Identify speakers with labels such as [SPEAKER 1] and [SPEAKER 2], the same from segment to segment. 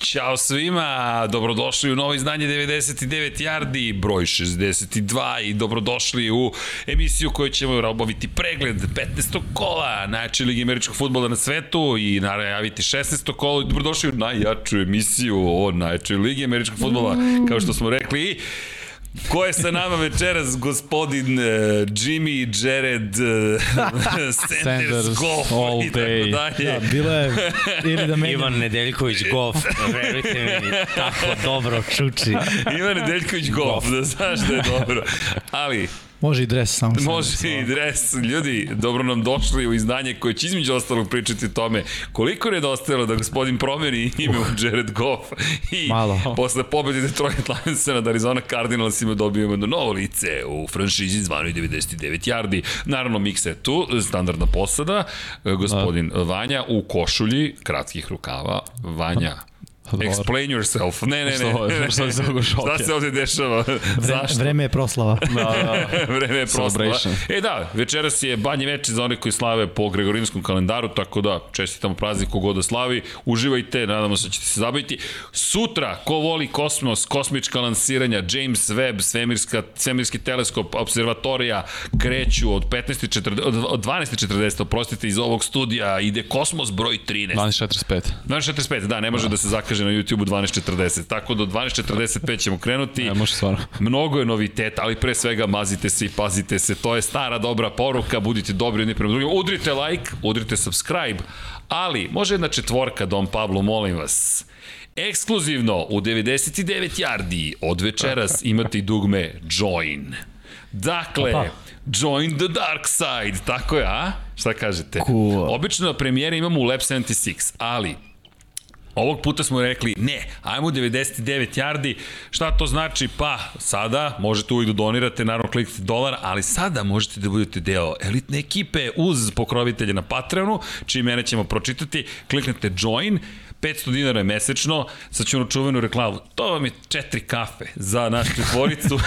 [SPEAKER 1] Ćao svima, dobrodošli u novo izdanje 99 Jardi, broj 62 i dobrodošli u emisiju koju ćemo obaviti pregled 15. kola najjače ligi američkog futbola na svetu i najaviti 16. kolo i dobrodošli u najjaču emisiju o najjačoj ligi američkog futbola, kao što smo rekli i Ko je sa nama večeras? Gospodin uh, Jimmy, Jared, uh, Sanders,
[SPEAKER 2] Sanders,
[SPEAKER 1] Goff
[SPEAKER 2] all
[SPEAKER 1] i tako
[SPEAKER 2] day.
[SPEAKER 1] dalje.
[SPEAKER 3] Da, bilo je, ili da menjam,
[SPEAKER 2] Ivan Nedeljković Golf, verujte mi, tako dobro čuči.
[SPEAKER 1] Ivan Nedeljković Goff, da znaš da je dobro. Ali,
[SPEAKER 3] može i dres samo. sam.
[SPEAKER 1] Može i dres. Ljudi, dobro nam došli u izdanje koje će između ostalog pričati o tome koliko je nedostajalo da gospodin promeni ime u Jared Goff i
[SPEAKER 3] Malo.
[SPEAKER 1] posle pobede Detroit Lionsa nad Arizona Cardinalsima dobijemo jedno novo lice u franšizi zvanoj 99 yardi. Naravno, Miksa je tu, standardna posada, gospodin Vanja u košulji kratkih rukava. Vanja, Explain yourself. Ne, ne, ne.
[SPEAKER 2] Što- što se ovog šoka?
[SPEAKER 1] Šta se ovde dešava? Zašto?
[SPEAKER 3] Vreme je proslava.
[SPEAKER 2] Da, da.
[SPEAKER 1] Vreme je proslava.
[SPEAKER 2] Celebration.
[SPEAKER 1] E da, večeras je banje veče za one koji slave po gregorinskom kalendaru, tako da čestitamo praznik kogoda da slavi, uživajte, nadamo se da ćete se zabaviti. Sutra, ko voli kosmos, kosmička lansiranja, James Webb, svemirska, svemirski teleskop, observatorija, kreću od 15.40, od- od 12.40, oprostite, iz ovog studija, ide kosmos broj 13.
[SPEAKER 4] Da. 12.45.
[SPEAKER 1] 12.45, da, ne može da, se zakaže na YouTube-u 12.40, tako da od 12.45 ćemo krenuti.
[SPEAKER 4] Ne može stvarno.
[SPEAKER 1] Mnogo je noviteta, ali pre svega mazite se i pazite se. To je stara dobra poruka, budite dobri jedni prema drugim. Udrite like, udrite subscribe, ali može jedna četvorka, Dom Pablo, molim vas. Ekskluzivno u 99 yardi od večeras imate i dugme Join. Dakle,
[SPEAKER 3] Opa.
[SPEAKER 1] Join the dark side, tako je, a? Šta kažete?
[SPEAKER 3] Cool.
[SPEAKER 1] Obično premijere imamo u Lab 76, ali Ovog puta smo rekli, ne, ajmo 99 yardi. Šta to znači? Pa, sada možete uvijek da donirate, naravno kliknite dolar, ali sada možete da budete deo elitne ekipe uz pokrovitelje na Patreonu, čiji mene ćemo pročitati. Kliknite join, 500 dinara je mesečno, sad ću onu čuvenu reklamu. To vam je četiri kafe za našu četvoricu.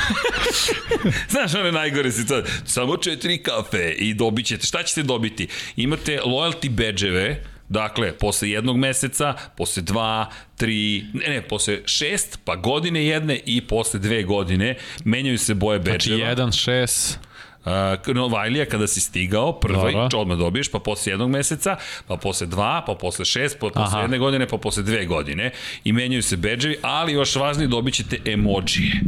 [SPEAKER 1] Znaš one najgore situacije. Samo četiri kafe i dobit ćete. Šta ćete dobiti? Imate loyalty badge-eve, Dakle, posle jednog meseca, posle dva, tri, ne, ne, posle šest, pa godine jedne i posle dve godine menjaju se boje bedževa.
[SPEAKER 4] Znači 1.6.
[SPEAKER 1] Uh, Novajlija kada si stigao, prvi,
[SPEAKER 4] Dobro.
[SPEAKER 1] Dobro. odmah dobiješ, pa posle jednog meseca, pa posle dva, pa posle šest, pa posle
[SPEAKER 4] Aha.
[SPEAKER 1] jedne godine, pa posle dve godine. I menjaju se bedževi, ali još važnije dobit ćete emojije.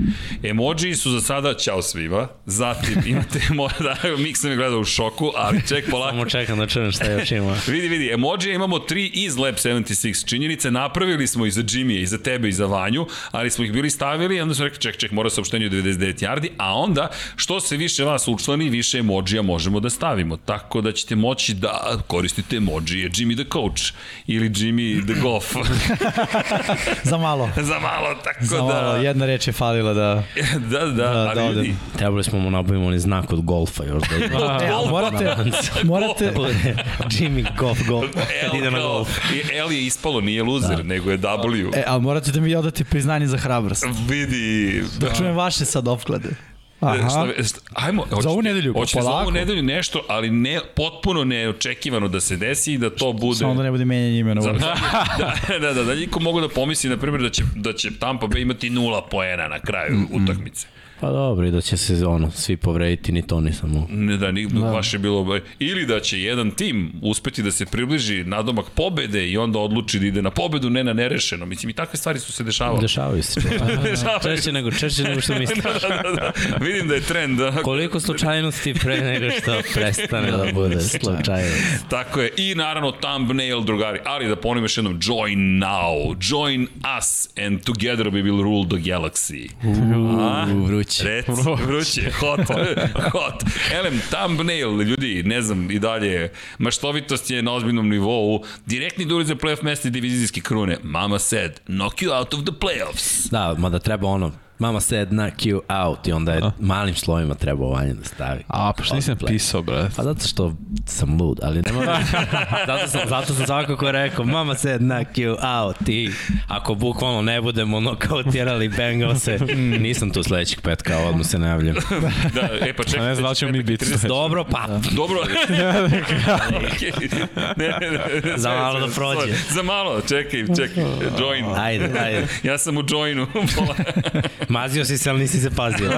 [SPEAKER 1] Emojiji su za sada, ćao svima, zatim imate emoji, da, Miksa me gleda u šoku, ali ček polako.
[SPEAKER 2] Samo čekam da čujem šta još ima.
[SPEAKER 1] Vidi, vidi, emoji imamo tri iz Lab 76. Činjenice napravili smo i za Jimmy, i za tebe, i za Vanju, ali smo ih bili stavili i onda smo rekli ček, ček, mora saopštenje u 99 yardi, a onda što se više vas učlani, više emojija možemo da stavimo. Tako da ćete moći da koristite emojije Jimmy the Coach ili Jimmy the Golf.
[SPEAKER 3] Za malo.
[SPEAKER 1] za malo, tako
[SPEAKER 3] Za malo,
[SPEAKER 1] da...
[SPEAKER 3] jedna reč je falila da...
[SPEAKER 1] da, da, da,
[SPEAKER 3] da
[SPEAKER 1] ali ljudi,
[SPEAKER 3] odem.
[SPEAKER 2] Trebali smo mu da nabavimo onaj znak od golfa još da ima.
[SPEAKER 3] E, ali morate,
[SPEAKER 2] Da
[SPEAKER 3] morate,
[SPEAKER 2] bude Jimmy Golf Golf. Kad ide
[SPEAKER 1] L,
[SPEAKER 2] na
[SPEAKER 1] kao,
[SPEAKER 2] golf.
[SPEAKER 1] L je ispalo, nije loser, da. nego je W.
[SPEAKER 3] e, ali morate da mi odate priznanje za hrabrost.
[SPEAKER 1] vidi,
[SPEAKER 3] Da čujem vaše sad opklade.
[SPEAKER 1] Aha.
[SPEAKER 3] Pa, Aha,
[SPEAKER 1] Šta, šta, ajmo, hoćete,
[SPEAKER 3] ovu nedelju, pa
[SPEAKER 1] hoćete za ovu
[SPEAKER 3] polako.
[SPEAKER 1] nedelju nešto, ali ne, potpuno neočekivano da se desi i da to bude...
[SPEAKER 3] samo da ne bude menjanje imena.
[SPEAKER 1] Za- da, da, da, da, niko mogu da pomisli, na primjer, da će, da će Tampa Bay imati nula poena na kraju utakmice.
[SPEAKER 2] Pa dobro, i da će se ono, svi povrediti, ni to nisam mogu.
[SPEAKER 1] Ne, da, nikdo, da. baš je bilo... Ili da će jedan tim uspeti da se približi nadomak pobede i onda odluči da ide na pobedu, ne na nerešeno. Mislim, i takve stvari su se dešavale.
[SPEAKER 2] Dešavaju se.
[SPEAKER 1] da. Dešavaju se.
[SPEAKER 2] Češće nego, češće nego što mislim.
[SPEAKER 1] da, da, da. Vidim da je trend. Da.
[SPEAKER 2] Koliko slučajnosti pre nego što prestane da bude slučajnost.
[SPEAKER 1] Tako je, i naravno thumbnail drugari, ali da ponovim još jednom, join now, join us and together we will rule the galaxy. A?
[SPEAKER 2] Vruće.
[SPEAKER 1] Rec, vruće, hot, hot. Elem, thumbnail, ljudi, ne znam, i dalje, maštovitost je na ozbiljnom nivou, direktni duri za playoff mesta i divizijski krune, mama said, knock you out of the playoffs.
[SPEAKER 2] Da, mada treba ono, Mama said knock you out i onda je malim slovima trebao vanje da stavi.
[SPEAKER 4] A, pa što nisam
[SPEAKER 2] Odplay.
[SPEAKER 4] pisao, brate?
[SPEAKER 2] Pa zato što sam lud, ali nema veze. zato, sam, zato sam svakako rekao, mama said knock you out i ako bukvalno ne budemo nokautirali Bengalse, nisam tu sledećih petka, odmah se najavljam.
[SPEAKER 1] Da, e pa čekaj.
[SPEAKER 4] Ne znam da li ćemo mi biti.
[SPEAKER 2] Dobro, pa
[SPEAKER 1] Dobro. ne, ne, ne,
[SPEAKER 2] Za malo da prođe.
[SPEAKER 1] Za malo, čekaj, čekaj. Join.
[SPEAKER 2] Ajde, ajde.
[SPEAKER 1] Ja sam u joinu.
[SPEAKER 2] Mazio si se, ali nisi se pazio.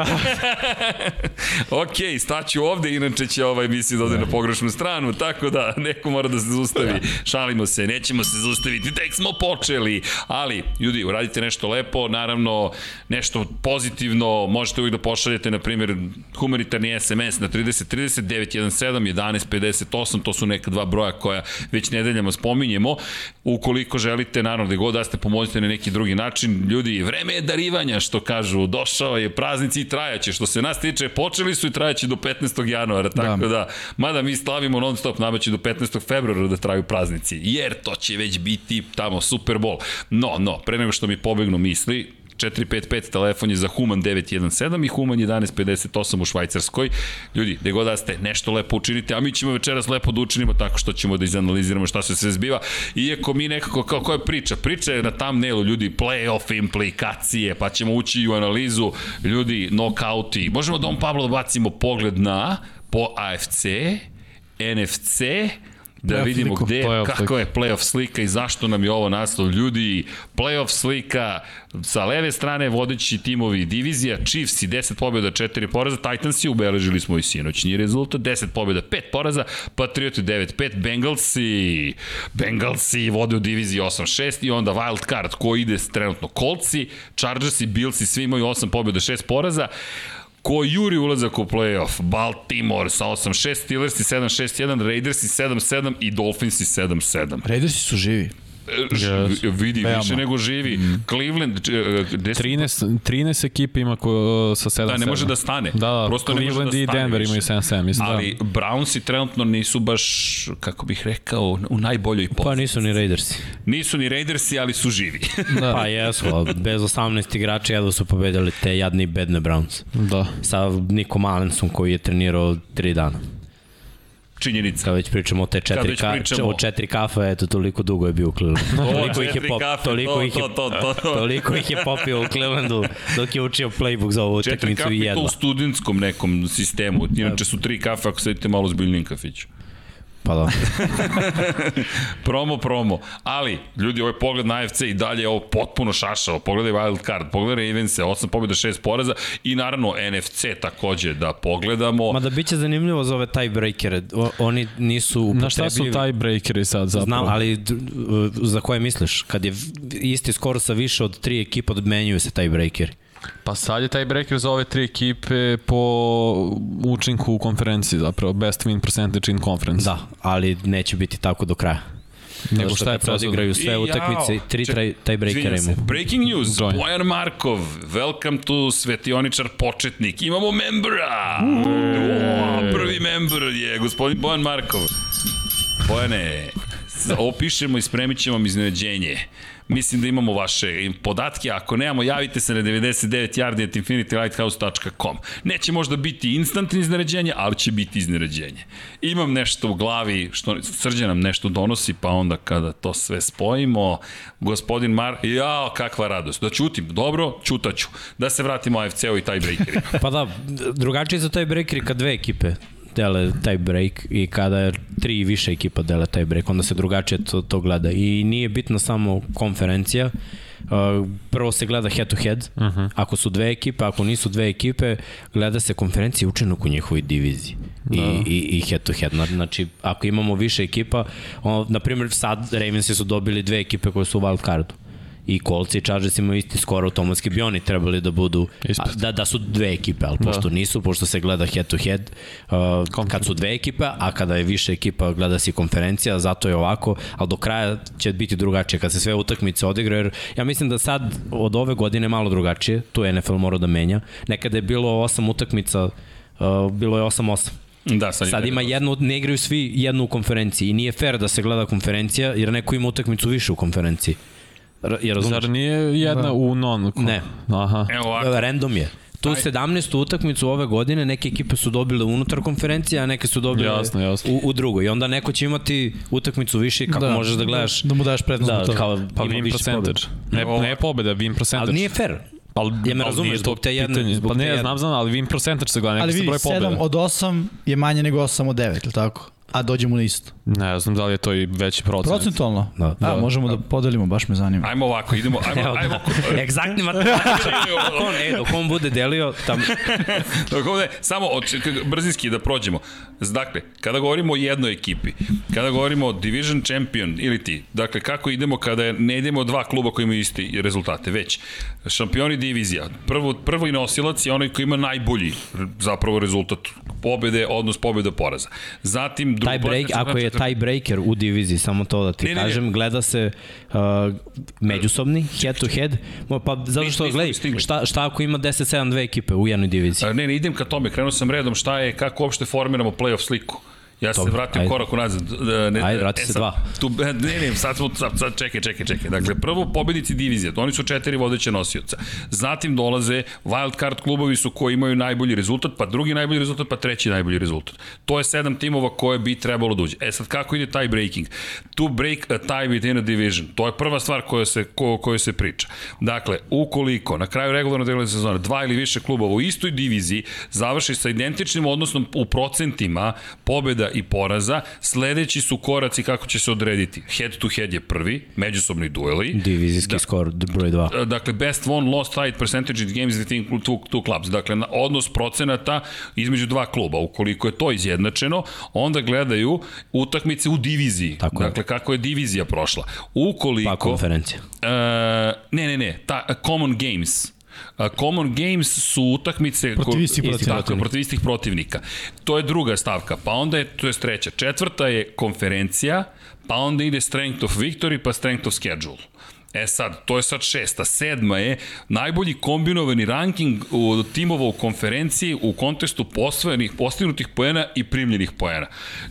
[SPEAKER 1] ok, staću ovde, inače će ova emisija da ode na pogrešnu stranu, tako da neko mora da se zaustavi. Šalimo se, nećemo se zaustaviti, tek smo počeli. Ali, ljudi, uradite nešto lepo, naravno, nešto pozitivno, možete uvijek da pošaljete, na primjer, humanitarni SMS na 3030 917 1158, to su neka dva broja koja već nedeljama spominjemo. Ukoliko želite, naravno, da god da ste pomognete na neki drugi način, ljudi, vreme je darivanja, što kažu, došao je praznici i trajaće, što se nas tiče, počeli su i trajaće do 15. januara, tako da, da mada mi slavimo non stop, nama će do 15. februara da traju praznici, jer to će već biti tamo Super Bowl. No, no, pre nego što mi pobegnu misli, 455 telefon je za Human 917 i Human 1158 u Švajcarskoj. Ljudi, gde god da ste, nešto lepo učinite, a mi ćemo večeras lepo da učinimo tako što ćemo da izanaliziramo šta se sve zbiva. Iako mi nekako, kao koja je priča? Priča je na thumbnailu, ljudi, playoff implikacije, pa ćemo ući i u analizu, ljudi, knockouti. Možemo Dom Pablo da bacimo pogled na po AFC, NFC, da
[SPEAKER 4] Playoff
[SPEAKER 1] vidimo
[SPEAKER 4] sliku,
[SPEAKER 1] gde,
[SPEAKER 4] playoff
[SPEAKER 1] kako
[SPEAKER 4] sliku.
[SPEAKER 1] je playoff slika i zašto nam je ovo naslov. Ljudi, playoff slika sa leve strane vodeći timovi divizija, Chiefs i 10 pobjeda, 4 poraza, Titans i ubeležili smo i sinoćni rezultat, 10 pobjeda, 5 poraza, Patrioti 9-5, Bengalsi, Bengalsi vode u diviziji 8-6 i onda Wild Card koji ide trenutno Coltsi, Chargers i Billsi svi imaju 8 pobjeda, 6 poraza, ko juri ulazak u playoff, Baltimore sa 8-6, Steelers i 7-6-1, Raiders i 7-7 i Dolphins i 7-7.
[SPEAKER 3] Raidersi su živi.
[SPEAKER 1] Yes. Vidi,
[SPEAKER 4] Veoma.
[SPEAKER 1] više nego živi. Cleveland, e, gde su-
[SPEAKER 4] 13, 13 ekipa ima ko, sa 7
[SPEAKER 1] da, ne može da stane.
[SPEAKER 4] Da, da,
[SPEAKER 1] Prosto ne može
[SPEAKER 4] Cleveland
[SPEAKER 1] da
[SPEAKER 4] i
[SPEAKER 1] stane
[SPEAKER 4] Denver
[SPEAKER 1] više.
[SPEAKER 4] imaju 7-7, mislim da.
[SPEAKER 1] Ali Brownsi trenutno nisu baš, kako bih rekao, u najboljoj poziciji.
[SPEAKER 2] Pa nisu ni Raidersi.
[SPEAKER 1] Nisu ni Raidersi, ali su živi.
[SPEAKER 2] Da. Pa jesu, ali bez 18 igrača jedva su pobedali te jadni i bedne Browns.
[SPEAKER 4] da.
[SPEAKER 2] Sa Nikom Allensom koji je trenirao 3 dana.
[SPEAKER 1] Činjenica.
[SPEAKER 2] Kad već pričamo o te
[SPEAKER 1] Kad
[SPEAKER 2] četiri,
[SPEAKER 1] već
[SPEAKER 2] ka,
[SPEAKER 1] pričamo.
[SPEAKER 2] pričamo. O četiri kafa, eto, toliko dugo je bio u Clevelandu. toliko ih je,
[SPEAKER 1] četiri
[SPEAKER 2] pop,
[SPEAKER 1] kafe,
[SPEAKER 2] toliko
[SPEAKER 1] to,
[SPEAKER 2] ih je
[SPEAKER 1] to, to, to, to.
[SPEAKER 2] Toliko ih je popio u Clevelandu dok je učio playbook za ovu
[SPEAKER 1] Četiri
[SPEAKER 2] utakmicu
[SPEAKER 1] kafe
[SPEAKER 2] i
[SPEAKER 1] i to
[SPEAKER 2] jedva.
[SPEAKER 1] u studentskom nekom sistemu. Inače su tri kafe ako sedite malo zbiljnim kafiću.
[SPEAKER 2] Pa da.
[SPEAKER 1] Promo, promo. Ali, ljudi, ovaj pogled na AFC i dalje je ovo potpuno šašao. Pogledaj Wild Card, pogledaj Ravense, 8 pobjeda, 6 poraza i naravno NFC takođe da pogledamo.
[SPEAKER 2] Ma da biće zanimljivo za ove tiebreakere. O, oni nisu upotrebljivi.
[SPEAKER 4] Na šta su tiebreakeri sad zapravo?
[SPEAKER 2] Znam, ali d- d- za koje misliš? Kad je v- isti skor sa više od tri ekipa, menjaju se tiebreakeri.
[SPEAKER 4] Pa sad je taj breaker za ove tri ekipe po učinku u konferenciji zapravo. Best win percentage in conference.
[SPEAKER 2] Da, ali neće biti tako do kraja.
[SPEAKER 4] Nego
[SPEAKER 2] Zato što
[SPEAKER 4] šta je
[SPEAKER 2] kad se
[SPEAKER 4] prozor?
[SPEAKER 2] odigraju sve
[SPEAKER 1] I,
[SPEAKER 2] utakmice,
[SPEAKER 1] jao,
[SPEAKER 2] tri
[SPEAKER 1] ček-
[SPEAKER 2] traj, tiebreakera
[SPEAKER 1] izvinjam se.
[SPEAKER 2] imaju.
[SPEAKER 1] Breaking news,
[SPEAKER 4] Join.
[SPEAKER 1] Bojan Markov, welcome to Svetioničar početnik. Imamo membra! O, prvi member je gospodin Bojan Markov. Bojane, za- opišemo i spremit ćemo vam iznenađenje. Mislim da imamo vaše podatke, ako nemamo javite se na 99yardi.infinitylighthouse.com. Neće možda biti instant iznenađenje, ali će biti iznenađenje. Imam nešto u glavi, što srđe nam nešto donosi, pa onda kada to sve spojimo, gospodin Mar... Jao, kakva radost. Da ćutim, dobro, ćutaću. Da se vratimo AFC-u i taj breakerima.
[SPEAKER 2] Pa da, d- drugačije su tiebreakeri kad dve ekipe dele taj break i kada je tri i više ekipa dele taj break, onda se drugačije to, to gleda. I nije bitno samo konferencija, Uh, prvo se gleda head to head, uh -huh. ako su dve ekipe, ako nisu dve ekipe, gleda se konferencija i učinak u njihovoj diviziji i, i, i head to head. Zna- Znači, ako imamo više ekipa, o, na primjer sad Ravensi su dobili dve ekipe koje su u wild cardu i Colts i Chargers imaju isti skor automatski bi oni trebali da budu
[SPEAKER 4] Ispred.
[SPEAKER 2] a, da, da su dve ekipe, ali pošto nisu, pošto se gleda head to head, uh, kad su dve ekipe, a kada je više ekipa gleda se i konferencija, zato je ovako, ali do kraja će biti drugačije kad se sve utakmice odigraju, jer ja mislim da sad od ove godine je malo drugačije, tu je NFL morao da menja, nekada je bilo osam utakmica, uh, bilo je 8-8,
[SPEAKER 1] Da, sad,
[SPEAKER 2] Sad ima jednu, ne igraju svi jednu u konferenciji i nije fair da se gleda konferencija jer neko ima utakmicu više u konferenciji. Ra- Je razumeš?
[SPEAKER 4] Zar nije jedna da. u non?
[SPEAKER 2] Ne.
[SPEAKER 4] Aha.
[SPEAKER 1] Evo
[SPEAKER 2] Da,
[SPEAKER 1] ovako.
[SPEAKER 2] Random je. Tu 17. utakmicu ove godine neke ekipe su dobile unutar konferencije, a neke su dobile
[SPEAKER 4] Jasno, jasno.
[SPEAKER 2] U, u drugoj. I onda neko će imati utakmicu više i kako da. možeš da gledaš.
[SPEAKER 3] Da mu daš prednost
[SPEAKER 2] Da,
[SPEAKER 3] zbog toga.
[SPEAKER 2] kao
[SPEAKER 4] Pa
[SPEAKER 2] ima
[SPEAKER 4] win
[SPEAKER 2] više
[SPEAKER 4] percentage.
[SPEAKER 2] pobeda.
[SPEAKER 4] Ne,
[SPEAKER 1] Ovo-
[SPEAKER 4] ne pobeda, win percentage.
[SPEAKER 2] Ali nije fair.
[SPEAKER 4] Pa,
[SPEAKER 2] Ja me
[SPEAKER 4] ali
[SPEAKER 2] razumeš,
[SPEAKER 4] nije to
[SPEAKER 2] zbog te jedne-
[SPEAKER 4] pitanje.
[SPEAKER 2] zbog
[SPEAKER 4] pa
[SPEAKER 2] te
[SPEAKER 4] ne,
[SPEAKER 2] jedne.
[SPEAKER 4] znam, znam, ali win percentage se gleda,
[SPEAKER 3] Ali
[SPEAKER 4] neka se
[SPEAKER 3] vidi,
[SPEAKER 4] broj
[SPEAKER 3] 7
[SPEAKER 4] pobeda.
[SPEAKER 3] od 8 je manje nego 8 od 9, ili tako? A dođemo na isto.
[SPEAKER 4] Ne znam da li je to i veći procent.
[SPEAKER 3] Procentualno?
[SPEAKER 2] Da.
[SPEAKER 3] A, možemo da podelimo, baš me zanima.
[SPEAKER 1] Ajmo ovako, idemo, ajmo,
[SPEAKER 2] Evo,
[SPEAKER 1] ajmo.
[SPEAKER 2] da. Egzaktni matematičar. Dok on, e, dok on bude delio, tam,
[SPEAKER 1] Dok ovde, samo od, brzinski da prođemo. Dakle, kada govorimo o jednoj ekipi, kada govorimo o division champion ili ti, dakle, kako idemo kada je- ne idemo dva kluba koji imaju isti rezultate, već šampioni divizija, prvo, prvi nosilac je onaj koji ima najbolji r- zapravo rezultat pobede, odnos pobeda poraza. Zatim, drugo,
[SPEAKER 2] taj break, ako je taj breaker u diviziji, samo to da ti
[SPEAKER 1] Ne, ne, ne.
[SPEAKER 2] kažem, gleda se uh, međusobni, head to head, Mo, pa zato što,
[SPEAKER 1] nismo
[SPEAKER 2] gledaj,
[SPEAKER 1] stigli.
[SPEAKER 2] šta, šta ako ima 10-7 dve ekipe u jednoj diviziji?
[SPEAKER 1] A, Ne, ne, idem ka tome, krenuo sam redom šta je, kako uopšte formiramo playoff sliku. Ja sam se
[SPEAKER 2] Dobro,
[SPEAKER 1] vratio
[SPEAKER 2] ajde.
[SPEAKER 1] korak unazad. Da, Ne,
[SPEAKER 2] Ajde, vrati
[SPEAKER 1] e,
[SPEAKER 2] se
[SPEAKER 1] sad,
[SPEAKER 2] dva.
[SPEAKER 1] Tu, ne, ne, sad smo, sad, sad čekaj, čekaj, čekaj. Dakle, prvo pobednici divizije, oni su četiri vodeće nosioca. Zatim dolaze wild card klubovi su koji imaju najbolji rezultat, pa drugi najbolji rezultat, pa treći najbolji rezultat. To je sedam timova koje bi trebalo da uđe. E sad, kako ide taj breaking? Tu break e, a tie within a division. To je prva stvar koja se, ko, koju se priča. Dakle, ukoliko na kraju regularne regularne sezone dva ili više klubova u istoj diviziji završi sa identičnim odnosnom u procentima pobeda i poraza, sledeći su koraci kako će se odrediti. Head to head je prvi, međusobni dueli.
[SPEAKER 2] Divizijski da. skor d- broj 2.
[SPEAKER 1] E, dakle best won lost tied percentage in games between cl- two, two clubs dakle na odnos procenata između dva kluba ukoliko je to izjednačeno onda gledaju utakmice u diviziji
[SPEAKER 2] Tako je.
[SPEAKER 1] dakle kako je divizija prošla
[SPEAKER 2] Pa
[SPEAKER 1] ukoliko
[SPEAKER 2] konferencija.
[SPEAKER 1] E, ne, ne, ne, ta, Common Games. A, Common Games su utakmice ko-
[SPEAKER 3] Protiv istih protivnika.
[SPEAKER 1] Tako, je, protiv istih protivnika. To je druga stavka, pa onda je, to je treća. Četvrta je konferencija, pa onda ide Strength of Victory, pa Strength of Schedule. E sad, to je sad šesta. Sedma je najbolji kombinovani ranking u, timova u konferenciji u kontekstu posvojenih, postignutih poena i primljenih poena.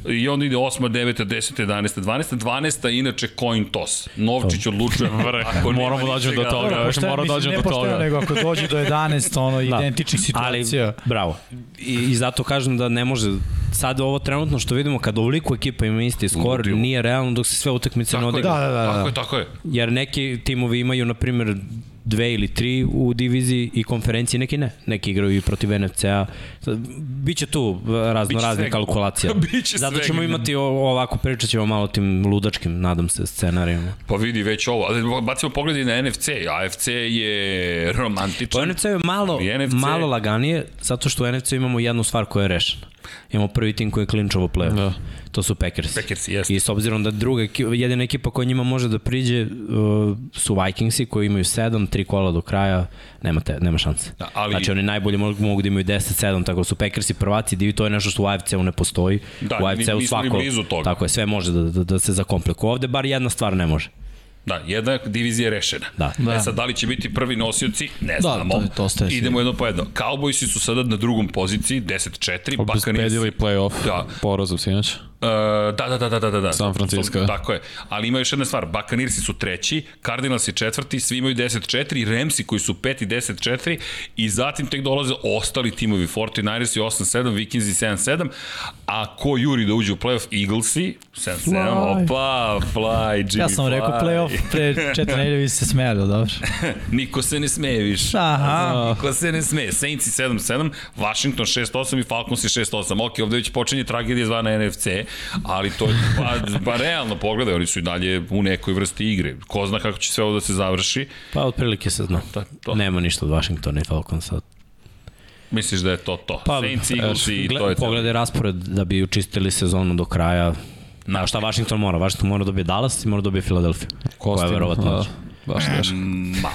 [SPEAKER 1] I onda ide osma, deveta, deseta, jedanesta, dvanesta. Dvanesta je inače coin toss. Novčić odlučuje. Ako nema
[SPEAKER 4] Moramo da dođemo do
[SPEAKER 1] ničega-
[SPEAKER 4] toga. još
[SPEAKER 3] pošteno,
[SPEAKER 4] mora
[SPEAKER 3] mislim,
[SPEAKER 4] dođemo
[SPEAKER 3] ne
[SPEAKER 4] do
[SPEAKER 3] pošteno,
[SPEAKER 4] toga.
[SPEAKER 3] nego ako dođe do 11, ono, identičnih situacija.
[SPEAKER 2] Da. Ali, bravo. I, I zato kažem da ne može, sad ovo trenutno što vidimo, kad ovoliko ekipa ima isti skor,
[SPEAKER 1] Ludilo.
[SPEAKER 2] nije realno dok se sve utakmice ne
[SPEAKER 1] Tako je,
[SPEAKER 2] odigra.
[SPEAKER 3] Da, da, da,
[SPEAKER 1] Tako
[SPEAKER 3] da.
[SPEAKER 1] je, tako je.
[SPEAKER 2] Jer neki timovi imaju, na primjer, dve ili tri u diviziji i konferenciji, neki ne. Neki igraju i protiv NFC-a. Sad, Biće tu e, razno
[SPEAKER 1] Biće
[SPEAKER 2] razne
[SPEAKER 1] svega.
[SPEAKER 2] kalkulacije.
[SPEAKER 1] Biće
[SPEAKER 2] Zato
[SPEAKER 1] svega.
[SPEAKER 2] ćemo imati o- ovako, pričat ćemo malo o tim ludačkim, nadam se, scenarijima.
[SPEAKER 1] Pa vidi već ovo. Ali bacimo pogled i na NFC. AFC je
[SPEAKER 3] Pa
[SPEAKER 1] romantičan.
[SPEAKER 2] Po NFC je malo,
[SPEAKER 1] I NFC.
[SPEAKER 2] malo laganije, zato što u NFC imamo jednu stvar koja je rešena. Imamo prvi tim koji je klinčovo playoff.
[SPEAKER 4] Da.
[SPEAKER 2] To su Packers.
[SPEAKER 1] Packersi, jeste.
[SPEAKER 2] I s obzirom da druga, eki- jedina ekipa koja njima može da priđe uh, su Vikingsi koji imaju 7, 3 kola do kraja, nema, te, nema šanse.
[SPEAKER 1] Da, ali-
[SPEAKER 2] Znači oni najbolje mogu, mogu da imaju 10, 7, tako da su Packersi prvaci, divi, to je nešto što u AFC-u ne postoji.
[SPEAKER 1] Da,
[SPEAKER 2] u AFC-u
[SPEAKER 1] ni- nismo ni
[SPEAKER 2] svako,
[SPEAKER 1] blizu toga.
[SPEAKER 2] tako je, sve može da, da, da se zakomplikuje. Ovde bar jedna stvar ne može.
[SPEAKER 1] Da, jedna divizija je rešena.
[SPEAKER 2] Da.
[SPEAKER 1] E sad, da li će biti prvi nosioci? Ne znamo.
[SPEAKER 3] Da, to je- to ostaje
[SPEAKER 1] Idemo jedno po jedno. Cowboysi su sada na drugom poziciji, 10-4. Buccaneers-
[SPEAKER 4] Obezbedili playoff
[SPEAKER 1] Da.
[SPEAKER 4] da. porazom sinoć.
[SPEAKER 1] E, da, da, da, da, da, da, da.
[SPEAKER 4] San Francisco.
[SPEAKER 1] Su- Tako je. Ali ima još jedna stvar. Bakanirsi su treći, Cardinals je četvrti, svi imaju 10-4, Remsi koji su 5 i 10-4 i zatim tek dolaze ostali timovi. 49ersi 8-7, Vikingsi 7-7, a ko juri da uđe u playoff? Eaglesi 7-7,
[SPEAKER 3] Fly.
[SPEAKER 1] opa, fly, Jimmy
[SPEAKER 3] Ja sam vam rekao
[SPEAKER 1] fly.
[SPEAKER 3] playoff, pre četiri nedelje vi ste se smejali, ali dobro.
[SPEAKER 1] Niko se ne smeje više.
[SPEAKER 3] Aha.
[SPEAKER 1] Niko se ne smeje. Saints i 7-7, Washington 6-8 i Falcons i 6-8. Ok, ovde već počinje tragedija zvana NFC, ali to je, pa, pa realno pogledaj, oni su i dalje u nekoj vrsti igre. Ko zna kako će sve ovo da se završi.
[SPEAKER 2] Pa otprilike se zna.
[SPEAKER 1] Da, to.
[SPEAKER 2] Nema ništa od Washingtona i Falconsa.
[SPEAKER 1] Misliš da je to to?
[SPEAKER 2] Pa,
[SPEAKER 1] Saints, Eagles i
[SPEAKER 2] gled-
[SPEAKER 1] to je to.
[SPEAKER 2] Pogledaj raspored da bi učistili sezonu do kraja. Na šta Washington mora? Washington mora da dobije Dallas i mora da dobije Filadelfiju. Koja je verovatno.
[SPEAKER 4] da.
[SPEAKER 2] Da.
[SPEAKER 4] Baš teško.
[SPEAKER 1] Ma,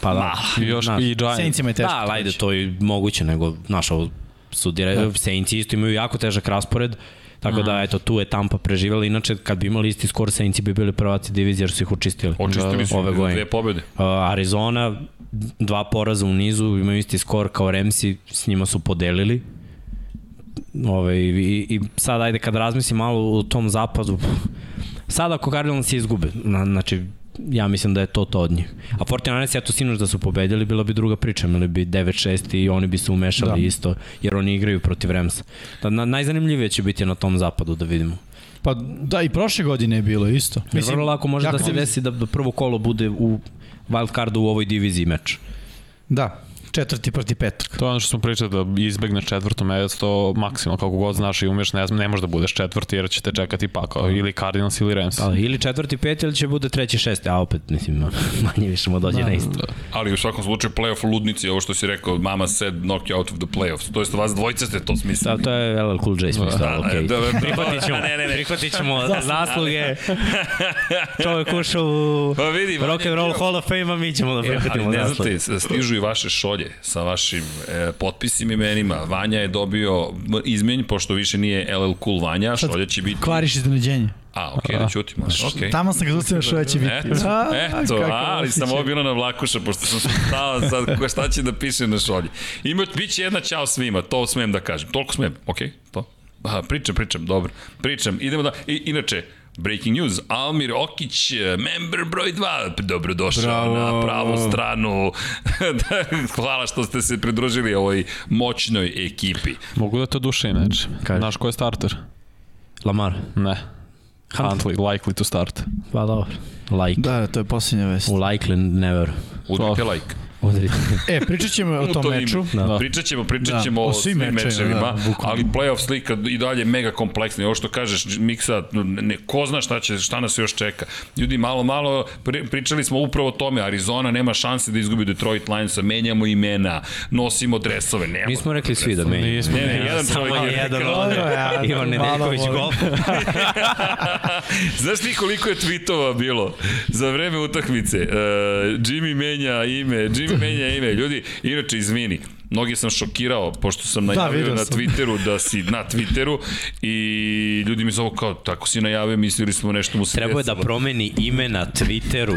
[SPEAKER 2] Pa da.
[SPEAKER 4] I još
[SPEAKER 2] Znaš.
[SPEAKER 4] i Giants.
[SPEAKER 3] Saints ima je teško.
[SPEAKER 2] Da, ali ajde, to je moguće, nego, znaš, ovo su dire...
[SPEAKER 4] Da.
[SPEAKER 2] Saints isto imaju jako težak raspored, tako
[SPEAKER 1] Mhm.
[SPEAKER 2] da, eto, tu je Tampa preživjela, inače, kad bi imali isti skor, Saints bi bili prvaci divizije, jer su ih učistili.
[SPEAKER 4] Da,
[SPEAKER 1] očistili su
[SPEAKER 2] ove godine.
[SPEAKER 1] dve pobede.
[SPEAKER 2] Uh, Arizona, dva poraza u nizu, imaju isti skor kao Remsi, s njima su podelili. Ove, i, i sad, ajde, kad razmislim malo u tom zapadu, pff, sad ako Cardinals izgube, na, znači, ja mislim da je to to od njih. A 49ers, eto sinoć da su pobedili, bila bi druga priča, imali bi 9-6 i oni bi se umešali da. isto, jer oni igraju protiv Remsa. Da, na, najzanimljivije će biti na tom zapadu, da vidimo.
[SPEAKER 3] Pa da, i prošle godine je bilo isto.
[SPEAKER 2] Jer vrlo lako može da
[SPEAKER 3] jako
[SPEAKER 2] se
[SPEAKER 3] bi-
[SPEAKER 2] desi da, da prvo kolo bude u wild cardu u ovoj diviziji meč.
[SPEAKER 3] Da, četvrti proti petak.
[SPEAKER 4] To je ono što smo pričali da izbegneš četvrto mesto maksimalno kako god znaš i umeš, ne, znam, ne možeš da budeš četvrti jer će te čekati
[SPEAKER 2] Da.
[SPEAKER 4] pakao ili Cardinals ili Rams.
[SPEAKER 2] Pa, ili četvrti, peti, ili će bude treći, šesti, a opet, mislim, manje više mu dođe na isto.
[SPEAKER 1] Ali u svakom slučaju playoff ludnici, ovo što si rekao, mama said knock you out of the playoffs. To jest vas dvojica ste to smislili.
[SPEAKER 2] Da, to je LL Cool J smisla, da, okej.
[SPEAKER 1] da, da, da.
[SPEAKER 2] Prihvatit ćemo,
[SPEAKER 1] Ne, ne, ne.
[SPEAKER 2] prihvatit ćemo zasluge. Čovjek ušao u
[SPEAKER 1] Pa vidi, Vanja
[SPEAKER 2] Rock and Roll Hall of Fame, a mi ćemo da
[SPEAKER 1] E, ali
[SPEAKER 2] prihvatimo
[SPEAKER 1] ne
[SPEAKER 2] zasluge.
[SPEAKER 1] znate, s- stižu i vaše šolje sa vašim e, potpisima i imenima. Vanja je dobio m- izmenj, pošto više nije LL Cool Vanja, šolja će biti...
[SPEAKER 3] Kvariš iznenađenje.
[SPEAKER 1] A, okej, okay, da ćutimo. Okay.
[SPEAKER 3] Tamo sam ga zustavio što će biti.
[SPEAKER 1] Eto,
[SPEAKER 3] A,
[SPEAKER 1] eto
[SPEAKER 3] kakav
[SPEAKER 1] ali
[SPEAKER 3] osjećaj.
[SPEAKER 1] sam ovo bilo na vlakuša, pošto sam se stala sad ko- šta će da piše na šolji. Ima, bit će jedna čao svima, to smem da kažem. Toliko smem, okej, to. Aha, pričam, pričam, dobro. Pričam, idemo da... I, inače, Breaking news, Almir Okić, eh, member broj 2, dobrodošao Bravo. na pravu stranu. Da, Hvala što ste se pridružili ovoj moćnoj ekipi.
[SPEAKER 4] Mogu da te duše inače.
[SPEAKER 2] Kaži.
[SPEAKER 4] Znaš ko je starter?
[SPEAKER 2] Lamar,
[SPEAKER 4] Ne. Huntley, likely to start.
[SPEAKER 2] pa dobro. Like.
[SPEAKER 3] Da, da, to je posljednja vest.
[SPEAKER 2] U like ne veru.
[SPEAKER 1] Udite like.
[SPEAKER 2] Udri.
[SPEAKER 3] E, pričat ćemo o
[SPEAKER 1] U
[SPEAKER 3] tom
[SPEAKER 1] to ime.
[SPEAKER 3] meču.
[SPEAKER 2] Da.
[SPEAKER 1] Pričat ćemo, pričat
[SPEAKER 3] Da,
[SPEAKER 1] ćemo o svim mečevima, da,
[SPEAKER 3] bukvalno.
[SPEAKER 1] ali playoff slika i dalje mega kompleksna. I ovo što kažeš, Miksa, ne, ko zna šta, će, šta nas još čeka. Ljudi, malo, malo, pri, pričali smo upravo o tome, Arizona nema šanse da izgubi Detroit Lionsa, menjamo imena, nosimo dresove, nema.
[SPEAKER 2] Nismo rekli svi da menjamo.
[SPEAKER 4] Nismo.
[SPEAKER 1] Ne, ne, jedan
[SPEAKER 2] Samo
[SPEAKER 1] čovjek je
[SPEAKER 2] jedan,
[SPEAKER 1] rekao.
[SPEAKER 2] ono,
[SPEAKER 3] Dobro, ja,
[SPEAKER 2] Ivan
[SPEAKER 3] malo
[SPEAKER 2] Nedeljković
[SPEAKER 3] volim.
[SPEAKER 2] golf.
[SPEAKER 1] Znaš ti koliko je tweetova bilo za vreme utakmice? Uh, Jimmy menja ime, Jimmy menja ime. Ljudi, inače, izvini, mnogi sam šokirao, pošto sam najavio da,
[SPEAKER 3] video
[SPEAKER 1] na
[SPEAKER 3] sam.
[SPEAKER 1] Twitteru da si na Twitteru i ljudi mi zovu kao, tako si najavio, mislili smo nešto mu se
[SPEAKER 2] Trebao je da
[SPEAKER 1] desilo.
[SPEAKER 2] promeni ime na Twitteru.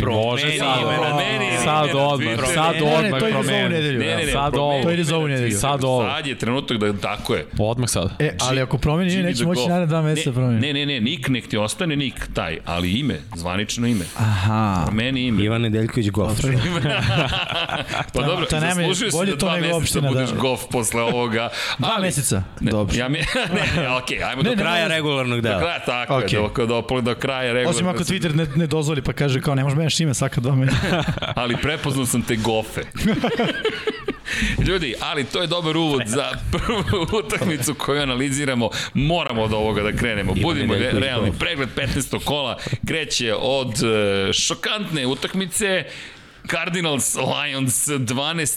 [SPEAKER 2] Promeni
[SPEAKER 4] sad.
[SPEAKER 2] ime na
[SPEAKER 1] Promeni ime
[SPEAKER 4] Sad
[SPEAKER 1] na
[SPEAKER 4] odmah,
[SPEAKER 1] Twitteru.
[SPEAKER 4] sad
[SPEAKER 3] Ne, ne, ne,
[SPEAKER 4] odmah
[SPEAKER 3] to ide za ovu
[SPEAKER 4] promeni.
[SPEAKER 3] nedelju,
[SPEAKER 1] Ne, ne, ne,
[SPEAKER 4] Sad
[SPEAKER 1] promeni
[SPEAKER 4] ovo.
[SPEAKER 3] To ide za ovu nedelju.
[SPEAKER 4] Sad ovo.
[SPEAKER 1] da. Sad je trenutak da tako je.
[SPEAKER 4] Odmah sad.
[SPEAKER 3] E, ali ako promeni ime,
[SPEAKER 1] Jimmy
[SPEAKER 3] neće
[SPEAKER 1] the
[SPEAKER 3] moći
[SPEAKER 1] Golf.
[SPEAKER 3] naredne dva
[SPEAKER 1] Ne,
[SPEAKER 3] meseca promeni.
[SPEAKER 1] Ne, ne, ne, nik, nek ti ostane nik taj, ali ime, zvanično ime.
[SPEAKER 3] Aha.
[SPEAKER 1] Promeni ime.
[SPEAKER 2] Ivan Nedeljković golf.
[SPEAKER 1] Pa dobro,
[SPEAKER 3] to nema-
[SPEAKER 1] zaslužio si
[SPEAKER 3] bolje
[SPEAKER 1] da
[SPEAKER 3] to
[SPEAKER 1] dva
[SPEAKER 3] nego
[SPEAKER 1] meseca
[SPEAKER 3] opština,
[SPEAKER 1] budeš
[SPEAKER 3] da.
[SPEAKER 1] golf posle ovoga.
[SPEAKER 3] Dva meseca.
[SPEAKER 1] Ne,
[SPEAKER 3] Dobro.
[SPEAKER 1] Ja mi, ne, ne, okej, ajmo do
[SPEAKER 2] Do kraja regularnog
[SPEAKER 1] Do
[SPEAKER 2] dela.
[SPEAKER 1] kraja, tako okay.
[SPEAKER 3] Okej.
[SPEAKER 1] je, do, do, do kraja regularno.
[SPEAKER 3] Osim ako Twitter ne, ne dozvoli pa kaže kao ne možeš menjaš ime svaka dva meseca.
[SPEAKER 1] Ali prepoznao sam te gofe. Ljudi, ali to je dobar uvod za prvu utakmicu koju analiziramo. Moramo od ovoga da krenemo. Budimo re,
[SPEAKER 2] Nedeljković
[SPEAKER 1] realni.
[SPEAKER 2] golf.
[SPEAKER 1] Pregled 15. kola kreće od e, šokantne utakmice Cardinals Lions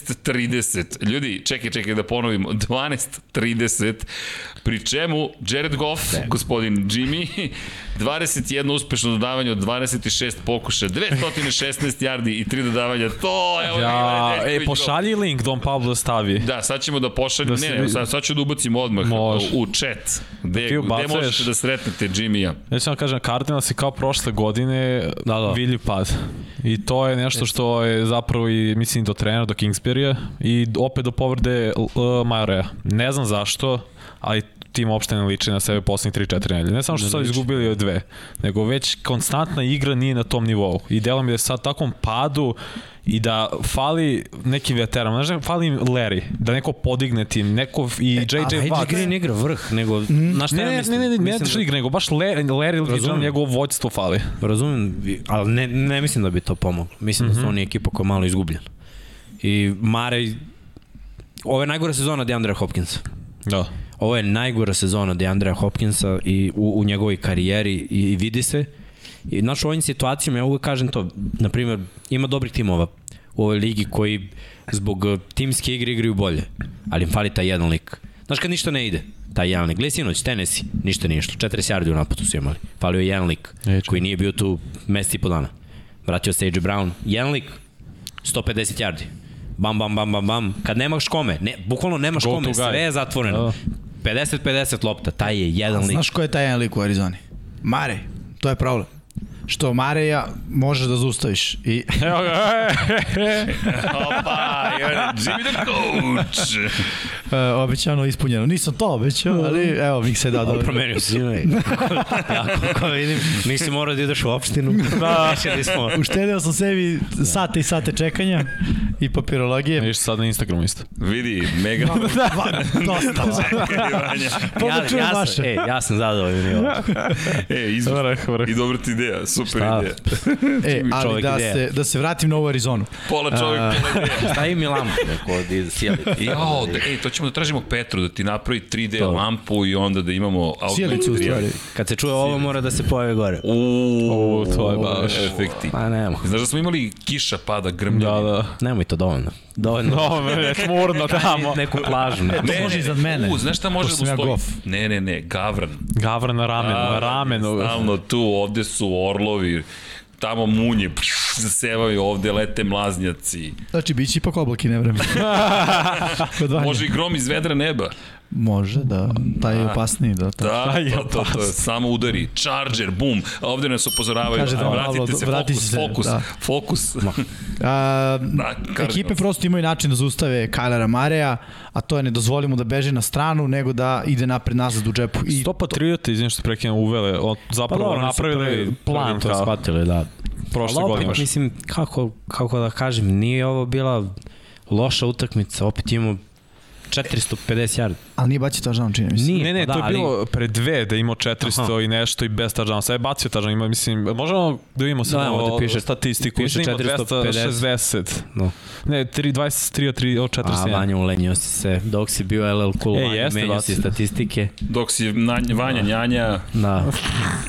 [SPEAKER 1] 12-30. Ljudi, čekaj, čekaj da ponovimo. 12-30. Pri čemu Jared
[SPEAKER 4] Da.
[SPEAKER 1] Goff, ne. gospodin Jimmy, 21 uspešno dodavanje od 26 pokušaja, 216 yardi i 3 dodavanja. To je
[SPEAKER 4] Ja, e, pošalji link Don Pablo stavi.
[SPEAKER 1] Da, sad ćemo da pošaljem,
[SPEAKER 4] Da
[SPEAKER 1] da
[SPEAKER 4] se
[SPEAKER 1] ne, ne,
[SPEAKER 4] vidi.
[SPEAKER 1] sad, sad ću da ubacim odmah
[SPEAKER 4] Može.
[SPEAKER 1] u chat, gde,
[SPEAKER 4] Ti
[SPEAKER 1] gde
[SPEAKER 4] ubacuješ.
[SPEAKER 1] možete da sretnete Jimmy-a.
[SPEAKER 4] Neću vam kažem, Cardinals je kao prošle godine
[SPEAKER 2] Da, da.
[SPEAKER 4] vidljiv pad. I to je nešto što je zapravo i mislim do trenera, do Kingsbury-a i opet do povrede uh, Majoreja. Ne znam zašto, ali tim uopšte ne liči na sebe poslednjih 3-4 nedelje. Ne samo što su sad izgubili od dve, nego već konstantna igra nije na tom nivou. I delo mi je da je sad takvom padu i da fali neki veteran, znaš, da fali im Larry, da neko podigne tim, neko i JJ
[SPEAKER 2] E, A AJ
[SPEAKER 4] Watt.
[SPEAKER 2] Green igra vrh, nego... Na šta
[SPEAKER 4] Ne,
[SPEAKER 2] ja
[SPEAKER 4] ne, ne, ne,
[SPEAKER 2] mislim?
[SPEAKER 4] ne, ne,
[SPEAKER 2] Mislim da-
[SPEAKER 4] Patrick, nego baš Larry, Larry Lidžan,
[SPEAKER 2] Razumem.
[SPEAKER 4] njegovo vođstvo fali.
[SPEAKER 2] Razumem, vi- ali ne, ne mislim da bi to pomoglo. Mislim
[SPEAKER 4] Mhm.
[SPEAKER 2] mm -hmm. da su oni ekipa koja je malo izgubljena. I Mare, ovo je najgora sezona Deandre Hopkinsa.
[SPEAKER 4] Da.
[SPEAKER 2] Ovo je najgora sezona Deandre Hopkinsa i u, u njegovoj karijeri i, i vidi se. I, znaš, u ovim situacijama, ja uvek kažem to, na primjer, ima dobrih timova u ovoj ligi koji zbog eh, timske igre igraju bolje, ali im fali taj jedan lik. Znaš, kad ništa ne ide, taj jedan lik. Gle, sinoć, Tennessee, ništa nije išlo. 40 yardi u napadu su imali. Falio je jedan lik
[SPEAKER 4] Eč.
[SPEAKER 2] koji nije bio tu mesec i po dana. Vratio se AJ Brown. Jedan lik, 150 yardi. Bam, bam, bam, bam, bam. Kad nemaš kome, ne, bukvalno nemaš
[SPEAKER 4] Go
[SPEAKER 2] kome,
[SPEAKER 4] to guy.
[SPEAKER 2] sve je zatvoreno.
[SPEAKER 4] Da.
[SPEAKER 2] 50-50 lopta, taj je jedan lik.
[SPEAKER 3] Znaš ko je taj jedan lik u Arizoni? Mare. To je problem. što Mareja možeš da zaustaviš. I
[SPEAKER 4] Evo ga,
[SPEAKER 1] Opa, Jimmy the coach.
[SPEAKER 3] e, obećano ispunjeno. Nisam to obećao, ali evo mi se da
[SPEAKER 2] Da,
[SPEAKER 3] dobro.
[SPEAKER 2] promenio si ime. Ako ko vidim, nisi morao da ideš u opštinu. Da, da smo.
[SPEAKER 3] Uštedeo sam sebi
[SPEAKER 2] Da.
[SPEAKER 3] sate i sate čekanja i papirologije.
[SPEAKER 4] Viš sad na Instagramu isto.
[SPEAKER 1] Vidi, mega...
[SPEAKER 3] Va, dosta.
[SPEAKER 2] Ja,
[SPEAKER 3] čujem
[SPEAKER 2] ja,
[SPEAKER 3] vaše.
[SPEAKER 2] sam, e, ja sam zadovoljen. Evo.
[SPEAKER 1] e, izvrsno.
[SPEAKER 4] Vrh, vrh.
[SPEAKER 1] I dobra ti ideja, super
[SPEAKER 2] Šta?
[SPEAKER 1] ideja.
[SPEAKER 3] E, ali
[SPEAKER 2] čovjek
[SPEAKER 3] da
[SPEAKER 2] ideja.
[SPEAKER 3] se, da se vratim na ovu Arizonu.
[SPEAKER 1] Pola čovjek, pola ideja.
[SPEAKER 2] Šta im je lampa? Neko di sjeli.
[SPEAKER 1] Jao, da, ej, to ćemo da tražimo Petru, da ti napravi 3D
[SPEAKER 2] To.
[SPEAKER 1] lampu i onda da imamo...
[SPEAKER 3] Sjelicu u stvari.
[SPEAKER 2] Kad se čuje ovo, mora da se pojave gore.
[SPEAKER 1] Uuu,
[SPEAKER 4] to je baš-
[SPEAKER 1] Efekti.
[SPEAKER 2] Pa nema.
[SPEAKER 1] Znaš da smo imali kiša pada, grmlja.
[SPEAKER 4] Da, da.
[SPEAKER 2] Nemoj to dovoljno. Dovoljno.
[SPEAKER 4] No, me je smurno tamo.
[SPEAKER 2] Neku plažu. Ne.
[SPEAKER 1] Ne,
[SPEAKER 3] može
[SPEAKER 1] ne,
[SPEAKER 3] iznad
[SPEAKER 1] ne.
[SPEAKER 3] mene.
[SPEAKER 1] U, znaš šta može
[SPEAKER 3] Pošto
[SPEAKER 1] da
[SPEAKER 3] sam ja
[SPEAKER 1] ustoji?
[SPEAKER 3] gof.
[SPEAKER 1] Ne, ne, ne, gavran.
[SPEAKER 4] Gavra na ramenu, na ramenu.
[SPEAKER 1] Stalno tu, ovde su orlovi, tamo munje, zasevaju, ovde lete mlaznjaci.
[SPEAKER 3] Znači, bit će ipak oblak i nevreme. Kod Vanja.
[SPEAKER 1] Može i grom iz vedra neba.
[SPEAKER 3] Može, da. Taj je opasniji, da. taj.
[SPEAKER 1] Da, to, to, to, samo udari. Charger, bum. A ovde nas upozoravaju.
[SPEAKER 3] Kaže da
[SPEAKER 1] a
[SPEAKER 3] malo,
[SPEAKER 1] vratite se,
[SPEAKER 3] vrati
[SPEAKER 1] fokus,
[SPEAKER 3] se,
[SPEAKER 1] fokus,
[SPEAKER 3] da.
[SPEAKER 1] fokus.
[SPEAKER 3] A,
[SPEAKER 1] Da, Cardinals.
[SPEAKER 3] ekipe prosto imaju način da zaustave Kajlera Mareja, a to je ne dozvolimo da beži na stranu, nego da ide napred nazad u džepu. I
[SPEAKER 4] Sto patriota, izvinim što prekinem, uvele. O,
[SPEAKER 2] Pa
[SPEAKER 4] zapravo
[SPEAKER 2] dobro,
[SPEAKER 4] napravili plan
[SPEAKER 2] to
[SPEAKER 4] kao
[SPEAKER 2] shvatili, da.
[SPEAKER 4] prošle
[SPEAKER 2] Ali opet,
[SPEAKER 4] godine. baš.
[SPEAKER 2] Mislim, kako, kako da kažem, nije ovo bila loša utakmica, opet imamo 450 yard.
[SPEAKER 3] Ali nije bacio tažan, čini mi se.
[SPEAKER 2] Nije,
[SPEAKER 4] Ne, ne,
[SPEAKER 2] pa
[SPEAKER 4] to je
[SPEAKER 2] ali-
[SPEAKER 4] bilo pre dve da je imao 400 i nešto i bez tažana. Sad je bacio tažan, ima, mislim, možemo da vidimo sad
[SPEAKER 2] Da,
[SPEAKER 4] da,
[SPEAKER 2] ovde piše-
[SPEAKER 4] statistiku.
[SPEAKER 2] piše
[SPEAKER 4] Mislim, ima
[SPEAKER 2] 450.
[SPEAKER 4] 260.
[SPEAKER 2] No.
[SPEAKER 4] Ne, 3, 23 od 3 od
[SPEAKER 2] A
[SPEAKER 4] 41.
[SPEAKER 2] Vanja ulenio si se, dok si bio LL Cool,
[SPEAKER 4] E,
[SPEAKER 2] e, Vanja,
[SPEAKER 4] jeste,
[SPEAKER 2] menio
[SPEAKER 4] bacio.
[SPEAKER 2] si statistike.
[SPEAKER 1] Dok si nanja, vanja, nanja,
[SPEAKER 2] Da.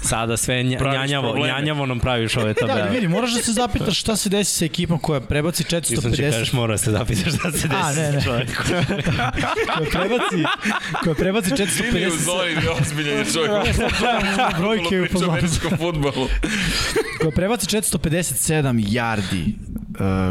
[SPEAKER 2] Sada sve nja,
[SPEAKER 1] Praviš
[SPEAKER 2] njanjavo,
[SPEAKER 1] probleme.
[SPEAKER 2] njanjavo nam praviš ove
[SPEAKER 3] Da, ali
[SPEAKER 2] tabele.
[SPEAKER 3] vidi, moraš da se zapitaš šta se desi sa ekipom koja prebaci
[SPEAKER 2] Mislim da će
[SPEAKER 3] 450
[SPEAKER 2] kažeš mora se zapitaš šta se desi
[SPEAKER 3] A, ne, ne.
[SPEAKER 2] čoveku.
[SPEAKER 3] koja prebaci koja prebaci
[SPEAKER 1] Jimmy u
[SPEAKER 3] 450
[SPEAKER 1] zoni, ozbiljan je čovjek.
[SPEAKER 3] brojke u
[SPEAKER 1] Priča o
[SPEAKER 3] fazonu.
[SPEAKER 1] američkom fudbalu.
[SPEAKER 3] koja prebaci 457 yardi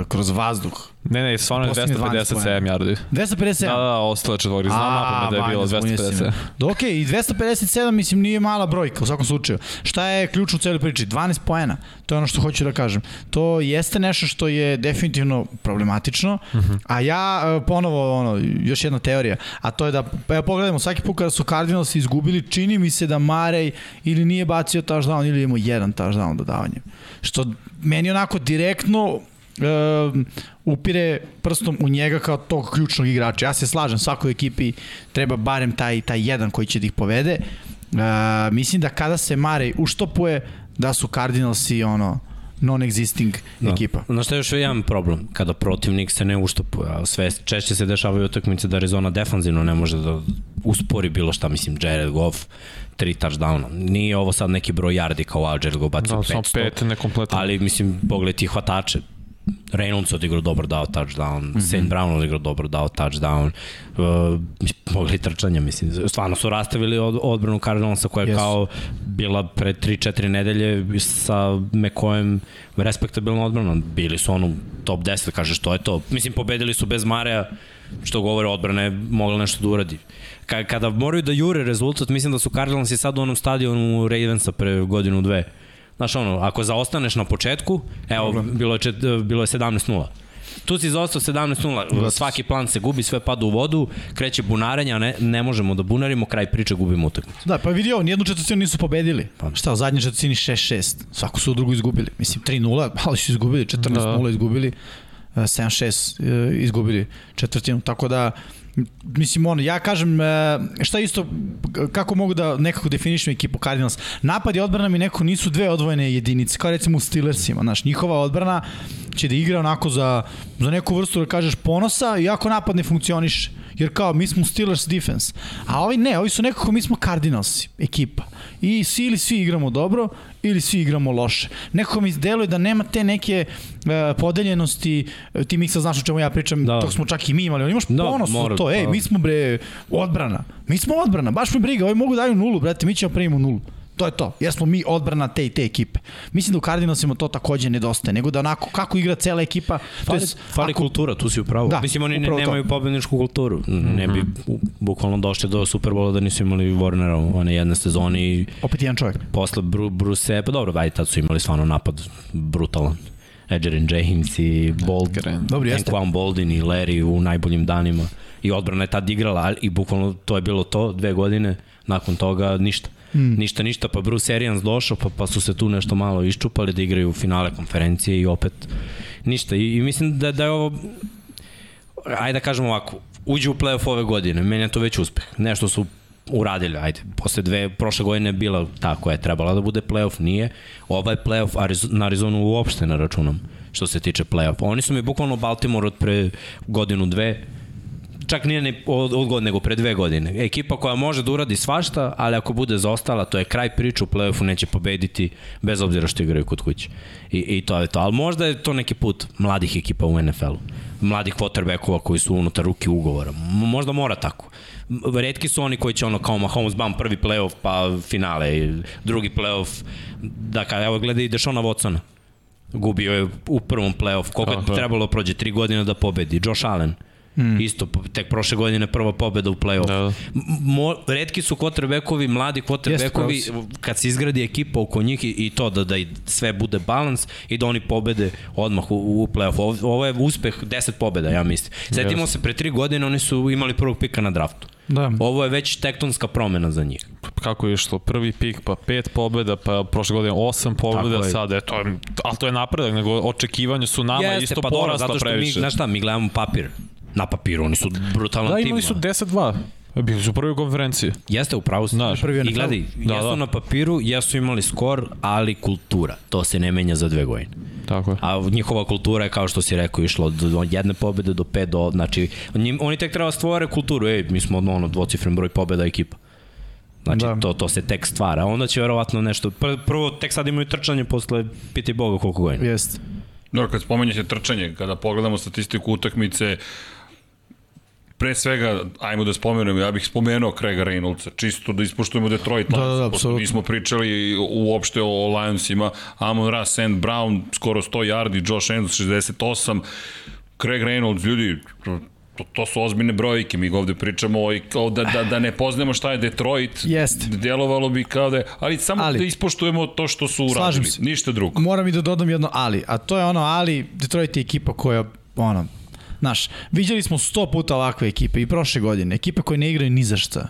[SPEAKER 3] uh, kroz vazduh.
[SPEAKER 4] Ne, ne, stvarno je
[SPEAKER 3] Poslednji 12
[SPEAKER 4] 257 yardi.
[SPEAKER 3] 257.
[SPEAKER 4] Da, da, ostalo je četvori. Znam napamet da je bilo 250.
[SPEAKER 3] Ok, Da, i 257 mislim nije mala brojka u svakom slučaju. Šta je ključ u celoj priči? 12 poena. To je ono što hoću da kažem. To jeste nešto što je definitivno problematično, a ja e, ponovo ono, još jedna teorija, a to je da, evo pogledajmo, svaki put kada su Cardinals izgubili, čini mi se da Marej ili nije bacio touchdown ili imao jedan touchdown dodavanje. Što meni onako direktno um, upire prstom u njega kao tog ključnog igrača. Ja se slažem, svakoj ekipi treba barem taj, taj jedan koji će da ih povede. Uh, mislim da kada se Marej uštopuje, da su Cardinalsi ono, non-existing da. ekipa.
[SPEAKER 2] Znaš šta je još jedan problem? Kada protivnik se ne uštopuje, a sve češće se dešavaju utakmice da Arizona defanzivno ne može da uspori bilo šta, mislim, Jared Goff, tri touchdowna. Nije ovo sad neki broj yardi kao wow, Jared Goff bacio
[SPEAKER 4] Da, samo
[SPEAKER 2] 500,
[SPEAKER 4] pet da. nekompletan.
[SPEAKER 2] ali mislim, pogledaj ti hvatače. Reynolds odigrao dobro dao touchdown, mm -hmm. St. Brown odigrao dobro dao touchdown, uh, pogledaj trčanja, mislim, stvarno su rastavili od, odbranu Cardinalsa koja je
[SPEAKER 3] Jesu.
[SPEAKER 2] yes. kao bila pre 3-4 nedelje sa Mekojem respektabilna odbrana. Bili su ono top 10, kažeš to je to. Mislim, pobedili su bez Mareja, što govore odbrana je mogla nešto da uradi. Ka, kada moraju da jure rezultat, mislim da su Cardinals i sad u onom stadionu Ravensa pre godinu dve. Znaš ono, ako zaostaneš na početku, evo, bilo je, čet, bilo je 17-0. Tu si zaostao 17-0, svaki plan se gubi, sve pada u vodu, kreće bunarenje, a ne, ne možemo da bunarimo, kraj priče gubimo utakmicu.
[SPEAKER 3] Da, pa vidi ovo, nijednu četvrtinu nisu pobedili. Šta, u zadnjoj četvrtini 6-6. Svaku su drugu izgubili. Mislim, 3-0, ali su izgubili, 14-0 izgubili, e, 7-6 e, izgubili četvrtinu. Tako da, m, mislim, ono, ja kažem, e, šta isto, k- kako mogu da nekako definišem ekipu Cardinals? Napad i odbrana mi nekako nisu dve odvojene jedinice, kao recimo u Steelersima, znaš, njihova odbrana će da igra onako za, za neku vrstu, da kažeš, ponosa, iako napad ne funkcioniše. Jer kao, mi smo Steelers defense. A ovi ne, ovi su nekako, mi smo Cardinals ekipa. I svi ili svi igramo dobro, ili svi igramo loše. Nekako mi deluje da nema te neke e, podeljenosti, e, ti Miksa znaš o čemu ja pričam,
[SPEAKER 2] Da.
[SPEAKER 3] da. tog smo čak i mi imali, ali imaš
[SPEAKER 2] Da,
[SPEAKER 3] ponos
[SPEAKER 2] mora,
[SPEAKER 3] na to, ej,
[SPEAKER 2] pa.
[SPEAKER 3] mi smo bre odbrana, mi smo odbrana, baš mi briga, ovi mogu daju nulu, brate, mi ćemo primimo nulu. To je to. Jer smo mi odbrana te i te ekipe. Mislim da u Cardinalsima to takođe nedostaje, nego da onako kako igra cela ekipa, to
[SPEAKER 2] Fali,
[SPEAKER 3] jest
[SPEAKER 2] fali
[SPEAKER 3] ako-
[SPEAKER 2] kultura, tu si upravo.
[SPEAKER 3] Da,
[SPEAKER 2] Da, Mislim, oni ne,
[SPEAKER 3] upravo to. Mhm.
[SPEAKER 2] nemaju pobedničku kulturu. Ne bi u- bukvalno došli do Superbola da nisu imali Warnera u one jedne sezoni i
[SPEAKER 3] opet jedan čovjek.
[SPEAKER 2] posle Bru, Bruce, pa dobro, vajde, tad su imali stvarno napad brutalan. Edgerin James i Bold,
[SPEAKER 3] Dobro, jeste.
[SPEAKER 2] Anquan Boldin i Larry u najboljim danima. I odbrana je tad igrala, ali i bukvalno to je bilo to, dve godine, nakon toga ništa.
[SPEAKER 3] Hmm.
[SPEAKER 2] Mm. Ništa, ništa, pa Bruce Arians došao, pa, pa su se tu nešto malo iščupali da igraju finale konferencije i opet ništa. I, i mislim da, da je ovo ajde da kažem ovako, uđe u playoff ove godine, meni je to već uspeh. Nešto su uradili, ajde. Posle dve, prošle godine je bila ta koja je trebala da bude playoff, nije. Ova je playoff Arizo- na Arizonu uopšte na računom što se tiče playoff. Oni su mi bukvalno Baltimore od pre godinu, dve, čak nije ni od, od godine, nego pre dve godine. Ekipa koja može da uradi svašta, ali ako bude zaostala, to je kraj priče, u play-offu neće pobediti, bez obzira što igraju kod kuće. I, I to je to. Ali možda je to neki put mladih ekipa u NFL-u. Mladih quarterbackova koji su unutar ruki ugovora. M- možda mora tako. M- Retki su oni koji će ono kao Mahomes bam prvi play-off pa finale, drugi play-off. Dakle, evo gledaj i Dešona Watsona. Gubio je u prvom play-off. Koliko je
[SPEAKER 4] Tako je.
[SPEAKER 2] trebalo prođe? Tri godine da pobedi. Josh Allen. Mm. Isto, po- tek prošle godine prva pobeda u play-off.
[SPEAKER 4] Hmm. Da, da.
[SPEAKER 2] Da. Mo, retki su quarterbackovi, mladi
[SPEAKER 3] pravi
[SPEAKER 2] quarterbackovi,
[SPEAKER 3] si.
[SPEAKER 2] kad se izgradi ekipa oko njih i, i to da, da i sve bude balans i da oni pobede odmah u, u play-off. Ovo, ovo je uspeh 10 pobeda, ja mislim. Sjetimo se, pre tri godine oni su imali prvog pika na draftu.
[SPEAKER 3] Da.
[SPEAKER 2] Ovo je već tektonska promena za njih.
[SPEAKER 4] kako je išlo, prvi pik, pa pet pobjeda, pa prošle godine osam pobjeda,
[SPEAKER 2] Tako je.
[SPEAKER 4] sad eto, ali to je napredak, nego očekivanja su nama Jeste, isto pa
[SPEAKER 2] dobro,
[SPEAKER 4] porasla
[SPEAKER 2] zato što Mi,
[SPEAKER 4] previše.
[SPEAKER 2] znaš šta, mi gledamo papir. Na papiru, oni su brutalan
[SPEAKER 4] da,
[SPEAKER 2] tim.
[SPEAKER 4] imali su
[SPEAKER 2] ono.
[SPEAKER 4] 10-2, bili su u prvoj konferenciji.
[SPEAKER 2] Jeste u pravu. si.
[SPEAKER 4] Znaš,
[SPEAKER 3] Prvi
[SPEAKER 2] I
[SPEAKER 3] NFL.
[SPEAKER 2] gledaj, da,
[SPEAKER 4] Da,
[SPEAKER 2] jesu
[SPEAKER 4] da.
[SPEAKER 2] na papiru, jesu imali skor, ali kultura. To se ne menja za dve godine.
[SPEAKER 4] Tako je.
[SPEAKER 2] A njihova kultura je, kao što si rekao, išla od od jedne pobede do pet do... Znači, njim, oni tek treba da stvore kulturu. Ej, mi smo ono, dvocifren broj pobeda ekipa. Znači, da.
[SPEAKER 3] Da.
[SPEAKER 2] to, to se tek stvara. Onda će verovatno nešto... Pr, prvo, tek sad imaju trčanje posle, piti Boga koliko godina.
[SPEAKER 3] Jeste.
[SPEAKER 1] Dobro, kad spomenjate trčanje, kada pogledamo statistiku utakmice, pre svega, ajmo da spomenem, ja bih spomenuo Craiga Reynoldsa, čisto da ispoštujemo Detroit
[SPEAKER 3] Da, da, da,
[SPEAKER 1] Lions, pošto
[SPEAKER 3] apsolutno.
[SPEAKER 1] Nismo pričali uopšte o Lionsima, Amon Ra, Sand Brown, skoro 100 yardi, Josh Enzo 68, Craig Reynolds, ljudi, to, to su ozbiljne brojke, mi ga ovde pričamo o, o, da, da, da ne poznajemo šta je Detroit,
[SPEAKER 3] Jeste.
[SPEAKER 1] delovalo bi kao da je, ali samo
[SPEAKER 3] Ali-
[SPEAKER 1] da ispoštujemo to što su
[SPEAKER 3] Slažem
[SPEAKER 1] uradili,
[SPEAKER 3] se.
[SPEAKER 1] ništa drugo.
[SPEAKER 3] Moram i da dodam jedno ali, a to je ono ali, Detroit je ekipa koja, ono, znaš, viđali smo sto puta ovakve ekipe i prošle godine, ekipe koje ne igraju ni za šta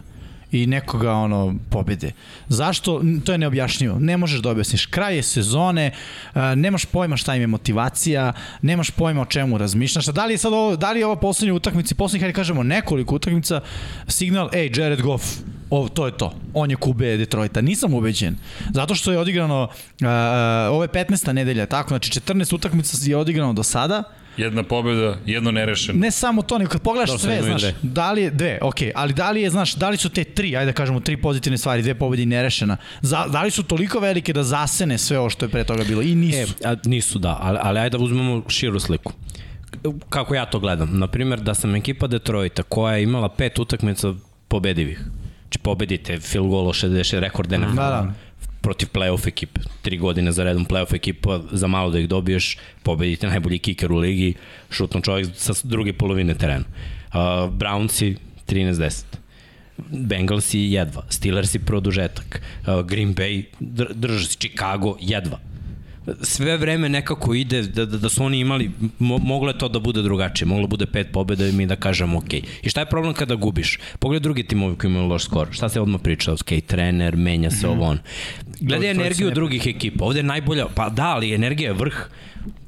[SPEAKER 3] i nekoga ono pobede. Zašto? N- To je neobjašnjivo. Ne možeš da objasniš. Kraj je sezone, a, nemaš pojma šta im je motivacija, nemaš pojma o čemu razmišljaš. A da li je sad ovo, da li je ova poslednja utakmica, i poslednjih, hajde kažemo, nekoliko utakmica, signal, ej, Jared Goff, O, to je to. On je QB Detroita. Nisam ubeđen. Zato što je odigrano, uh, ovo je 15. nedelja, tako, znači 14 utakmica je odigrano do sada.
[SPEAKER 1] Jedna pobjeda, jedno nerešeno.
[SPEAKER 3] Ne samo to, nego kad pogledaš
[SPEAKER 2] Dobro, sad
[SPEAKER 3] sve,
[SPEAKER 2] imaju
[SPEAKER 3] znaš,
[SPEAKER 2] dve.
[SPEAKER 3] da li je, dve, okej, ali da li je, znaš, da li su te tri, ajde da kažemo, tri pozitivne stvari, dve pobede i nerešena, za, da li su toliko velike da zasene sve ovo što je pre toga bilo i nisu.
[SPEAKER 2] E, a, nisu, da, ali, ali ajde da uzmemo širu sliku. Kako ja to gledam? Naprimjer, da sam ekipa Detroita koja je imala pet utakmica pobedivih. Znači, pobedite field goal od 66 rekord
[SPEAKER 3] Da,
[SPEAKER 2] NFL.
[SPEAKER 3] da.
[SPEAKER 2] protiv playoff ekipe. Tri godine za redom playoff ekipa, za malo da ih dobiješ, pobedite najbolji kiker u ligi, šutno čovjek sa druge polovine terena. Uh, Brownsi 13-10. Bengalsi jedva, Steelersi produžetak, uh, Green Bay dr- drže se, Chicago jedva. Sve vreme nekako ide da, da, da su oni imali, mo, moglo je to da bude drugačije, moglo bude pet pobjeda i mi da kažemo ok. I šta je problem kada gubiš? Pogledaj drugi timovi koji imaju loš skor, šta se odmah priča, ok, trener, menja
[SPEAKER 4] Mhm.
[SPEAKER 2] se ovo on. Gledaj
[SPEAKER 3] Dobro, to je
[SPEAKER 2] energiju
[SPEAKER 3] sve.
[SPEAKER 2] drugih ekipa, ovde je najbolja, pa da, ali energija je vrh.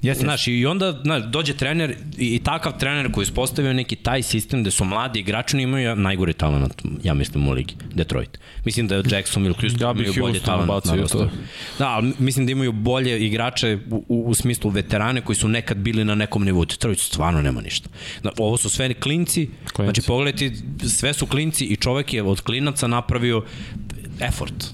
[SPEAKER 3] Jeste,
[SPEAKER 2] Znaš, i onda znaš, dođe trener i, i takav trener koji je ispostavio neki taj sistem gde su mladi igrači oni imaju najgori talent, ja mislim, u ligi, Detroit. Mislim da je Jackson ili Houston
[SPEAKER 4] Ja bih
[SPEAKER 2] imaju bolje
[SPEAKER 4] Houston
[SPEAKER 2] talent. na
[SPEAKER 4] bacio
[SPEAKER 2] rosteru.
[SPEAKER 4] to.
[SPEAKER 2] Da, ali mislim da imaju bolje igrače u, u, u smislu veterane koji su nekad bili na nekom nivou. Detroit stvarno nema ništa. Da, ovo su sve klinci, klinci. znači pogledajte, sve su klinci i čovek je od klinaca napravio effort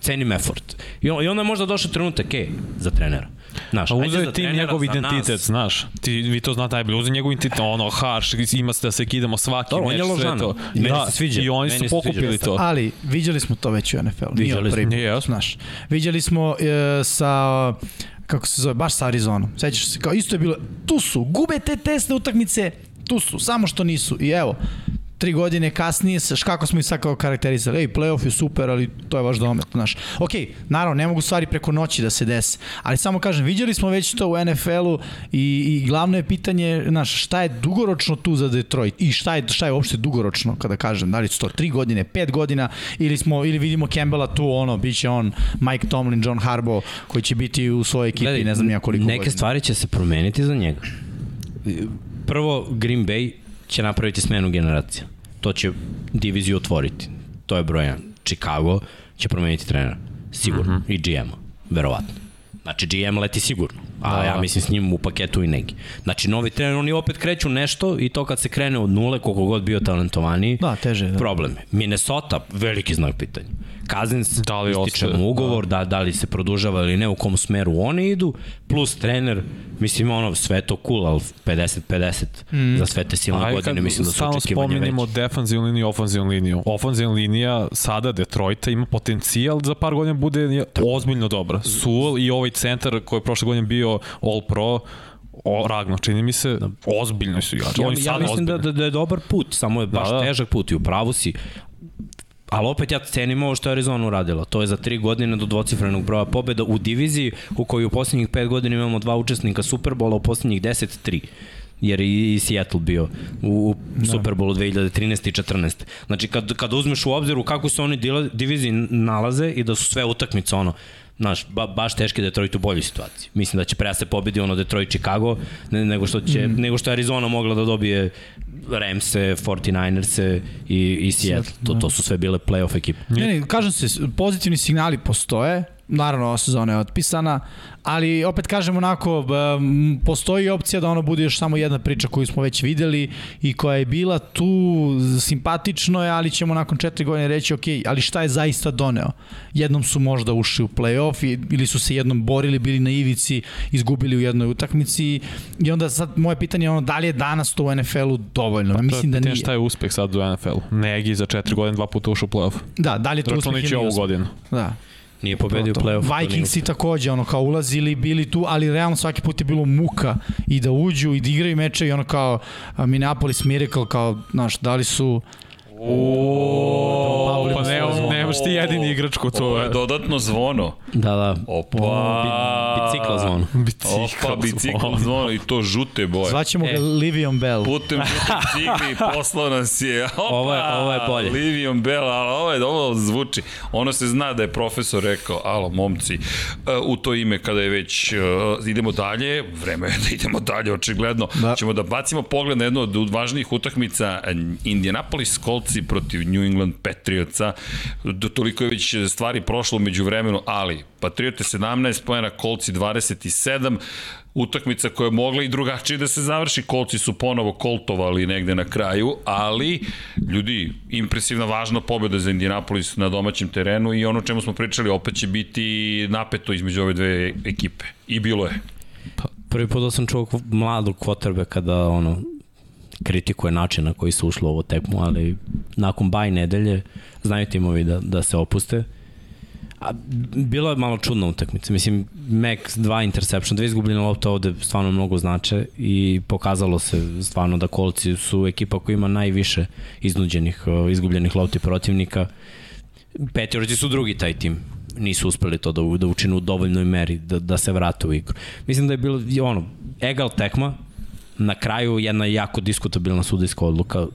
[SPEAKER 2] cenim effort. I, on, I onda je možda došao trenutak, e, za trenera. Znaš,
[SPEAKER 4] A
[SPEAKER 2] ajde
[SPEAKER 4] uzeo
[SPEAKER 2] za
[SPEAKER 4] je tim
[SPEAKER 2] trenera,
[SPEAKER 4] njegov
[SPEAKER 2] za nas.
[SPEAKER 4] identitet, znaš. Ti, vi to znate najbolje, uzeo je njegov identitet, ono, harš, ima se da se kidamo svaki
[SPEAKER 2] Dobro, on
[SPEAKER 4] meč,
[SPEAKER 2] je
[SPEAKER 4] sve
[SPEAKER 2] Ložan.
[SPEAKER 4] to.
[SPEAKER 2] Meni
[SPEAKER 4] Da,
[SPEAKER 2] se sviđa,
[SPEAKER 4] I oni
[SPEAKER 2] meni
[SPEAKER 4] su
[SPEAKER 2] se sviđa
[SPEAKER 4] pokupili
[SPEAKER 2] dosta.
[SPEAKER 4] to.
[SPEAKER 3] Ali viđeli smo to već u NFL-u, nije
[SPEAKER 2] Viđali
[SPEAKER 3] od prvi
[SPEAKER 4] smo.
[SPEAKER 3] put,
[SPEAKER 4] Nije, jasno.
[SPEAKER 3] znaš. Viđeli smo e, sa kako se zove, baš sa Arizonom. Sećaš se, kao isto je bilo, tu su, gube te tesne utakmice, tu su, samo što nisu. I evo, tri godine kasnije, s- kako smo i sad kao karakterizali, ej, playoff je super, ali to je vaš domet, znaš. Ok, naravno, ne mogu stvari preko noći da se dese, ali samo kažem, viđali smo već to u NFL-u i, i glavno je pitanje, znaš, šta je dugoročno tu za Detroit i šta je, šta je uopšte dugoročno, kada kažem, da li su to tri godine, pet godina, ili, smo, ili vidimo Campbella tu, ono, bit će on Mike Tomlin, John Harbaugh, koji će biti u svojoj ekipi,
[SPEAKER 2] Gledaj,
[SPEAKER 3] ne znam ja koliko
[SPEAKER 2] Neke
[SPEAKER 3] godina.
[SPEAKER 2] stvari će se promeniti za njega. Prvo, Green Bay će napraviti smenu generacija. To će diviziju otvoriti. To je broj 1. Chicago će promeniti trenera. Sigurno.
[SPEAKER 3] Mhm.
[SPEAKER 2] Mm -hmm. I GM-a. Verovatno. Znači GM leti sigurno, a
[SPEAKER 4] Da.
[SPEAKER 2] ja mislim s njim u paketu i neki. Znači novi trener, oni opet kreću nešto i to kad se krene od nule, koliko god bio talentovaniji,
[SPEAKER 3] Da, teže je, da.
[SPEAKER 2] problem je. Minnesota, veliki znak pitanja. Kazins,
[SPEAKER 4] Da li
[SPEAKER 2] ističe
[SPEAKER 4] ostaje?
[SPEAKER 2] mu ugovor, da, da li se produžava ili ne, u kom smeru oni idu, plus trener, mislim, ono, sve je to cool, ali 50-50 mm. za sve te silne
[SPEAKER 4] Ajde,
[SPEAKER 2] godine,
[SPEAKER 4] Pa, kad
[SPEAKER 2] mislim da su
[SPEAKER 4] stalno
[SPEAKER 2] očekivanje veće.
[SPEAKER 4] spominjemo defanzivnu liniju i ofanzivnu liniju. Ofanzivna linija sada Detroita ima potencijal da za par godina bude je ozbiljno dobra. Sewell i ovaj centar koji je prošle godine bio All Pro, o, Ragno, čini mi se,
[SPEAKER 2] Da.
[SPEAKER 4] ozbiljno su igrači.
[SPEAKER 2] Ja,
[SPEAKER 4] Oni
[SPEAKER 2] ja
[SPEAKER 4] sad
[SPEAKER 2] mislim da,
[SPEAKER 4] ozbiljni.
[SPEAKER 2] da, da je dobar put, samo je baš
[SPEAKER 4] Da,
[SPEAKER 2] da,
[SPEAKER 4] da.
[SPEAKER 2] težak put i u pravu si. Ali opet ja cenim ovo što je Arizona uradila. To je za tri godine do dvocifrenog broja pobjeda u diviziji u kojoj u posljednjih pet godina imamo dva učesnika Superbola, u posljednjih deset tri jer i i Seattle bio u, u Superbolu 2013. i 14. Znači, kad, kad uzmeš u obzir u kako se oni dila- diviziji nalaze i da su sve utakmice, ono, znaš, ba, baš teški Detroit u boljoj situaciji. Mislim da će pre da se pobedi ono Detroit Chicago ne, nego što će mm. nego što je Arizona mogla da dobije Ramse, 49erse i, i Seattle. To, to su sve bile playoff ekipe.
[SPEAKER 3] Ne, ne, kažem se, s- pozitivni signali postoje, naravno ova sezona je otpisana, ali opet kažem onako, b- m, postoji opcija da ono bude još samo jedna priča koju smo već videli i koja je bila tu, simpatično je, ali ćemo nakon četiri godine reći, ok, ali šta je zaista doneo? Jednom su možda ušli u play-off i- ili su se jednom borili, bili na ivici, izgubili u jednoj utakmici i onda sad moje pitanje je ono, da li je danas to u NFL-u dovoljno? Ja mislim da
[SPEAKER 4] Pitanje
[SPEAKER 3] nije.
[SPEAKER 4] Šta Pa je uspeh sad u NFL-u? Negi za četiri godine dva puta ušao u play-off.
[SPEAKER 3] Da, da li je to uspeh
[SPEAKER 4] Računajući
[SPEAKER 3] ili
[SPEAKER 4] ovu
[SPEAKER 3] nije uspeh?
[SPEAKER 4] godinu.
[SPEAKER 3] Da.
[SPEAKER 2] Nije pobedio
[SPEAKER 3] To.
[SPEAKER 2] playoff.
[SPEAKER 3] Vikingsi takođe, ono kao ulazili, bili tu, ali realno svaki put je bilo muka i da uđu i da igraju meče i ono kao a, Minneapolis Miracle, kao, znaš, da li su...
[SPEAKER 4] O,
[SPEAKER 3] Pavle
[SPEAKER 4] pa ne,
[SPEAKER 3] svoje zvono.
[SPEAKER 4] nemaš ti jedini igrač ko
[SPEAKER 1] Ovo
[SPEAKER 4] to
[SPEAKER 1] je
[SPEAKER 4] je.
[SPEAKER 1] dodatno zvono.
[SPEAKER 2] Da, da.
[SPEAKER 1] Opa.
[SPEAKER 2] Bicikla zvono.
[SPEAKER 4] Bicikl.
[SPEAKER 1] Opa, bicikl zvono i to žute boje.
[SPEAKER 3] Zvaćemo
[SPEAKER 2] E.
[SPEAKER 3] ga Livion Bell.
[SPEAKER 1] Putem žutih cigli poslao nas je. Opa,
[SPEAKER 2] Ovo je- ovo je bolje.
[SPEAKER 1] Livion Bell, ali ovo je ovo zvuči. Ono se zna da je profesor rekao, alo momci, e, u to ime kada je već e, idemo dalje, vreme je da idemo dalje, očigledno. Da.
[SPEAKER 3] Da.
[SPEAKER 1] Ćemo da bacimo pogled na jednu od važnijih utakmica e, Indianapolis Coltsi protiv New England Patriotsa. Do, toliko je već stvari prošlo među vremenu, ali Patriote 17 pojena, Coltsi 27 utakmica koja je mogla i drugačije da se završi. Kolci su ponovo koltovali negde na kraju, ali ljudi, impresivna važna pobjeda za Indianapolis na domaćem terenu i ono o čemu smo pričali opet će biti napeto između ove dve ekipe. I bilo je.
[SPEAKER 2] Prvi put da sam čuo kv- mladog quarterbacka da ono kritikuje način na koji se ušlo u ovu tekmu, ali nakon baj nedelje znaju timovi da, da se opuste. A, b- bilo je malo čudna utakmica. Mislim, Max, dva interception, dva izgubljena lopta ovde stvarno mnogo znače i pokazalo se stvarno da kolci su ekipa koja ima najviše iznuđenih, o, izgubljenih lopti protivnika. Petirci su drugi taj tim nisu uspeli to da, u- da učinu u dovoljnoj meri da, da se vrate u igru. Mislim da je bilo i ono, egal tekma, na kraju jedna jako diskutabilna sudijska odluka,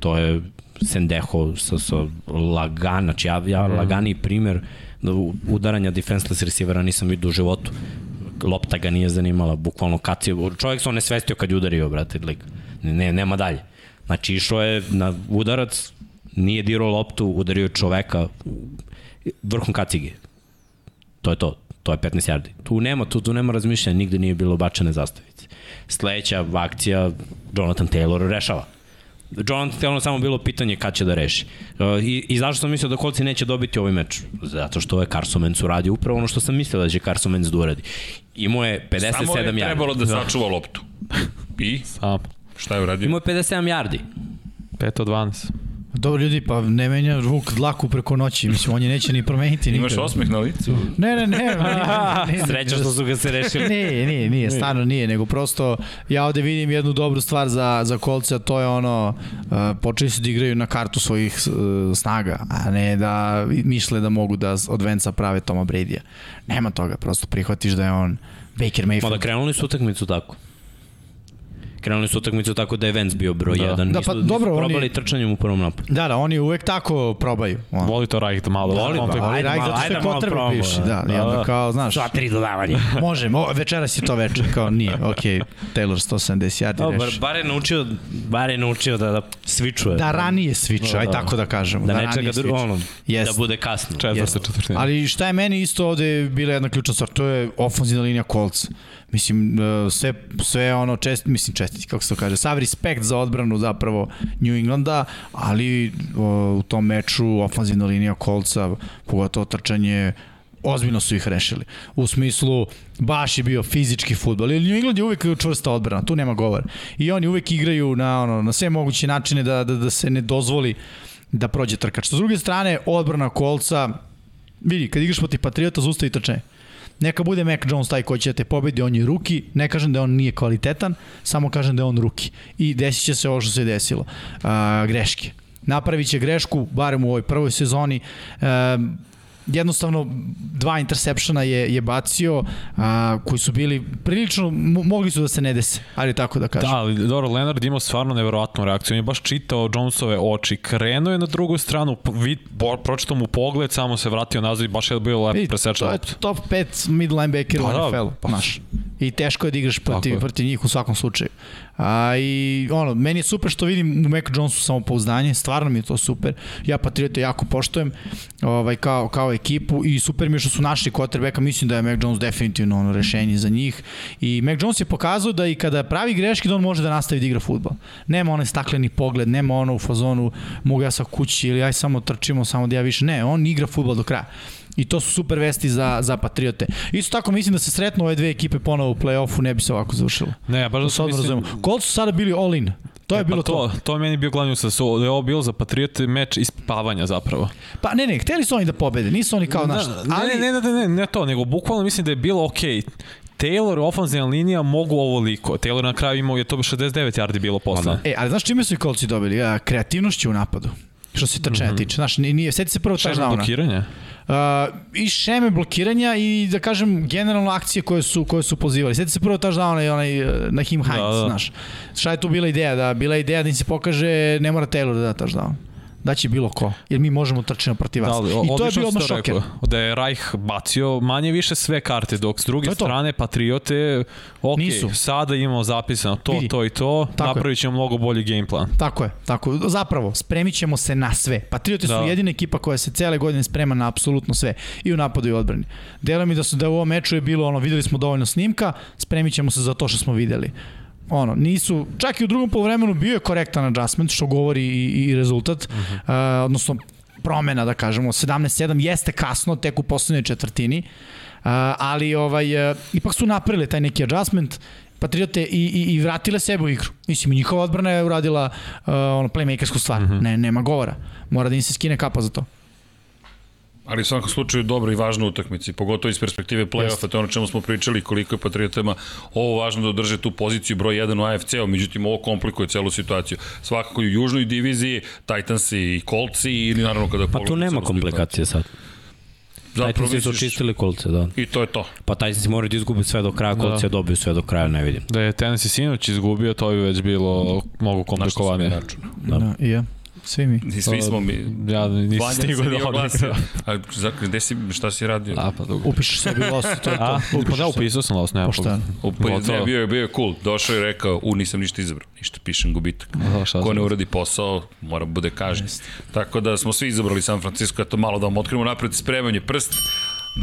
[SPEAKER 2] to je Sendeho sa, sa Lagan, znači ja, ja Lagani primer da u- udaranja defenseless receivera nisam vidio u životu. Lopta ga nije zanimala, bukvalno kad si, čovjek se on svestio kad je udario, brate, like, ne, nema dalje. Znači išao je na udarac, nije dirao loptu, udario je čoveka vrhom kacige. To je to. To je 15 yardi. Tu nema, tu, tu nema razmišljanja, nigde nije bilo bačene zastavice. Sledeća akcija Jonathan Taylor rešava. Jonathan Taylor samo bilo pitanje kad će da reši. Uh, I, I zašto sam mislio da Kolci neće dobiti ovaj meč? Zato što je Carson Wentz uradio upravo ono što sam mislio da će Carson Wentz da uradi. Imao je 57 jardi.
[SPEAKER 1] Samo je trebalo da sačuva loptu. I
[SPEAKER 4] Sam.
[SPEAKER 1] šta je uradio?
[SPEAKER 2] Imao je 57 jardi.
[SPEAKER 4] 5 od 12.
[SPEAKER 3] Dobro ljudi, pa ne menja Vuk dlaku preko noći, mislim, on je neće ni promeniti nikad.
[SPEAKER 1] Imaš osmeh na licu?
[SPEAKER 3] Ne, ne, ne. ne, ne, ne
[SPEAKER 2] Sreća što su ga se rešili.
[SPEAKER 3] Ne, ne, nije, stvarno nije, nego prosto ja ovde vidim jednu dobru stvar za, za kolce, a to je ono, uh, počeli su da igraju na kartu svojih uh, snaga, a ne da misle da mogu da s- od Venca prave Toma Bradya. Nema toga, prosto prihvatiš da je on Baker Mayfield.
[SPEAKER 2] Mada da, krenuli su utakmicu tako. Krenuli su utakmicu tako da je Vance bio broj 1. Da.
[SPEAKER 3] Da,
[SPEAKER 2] nisu,
[SPEAKER 3] pa dobro,
[SPEAKER 2] nisu
[SPEAKER 3] oni-
[SPEAKER 2] probali trčanjem u prvom napadu.
[SPEAKER 3] Da, da, oni uvek tako probaju. Ono.
[SPEAKER 4] Voli to Rajt malo.
[SPEAKER 2] Voli,
[SPEAKER 4] On
[SPEAKER 2] pa,
[SPEAKER 4] to-
[SPEAKER 2] ajde
[SPEAKER 3] Ali Rajk
[SPEAKER 2] malo,
[SPEAKER 3] zato što
[SPEAKER 2] ajde
[SPEAKER 3] je
[SPEAKER 2] malo
[SPEAKER 3] Kotrbe
[SPEAKER 2] probamo,
[SPEAKER 3] bivši,
[SPEAKER 2] da.
[SPEAKER 3] da, i onda kao, znaš,
[SPEAKER 2] Sva tri dodavanja.
[SPEAKER 3] možemo, o, večeras je to večer, kao nije, okej, Taylor 170 yardi
[SPEAKER 2] Dobar,
[SPEAKER 3] reši.
[SPEAKER 2] bar je naučio, bar je naučio da, da svičuje.
[SPEAKER 3] Da ranije sviču, aj tako da kažemo.
[SPEAKER 2] da ne
[SPEAKER 3] ranije
[SPEAKER 2] čeka drugo,
[SPEAKER 3] sviču.
[SPEAKER 2] ono,
[SPEAKER 3] Jeste.
[SPEAKER 2] da bude kasno.
[SPEAKER 4] Četvrta,
[SPEAKER 3] Jeste.
[SPEAKER 4] četvrtina.
[SPEAKER 3] Ali šta je meni isto ovde bila jedna ključna stvar, to je ofanzivna linija kolca. Mislim, e, sve, sve ono, čest, mislim čestiti, kako se to kaže, sav respekt za odbranu zapravo New Englanda, ali o, u tom meču ofanzivna linija kolca, pogotovo trčanje, ozbiljno su ih rešili. U smislu, baš je bio fizički futbol. Jer New England je uvek čvrsta odbrana, tu nema govora. I oni uvek igraju na, ono, na sve moguće načine da, da, da se ne dozvoli da prođe trkač. S druge strane, odbrana kolca, vidi, kad igraš protiv Patriota, zustavi trčanje. Neka bude Mac Jones taj koji će da te pobedi, on je ruki, ne kažem da on nije kvalitetan, samo kažem da je on ruki. I desit će se ovo što se desilo. A, greške. Napravit će grešku, barem u ovoj prvoj sezoni. E, jednostavno dva intersepšena je, je bacio a, koji su bili prilično, mo- mogli su da se ne dese, ali tako da kažem.
[SPEAKER 4] Da, ali dobro, Leonard imao stvarno neverovatnu reakciju. On je baš čitao Jonesove oči. Krenuo je na drugu stranu, po- vid, bo, pročitao mu pogled, samo se vratio nazad i baš je bio
[SPEAKER 3] I
[SPEAKER 4] lep presečan
[SPEAKER 3] to je
[SPEAKER 4] loptu.
[SPEAKER 3] top 5 mid linebacker da, u
[SPEAKER 4] Pa da,
[SPEAKER 3] NFL-u,
[SPEAKER 4] pa.
[SPEAKER 3] znaš. I teško je da igraš
[SPEAKER 4] Tako
[SPEAKER 3] protiv,
[SPEAKER 4] je.
[SPEAKER 3] protiv njih u svakom slučaju. A, I ono, meni je super što vidim u Mac Jonesu samopouzdanje, stvarno mi je to super. Ja Patriote jako poštojem ovaj, kao, kao ekipu i super mi je što su našli quarterbacka, mislim da je Mac Jones definitivno ono rešenje za njih. I Mac Jones je pokazao da i kada pravi greške da on može da nastavi da igra futbal. Nema onaj stakleni pogled, nema ono u fazonu mogu ja sa kući ili aj samo trčimo, samo da ja više. Ne, on igra futbal do kraja. I to su super vesti za, za Patriote. Isto tako mislim da se sretno ove dve ekipe ponovo u play-offu ne bi se ovako završilo.
[SPEAKER 4] Ne, ja baš da
[SPEAKER 3] Da se
[SPEAKER 4] sam
[SPEAKER 3] odmah
[SPEAKER 4] mislim...
[SPEAKER 3] razumemo. Colts su sada bili all in. To je
[SPEAKER 4] E,
[SPEAKER 3] bilo
[SPEAKER 4] pa
[SPEAKER 3] to.
[SPEAKER 4] to. To je meni bio glavni usas. Da je ovo bilo za Patriote meč ispavanja zapravo.
[SPEAKER 3] Pa ne, ne, hteli su oni da pobede. Nisu oni kao naš.
[SPEAKER 4] Da, ali... Ne, ne, ne, ne, ne to, nego bukvalno mislim da je bilo okej. Taylor, ofanzivna linija, mogu ovoliko. Taylor na kraju imao, je to bi 69 yardi bilo posle.
[SPEAKER 3] E, ali znaš čime su i kolci dobili? A, kreativnošću u napadu. Što se
[SPEAKER 4] Mhm.
[SPEAKER 3] trčanja mm -hmm. tiče. Znaš, nije- nije, seti se prvo
[SPEAKER 4] Šta je na
[SPEAKER 3] touchdowna.
[SPEAKER 4] blokiranje?
[SPEAKER 3] Uh, I šeme blokiranja i da kažem generalno akcije koje su koje su pozivali. Sjeti se prvo touchdowna i onaj uh, na Him Hines,
[SPEAKER 4] Da, da.
[SPEAKER 3] da, da. znaš. Šta je tu bila ideja? Da bila je ideja da im se pokaže ne mora Taylor da da touchdown. Da će bilo ko, jer mi možemo trčati protiv vas.
[SPEAKER 4] Da,
[SPEAKER 3] Da,
[SPEAKER 4] ali,
[SPEAKER 3] I to je
[SPEAKER 4] odlično
[SPEAKER 3] bio
[SPEAKER 4] si
[SPEAKER 3] odmah šoker.
[SPEAKER 4] rekao, Da je Reich bacio manje više sve karte, dok s
[SPEAKER 3] To
[SPEAKER 4] druge
[SPEAKER 3] je to.
[SPEAKER 4] strane Patriote, ok,
[SPEAKER 3] Nisu.
[SPEAKER 4] sada imamo zapisano to,
[SPEAKER 3] Vidi.
[SPEAKER 4] to i to,
[SPEAKER 3] Tako je.
[SPEAKER 4] napravit ćemo mnogo bolji game plan.
[SPEAKER 3] Tako je, tako. je. Zapravo, spremit ćemo se na sve. Patriote da.
[SPEAKER 4] Da.
[SPEAKER 3] su jedina ekipa koja se cele godine sprema na apsolutno sve. I u napadu i u odbrani. Delo mi da su da u ovom meču je bilo ono, videli smo dovoljno snimka, spremit ćemo se za to što smo videli. Ono, nisu, čak i u drugom poluvremenu bio je korektan adjustment, što govori i, i rezultat, uh -huh. uh, odnosno promena, da kažemo, 17-7 jeste kasno, tek u poslednjoj četvrtini, uh, ali ovaj, uh, ipak su napravili taj neki adjustment, Patriote i, i, i vratile sebe u igru. Mislim, i njihova odbrana je uradila uh, ono, playmakersku stvar. Mm -hmm. ne, nema govora. Mora da im se skine kapa za to.
[SPEAKER 1] Ali u svakom slučaju dobro i važna utakmica, i pogotovo iz perspektive play-offa, to je ono čemu smo pričali koliko je Patriotama ovo važno da održe tu poziciju broj 1 u AFC-u, međutim ovo komplikuje celu situaciju. Svakako i u južnoj diviziji, Titansi i Coltsi ili naravno kada
[SPEAKER 2] Pa tu nema
[SPEAKER 1] Da,
[SPEAKER 2] komplikacije sad.
[SPEAKER 1] Zapravo
[SPEAKER 2] Tajtansi su
[SPEAKER 1] vidiš
[SPEAKER 2] čistili kolce, da.
[SPEAKER 1] i to je to.
[SPEAKER 2] Pa Tajtansi moraju da izgubi sve do kraja, kolce da. dobiju sve do kraja, ne vidim.
[SPEAKER 4] Da je Tennessee sinoć izgubio, to bi već bilo mnogo komplikovanije.
[SPEAKER 2] Da.
[SPEAKER 3] Da, i ja. Svi mi.
[SPEAKER 1] I svi smo mi...
[SPEAKER 4] Ja nisam
[SPEAKER 1] Vanja se
[SPEAKER 4] stigao
[SPEAKER 1] nije
[SPEAKER 4] da
[SPEAKER 1] oglasio.
[SPEAKER 4] odnesem.
[SPEAKER 1] A za- gde si, šta si radio?
[SPEAKER 4] A, pa dobro.
[SPEAKER 3] Upišeš sebi los, to je to.
[SPEAKER 4] A,
[SPEAKER 3] Upišeš
[SPEAKER 4] pa da,
[SPEAKER 3] sebi.
[SPEAKER 4] upisao sam los, nema
[SPEAKER 3] Pošteno. Pa
[SPEAKER 1] Upa, pa ne,
[SPEAKER 4] Gotovo.
[SPEAKER 1] bio je, bio je cool. Došao je i rekao, u, nisam ništa izabrao. Ništa, pišem gubitak.
[SPEAKER 4] Da, šta
[SPEAKER 1] Ko
[SPEAKER 4] sam-
[SPEAKER 1] ne uradi posao, mora bude kažnjen. Tako da smo svi izabrali San Francisco, eto malo da vam otkrivamo napred, spreman je prst.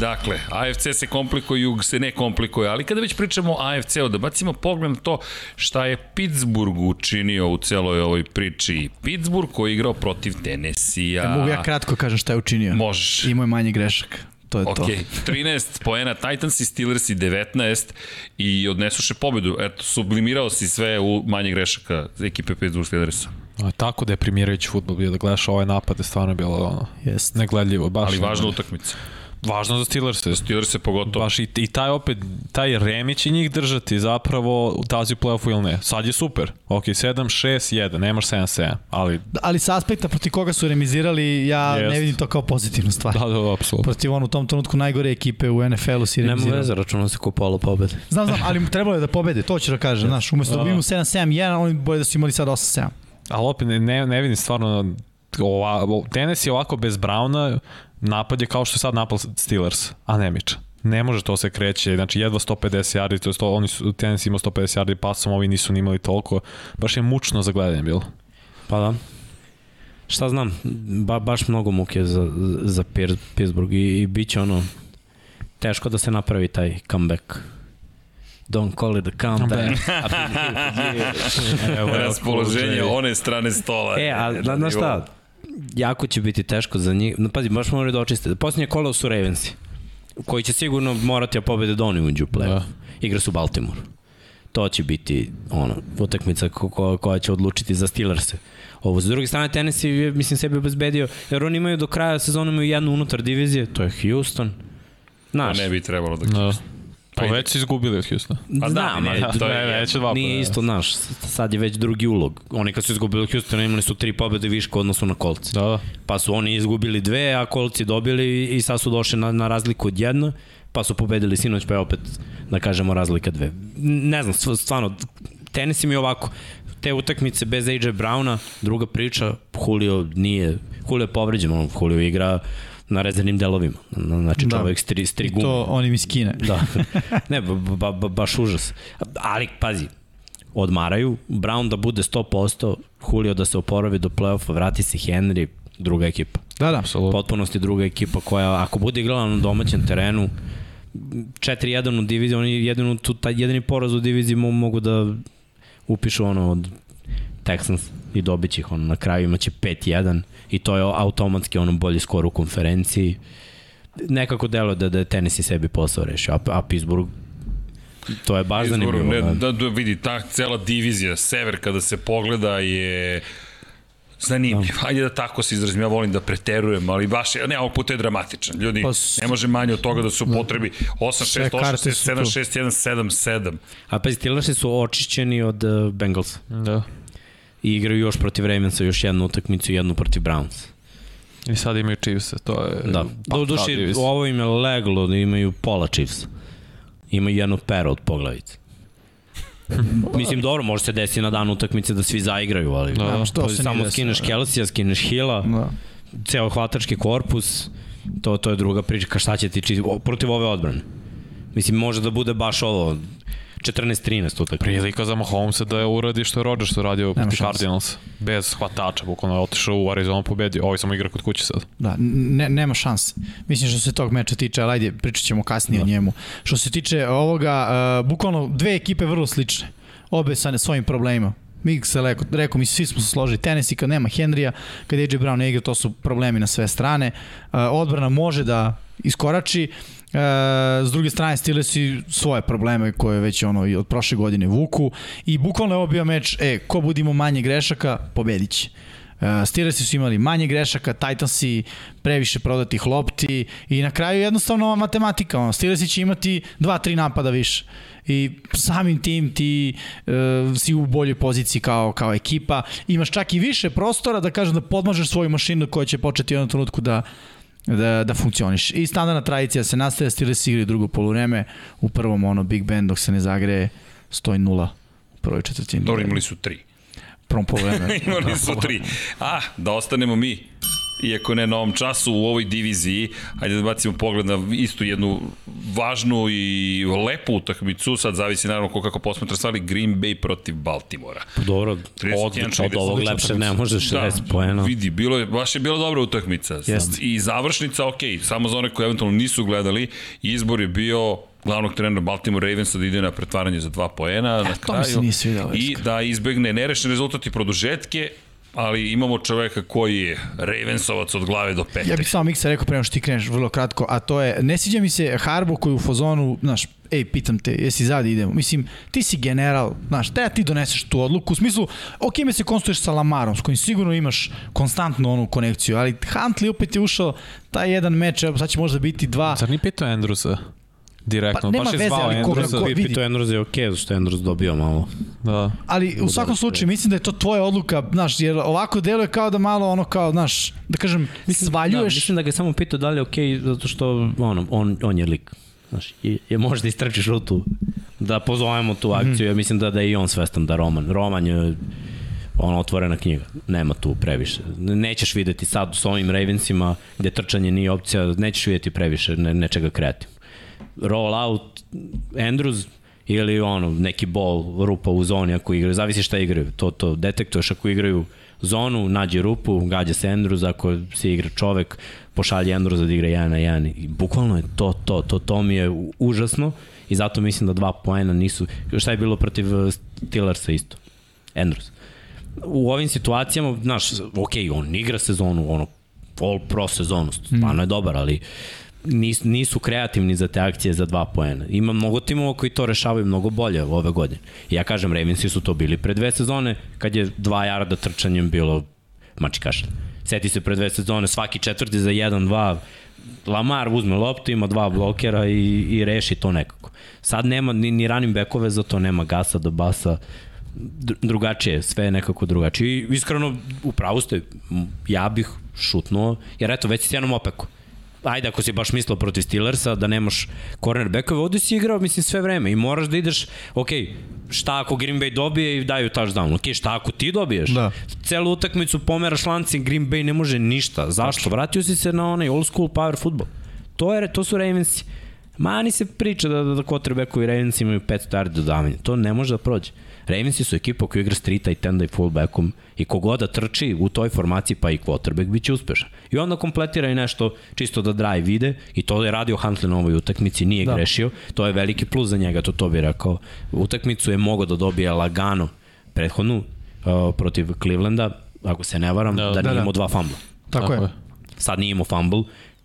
[SPEAKER 1] Dakle, AFC se komplikuje, Jug se ne komplikuje, ali kada već pričamo o AFC-u, da bacimo pogled na to šta je Pittsburgh učinio u celoj ovoj priči. Pittsburgh koji je igrao protiv Tennessee-a.
[SPEAKER 3] Ja mogu ja kratko kažem šta je učinio.
[SPEAKER 1] Možeš.
[SPEAKER 3] Imao je manje grešaka. To je
[SPEAKER 1] Ok,
[SPEAKER 3] to.
[SPEAKER 1] 13 poena Titans i Steelers i 19 i odnesuše pobedu. Eto, sublimirao si sve u manje grešaka ekipe Pittsburgh Steelersa.
[SPEAKER 4] A, tako da deprimirajući futbol bio da gledaš ovaj napad je stvarno bilo ono,
[SPEAKER 3] Jest.
[SPEAKER 4] negledljivo. Baš
[SPEAKER 1] Ali
[SPEAKER 4] ono,
[SPEAKER 1] važna utakmica.
[SPEAKER 4] važno za Steelers. je.
[SPEAKER 1] Steelers je pogotovo.
[SPEAKER 4] Baš i, i taj opet, taj remi će njih držati zapravo u tazi u playoffu ili ne. Sad je super. Ok, 7, 6, 1, nemaš 7, 7, ali
[SPEAKER 3] Da, Ali sa aspekta proti koga su remizirali, ja yes. ne
[SPEAKER 4] Jest.
[SPEAKER 3] vidim to kao pozitivnu stvar.
[SPEAKER 4] da,
[SPEAKER 3] Da.
[SPEAKER 4] da, da, apsolutno.
[SPEAKER 3] Protiv on u tom trenutku najgore ekipe u NFL-u si
[SPEAKER 2] Nema
[SPEAKER 3] remizirali.
[SPEAKER 2] veze, računam se ko polo pobede.
[SPEAKER 3] Znam, znam, ali mu trebalo je da pobede, to ću da kažem, znaš, umesto da bi imao 7-7-1, oni bolje da su imali sad 8-7.
[SPEAKER 4] Ali opet ne, ne, ne vidim stvarno ova, tenis je ovako bez Browna napad je kao što je sad napad Steelers, a ne miča. Ne može to se kreće, znači jedva 150 yardi, to je sto, oni su, tenis imao 150 yardi pasom, ovi nisu ni imali toliko. Baš je mučno za gledanje bilo.
[SPEAKER 2] Pa da. Šta znam, ba, baš mnogo muke za, za Pir- Pittsburgh i, i bit će ono teško da se napravi taj comeback. Don't call it a
[SPEAKER 4] Da.
[SPEAKER 2] comeback.
[SPEAKER 4] Evo,
[SPEAKER 1] Raspoloženje one strane stola.
[SPEAKER 2] e, a
[SPEAKER 1] Pa, Na
[SPEAKER 2] zna- znaš
[SPEAKER 1] nivou.
[SPEAKER 2] šta, jako će biti teško za njih. No, pazi, baš moraju da očiste. Posljednje kolo su Ravensi, koji će sigurno morati da pobede da oni uđu u play. Da.
[SPEAKER 4] Da.
[SPEAKER 2] Igra su Baltimore. To će biti ono, utakmica ko, ko, koja će odlučiti za Steelers-e. Ovo, s druge strane, Tennessee je, mislim, sebi obezbedio, jer oni imaju do kraja sezona imaju jednu unutar divizije, to je Houston.
[SPEAKER 1] Pa
[SPEAKER 2] Znaš,
[SPEAKER 1] ne bi trebalo da
[SPEAKER 4] Da.
[SPEAKER 1] Pa
[SPEAKER 4] Pa
[SPEAKER 1] ide.
[SPEAKER 4] već su izgubili od Houstona.
[SPEAKER 1] Pa da,
[SPEAKER 2] znam,
[SPEAKER 1] ne,
[SPEAKER 2] ali
[SPEAKER 1] to je
[SPEAKER 4] Ne,
[SPEAKER 1] jedno.
[SPEAKER 4] već dva
[SPEAKER 1] da.
[SPEAKER 2] Nije isto, znaš, sad je već drugi ulog. Oni kad su izgubili od Houstona imali su tri pobede viška u odnosu na kolce.
[SPEAKER 4] Da, da.
[SPEAKER 2] Pa su oni izgubili dve, a kolci dobili i sad su došli na, na razliku od jedno, pa su pobedili sinoć, pa je opet, da kažemo, razlika dve. N- Ne znam, stv- stvarno, tenis mi je ovako, te utakmice bez AJ Browna, druga priča, Julio nije, Julio je povređen, on Julio igra na rezervnim delovima. Znači
[SPEAKER 3] Da.
[SPEAKER 2] čovek s tri, s tri
[SPEAKER 3] I
[SPEAKER 2] gume.
[SPEAKER 3] to oni mi skine.
[SPEAKER 2] Da. Ne, ba, ba, ba, baš užas. Ali, pazi, odmaraju, Brown da bude 100%, Julio da se oporavi do play-offa, vrati se Henry, druga ekipa.
[SPEAKER 3] Da, da.
[SPEAKER 4] Apsolutno.
[SPEAKER 2] Potpunosti druga ekipa koja, ako bude igrala na domaćem terenu, 4-1 u diviziji, oni jedinu, tu, taj jedini poraz u diviziji mo- mogu da upišu ono od Texans i dobit će ih ono, na kraju imaće 5-1 i to je automatski ono bolji skor u konferenciji nekako delo da, da je tenis i sebi posao rešio, a, a Pittsburgh to je baš
[SPEAKER 1] Izboru,
[SPEAKER 2] zanimljivo.
[SPEAKER 1] ne, da,
[SPEAKER 2] da.
[SPEAKER 1] da vidi, ta cela divizija, sever kada se pogleda je zanimljiv. Hajde da tako se izrazim, ja volim da preterujem, ali baš, je- ne, ovog puta je dramatičan. Ljudi,
[SPEAKER 3] Pa s-
[SPEAKER 1] ne može manje od toga da su potrebi 8, 6, 8,
[SPEAKER 3] karte
[SPEAKER 1] 6,
[SPEAKER 3] su
[SPEAKER 1] 7,
[SPEAKER 3] tu.
[SPEAKER 1] 6, 1, 7, 7.
[SPEAKER 2] A pa Steelersi su očišćeni od uh, Bengalsa
[SPEAKER 4] Da.
[SPEAKER 2] i igraju još protiv Ravensa, još jednu utakmicu i jednu protiv Browns.
[SPEAKER 4] I sad imaju Chiefs, e, to je...
[SPEAKER 2] Da.
[SPEAKER 4] Pa,
[SPEAKER 2] Do duši,
[SPEAKER 4] Chiefs.
[SPEAKER 2] ovo im je leglo da imaju pola Chiefs. Imaju jedno pero od poglavice. Mislim, dobro, može se desiti na dan utakmice da svi zaigraju, ali...
[SPEAKER 4] Da.
[SPEAKER 3] Znam, Pa, što
[SPEAKER 2] To
[SPEAKER 3] se nije
[SPEAKER 2] samo
[SPEAKER 3] desilo.
[SPEAKER 2] skineš Kelsija, skineš Hila,
[SPEAKER 3] Da.
[SPEAKER 2] ceo hvatački korpus, to, to je druga priča, ka šta će ti či, o, protiv ove odbrane. Mislim, može da bude baš ovo, 14-13 utakmice.
[SPEAKER 4] prilika za Mahomesa da je uradi što je Rodgers uradio proti
[SPEAKER 3] šanse.
[SPEAKER 4] Cardinals. Bez hvatača, bukvalno je otišao u Arizonu pobedio. Ovo samo igra kod kuće sad.
[SPEAKER 3] Da, ne, nema šanse. Mislim što se tog meča tiče, ali ajde, pričat ćemo kasnije da. o njemu. Što se tiče ovoga, uh, bukvalno dve ekipe vrlo slične. Obe sa svojim problemima. Mi se leko, rekao, mi svi smo se složili, Tennessee kad nema Henrya, kad AJ Brown ne igra, to su problemi na sve strane. Uh, odbrana može da iskorači, E, s druge strane Steelersi svoje probleme koje već ono i od prošle godine vuku i bukvalno je ovo bio meč, e, ko budimo manje grešaka, pobedit će. E, Steelersi su imali manje grešaka, Titansi previše prodatih lopti i na kraju jednostavno ova matematika, ono, Steelersi će imati 2-3 napada više i samim tim ti e, si u boljoj poziciji kao, kao ekipa, imaš čak i više prostora da kažem da podmažeš svoju mašinu koja će početi u jednom trenutku da da, da funkcioniš. I standardna tradicija se nastaje, Steelers igri drugo polovreme, u prvom ono Big Ben dok se ne zagreje stoji nula u prvoj četvrtini. Da,
[SPEAKER 1] Dobro, imali su 3.
[SPEAKER 3] Prvom polovreme.
[SPEAKER 1] imali su 3. A, da ostanemo mi. iako ne na ovom času, u ovoj diviziji, ajde da bacimo pogled na istu jednu važnu i lepu utakmicu, sad zavisi naravno ko kako posmatra stvari, Green Bay protiv Baltimora.
[SPEAKER 2] Dobro, od,
[SPEAKER 1] 31
[SPEAKER 2] od ovog lepše ne može 60 da. poena.
[SPEAKER 1] Vidi, bilo je, baš je bila dobra utakmica.
[SPEAKER 2] Jeste.
[SPEAKER 1] I završnica, ok, samo za one koji eventualno nisu gledali, izbor je bio glavnog trenera Baltimore Ravensa da ide na pretvaranje za dva
[SPEAKER 2] E,
[SPEAKER 1] poena na
[SPEAKER 3] to mi se
[SPEAKER 1] kraju
[SPEAKER 3] nije svidelo,
[SPEAKER 1] i da izbegne nerešen rezultat i produžetke, ali imamo čoveka koji je Ravensovac od glave do pete.
[SPEAKER 3] Ja bih samo Miksa rekao prema što ti kreneš vrlo kratko, a to je, ne sviđa mi se Harbo koji u fazonu, znaš, ej, pitam te, jesi zadi idemo. Mislim, ti si general, znaš, treba ti doneseš tu odluku, u smislu, ok, me se konstuješ sa Lamarom, s kojim sigurno imaš konstantno onu konekciju, ali Huntley opet je ušao taj jedan meč, evo, sad će možda biti dva,
[SPEAKER 4] Zar nije pitao Andrewsa? Direktno,
[SPEAKER 3] Pa nema
[SPEAKER 4] baš je
[SPEAKER 3] veze,
[SPEAKER 4] zvao
[SPEAKER 3] ali koga-
[SPEAKER 4] Andrewsa.
[SPEAKER 3] ko- vidi.
[SPEAKER 2] Vidi, to Endros je okej, okay, zašto je Endros dobio malo.
[SPEAKER 4] Da.
[SPEAKER 3] ali u svakom slučaju mislim da je to tvoja odluka, znaš, jer ovako deluje kao da malo ono kao, znaš, da kažem,
[SPEAKER 2] Da,
[SPEAKER 3] svaljuješ
[SPEAKER 2] mislim da ga je samo pitao da li je okej, okay, zato što ono, on, on je lik. Znaš, je, je može da istrči žutu, da pozovemo tu akciju, ja mislim da, da je i on svestan da Roman. Roman je ono, otvorena knjiga, nema tu previše. Nećeš videti sad s ovim Ravensima gde trčanje nije opcija, nećeš videti previše ne, nečega kreativno. Roll out, Andrews, ili ono, neki bol, rupa u zoni ako igraju, zavisi šta igraju, to, to detektuješ ako igraju zonu, nađe rupu, gađa se Andrews, ako se igra čovek, pošalje Andrews da igra 1 na 1. I bukvalno je to, to, to, to mi je u- užasno i zato mislim da dva poena nisu, šta je bilo protiv eh, Steelersa isto, Andrews. U ovim situacijama, znaš, ok, on igra sezonu, ono, all pro sezonu, stvarno je dobar, ali nis, nisu kreativni za te akcije za dva poena. Ima mnogo timova koji to rešavaju mnogo bolje ove godine. I ja kažem, Ravensi su to bili pre dve sezone, kad je dva jarda trčanjem bilo mači kašalj. Seti se pre dve sezone, svaki četvrti za 1-2, Lamar uzme loptu, ima dva blokera i, i reši to nekako. Sad nema ni, ni ranim bekove, zato nema gasa do basa, dru- drugačije, je, sve je nekako drugačije. I iskreno, u pravu ste, m, ja bih šutnuo, jer eto, već si jednom opeku. Ajde, ako si baš mislio protiv Steelersa, da nemaš cornerbackove, ovde si igrao, mislim, sve vreme i moraš da ideš, ok, šta ako Green Bay dobije i daju touchdown, ok, šta ako ti dobiješ?
[SPEAKER 3] Da.
[SPEAKER 2] Celu utakmicu pomeraš lanci, Green Bay ne može ništa. Zašto? Vratio si se na onaj old school power football. To, je, to su Ravensi. Mani se priča da, da, da quarterbackovi Ravensi imaju 500 yardi dodavanja. To ne može da prođe. Ravensi su ekipa koja igra strita i tenda i fullbackom i kogoda trči u toj formaciji pa i quarterback bit će uspešan. I onda kompletira i nešto čisto da drive ide i to je radio Huntley na ovoj utakmici, nije da. grešio. To je veliki plus za njega, to to bi rekao. Utakmicu je mogao da dobije lagano prethodnu uh, protiv Clevelanda, ako se ne varam, da, da,
[SPEAKER 3] da,
[SPEAKER 2] nije
[SPEAKER 3] da.
[SPEAKER 2] imao dva fambla.
[SPEAKER 3] Tako je.
[SPEAKER 2] Sad nije imao fumble,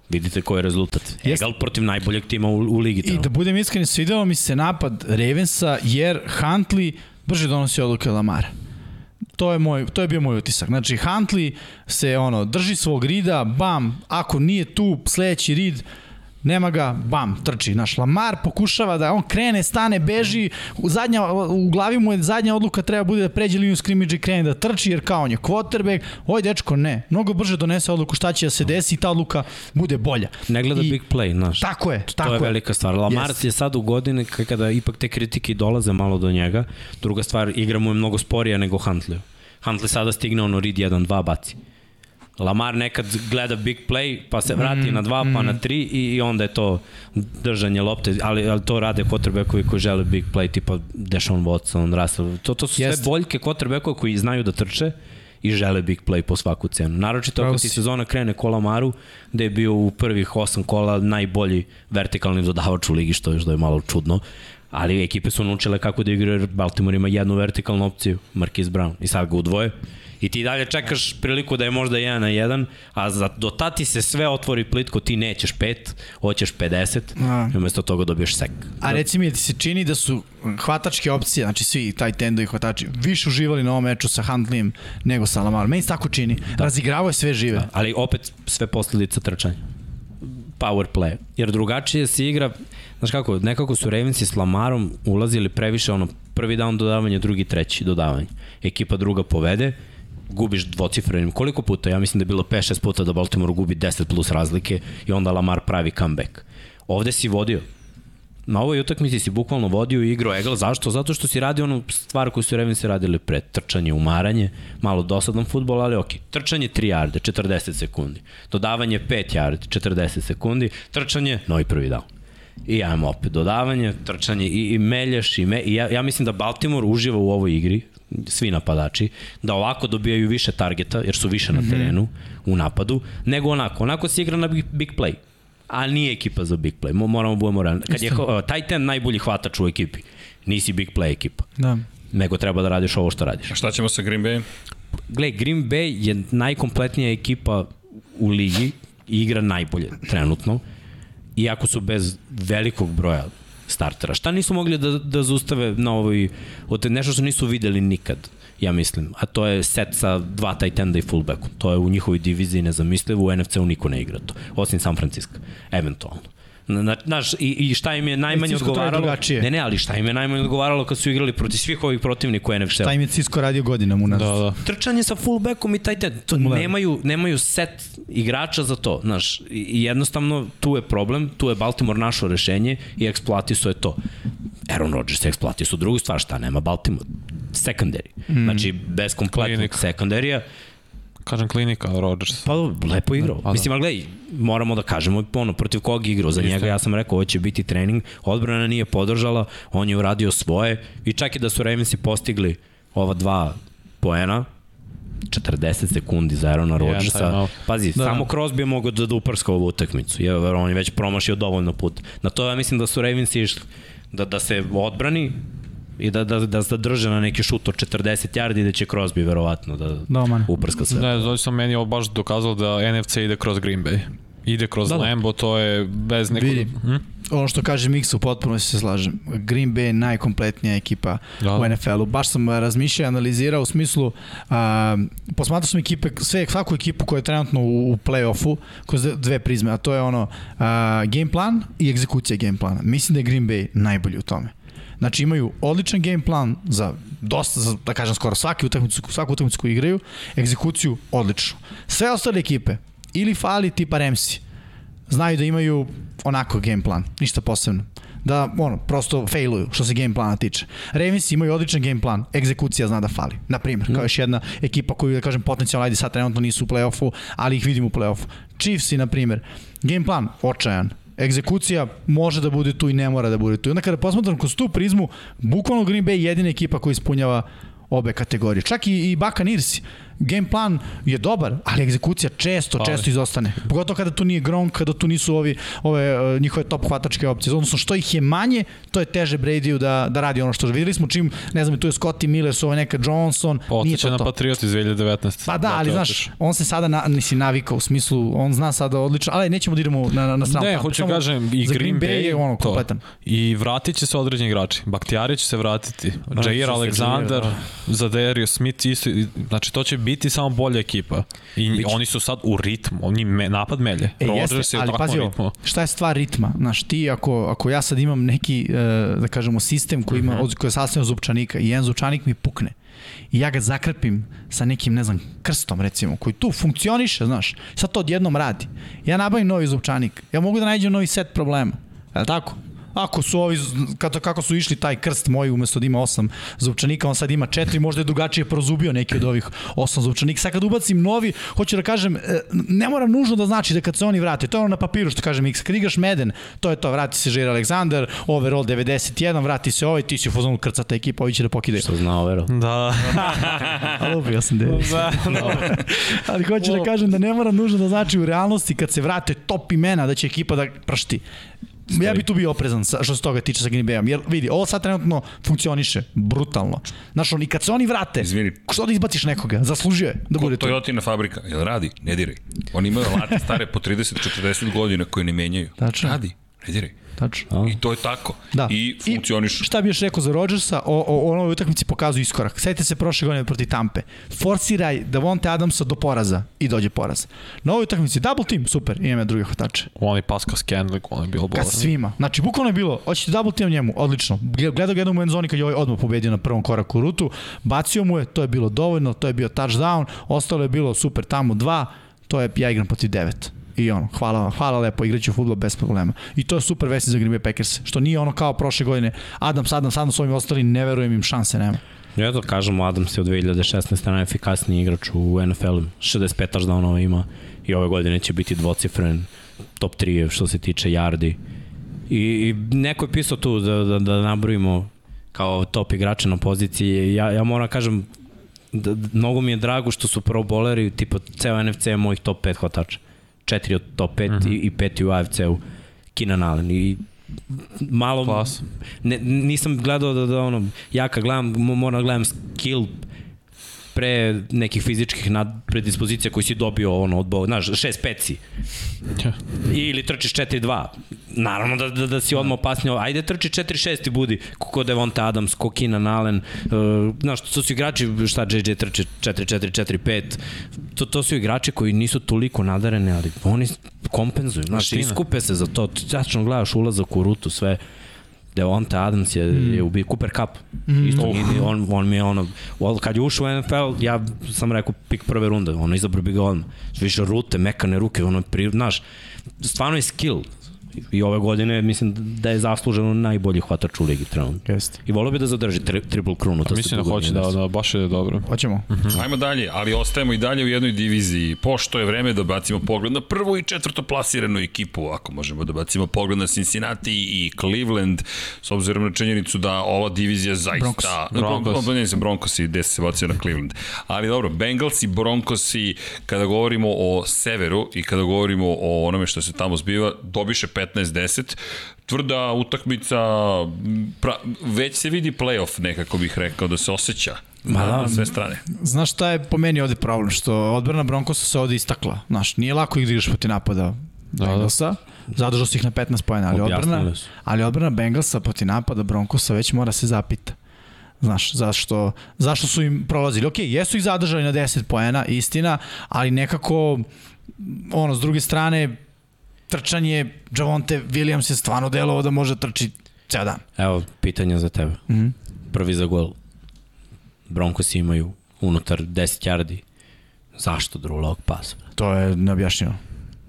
[SPEAKER 2] vidite koji je rezultat.
[SPEAKER 3] Jeste.
[SPEAKER 2] Egal protiv najboljeg tima u, u ligi.
[SPEAKER 3] I da budem iskren, svidelo mi se napad Ravensa jer Huntley brže donosi odluke od Lamara. To je, moj, to je bio moj utisak. Znači, Huntley se ono, drži svog rida, bam, ako nije tu, sledeći rid, nema ga, bam, trči. Naš Lamar pokušava da on krene, stane, beži, u, zadnja, u glavi mu je zadnja odluka treba bude da pređe liniju skrimidža i krene da trči, jer kao on je quarterback, oj dečko ne, mnogo brže donese odluku šta će da se desi i ta odluka bude bolja.
[SPEAKER 2] ne gleda
[SPEAKER 3] da- I,
[SPEAKER 2] I, big play, znaš.
[SPEAKER 3] Tako je, tako
[SPEAKER 2] to je velika stvar. Lamar yes. je sad u godine k- kada ipak te kritike i dolaze malo do njega. Druga stvar, igra mu je mnogo sporija nego Huntley. Huntley sada stigne ono read 1-2 baci. Lamar nekad gleda big play, pa se vrati mm, na dva, pa na tri i, i onda je to držanje lopte, ali, ali to rade quarterbackovi koji žele big play, tipa Deshaun Watson, Russell, to, to su sve
[SPEAKER 3] Jeste.
[SPEAKER 2] boljke quarterbackova koji znaju da trče i žele big play po svaku cenu. Naročito
[SPEAKER 3] Pravo
[SPEAKER 2] ako ti
[SPEAKER 3] si.
[SPEAKER 2] sezona krene kola Maru, gde je bio u prvih osam kola najbolji vertikalni dodavač u ligi, što je, što je malo čudno. Ali ekipe su naučile kako da igraju, jer Baltimore ima jednu vertikalnu opciju, Marquise Brown, i sad ga udvoje. I ti dalje čekaš priliku da je možda 1 na 1, a za, do tad ti se sve otvori plitko, ti nećeš 5, hoćeš 50,
[SPEAKER 3] A.
[SPEAKER 2] i umesto toga dobiješ sek.
[SPEAKER 3] A reci mi, ti se čini da su hvatačke opcije, znači svi taj tendo i hvatači, više uživali na ovom meču sa Huntleyem nego sa Lamarom. Meni se tako čini. Da. Razigravao je sve žive. Da.
[SPEAKER 2] ali opet sve posledica trčanja power play. Jer drugačije se igra, znaš kako, nekako su Ravensi s Lamarom ulazili previše ono prvi down dodavanje, drugi, treći dodavanje. Ekipa druga povede, gubiš dvocifrenim. Koliko puta? Ja mislim da je bilo 5-6 puta da Baltimore gubi 10 plus razlike i onda Lamar pravi comeback. Ovde si vodio na ovoj utakmici si bukvalno vodio i igrao Egla. Zašto? Zato što si radio onu stvar koju su Ravens radili pre. Trčanje, umaranje, malo dosadan futbol, ali ok. Trčanje 3 jarde, 40 sekundi. Dodavanje 5 jarde, 40 sekundi. Trčanje, no i prvi down. I ajmo opet dodavanje, trčanje i, i melješ i, me, i ja, ja mislim da Baltimore uživa u ovoj igri, svi napadači, da ovako dobijaju više targeta, jer su više na terenu, mm -hmm. u napadu, nego onako. Onako se igra na big, big play a nije ekipa za big play. Mo- Moramo budemo realni. Kad je uh, Titan najbolji hvatač u ekipi, nisi big play ekipa.
[SPEAKER 3] Da.
[SPEAKER 2] Nego treba da radiš ovo što radiš.
[SPEAKER 1] A šta ćemo sa Green Bayem?
[SPEAKER 2] Gle, Green Bay je najkompletnija ekipa u ligi i igra najbolje trenutno. Iako su bez velikog broja startera. Šta nisu mogli da, da zaustave na ovoj, od nešto što nisu videli nikad, ja mislim. A to je set sa dva tight enda i fullbackom. To je u njihovoj diviziji nezamislivo, u NFC-u niko ne igra to. Osim San Francisco, eventualno. Na, na, naš, i, i šta im je najmanje
[SPEAKER 3] Francisco to je
[SPEAKER 2] odgovaralo
[SPEAKER 3] drugačije.
[SPEAKER 2] ne ne ali šta im je najmanje odgovaralo kad su igrali protiv svih ovih protivnika u NFC-u
[SPEAKER 3] Taj im je Cisco radio godinama u nas.
[SPEAKER 4] Da, da.
[SPEAKER 2] trčanje sa fullbackom i taj ten, to nemaju, nemaju set igrača za to, znaš, i jednostavno tu je problem, tu je Baltimore našo rešenje i eksploatiso je to. Aaron Rodgers je eksploatiso drugu stvar, šta nema Baltimore? Secondary. Mm. Znači, bez kompletnog
[SPEAKER 4] Klinik.
[SPEAKER 2] sekundarija,
[SPEAKER 4] Kažem klinika Rodgers.
[SPEAKER 2] Pa dobro, lepo igrao. Da, Mislim, ali gledaj, moramo da kažemo ono, protiv kog je igrao. Za njega ja sam rekao, ovo će biti trening. Odbrana nije podržala, on je uradio svoje. I čak i da su Ravensi postigli ova dva poena, 40 sekundi za Aarona Rodgersa.
[SPEAKER 4] timeout.
[SPEAKER 2] Pazi, da, samo Crosby je mogao da, da uprska ovu utakmicu, jer on je već promašio dovoljno put. Na to ja mislim da su Ravens išli da, da se odbrani i da, da, da zadrže na neki šut od 40 yardi i da će Crosby verovatno da
[SPEAKER 3] Doman.
[SPEAKER 2] uprska sve.
[SPEAKER 4] Ne, znači sam meni ovo baš dokazalo da NFC ide kroz Green Bay. Ide kroz
[SPEAKER 2] Da,
[SPEAKER 4] da,
[SPEAKER 2] da.
[SPEAKER 4] Lambo, to je bez nekog...
[SPEAKER 3] Vidi.
[SPEAKER 4] Hm?
[SPEAKER 3] Ono što kaže Miksa, potpuno se slažem. Green Bay je najkompletnija ekipa
[SPEAKER 4] Da.
[SPEAKER 3] da. u NFL-u. Baš sam a, razmišljao, i analizirao u smislu, a, posmatrao sam ekipe, sve, svaku ekipu koja je trenutno u, u play-offu, kroz dve prizme, a to je ono a, game plan i egzekucija game plana. Mislim da je Green Bay najbolji u tome. Znači imaju odličan game plan za dosta, za, da kažem skoro svaki utakmicu, svaku utakmicu koju igraju, egzekuciju odlično. Sve ostale ekipe, ili fali tipa Remsi, znaju da imaju onako game plan, ništa posebno. Da, ono, prosto failuju što se game plana tiče. Ravens imaju odličan game plan, egzekucija zna da fali. Na primjer, kao još jedna ekipa koju, da kažem, potencijalno, ajde sad trenutno nisu u play-offu, ali ih vidim u play-offu. Chiefs, na primjer, game plan, očajan, egzekucija može da bude tu i ne mora da bude tu. I onda kada posmatram kroz tu prizmu, bukvalno Green Bay je jedina ekipa koja ispunjava obe kategorije. Čak i, i Buccaneers, game plan je dobar, ali egzekucija često,
[SPEAKER 4] Fali.
[SPEAKER 3] često izostane. Pogotovo kada tu nije Gronk, kada tu nisu ovi, ove e, njihove top hvatačke opcije. Odnosno, što ih je manje, to je teže Bradyu da, da radi ono što videli smo čim, ne znam, tu je Scotty Miller, su ovo neka Johnson, nije
[SPEAKER 4] Otiče
[SPEAKER 3] to
[SPEAKER 4] na
[SPEAKER 3] to.
[SPEAKER 4] Patriot iz 2019.
[SPEAKER 3] Pa da, ali
[SPEAKER 4] Zato je
[SPEAKER 3] znaš, on se sada na, nisi navikao u smislu, on zna sada odlično, ali nećemo da idemo na, na, na stranu.
[SPEAKER 4] Ne,
[SPEAKER 3] Samo-
[SPEAKER 4] hoću
[SPEAKER 3] da
[SPEAKER 4] da
[SPEAKER 3] samo
[SPEAKER 4] kažem i
[SPEAKER 3] za
[SPEAKER 4] Green, Bay
[SPEAKER 3] je ono,
[SPEAKER 4] to.
[SPEAKER 3] kompletan.
[SPEAKER 4] I vratit će se određeni igrači. Baktijari će se vratiti.
[SPEAKER 2] će
[SPEAKER 4] Jair
[SPEAKER 2] se
[SPEAKER 4] Alexander,
[SPEAKER 3] da.
[SPEAKER 2] Jair,
[SPEAKER 4] Zaderio Smith, isto, i- znači to će biti samo bolja ekipa. I oni su sad u ritmu, oni me, napad melje.
[SPEAKER 3] E,
[SPEAKER 4] Rodgers
[SPEAKER 3] jeste,
[SPEAKER 4] je u
[SPEAKER 3] ali
[SPEAKER 4] takvom
[SPEAKER 3] pazi ovo,
[SPEAKER 4] ritmu.
[SPEAKER 3] šta je stvar ritma? Znaš, ti ako, ako ja sad imam neki, e, da kažemo, sistem koji, ima,
[SPEAKER 4] Mhm.
[SPEAKER 3] od, koji je sastavljen od zupčanika i jedan zupčanik mi pukne i ja ga zakrpim sa nekim, ne znam, krstom recimo, koji tu funkcioniše, znaš, sad to odjednom radi. Ja nabavim novi zupčanik, ja mogu da nađem novi set problema, je li tako? Ako su ovi, kako, kako su išli taj krst moj umesto da ima osam zupčanika, on sad ima četiri, možda je drugačije prozubio neki od ovih osam zupčanika. Sad kad ubacim novi, hoću da kažem, e, ne mora nužno da znači da kad se oni vrate, to je ono na papiru što kaže Miksa, kad igraš Meden, to je to, vrati se Žir Aleksandar, overall 91, vrati se ovaj, ti si u fazonu krcata ekipa, ovi će da pokidaju.
[SPEAKER 2] Što zna overo.
[SPEAKER 4] Da,
[SPEAKER 3] Ali ubio sam devet.
[SPEAKER 4] da,
[SPEAKER 3] Ali hoću da kažem da ne mora nužno da znači u realnosti kad se vrate top imena da će ekipa da pršti. Ja bi tu bio oprezan sa, što se toga tiče sa Green Bayom, jer vidi, ovo sad trenutno funkcioniše brutalno. Znaš, on, i kad se oni vrate,
[SPEAKER 1] Izvini.
[SPEAKER 3] što da izbaciš nekoga, zaslužio je da bude
[SPEAKER 1] Ko,
[SPEAKER 3] tu.
[SPEAKER 1] Toyotina fabrika, jel radi? Ne diraj. Oni imaju alate stare po 30-40 godina koje ne menjaju.
[SPEAKER 3] Tačno.
[SPEAKER 1] Radi, ne diraj.
[SPEAKER 3] Tačno.
[SPEAKER 1] I to je tako.
[SPEAKER 3] Da.
[SPEAKER 1] I funkcionišu.
[SPEAKER 3] Šta bi još rekao za Rodgersa, o, o, o novoj utakmici pokazuje iskorak. Sajte se prošle godine proti Tampe. Forsiraj Davonte Adamsa do poraza i dođe poraz. Na ovoj utakmici double team, super, i ima druge hvatače.
[SPEAKER 4] on i Pascal Scandling, on je bilo
[SPEAKER 3] Ka
[SPEAKER 4] bolno.
[SPEAKER 3] svima. Znači, bukvalno je bilo, hoćete double team njemu, odlično. Gledao ga jednom u end zoni kad je ovaj odmah pobedio na prvom koraku u rutu, bacio mu je, to je bilo dovoljno, to je bio touchdown, ostalo je bilo super tamo dva, to je, ja igram protiv devet. I ono, hvala vam, hvala lepo, igraću futbol bez problema. I to je super vesti za Green Bay Packers, što nije ono kao prošle godine. Adams, Adams, Adams, ovim ostali, ne verujem im, šanse nema.
[SPEAKER 2] Ja to kažem, Adams je od 2016. najefikasniji igrač u NFL, 65 touchdownova ima i ove godine će biti dvocifren, top 3 je što se tiče yardi. I, i neko je pisao tu da, da, da nabrojimo kao top igrače na poziciji. Ja, ja moram kažem, da, da, mnogo mi je drago što su pro boleri, tipa ceo NFC je mojih top 5 hvatača. Četiri od top 5 mm -hmm. i, i peti u AFC-u. Keenan Allen i malo
[SPEAKER 4] Klas.
[SPEAKER 2] ne, nisam gledao da, da ono ja kad gledam mo- moram da gledam skill pre nekih fizičkih nad predispozicija koji si dobio ono od Boga, znaš, 6-5 si. Ili trčiš 4-2. Naravno da, da, da si odmah opasnije. Ajde trči 4-6 i budi. Kako Devonta Adams, ko Keenan Allen. Uh, znaš, to su igrači, šta JJ trči 4-4-4-5. To, to su igrači koji nisu toliko nadareni, ali oni kompenzuju. Znaš,
[SPEAKER 4] Mašina.
[SPEAKER 2] iskupe se za to. Tačno gledaš ulazak u rutu, sve. Devonta Adams je,
[SPEAKER 3] Hmm.
[SPEAKER 2] mm. je ubio Cooper Cup. Mm. Isto,
[SPEAKER 3] Oh.
[SPEAKER 2] nije- on, on mi je ono, well, kad je ušao u NFL, ja sam rekao pik prve runde, ono, izabro bi ga odmah. Više rute, mekane ruke, ono, pri, znaš, stvarno je skill. I ove godine mislim da je zasluženo najbolji hvatač u ligi trenutno.
[SPEAKER 3] Jeste.
[SPEAKER 2] I volio bi da zadrži tri, triple krunu. To se
[SPEAKER 4] Mislim da
[SPEAKER 2] dugo
[SPEAKER 4] hoće
[SPEAKER 2] nije
[SPEAKER 4] da, da,
[SPEAKER 2] desilo.
[SPEAKER 4] baš je dobro.
[SPEAKER 3] Hoćemo.
[SPEAKER 1] Ajmo dalje, ali ostajemo i dalje u jednoj diviziji, pošto je vreme da bacimo pogled na prvu i četvrto plasiranu ekipu, ako možemo da bacimo pogled na Cincinnati i Cleveland, s obzirom na činjenicu da ova divizija zaista...
[SPEAKER 4] Broncos.
[SPEAKER 1] Broncos. Ne znam, Broncos i gde se bacio na Cleveland. Ali dobro, Bengals i Broncos i kada govorimo o severu i kada govorimo o onome što se tamo zbiva, dobiše 15-10, tvrda utakmica, pra, već se vidi playoff nekako bih rekao da se osjeća.
[SPEAKER 2] Ma
[SPEAKER 1] na-
[SPEAKER 2] da.
[SPEAKER 1] na sve strane.
[SPEAKER 3] Znaš šta je po meni ovde problem? Što odbrana Broncosa se ovde istakla. Znaš, nije lako igraš protiv napada
[SPEAKER 4] da.
[SPEAKER 3] Bengalsa. Zadržao si ih na 15 pojena, ali odbrana,
[SPEAKER 2] Objasnili su.
[SPEAKER 3] ali odbrana Bengalsa protiv napada Broncosa već mora se zapita. Znaš, zašto, zašto su im prolazili? Ok, jesu ih zadržali na 10 poena, istina, ali nekako, ono, s druge strane, trčanje Javonte Williams je stvarno delovao da može da trči ceo dan.
[SPEAKER 2] Evo, pitanje za tebe. Mm
[SPEAKER 3] Mhm.
[SPEAKER 2] Prvi za gol. Broncosi imaju unutar 10 yardi. Zašto drulog pasa?
[SPEAKER 3] To je neobjašnjivo.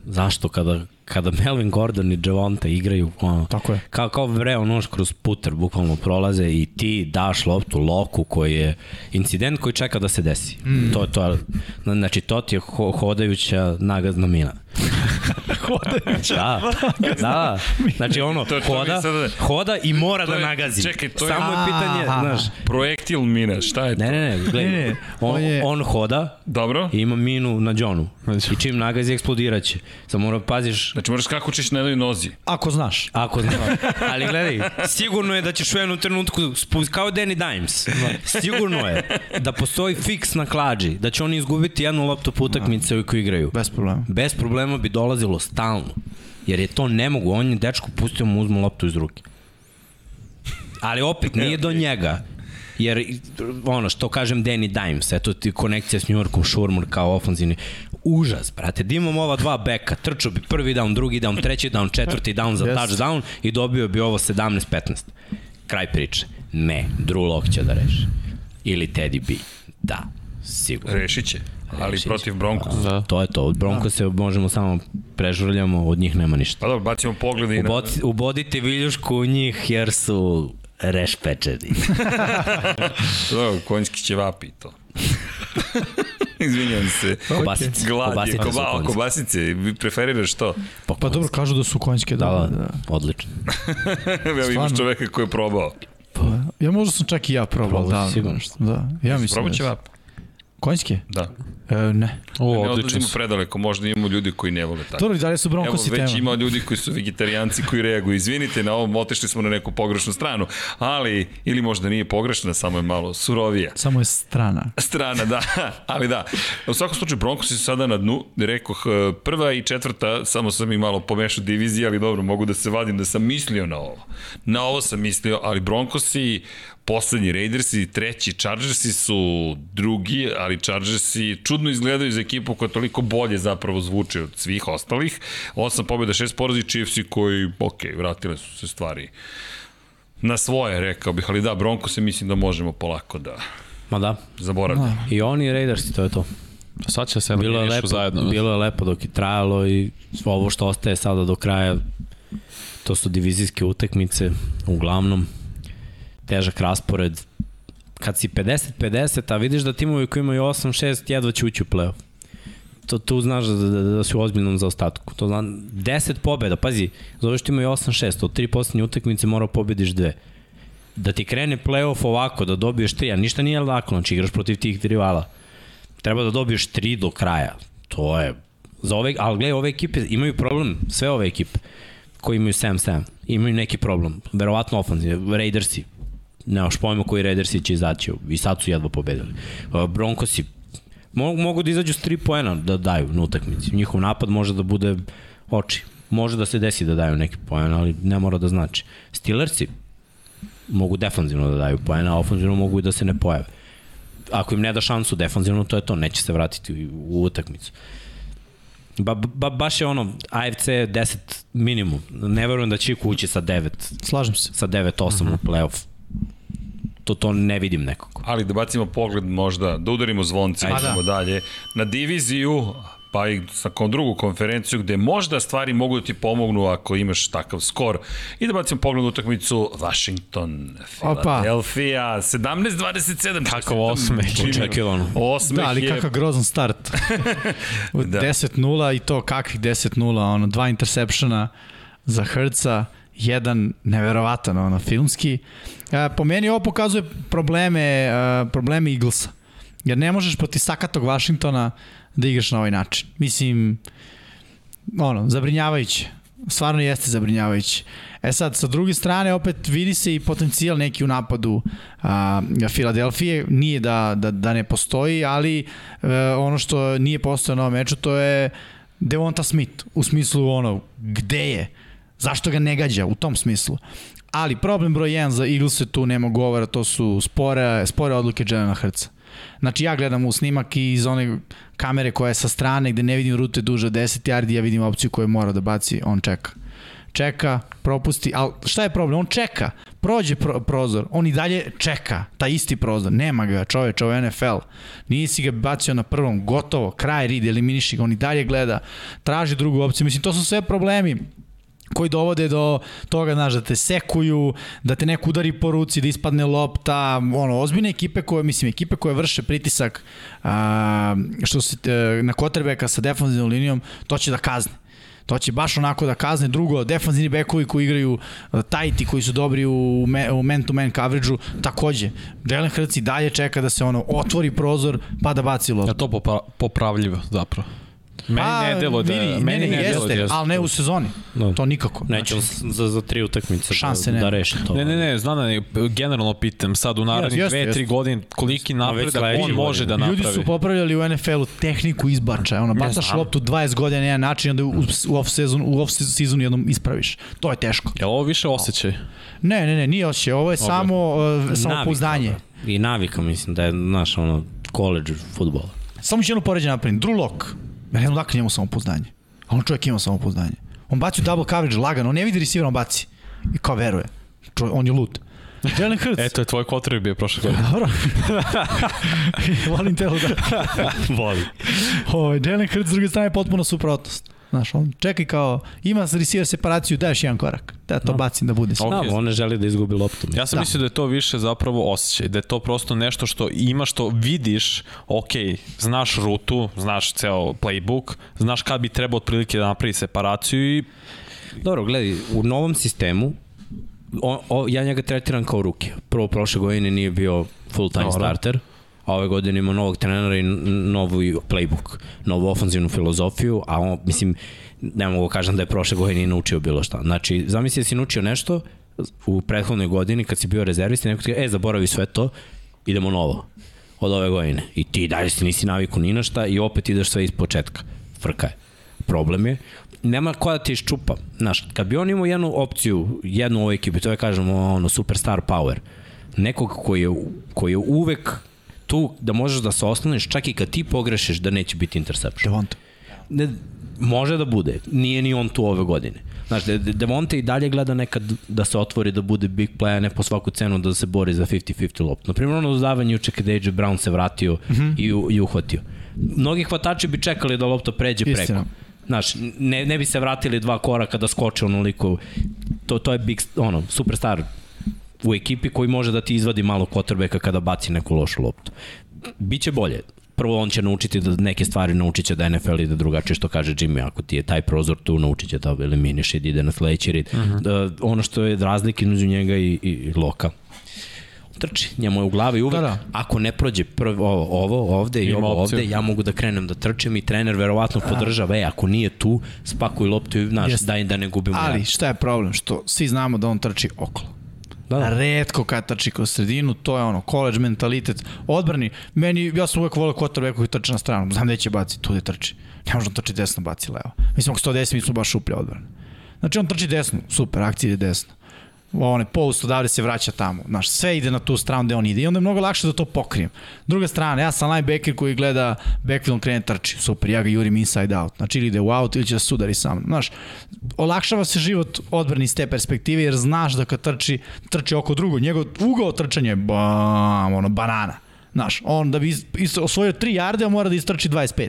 [SPEAKER 2] Zašto kada, kada Melvin Gordon i Javonta igraju ono,
[SPEAKER 3] Tako je.
[SPEAKER 2] kao, kao vreo nož kroz puter bukvalno prolaze i ti daš loptu loku koji je incident koji čeka da se desi. Mm. To, to, znači to ti je ho, hodajuća nagazna mina. hodajuća da, da, znači ono
[SPEAKER 1] To je- to mi
[SPEAKER 2] hoda,
[SPEAKER 1] sad-
[SPEAKER 2] hoda i mora
[SPEAKER 1] to
[SPEAKER 2] da
[SPEAKER 1] je-
[SPEAKER 2] nagazi.
[SPEAKER 1] čekaj, to je-
[SPEAKER 2] Samo je pitanje,
[SPEAKER 3] Aha.
[SPEAKER 2] znaš,
[SPEAKER 1] Projektil mina, šta je to?
[SPEAKER 2] ne, ne, ne, gledaj,
[SPEAKER 3] Ne, ne,
[SPEAKER 2] on,
[SPEAKER 3] on je-
[SPEAKER 2] on hoda
[SPEAKER 1] Dobro?
[SPEAKER 2] i ima minu na džonu.
[SPEAKER 4] Znači-
[SPEAKER 2] I čim nagazi eksplodiraće. Samo mora paziš
[SPEAKER 1] Znači moraš kako učiš na jednoj nozi.
[SPEAKER 3] Ako znaš.
[SPEAKER 2] Ako znaš. Ali gledaj, sigurno je da ćeš u jednom trenutku, spust, kao Danny Dimes, sigurno je da postoji fiks na klađi, da će oni izgubiti jednu loptu po utakmice koju igraju.
[SPEAKER 3] Bez problema.
[SPEAKER 2] Bez problema bi dolazilo stalno. Jer je to nemogu, on je dečko pustio mu uzmu loptu iz ruke. Ali opet nije do njega. Jer, ono, što kažem Danny Dimes, eto ti konekcija s New Yorkom, Šurmur kao ofanzivni, užas, brate, da imam ova dva beka, trčao bi prvi down, drugi down, treći down, četvrti down za
[SPEAKER 3] Yes.
[SPEAKER 2] touchdown i dobio bi ovo 17-15. Kraj priče. Ne, Drew Lock će da reši. Ili Teddy B. Da, sigurno.
[SPEAKER 1] Rešit će. Ali
[SPEAKER 2] Rešit će.
[SPEAKER 1] protiv Broncos.
[SPEAKER 4] Da.
[SPEAKER 2] To je to. Od Broncos se možemo samo prežurljamo, od njih nema ništa.
[SPEAKER 1] Pa dobro, bacimo pogled i na...
[SPEAKER 2] Ubod, ubodite viljušku u njih jer su rešpečeni.
[SPEAKER 1] Dobro, Da, konjski će vapi to. Izvinjam se.
[SPEAKER 2] Kobasice.
[SPEAKER 1] Glad je,
[SPEAKER 2] Kobasice su
[SPEAKER 1] koba,
[SPEAKER 2] konjske.
[SPEAKER 1] kobasice, vi preferiraš to?
[SPEAKER 3] Pa dobro, kažu da su konjske, da,
[SPEAKER 2] Da,
[SPEAKER 3] da, da.
[SPEAKER 2] odlično.
[SPEAKER 1] Evo imaš
[SPEAKER 3] Stvarno?
[SPEAKER 1] čoveka koji je probao.
[SPEAKER 3] Pa, Ja možda sam čak i ja probao,
[SPEAKER 2] Probao
[SPEAKER 3] da.
[SPEAKER 2] si sigurno što.
[SPEAKER 3] Da, ja mislim.
[SPEAKER 1] Probat će
[SPEAKER 3] da-
[SPEAKER 1] vap.
[SPEAKER 3] Konjske?
[SPEAKER 1] Da.
[SPEAKER 3] E, ne.
[SPEAKER 4] O,
[SPEAKER 1] ne
[SPEAKER 4] odličan
[SPEAKER 1] odlazimo
[SPEAKER 4] su.
[SPEAKER 1] predaleko, možda imamo ljudi koji ne vole tako.
[SPEAKER 3] Dobro, i dalje su
[SPEAKER 1] Evo,
[SPEAKER 3] Broncosi tema.
[SPEAKER 1] već ima ljudi koji su vegetarijanci koji reaguju. Izvinite, na ovom otešli smo na neku pogrešnu stranu. Ali, ili možda nije pogrešna, samo je malo surovija.
[SPEAKER 3] Samo je strana.
[SPEAKER 1] strana, da. Ali da, u svakom slučaju Broncosi su sada na dnu, rekoh e, prva i četvrta, samo sam i malo pomešao divizije, ali dobro, mogu da se vadim da sam mislio na ovo. Na ovo sam mislio, ali Broncosi, poslednji Raidersi, treći Chargersi su drugi, ali Chargersi čudno izgledaju za ekipu koja toliko bolje zapravo zvuče od svih ostalih. Osam pobjeda, šest porazi, Chiefsi koji, ok, vratile su se stvari na svoje, rekao bih, ali da, Broncose mislim da možemo polako da
[SPEAKER 2] Ma da,
[SPEAKER 1] zaboravimo.
[SPEAKER 2] i oni i Raiders, to je to.
[SPEAKER 4] Sad će da se
[SPEAKER 2] Bilo je
[SPEAKER 4] eliminišu
[SPEAKER 2] lepo,
[SPEAKER 4] zajedno.
[SPEAKER 2] bilo je lepo dok je trajalo i ovo što ostaje sada do kraja, to su divizijske utakmice, uglavnom, težak raspored. Kad si 50-50, a vidiš da timovi koji imaju 8-6, jedva će ući u play-off. To, tu znaš da, da, da si u ozbiljnom zaostatku. To znam, 10 pobjeda, pazi, zoveš ti imaju 8-6, od tri poslednje utakmice mora pobediš dve. Da ti krene play-off ovako, da dobiješ tri, a ništa nije lako, znači igraš protiv tih rivala treba da dobiješ tri do kraja. To je za ove, ali gledaj, ove ekipe imaju problem, sve ove ekipe koji imaju 7-7, imaju neki problem. Verovatno ofenziv, Raidersi, nemaš pojma koji Raidersi će izaći i sad su jedva pobedili. Uh, Broncosi, mogu, mogu da izađu s 3 poena da daju na utakmici. Njihov napad može da bude oči. Može da se desi da daju neki poen, ali ne mora da znači. Steelersi mogu defanzivno da daju poena, a ofanzivno mogu i da se ne pojave ako im ne da šansu defanzivno, to je to, neće se vratiti u, u utakmicu. Ba, ba, baš je ono, AFC 10 minimum. Ne verujem da će iko ući sa 9,
[SPEAKER 3] Slažem se.
[SPEAKER 2] sa 9-8 u play-off. To, to ne vidim nekako.
[SPEAKER 1] ali da bacimo pogled možda, da udarimo zvonce,
[SPEAKER 3] Ajde.
[SPEAKER 1] idemo
[SPEAKER 3] Pa
[SPEAKER 1] da. dalje, na diviziju, pa i sa kom drugu konferenciju gde možda stvari mogu da ti pomognu ako imaš takav skor. I da bacimo pogled u utakmicu Washington,
[SPEAKER 3] Opa.
[SPEAKER 1] Philadelphia, 17-27.
[SPEAKER 4] Kakav osmeh.
[SPEAKER 2] Očekivano.
[SPEAKER 1] Osmeh
[SPEAKER 3] Da, ali
[SPEAKER 1] je
[SPEAKER 3] kakav grozan start. U
[SPEAKER 1] Da.
[SPEAKER 3] 10-0 i to kakvih 10-0, ono, dva intersepšena za Hrca, jedan neverovatan, ono, filmski. E, po meni ovo pokazuje probleme, e, probleme Eaglesa. Jer ne možeš protiv sakatog Washingtona da igraš na ovaj način. Mislim, ono, zabrinjavajuće. Stvarno jeste zabrinjavajuće. E sad, sa druge strane, opet vidi se i potencijal neki u napadu a, Filadelfije. Nije da, da, da ne postoji, ali e, ono što nije postojao na ovom meču, to je Devonta Smith. U smislu ono, gde je? Zašto ga ne gađa? U tom smislu. Ali problem broj 1 za Eagles je tu nema govora, to su spore, spore odluke Jelena Hrca. Znači ja gledam u snimak i iz one kamere koja je sa strane gde ne vidim rute duže od 10 yardi, ja vidim opciju koju mora da baci, on čeka. Čeka, propusti, ali šta je problem? On čeka, prođe pro, prozor, on i dalje čeka, taj isti prozor, nema ga čoveč, ovo je NFL, nisi ga bacio na prvom, gotovo, kraj rid, eliminiši ga, on i dalje gleda, traži drugu opciju, mislim to su sve problemi koji dovode do toga, znaš, da te sekuju, da te neko udari po ruci, da ispadne lopta, ono, ozbiljne ekipe koje, mislim, ekipe koje vrše pritisak a, što se, e, na kotrbeka sa defanzivnom linijom, to će da kazne. To će baš onako da kazne. Drugo, defanzivni bekovi koji igraju e, tajti, koji su dobri u, me, u man-to-man coverage-u, takođe. Jalen Hrci dalje čeka da se ono otvori prozor pa da baci loptu.
[SPEAKER 4] Ja to popra popravljivo zapravo. Meni
[SPEAKER 3] Pa,
[SPEAKER 4] ne delo da...
[SPEAKER 3] vidi,
[SPEAKER 4] meni ne, delo da
[SPEAKER 3] jeste,
[SPEAKER 4] jeste.
[SPEAKER 3] ali ne u sezoni.
[SPEAKER 2] Da.
[SPEAKER 3] To nikako. Znači,
[SPEAKER 2] Neće on s- za, za tri utakmice
[SPEAKER 3] Šanse
[SPEAKER 2] da,
[SPEAKER 3] nema.
[SPEAKER 2] da reši to.
[SPEAKER 4] Ne, ne, ne, znam da ne, generalno pitam sad u narednih
[SPEAKER 3] Jeste,
[SPEAKER 4] dve,
[SPEAKER 3] jeste.
[SPEAKER 4] tri godine koliki
[SPEAKER 2] već
[SPEAKER 4] napredak
[SPEAKER 2] sledeće
[SPEAKER 4] on može da
[SPEAKER 2] godine.
[SPEAKER 4] napravi.
[SPEAKER 3] Ljudi su popravljali u NFL-u tehniku izbačaja, ono, bacaš
[SPEAKER 4] znam.
[SPEAKER 3] loptu 20 godina na jedan način, onda u, u off-season u off season jednom ispraviš. To je teško.
[SPEAKER 4] Jel ovo više osjećaj?
[SPEAKER 3] Ne, ne, ne, nije osjećaj, ovo je samo, uh, samo
[SPEAKER 2] Navika,
[SPEAKER 3] pouzdanje.
[SPEAKER 2] da. I navika, mislim, da je, znaš, ono, college futbola.
[SPEAKER 3] Samo ću jedno poređenje napravim. Drew Lock, ja ne znam dakle njemu samopouzdanje. A on čovjek ima samopouzdanje. On baci u double coverage lagano, on ne vidi receivera, on baci. I kao veruje. Čo, on je lud. Jalen Hurts.
[SPEAKER 4] E, to je tvoj kotrvi bio prošle godine.
[SPEAKER 3] Dobro. Volim telo da.
[SPEAKER 2] Voli.
[SPEAKER 3] Ovaj Jalen Hurts s druge strane je potpuno suprotnost. Znaš, on čeka kao, ima receiver separaciju, daješ jedan korak. Da, to no. bacim da bude.
[SPEAKER 4] Ok.
[SPEAKER 2] Okay. on ne želi da izgubi loptu.
[SPEAKER 4] Ja sam da.
[SPEAKER 3] Da.
[SPEAKER 4] mislio da je to više zapravo osjećaj, da je to prosto nešto što ima, što vidiš, ok, znaš rutu, znaš ceo playbook, znaš kad bi trebao otprilike da napravi separaciju i
[SPEAKER 2] Dobro, gledaj, u novom sistemu o, o, ja njega tretiram kao ruke. Prvo, prošle godine nije bio full time
[SPEAKER 4] Dobro.
[SPEAKER 2] starter, a ove godine ima novog trenera i n- novu playbook, novu ofanzivnu filozofiju, a on, mislim, ne mogu kažem da je prošle godine i naučio bilo šta. Znači, zamisli da si naučio nešto u prethodnoj godini kad si bio rezervist i neko ti kaže, e, zaboravi sve to, idemo novo od ove godine. I ti dalje si nisi naviku ni na šta i opet ideš sve iz početka. Frka je. Problem je, nema ko da te iščupa. Znaš, kad bi on imao jednu opciju, jednu u ovoj ekipi, to je kažemo ono, superstar power, nekog koji je, koji je uvek tu da možeš da se osloniš, čak i kad ti pogrešiš da neće biti interception
[SPEAKER 3] Devonta.
[SPEAKER 2] ne, može da bude, nije ni on tu ove godine. Znaš, De- De- Devonte i dalje gleda nekad da se otvori, da bude big play, a ne po svaku cenu da se bori za 50-50 loptu. Naprimjer, ono dodavanje juče kada je AJ Brown se vratio mm -hmm. i, u- i uhvatio. mnogi hvatači bi čekali da lopta pređe Istina. preko. Znaš, ne, ne bi se vratili dva koraka da skoče onoliko. To, to je big, ono, superstar u ekipi koji može da ti izvadi malo quarterbacka kada baci neku lošu loptu. Biće bolje. Prvo on će naučiti da neke stvari naučit će da NFL ide drugačije što kaže Jimmy, ako ti je taj prozor tu naučit će da eliminiš i da ide na sledeći red. Uh -huh. da, ono što je razlika između njega i, i, i Loka trči, njemu je u glavi uvek, da, da. ako ne prođe prvo ovo, ovo ovde i Ima ovo opciju. ovde, ja mogu da krenem da trčim i trener verovatno podržava, e, ako nije tu, spakuj loptu i znaš, yes. daj da ne gubimo.
[SPEAKER 3] Ali ja. šta je problem? Što svi znamo da on trči okolo. Da, da. Redko kad trči kroz sredinu, to je ono, koleđ mentalitet, odbrani. Meni, ja sam uvek volio quarterback koji trči na stranu, znam gde će baci, tu gde trči. Ne možda trči desno, baci levo. Mislim, ako 110, mi smo baš uplja odbrane. Znači, on trči desno, super, akcija ide desno one post odavde se vraća tamo. Znaš, sve ide na tu stranu gde on ide i onda je mnogo lakše da to pokrijem. Druga strana, ja sam linebacker koji gleda backfield krene da trči, super, ja ga jurim inside out. Znači ili ide u out ili će da sudari sa mnom. Znaš, olakšava se život odbrani iz te perspektive jer znaš da kad trči, trči oko drugo. Njegov ugao trčanja je bam, ono, banana. Znaš, on da bi is, is, osvojio 3 jarde, on mora da istrči 25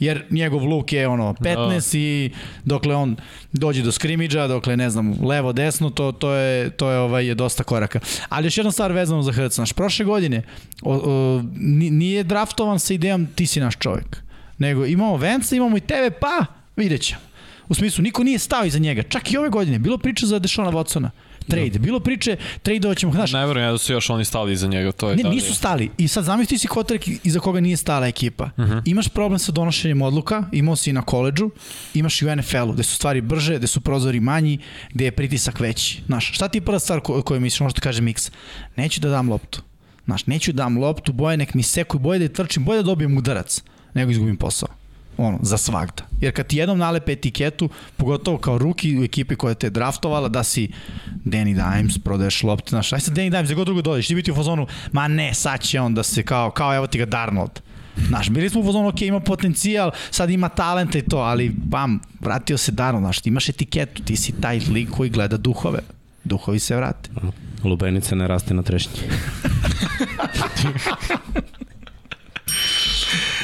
[SPEAKER 3] jer njegov luk je ono 15 da. i dokle on dođe do skrimidža, dokle ne znam levo desno, to to je to je ovaj je dosta koraka. Ali još jedna stvar vezano za Hertz, naš prošle godine o, o, nije draftovan sa idejom ti si naš čovjek, nego imamo Venca, imamo i tebe, pa videćemo. U smislu, niko nije stao iza njega. Čak i ove godine. Bilo priča za Dešona Watsona trade. Bilo priče, tradeovat ćemo, znaš.
[SPEAKER 4] Ne verujem ja da su još oni stali iza njega, to je da
[SPEAKER 3] Ne, nisu stali. I sad zamisli si kotrek iza koga nije stala ekipa. Uh
[SPEAKER 4] Mhm.
[SPEAKER 3] -huh. Imaš problem sa donošenjem odluka, imao si i na koleđžu, imaš i u NFL-u, gde su stvari brže, gde su prozori manji, gde je pritisak veći. Znaš, šta ti je prva stvar ko koju misliš, možda kaže Miks? Neću da dam loptu. Znaš, neću da dam loptu, boje nek mi sekuj, boje da je trčim, boje da dobijem udarac, nego izgubim posao ono, za svagda. Jer kad ti jednom nalepe etiketu, pogotovo kao ruki u ekipi koja te je draftovala, da si Danny Dimes, prodaješ lopte, znaš, aj sad Danny Dimes, da god drugo dođeš, ti biti u fazonu, ma ne, sad će on da se kao, kao evo ti ga Darnold. Znaš, bili smo u fazonu, ok, ima potencijal, sad ima talenta i to, ali bam, vratio se Darnold, znaš, ti imaš etiketu, ti si taj lik koji gleda duhove. Duhovi se vrate.
[SPEAKER 2] Lubenica ne raste na trešnji.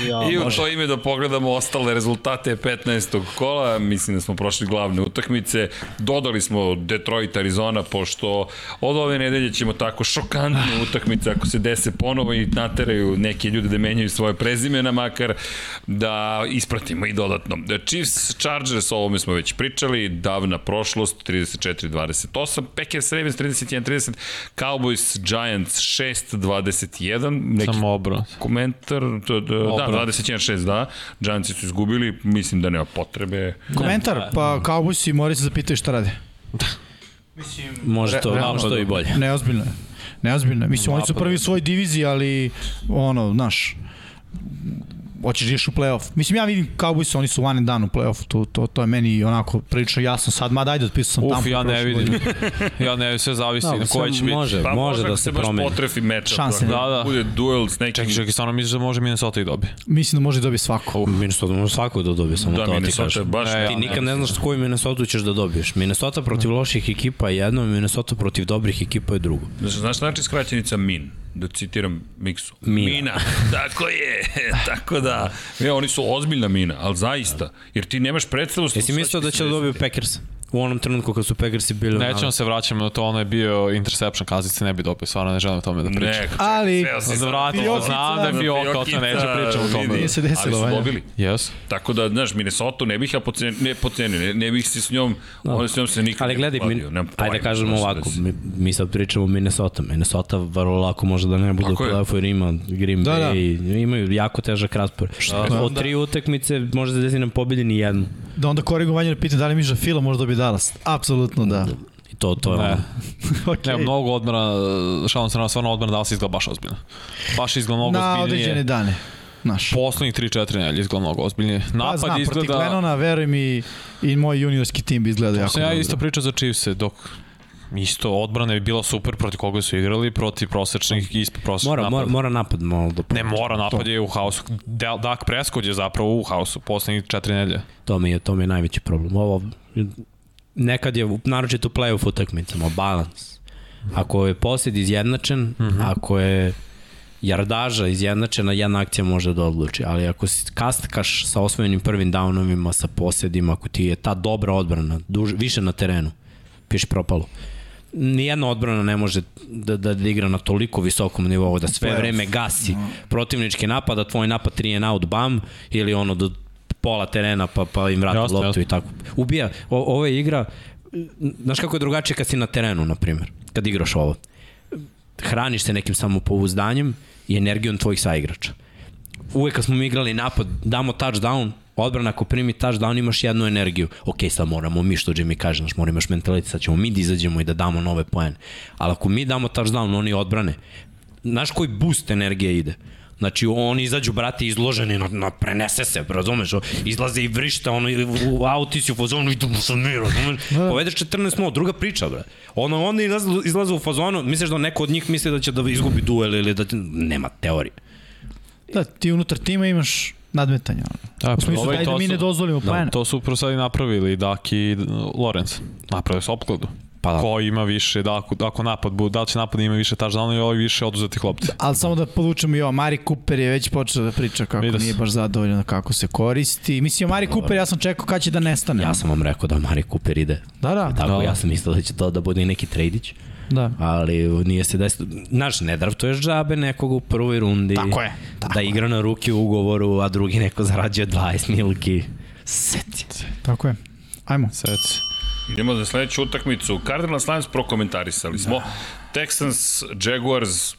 [SPEAKER 1] Ja, I u to ime da pogledamo ostale rezultate 15. kola, mislim da smo prošli glavne utakmice, dodali smo Detroit, Arizona, pošto od ove nedelje ćemo tako šokantne utakmice, ako se dese ponovo i nateraju neke ljude da menjaju svoje prezimena, makar da ispratimo i dodatno. Chiefs, Chargers, o ovome smo već pričali, davna prošlost, 34-28, Packers, Ravens, 31-30, Cowboys, Giants, 6-21, neki
[SPEAKER 4] Samo obrat.
[SPEAKER 1] komentar, da, da, da 21-6, da. Giantsi su izgubili, mislim da nema potrebe.
[SPEAKER 3] Komentar, pa Cowboys i Morris zapitaju šta rade.
[SPEAKER 2] Mislim, Može to, malo što i
[SPEAKER 1] da.
[SPEAKER 2] bolje.
[SPEAKER 3] Neozbiljno je. Neozbiljno je. Mislim, oni su prvi u svojoj diviziji, ali ono, znaš, hoćeš da ideš u play-off. Mislim, ja vidim Cowboys, oni su one and done u play-offu, to, to, to je meni onako prilično jasno sad, da mada ajde, otpisao sam
[SPEAKER 4] Uf,
[SPEAKER 3] tamo.
[SPEAKER 4] ja ne vidim. ja ne vidim, sve zavisi da, na koje će biti.
[SPEAKER 2] Može,
[SPEAKER 1] Pa
[SPEAKER 2] može
[SPEAKER 1] možda
[SPEAKER 2] da
[SPEAKER 1] ako se
[SPEAKER 2] se
[SPEAKER 1] baš
[SPEAKER 2] promeni.
[SPEAKER 1] potrefi meč,
[SPEAKER 3] Šanse
[SPEAKER 1] da,
[SPEAKER 3] nema.
[SPEAKER 1] da. bude duel s nekim...
[SPEAKER 4] Čekaj, čekaj, stvarno misliš da može Minnesota i dobije.
[SPEAKER 3] Mislim da može dobiti svako.
[SPEAKER 2] Minnesota može svako da dobije, samo
[SPEAKER 1] Da,
[SPEAKER 2] to ti
[SPEAKER 1] Minnesota
[SPEAKER 2] kažem.
[SPEAKER 1] je baš...
[SPEAKER 4] E,
[SPEAKER 2] Ti nikad ne znaš koju Minnesota ćeš da dobiješ. Minnesota
[SPEAKER 1] Da.
[SPEAKER 2] protiv loših ekipa je jedno, Minnesota protiv dobrih ekipa je drugo.
[SPEAKER 1] Znaš, znaš znači skraćenica min? Da citiram Miksu.
[SPEAKER 2] Mina.
[SPEAKER 1] Mina. Tako je. Tako da. Ja, oni su ozbiljna mina, ali zaista. Jer ti nemaš predstavu...
[SPEAKER 2] Jesi mislio da će da dobiju Packers? U onom trenutku kad su Packersi bili... u
[SPEAKER 4] Nećemo
[SPEAKER 2] naletu.
[SPEAKER 4] se vraćamo na to, ono je bio interception kaznice, ne bi dobio, stvarno ne želim o tome da pričam.
[SPEAKER 1] Ne,
[SPEAKER 3] Ali-
[SPEAKER 4] Zvratimo,
[SPEAKER 3] Fiokica.
[SPEAKER 4] znam da je bio kao to neću pričam o tome. da.
[SPEAKER 3] Nije se desilo,
[SPEAKER 1] Da, Ali su
[SPEAKER 3] valjda.
[SPEAKER 1] dobili.
[SPEAKER 4] Yes.
[SPEAKER 1] Tako da, znaš, Minnesota ne bih ja pocenio, ne pocenio, ne, ne bih se s njom, da. ona s njom se nikad
[SPEAKER 2] Ali gledaj,
[SPEAKER 1] ne
[SPEAKER 2] mi,
[SPEAKER 1] pokladio. nemam pojma
[SPEAKER 2] ajde da kažemo
[SPEAKER 1] šta se
[SPEAKER 2] ovako,
[SPEAKER 1] desi.
[SPEAKER 2] mi, mi sad pričamo o Minnesota. Minnesota vrlo lako može da ne bude u
[SPEAKER 1] Tako je.
[SPEAKER 2] play-offu jer ima Green
[SPEAKER 3] Da,
[SPEAKER 2] da,
[SPEAKER 3] da.
[SPEAKER 2] Bay, da. imaju jako težak raspor. Da, Od tri utakmice može da desi nam pobedi ni jednu.
[SPEAKER 3] Da onda Korigo Vanjer pita da li misliš da Fila može dobiti Dallas. Apsolutno da.
[SPEAKER 2] I to, to je
[SPEAKER 4] Ne.
[SPEAKER 2] ono.
[SPEAKER 3] okay.
[SPEAKER 4] Ne, mnogo odmora, šalim se na stvarno odmora da se izgleda baš ozbiljno. Baš izgleda mnogo
[SPEAKER 3] Na određene
[SPEAKER 4] ozbiljnije.
[SPEAKER 3] dane. Naš.
[SPEAKER 4] Poslednjih 3-4 nedelje izgleda mnogo ozbiljnije.
[SPEAKER 3] Pa
[SPEAKER 4] Napad
[SPEAKER 3] znam, protiv
[SPEAKER 4] izgleda...
[SPEAKER 3] Glenona, verujem i, i moj juniorski tim bi izgledao jako
[SPEAKER 4] Sam ja
[SPEAKER 3] dobro.
[SPEAKER 4] isto pričao za Chiefs-e, dok isto odbrana je bila super protiv koga su igrali, protiv prosečnih i ispod prosečnih
[SPEAKER 2] Mora, mora,
[SPEAKER 4] napada.
[SPEAKER 2] mora napad malo da...
[SPEAKER 4] Ne mora, napad je u haosu. Del- Dak Prescott je zapravo u haosu poslednjih četiri nedelje.
[SPEAKER 2] To mi je, to mi je najveći problem. Ovo, nekad je, naročito u
[SPEAKER 1] Mhm.
[SPEAKER 2] play-off utakmicama, balans. Ako je posjed izjednačen, ako je jardaža izjednačena, jedna akcija može da odluči, ali ako si kastkaš sa osvojenim prvim downovima, sa posjedima, ako ti je ta dobra odbrana, duž, više na terenu, piš propalo. Nijedna odbrana ne može da, da, da igra na toliko visokom nivou, da sve vreme gasi protivnički napad, a tvoj napad 3 and out, bam, ili ono do pola terena pa, pa im vrati
[SPEAKER 4] Jasno,
[SPEAKER 2] loptu
[SPEAKER 4] jasno.
[SPEAKER 2] i tako. Ubija, o, ovo je igra, znaš kako je drugačije kad si na terenu, na primjer, kad igraš ovo hraniš se nekim samopouzdanjem i energijom tvojih saigrača. Uvek kad smo mi igrali napad, damo touchdown, odbrana ako primi touchdown imaš jednu energiju. Ok, sad moramo mi što Jimmy kaže, znaš, moramo imaš mentalitet, sad ćemo mi da izađemo i da damo nove poene. Ali ako mi damo touchdown, oni odbrane. Znaš koji boost energije ide? Znači, oni izađu, brate, izloženi, na, na, prenese se, razumeš? o, Izlaze i vrišta, ono, i u, u auti si u fazonu, idemo sa mi, razumeš? Povedeš 14 0, druga priča, bre. Ono, oni izlaze, izlaze u fazonu, misliš da neko od njih misli da će da izgubi duel ili da... Nema teorije.
[SPEAKER 3] Da, ti unutar tima imaš nadmetanja.
[SPEAKER 4] Da,
[SPEAKER 3] Da, u smislu,
[SPEAKER 4] ovaj,
[SPEAKER 3] daj da
[SPEAKER 4] to
[SPEAKER 3] mi
[SPEAKER 4] su-
[SPEAKER 3] ne dozvolimo
[SPEAKER 4] Da,
[SPEAKER 3] pojene.
[SPEAKER 4] to su upravo sad i napravili Dak i Lorenz. Napravili su opkladu.
[SPEAKER 2] Pa da.
[SPEAKER 4] Ko ima više, da, ako, ako napad bude, da li će napad ima više touchdown ili ovi više oduzetih lopti.
[SPEAKER 3] Ali samo da podvučem i ovo, Mari Cooper je već počeo da priča kako
[SPEAKER 4] Vidio sam.
[SPEAKER 3] nije baš zadovoljno kako se koristi. Mislim, Mari Cooper, ja sam čekao kad će da nestane.
[SPEAKER 2] Ja sam vam rekao da Mari Cooper ide.
[SPEAKER 3] Da, da.
[SPEAKER 2] Tako,
[SPEAKER 4] Da.
[SPEAKER 2] ja sam mislio da će to da bude i neki trejdić,
[SPEAKER 3] Da.
[SPEAKER 2] ali nije se desilo. Znaš, ne draftuješ džabe nekog u prvoj rundi.
[SPEAKER 3] Tako je, tako
[SPEAKER 2] da igra na ruke u ugovoru, a drugi neko zarađuje 20 milki. Seti.
[SPEAKER 3] Tako je. Ajmo.
[SPEAKER 4] Sec.
[SPEAKER 1] Idemo za sledeću utakmicu. Cardinals Lions prokomentarisali smo.
[SPEAKER 2] Da.
[SPEAKER 1] Texans, Jaguars,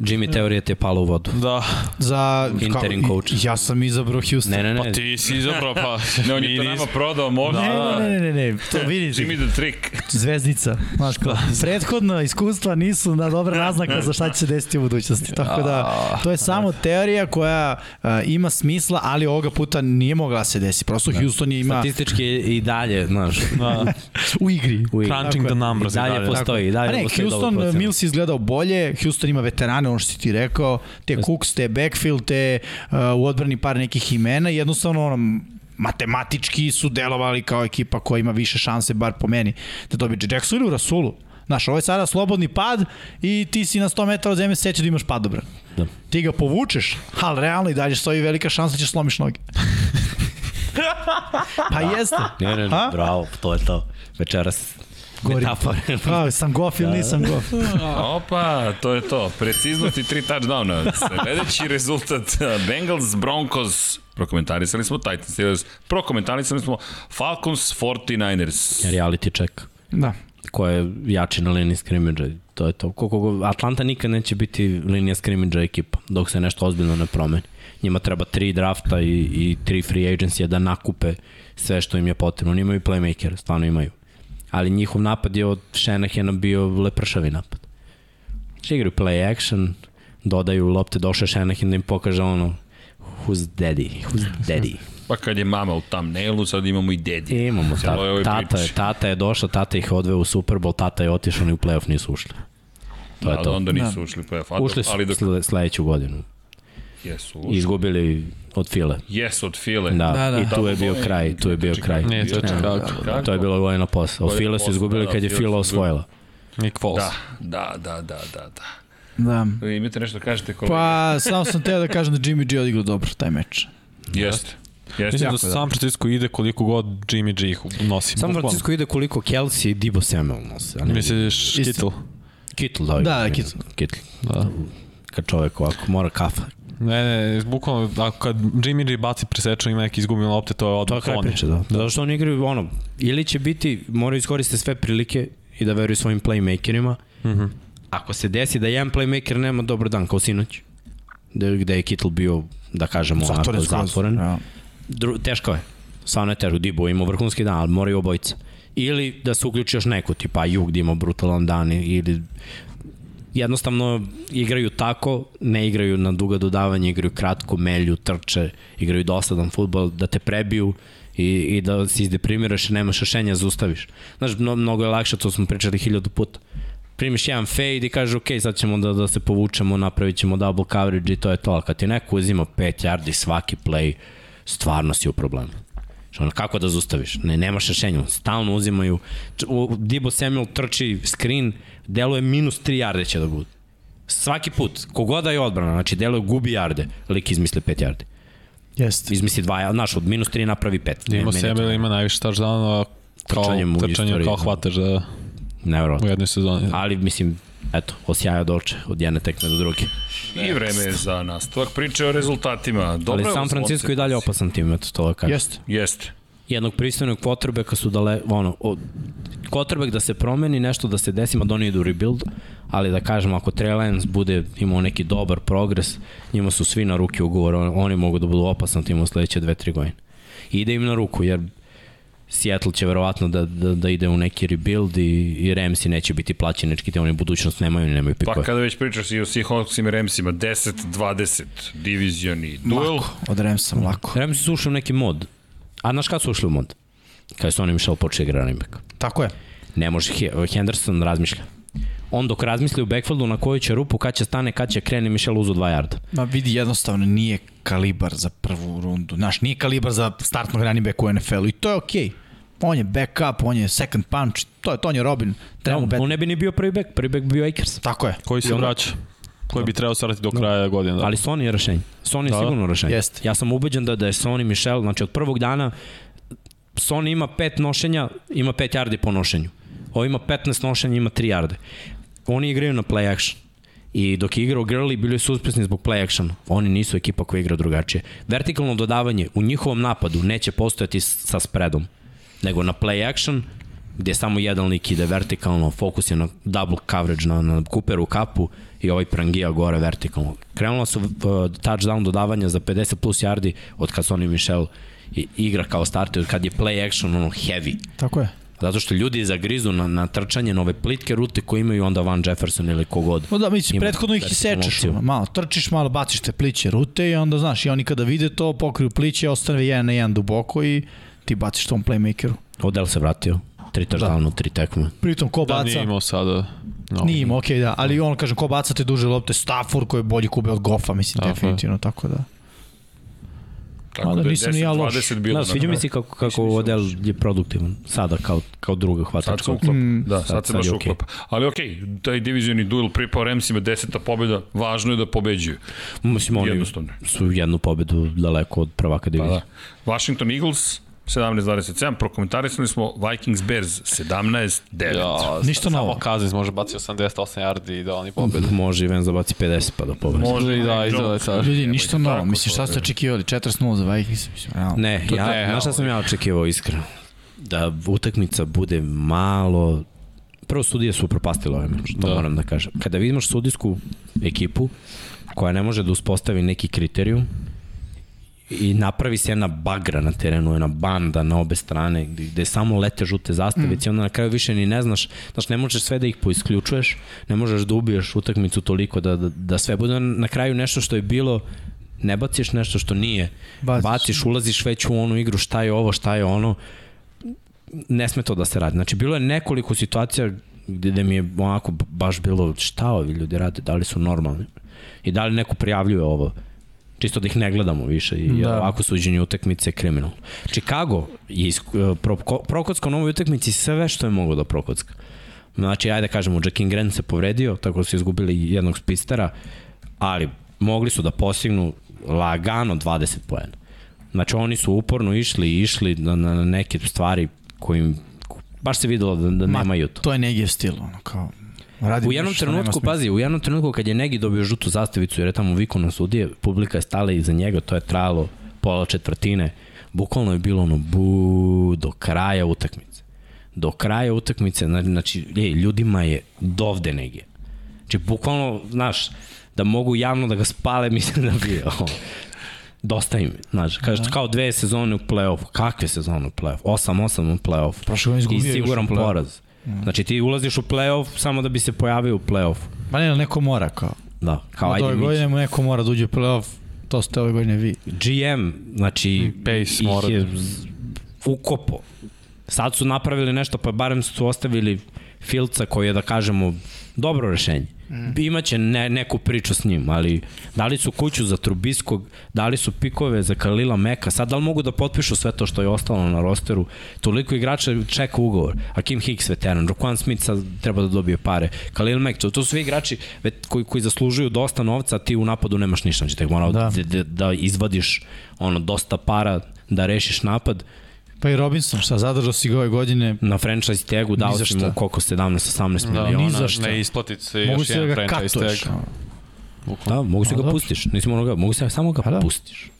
[SPEAKER 2] Jimmy Teorije te je palo u vodu.
[SPEAKER 4] Da,
[SPEAKER 3] Za...
[SPEAKER 2] Interim
[SPEAKER 3] kao-
[SPEAKER 2] coach.
[SPEAKER 3] Ja sam izabrao Houston.
[SPEAKER 2] Ne, ne, ne.
[SPEAKER 4] pa ti si izabrao, pa...
[SPEAKER 1] ne, on
[SPEAKER 4] mi
[SPEAKER 1] je to
[SPEAKER 4] nis-
[SPEAKER 1] nama prodao možda.
[SPEAKER 2] Da.
[SPEAKER 3] Ne, ne, ne, ne, ne, to vidiš.
[SPEAKER 1] Jimmy the Trick.
[SPEAKER 3] Zvezdica. Znaš, kao, prethodna iskustva nisu na dobra naznaka za šta će se desiti u budućnosti. Tako da, to je samo teorija koja a, ima smisla, ali ovoga puta nije mogla da se desi. Prosto Houston je ima
[SPEAKER 2] Statistički i dalje, znaš,
[SPEAKER 4] Da,
[SPEAKER 3] u igri.
[SPEAKER 2] u igri.
[SPEAKER 4] crunching the numbers
[SPEAKER 2] I dalje postoji. i dalje
[SPEAKER 3] A Pa ne,
[SPEAKER 2] postoji dobra
[SPEAKER 3] Houston,
[SPEAKER 2] procena.
[SPEAKER 3] Mills je izgledao bolje, Houston ima veterane, ono što si ti rekao, te Cooks, te backfield, te uh, u odbrani par nekih imena, i jednostavno ono, matematički su delovali kao ekipa koja ima više šanse, bar po meni, da dobije Jackson ili u Rasulu. Znaš, ovo je sada slobodni pad i ti si na 100 metara od zemlje seće da imaš padobran.
[SPEAKER 2] Da.
[SPEAKER 3] Ti ga povučeš, ali realno i dalje stoji velika šansa da ćeš slomiš noge. pa jeste.
[SPEAKER 2] Ne, ne, ne,
[SPEAKER 3] A?
[SPEAKER 2] bravo, to je to. Večeras
[SPEAKER 3] Gori.
[SPEAKER 2] metafore.
[SPEAKER 3] Pa, sam gof ili nisam gof.
[SPEAKER 2] Da.
[SPEAKER 1] Opa, to je to. Preciznost i tri touchdowna. Sledeći rezultat Bengals, Broncos, prokomentarisali smo Titans, Steelers, prokomentarisali smo Falcons, 49ers.
[SPEAKER 2] Reality check.
[SPEAKER 3] Da.
[SPEAKER 2] Ko je jači na liniji skrimidža. To je to. Koliko go, Atlanta nikad neće biti linija skrimidža ekipa, dok se nešto ozbiljno ne promeni. Njima treba tri drafta i, i tri free agencija da nakupe sve što im je potrebno. Oni imaju playmaker, stvarno imaju. Ali njihov napad je od Shanahana bio lepršavi napad. Znači igraju play action, dodaju lopte, došao je Shanahan da im pokaže ono who's daddy, who's daddy.
[SPEAKER 1] Pa kad je mama u thumbnailu, sad imamo i dedi.
[SPEAKER 2] E, Imamo
[SPEAKER 1] Cijelo je
[SPEAKER 2] tata,
[SPEAKER 1] ovoj
[SPEAKER 2] tata, je,
[SPEAKER 1] priči.
[SPEAKER 2] tata je došao, tata ih je odveo u Super Bowl, tata je otišao, oni u playoff nisu ušli. To je
[SPEAKER 1] Da, ali
[SPEAKER 2] to.
[SPEAKER 1] onda nisu ušli u playoff. A,
[SPEAKER 2] Ušli su
[SPEAKER 1] Ali dok
[SPEAKER 2] sle- sledeću godinu.
[SPEAKER 1] jesu ušli.
[SPEAKER 2] Izgubili od file.
[SPEAKER 1] Jesu od file. znači,
[SPEAKER 2] Da.
[SPEAKER 3] Da, da.
[SPEAKER 2] I tu je bio kraj, tu je bio kraj. Znači, da,
[SPEAKER 4] Nije to Chicago.
[SPEAKER 1] Kako?
[SPEAKER 2] To je bilo godina posla. Od
[SPEAKER 1] Godina
[SPEAKER 2] file su
[SPEAKER 1] posla,
[SPEAKER 2] izgubili
[SPEAKER 1] da,
[SPEAKER 2] kad je
[SPEAKER 1] Fila
[SPEAKER 2] fila
[SPEAKER 1] su
[SPEAKER 2] osvojila.
[SPEAKER 4] Nick Foles.
[SPEAKER 1] Da,
[SPEAKER 4] Da.
[SPEAKER 1] da, da, da, da, da.
[SPEAKER 3] Da.
[SPEAKER 1] Vi imate nešto da kažete kolega?
[SPEAKER 3] Pa, samo sam teo da kažem da Jimmy G odigrao dobro taj meč.
[SPEAKER 1] Jeste. Jeste.
[SPEAKER 4] Mislim
[SPEAKER 3] Jako
[SPEAKER 4] da
[SPEAKER 3] da.
[SPEAKER 4] San Francisco ide koliko god Jimmy G ih nosi.
[SPEAKER 2] San
[SPEAKER 4] bukvalno.
[SPEAKER 2] Francisco ide koliko Kelsey i Dibo Samuel nose. ali
[SPEAKER 4] Misliš
[SPEAKER 3] Isto.
[SPEAKER 4] Kittle?
[SPEAKER 2] Kittle da ovaj
[SPEAKER 3] Da,
[SPEAKER 2] primjer.
[SPEAKER 3] Kittle.
[SPEAKER 2] Kittle.
[SPEAKER 4] Da.
[SPEAKER 2] Kad čovek ovako mora kafa.
[SPEAKER 4] Ne, ne, bukvalno, ako kad Jimmy G baci presečan ima neki izgubljene lopte, to je odmah
[SPEAKER 2] Kraj
[SPEAKER 4] on.
[SPEAKER 2] priče, da. Zato što oni igraju ono, ili će biti, moraju iskoristiti sve prilike i da veruju svojim playmakerima.
[SPEAKER 4] Mhm.
[SPEAKER 2] Ako se desi da jedan playmaker nema dobar dan, kao sinoć, gde, gde je Kittle bio, da kažemo, onako zatvoren,
[SPEAKER 3] Ja.
[SPEAKER 2] Dru, teško je. Stvarno je teško. Dibo ima vrhunski dan, ali moraju obojica. Ili da se uključi još neko, tipa Jug da ima brutalan dan, ili jednostavno igraju tako, ne igraju na duga dodavanja, igraju kratko, melju, trče, igraju dosadan futbol, da te prebiju i, i da se izdeprimiraš i nemaš rešenja, zaustaviš. Znaš, mno, mnogo je lakše, to smo pričali hiljadu puta. Primiš jedan fade i kažeš, ok, sad ćemo da, da se povučemo, napravit ćemo double coverage i to je to, ali kad ti neko uzima 5 yardi svaki play, stvarno si u problemu. Što ono, kako da zustaviš? Ne, nemaš rešenja. Stalno uzimaju. Č- u- Debo Samuel trči screen, deluje minus 3 jarde će da bude. Svaki put, kogoda je odbrana, znači delo gubi jarde, lik izmisli 5 jarde.
[SPEAKER 3] Jeste.
[SPEAKER 2] Izmisli 2, znaš, od minus 3 napravi 5.
[SPEAKER 4] Ima sebe ili ima najviše touchdown, kao
[SPEAKER 2] Trčanjem u
[SPEAKER 4] trčanjem
[SPEAKER 2] istoriji,
[SPEAKER 4] kao
[SPEAKER 2] da.
[SPEAKER 4] hvataš da u
[SPEAKER 2] Nevjerojatno.
[SPEAKER 4] jednoj sezoni.
[SPEAKER 2] Ali, mislim, eto, osjaja dolče od jedne tekme do druge.
[SPEAKER 1] I vreme je za nastavak priče o rezultatima. Dobro,
[SPEAKER 2] Ali San Francisco je i dalje opasan tim, eto, to da kažem.
[SPEAKER 3] Jeste.
[SPEAKER 1] Jeste.
[SPEAKER 2] jednog pristojnog quarterbacka su dale, ono, od, quarterback da se promeni, nešto da se desi, da oni idu u rebuild, ali da kažem, ako Trey Lance bude imao neki dobar progres, njima su svi na ruke ugovor, on- oni mogu da budu opasan tim u sledeće dve, tri godine. I ide im na ruku, jer Seattle će verovatno da, da, da ide u neki rebuild i, i Ramsi neće biti plaćenički, te oni budućnost nemaju, ni nemaju pikove.
[SPEAKER 1] Pa kada već pričaš i o Seahawksima i Ramsima, 10-20 divizioni duel.
[SPEAKER 3] Lako. Od Ramsa, lako.
[SPEAKER 2] Ramsi su ušli u neki mod. A znaš kada su ušli u mod? Kada su oni Michelle počeli igra running back.
[SPEAKER 3] Tako je.
[SPEAKER 2] Ne može, He- Henderson razmišlja. On dok razmisli u backfieldu na koju će rupu, kad će stane, kad će krene, Michel uzu 2 jarda.
[SPEAKER 3] Ma vidi, jednostavno nije kalibar za prvu rundu. Znaš, nije kalibar za startnog running back u NFL-u i to je okej. Okay. On je backup, on je second punch, to je, to on je Robin. Treba mu bet.
[SPEAKER 2] On ne bi ni bio prvi back, prvi back bi bio Akers.
[SPEAKER 3] Tako je.
[SPEAKER 4] Koji se vraća? Koji bi trebao starati do kraja godine. Da.
[SPEAKER 2] Ali Sony je rešenje. Sony je
[SPEAKER 4] Da.
[SPEAKER 2] sigurno rešenje.
[SPEAKER 3] Jeste.
[SPEAKER 2] Ja sam ubeđen da, da je Sony Michel, znači od prvog dana Sony ima pet nošenja, ima pet jardi po nošenju. Ovo ima 15 nošenja, ima 3 jarde. Oni igraju na play action. I dok je igrao Gurley, bili su uspešni zbog play actiona. Oni nisu ekipa koja igra drugačije. Vertikalno dodavanje u njihovom napadu neće postojati s- sa spreadom, nego na play action, gde samo jedan lik ide vertikalno, fokus je na double coverage na, na Cooperu kapu i ovaj prangija gore vertikalno. Krenula su uh, touchdown dodavanja za 50 plus yardi od kad su oni Michel i- igra kao starter, od kad je play action ono heavy.
[SPEAKER 3] Tako je.
[SPEAKER 2] Zato što ljudi zagrizu na, na trčanje na ove plitke rute koje imaju onda Van Jefferson ili kogod.
[SPEAKER 3] No da, mi će,
[SPEAKER 2] Ima
[SPEAKER 3] prethodno ih i
[SPEAKER 2] vertikalnu
[SPEAKER 3] sečeš,
[SPEAKER 2] opciju.
[SPEAKER 3] ono, malo trčiš, malo baciš te pliće rute i onda, znaš, i oni kada vide to, pokriju pliće, ostane jedan na jedan duboko i ti baciš tom playmakeru.
[SPEAKER 2] Odel se vratio. Tri touchdowna, da. tri tekme.
[SPEAKER 3] Pritom, ko
[SPEAKER 4] Da,
[SPEAKER 3] baca?
[SPEAKER 4] nije imao sada. No.
[SPEAKER 3] Nije ima, okej, da, ali on, kažem, ko baca te duže lopte, Stafford koji je bolji kube od Goffa, mislim,
[SPEAKER 4] Tako je.
[SPEAKER 3] definitivno, tako da.
[SPEAKER 1] Tako
[SPEAKER 3] Mada
[SPEAKER 1] da je
[SPEAKER 3] nisam ni ja loš.
[SPEAKER 1] 10-20 bilo.
[SPEAKER 2] Da,
[SPEAKER 1] na
[SPEAKER 2] sviđa mi
[SPEAKER 1] kraju.
[SPEAKER 2] se kako, kako Odel je produktivan. Sada kao, kao druga
[SPEAKER 1] Sad se
[SPEAKER 2] hvatačka.
[SPEAKER 1] uklapa. da, sad,
[SPEAKER 2] sad-
[SPEAKER 1] se
[SPEAKER 2] sad
[SPEAKER 1] baš
[SPEAKER 2] je okej.
[SPEAKER 1] uklapa. Ali okej, taj divizioni duel pripao Ramsima, deseta pobjeda, važno je da pobeđuju.
[SPEAKER 2] Mislim, oni
[SPEAKER 1] Jednostavno.
[SPEAKER 2] su jednu pobedu daleko od prvaka
[SPEAKER 1] Pa
[SPEAKER 2] divizije.
[SPEAKER 1] da. Washington Eagles, 17-27, prokomentarisali smo Vikings Bears, 17-9. Ja.
[SPEAKER 3] Ništa
[SPEAKER 4] samo
[SPEAKER 3] novo.
[SPEAKER 4] Kazins može baci 88 yardi i da oni pobede.
[SPEAKER 2] Da. Može i Ven zabaci 50 pa da pobedi.
[SPEAKER 4] Može i da izgleda sad.
[SPEAKER 3] Ljudi, ništa novo,
[SPEAKER 1] tako
[SPEAKER 3] mislim,
[SPEAKER 1] to
[SPEAKER 3] šta ste očekivali, 4-0 za Vikings, mislim, realno.
[SPEAKER 2] Ne,
[SPEAKER 4] To-
[SPEAKER 2] ja,
[SPEAKER 4] ne,
[SPEAKER 2] znaš šta sam ja očekivao iskreno? Da utakmica bude malo... Prvo sudije su upropastile ovaj meč, to da.
[SPEAKER 4] Da.
[SPEAKER 2] moram da kažem. Kada vidimaš sudijsku ekipu koja ne može da uspostavi neki kriterijum i napravi se jedna bagra na terenu, jedna banda na obe strane gde, gde samo lete žute zastavice i onda na kraju više ni ne znaš, znaš ne možeš sve da ih poisključuješ, ne možeš da ubiješ utakmicu toliko da, da, da sve bude na kraju nešto što je bilo ne baciš nešto što nije,
[SPEAKER 3] Baciš.
[SPEAKER 2] baciš, baciš ulaziš već u onu igru šta je ovo, šta je ono, ne sme to da se radi. Znači, bilo je nekoliko situacija gde, gde mi je onako baš bilo šta ovi ljudi rade, da li su normalni i da li neko prijavljuje ovo. Čisto da ih ne gledamo više i da. ovako suđenje utakmice je kriminalno. Chicago je isk- e, pro, ko- prokockao na ovoj utakmici sve što je mogo da prokocka. Znači, ajde da kažemo, Jackin Grant se povredio, tako da su izgubili jednog spistera, ali mogli su da postignu lagano 20 poena. Znači, oni su uporno išli i išli na, na na neke stvari kojim baš se videlo da, da nemaju to.
[SPEAKER 3] To je negdje stil, ono, kao... Radi
[SPEAKER 2] U jednom trenutku, pazi, u jednom trenutku kad je Negi dobio žutu zastavicu jer je tamo vikao na sudije, publika je stala iza njega, to je trajalo pola četvrtine. Bukvalno je bilo ono bu do kraja utakmice. Do kraja utakmice, zna- znači, ej, ljudima je dovde Negi. Znači, bukvalno, znaš, da mogu javno da ga spale, mislim da bi ovo. Dosta im, je, znaš, kažeš
[SPEAKER 3] Da.
[SPEAKER 2] kao dve sezone u play-offu, kakve sezone u play-offu, 8-8 u play-offu.
[SPEAKER 3] Prošle godine izgubio
[SPEAKER 2] I
[SPEAKER 3] još
[SPEAKER 2] siguran
[SPEAKER 3] u play-offu. Mm.
[SPEAKER 2] poraz. Znači ti ulaziš u play-off samo da bi se pojavio u play-off.
[SPEAKER 3] Pa ne, ali neko mora, kao.
[SPEAKER 2] Da, kao
[SPEAKER 3] Od
[SPEAKER 2] ajde
[SPEAKER 3] ove
[SPEAKER 2] mi.
[SPEAKER 3] godine mu neko mora da uđe u playoff, to ste ove godine vi.
[SPEAKER 2] GM, znači
[SPEAKER 4] Pace
[SPEAKER 2] ih
[SPEAKER 4] mora
[SPEAKER 2] je z- ukopo. Sad su napravili nešto, pa barem su ostavili Filca koji je, da kažemo, dobro rešenje. Mm. Imaće ne, neku priču s njim, ali dali su kuću za Trubiskog, dali su pikove za Kalila Meka, sad da li mogu da potpišu sve to što je ostalo na rosteru? Toliko igrača čeka ugovor. Akim Hicks veteran, Roquan Smith sad treba da dobije pare, Kalil Mek, to, to su svi igrači vet- koji, koji zaslužuju dosta novca, a ti u napadu nemaš ništa, znači tek mora da.
[SPEAKER 3] Da.
[SPEAKER 2] Da, da izvadiš ono, dosta para da rešiš napad.
[SPEAKER 3] Pa i Robinson, šta, zadržao si ga ove godine,
[SPEAKER 2] Na franchise tagu dao
[SPEAKER 3] za
[SPEAKER 2] si mu
[SPEAKER 3] šta.
[SPEAKER 2] koliko 17-18 da,
[SPEAKER 4] Da,
[SPEAKER 2] miliona.
[SPEAKER 3] ni za šta.
[SPEAKER 4] Ne isplati se
[SPEAKER 3] mogu
[SPEAKER 4] još
[SPEAKER 3] si da
[SPEAKER 4] jedan
[SPEAKER 3] ga
[SPEAKER 4] franchise
[SPEAKER 3] katuješ.
[SPEAKER 4] tag.
[SPEAKER 2] Da, mogu se
[SPEAKER 3] A,
[SPEAKER 2] ga
[SPEAKER 3] dobro.
[SPEAKER 2] pustiš. Nisi morao ga, mogu se samo ga
[SPEAKER 3] A, da.
[SPEAKER 2] pustiš.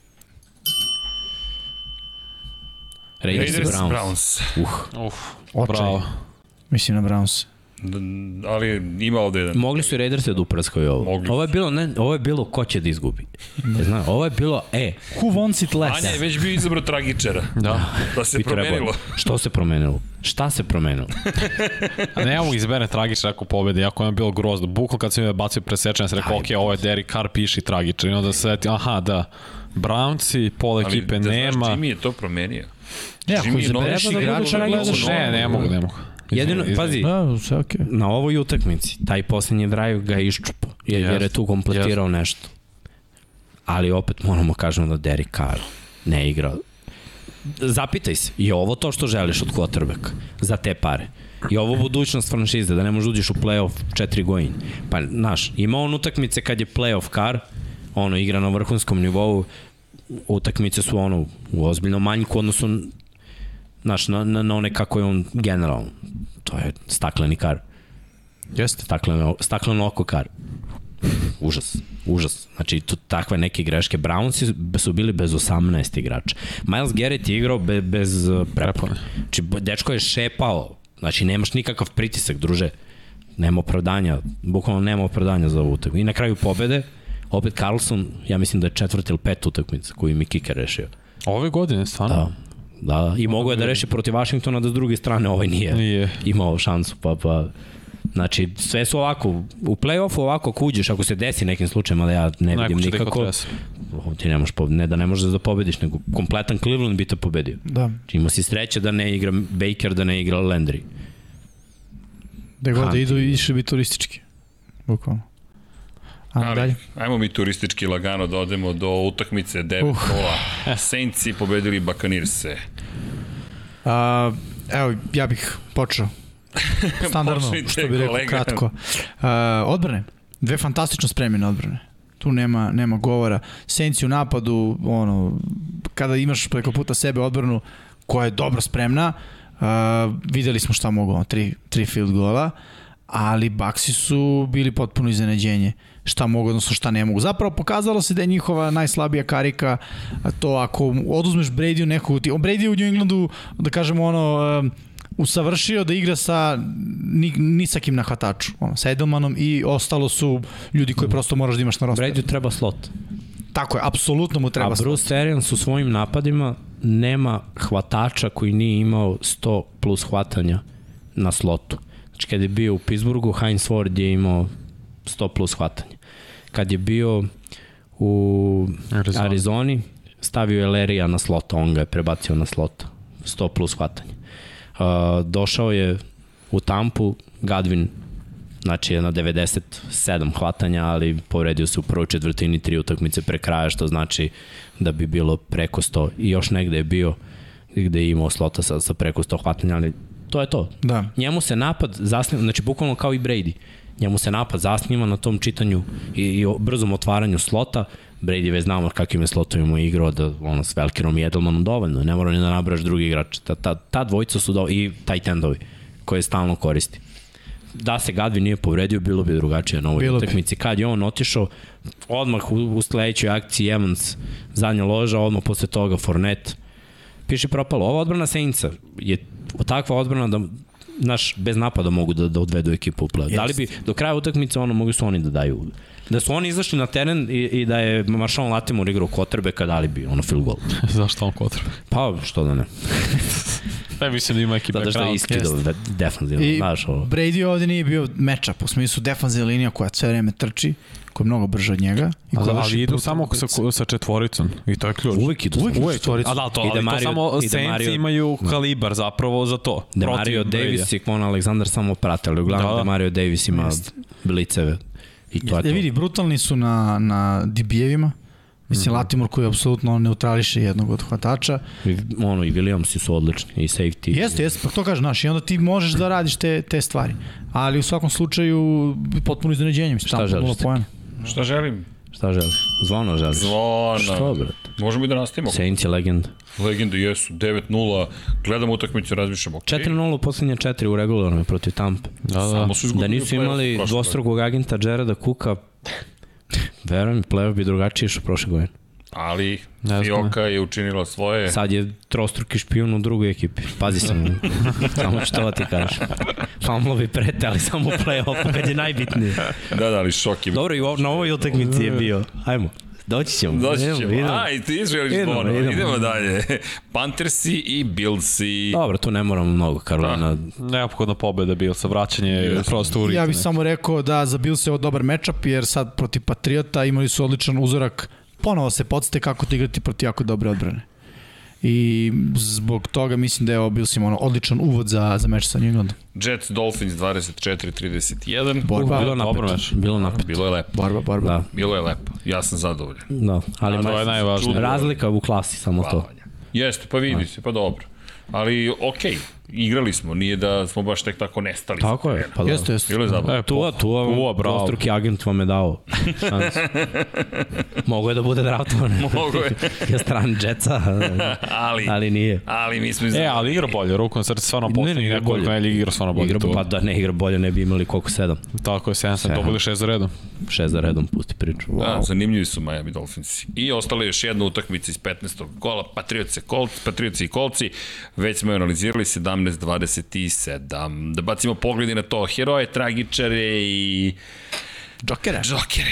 [SPEAKER 2] Raiders,
[SPEAKER 1] Raiders
[SPEAKER 2] Raiders Browns.
[SPEAKER 1] Browns.
[SPEAKER 2] Uh.
[SPEAKER 4] Uf,
[SPEAKER 3] Očaj.
[SPEAKER 4] bravo.
[SPEAKER 3] Mislim na Browns.
[SPEAKER 1] D- Ali ima ovde jedan.
[SPEAKER 2] Mogli su i Raiders da upraskaju ovo.
[SPEAKER 1] Mogli.
[SPEAKER 2] Ovo je bilo, ne, ovo je bilo ko će da izgubi. Zna, ovo je bilo, e,
[SPEAKER 3] Who wants it less?
[SPEAKER 1] Anja je već bio izabrao tragičara.
[SPEAKER 4] Da.
[SPEAKER 1] Da se
[SPEAKER 2] bi trebalo.
[SPEAKER 1] promenilo.
[SPEAKER 2] Što se promenilo? Šta se promenilo?
[SPEAKER 4] A ne mogu izbene tragično ako pobedi, ako je bilo grozno. Bukvalno kad sam mi bacio presečan, sam rekao, ok, ovo je Derek Carr, piši tragično. I onda se seti, aha, da, Brownci, pola
[SPEAKER 1] Ali
[SPEAKER 4] ekipe
[SPEAKER 1] da
[SPEAKER 4] nema.
[SPEAKER 1] znaš, Jimmy je to promenio.
[SPEAKER 4] E,
[SPEAKER 3] Ne, ako
[SPEAKER 1] Jimmy
[SPEAKER 3] izabereš
[SPEAKER 1] Nolan-
[SPEAKER 3] igrača,
[SPEAKER 1] Treba da
[SPEAKER 3] gledaš-
[SPEAKER 1] budu
[SPEAKER 4] Ne, ne mogu, ne mogu.
[SPEAKER 2] Jedino, pazi,
[SPEAKER 3] Da, sve okej.
[SPEAKER 2] na ovoj utakmici, taj poslednji drive ga je iščupao, jer,
[SPEAKER 4] Jest,
[SPEAKER 2] jer je tu kompletirao nešto. Ali opet moramo kažemo da Derek Carr ne igra. Zapitaj se, je ovo to što želiš od quarterbacka za te pare? Je ovo budućnost franšize, da ne možeš da uđeš u playoff četiri godine? Pa, znaš, ima on utakmice kad je playoff Carr, ono, igra na vrhunskom nivou, utakmice su ono, u ozbiljnom manjku, odnosno znaš, na, na, na one kako je on generalno. To je stakleni kar. Jeste. Stakleno, stakleno oko kar. Užas, užas. Znači, tu, takve neke greške. Brownsi su bili bez 18 igrača. Miles Garrett je igrao be, bez uh, prepone. Znači, b- dečko je šepao. Znači, nemaš nikakav pritisak, druže. Nema opravdanja, bukvalno nema opravdanja za ovu utakmicu. I na kraju pobede, opet Carlson, ja mislim da je četvrta ili pet utakmica koju mi kiker rešio.
[SPEAKER 4] Ove godine, stvarno.
[SPEAKER 2] Da. Da, i mogo je da reši protiv Vašingtona, da s druge strane ovaj nije,
[SPEAKER 4] Nije.
[SPEAKER 2] imao šansu, pa, pa Znači, sve su ovako, u play-offu ovako ako uđeš, ako se desi nekim slučajima da ja ne vidim
[SPEAKER 4] Najkuće da ih
[SPEAKER 2] nikako,
[SPEAKER 4] otrese.
[SPEAKER 2] o, ti ne možeš, pobe- ne da ne možeš da pobediš, nego kompletan Cleveland bi te pobedio.
[SPEAKER 3] Da,
[SPEAKER 2] Znači, imao si sreće da ne igra Baker, da ne igra Landry.
[SPEAKER 3] da god da
[SPEAKER 2] Hunt.
[SPEAKER 3] idu, išli bi turistički. Bukvalno. Ajmo
[SPEAKER 1] Ali,
[SPEAKER 3] dalje.
[SPEAKER 1] Ajmo mi turistički lagano da odemo do utakmice 9-0. Saints i pobedili Bakanirse.
[SPEAKER 3] A, evo, ja bih počeo. Standardno,
[SPEAKER 1] Počnite,
[SPEAKER 3] što bi rekao,
[SPEAKER 1] kolega.
[SPEAKER 3] kratko. A, odbrane. Dve fantastično spremljene odbrane. Tu nema, nema govora. Senci u napadu, ono, kada imaš preko puta sebe odbranu koja je dobro spremna, a, videli smo šta mogu, ono, tri, tri field gola, ali Baksi su bili potpuno iznenađenje šta mogu, odnosno šta ne mogu. Zapravo pokazalo se da je njihova najslabija karika a to ako oduzmeš Brady u nekog, ti- Brady je u New Englandu, da kažemo ono, em, usavršio da igra sa ni, ni sa kim na hvataču, ono, sa Edelmanom i ostalo su ljudi koje prosto moraš da imaš na rosteru.
[SPEAKER 2] Brady
[SPEAKER 4] Pa
[SPEAKER 2] treba slot.
[SPEAKER 3] Tako je, apsolutno mu treba
[SPEAKER 2] A Bruce Arians u svojim napadima nema hvatača koji nije imao 100 plus hvatanja na slotu. Znači kad je bio u Pittsburghu, Heinz Ford je imao 100 plus hvatanja. Kad je bio u
[SPEAKER 4] Arizona.
[SPEAKER 2] Arizoni, stavio je Lerija na slota, on ga je prebacio na slota. 100 plus hvatanje. Uh, došao je u Tampu, Gadvin znači je na 97 hvatanja, ali povredio se u prvoj četvrtini tri utakmice pre kraja, što znači da bi bilo preko 100 i još negde je bio gde je imao slota sa, sa preko 100 hvatanja, ali to je to.
[SPEAKER 3] Da.
[SPEAKER 2] Njemu se napad zasniva, znači bukvalno kao i Brady, njemu se napad zasniva na tom čitanju i, i o- brzom otvaranju slota, Brady već znamo kakvim je slotovima igrao da ono s Velkerom i Edelmanom dovoljno, ne mora ni da nabraš drugi igrač. Ta, ta, ta dvojica su do, i tight endovi koje stalno koristi da se Gadvi nije povredio, bilo bi drugačije na ovoj
[SPEAKER 3] Bilo bi.
[SPEAKER 2] utakmici. Kad je on otišao, odmah u, u sledećoj akciji Evans, zadnja loža, odmah posle toga Fornet. Piše propalo. Ova odbrana Saintsa je takva odbrana da naš bez napada mogu da, da odvedu ekipu u play. Da li bi do kraja utakmice ono mogli su oni da daju Da su oni izašli na teren i, i da je Marshawn Latimore igrao kotrbe, da li bi ono field goal.
[SPEAKER 4] Zašto on kotrbe?
[SPEAKER 2] Pa, što da ne.
[SPEAKER 4] Ne mislim da ima neki
[SPEAKER 2] Zato što je
[SPEAKER 4] background.
[SPEAKER 2] iskidao
[SPEAKER 3] Jeste.
[SPEAKER 2] de- defanzivno,
[SPEAKER 3] I
[SPEAKER 2] znaš ovo.
[SPEAKER 3] Brady ovde nije bio matchup, u smislu defanzivna linija koja sve vreme trči, koja je mnogo brža od njega. I koja vrši
[SPEAKER 4] Ali, da, ali idu
[SPEAKER 3] brutalne
[SPEAKER 4] samo sa,
[SPEAKER 3] udarce.
[SPEAKER 4] sa četvoricom i to je ključ.
[SPEAKER 2] Uvijek idu
[SPEAKER 3] Uvijek
[SPEAKER 2] samo
[SPEAKER 3] idu četvorica.
[SPEAKER 4] A da, to,
[SPEAKER 2] I
[SPEAKER 4] ali
[SPEAKER 2] Demario-
[SPEAKER 4] to samo
[SPEAKER 2] i
[SPEAKER 4] Saints
[SPEAKER 2] Demario- Da.
[SPEAKER 4] imaju kalibar zapravo za to.
[SPEAKER 2] Demario
[SPEAKER 4] Protiv
[SPEAKER 2] Davis
[SPEAKER 4] Brady-a.
[SPEAKER 2] i Kwon Alexander samo prate, ali uglavnom
[SPEAKER 4] Da,
[SPEAKER 2] da.
[SPEAKER 4] da.
[SPEAKER 2] Demario Davis ima
[SPEAKER 3] Jeste.
[SPEAKER 2] bliceve. I to je to.
[SPEAKER 3] Ja vidi, brutalni su na, na DB-evima. Mislim, mm -hmm. Latimor koji apsolutno neutrališe jednog od hvatača.
[SPEAKER 2] I, ono, i Williamsi su odlični, i safety.
[SPEAKER 3] Jeste, jeste, pa to kaže, znaš, i onda ti možeš da radiš te, te stvari. Ali u svakom slučaju, potpuno iznenađenje, mislim, tamo
[SPEAKER 2] želiš
[SPEAKER 3] nula
[SPEAKER 2] ti?
[SPEAKER 3] poena.
[SPEAKER 1] Šta želim?
[SPEAKER 2] Šta želiš? Zvono želiš?
[SPEAKER 1] Zvono.
[SPEAKER 2] Što, brate?
[SPEAKER 1] Možemo i da nastavimo.
[SPEAKER 2] Saints je legenda.
[SPEAKER 1] Legende jesu, 9-0, gledamo utakmicu, razmišljamo. Okay.
[SPEAKER 2] 4-0 u poslednje 4 u regularnoj protiv Tampa.
[SPEAKER 4] Da, da.
[SPEAKER 1] Samo su
[SPEAKER 2] Da
[SPEAKER 1] izgubili
[SPEAKER 2] nisu
[SPEAKER 1] u play-offu
[SPEAKER 2] imali
[SPEAKER 1] prošle
[SPEAKER 2] dvostrukog agenta Jareda Cooka, verujem, mi, playoff bi drugačije išao prošle godine.
[SPEAKER 1] godine. Ali,
[SPEAKER 4] Ne znam.
[SPEAKER 1] Fioka je učinila svoje.
[SPEAKER 2] Sad je trostruki špijun u drugoj ekipi. Pazi se. mi. samo što ti kažeš. Famlovi prete, ali samo u play-offu kad je najbitnije.
[SPEAKER 1] Da, da, ali šok je.
[SPEAKER 2] Dobro, i o- na ovoj utakmici je bio. Ajmo. Doći ćemo.
[SPEAKER 1] Doći
[SPEAKER 2] Idemo,
[SPEAKER 1] ćemo.
[SPEAKER 2] idemo.
[SPEAKER 1] Aj, ti želiš
[SPEAKER 2] Idemo,
[SPEAKER 1] zvono.
[SPEAKER 2] idemo.
[SPEAKER 1] Idemo, dalje. Panthersi i Billsi.
[SPEAKER 2] Dobro, tu ne moramo mnogo, Karolina.
[SPEAKER 1] Da.
[SPEAKER 4] Neophodna pobeda bio sa vraćanje prosto u ritam.
[SPEAKER 3] Ja bih samo rekao da za Bills je ovo dobar matchup, jer sad protiv Patriota imali su odličan uzorak. Ponovo se podste kako ti igrati protiv jako dobre odbrane. I zbog toga mislim da je ovo Bills ima ono odličan uvod za, za meč sa New Englandom.
[SPEAKER 1] Jets Dolphins 24-31.
[SPEAKER 3] Borba,
[SPEAKER 2] Bilo
[SPEAKER 4] dobro
[SPEAKER 2] napeto.
[SPEAKER 4] meč.
[SPEAKER 2] Bilo napeto.
[SPEAKER 1] Bilo je lepo.
[SPEAKER 3] borba, borba.
[SPEAKER 2] Da,
[SPEAKER 1] Bilo je lepo. Ja sam zadovoljan.
[SPEAKER 2] da. Ali
[SPEAKER 4] to
[SPEAKER 2] ma-
[SPEAKER 4] je najvažnije.
[SPEAKER 2] razlika u klasi, samo to.
[SPEAKER 1] Jeste, pa vidi se, pa dobro. Ali, okej, igrali smo, nije da smo baš tek tako nestali.
[SPEAKER 2] Tako je, pa da.
[SPEAKER 3] Jeste, jeste.
[SPEAKER 1] Bilo je zabavno.
[SPEAKER 4] E,
[SPEAKER 2] Tua, Tua,
[SPEAKER 4] Tua, bravo.
[SPEAKER 2] dvostruki agent vam je dao šansu. Mogu je da bude draftovan.
[SPEAKER 1] Mogo je,
[SPEAKER 2] Ja stran Jetsa,
[SPEAKER 1] ali, ali,
[SPEAKER 2] ali nije.
[SPEAKER 1] ali mi smo iz...
[SPEAKER 4] E, ali igra bolje, rukom srce stvarno
[SPEAKER 2] Ne, ne,
[SPEAKER 4] poslednji
[SPEAKER 2] igra
[SPEAKER 4] nekoliko
[SPEAKER 2] bolje.
[SPEAKER 4] nelji igra stvarno bolje.
[SPEAKER 2] Igra,
[SPEAKER 4] tu.
[SPEAKER 2] pa da ne igra bolje, ne bi imali koliko sedam.
[SPEAKER 4] Tako je, 7 sam dobili 6 za redom.
[SPEAKER 2] Šest za redom, pusti priču. Wow.
[SPEAKER 1] Da, zanimljivi su Miami Dolphins. I ostala je još jedna utakmica iz 15. kola, Patriots, Colts, Patriots i Coltsi. Već smo je analizirali 17-27. Da bacimo pogledi na to. Heroje, tragičare i...
[SPEAKER 3] Jokera.
[SPEAKER 1] Džokere.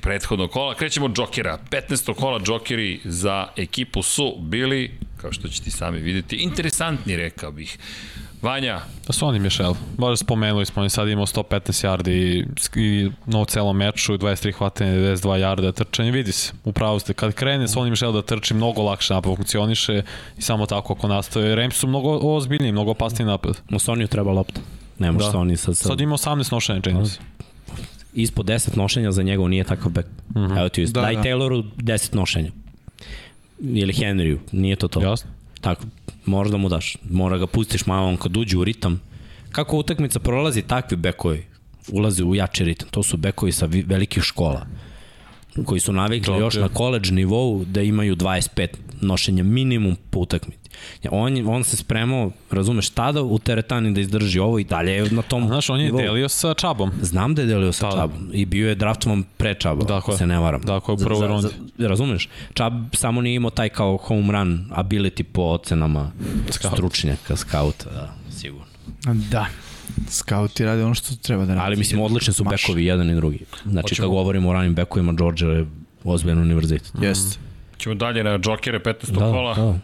[SPEAKER 1] Prethodno kola. Krećemo od Džokera. 15. kola Džokeri za ekipu su bili, kao što ćete i sami vidjeti, interesantni, rekao bih. Vanja,
[SPEAKER 4] Da su oni Mišel. Možda spomenuli smo, on je sad imao 115 yardi i, i no u celom meču, 23 hvatanje, 92 yarda trčanje, vidi se. Upravo ste, kad krene Sonny Mišel da trči, mnogo lakše napad funkcioniše i samo tako ako nastave. Rams su mnogo ozbiljniji, mnogo opasniji napad.
[SPEAKER 2] Mu Soniju treba lopta. Ne može
[SPEAKER 4] Da.
[SPEAKER 2] da. Sony sad, sad,
[SPEAKER 4] Sad ima 18 nošenja, čini se.
[SPEAKER 2] ispod 10 nošenja za njega nije takav back. Mm
[SPEAKER 4] Mhm.
[SPEAKER 2] -hmm. Evo ti,
[SPEAKER 3] Da,
[SPEAKER 2] da, daj
[SPEAKER 3] da.
[SPEAKER 2] da. Tayloru 10 nošenja. Ili Henryu, nije to to.
[SPEAKER 4] Jasno.
[SPEAKER 2] Tako, moraš da mu daš. Mora ga pustiš malo, on kad uđe u ritam. Kako utakmica prolazi, takvi bekovi ulaze u jači ritam. To su bekovi sa vi- velikih škola koji su navikli
[SPEAKER 4] Dobro.
[SPEAKER 2] još na koleđ nivou da imaju 25 nošenja minimum po utakmici. On, je- on se spremao, razumeš, tada u teretani da izdrži ovo i dalje je na tom
[SPEAKER 4] Znaš, on je
[SPEAKER 2] nivou.
[SPEAKER 4] delio sa Čabom.
[SPEAKER 2] Znam da je delio sa
[SPEAKER 4] Da.
[SPEAKER 2] Čabom i bio je draftovan pre Čaba,
[SPEAKER 4] Tako
[SPEAKER 2] Tako
[SPEAKER 4] je.
[SPEAKER 2] se ne varam.
[SPEAKER 4] Tako je, u prvoj
[SPEAKER 2] Za- za-
[SPEAKER 4] rundi.
[SPEAKER 2] za- Razumeš? Čab samo nije imao taj kao home run ability po ocenama stručnjaka, skauta, da, sigurno.
[SPEAKER 3] Da. Skauti rade ono što treba da rade.
[SPEAKER 2] Ali mislim, odlični su
[SPEAKER 3] Maš.
[SPEAKER 2] bekovi jedan i drugi. Znači, kad govorimo o ranim bekovima, Georgia je ozbiljan univerzitet.
[SPEAKER 3] Jeste.
[SPEAKER 1] ćemo dalje na Džokere 15.
[SPEAKER 2] Da,
[SPEAKER 1] kola.
[SPEAKER 2] da.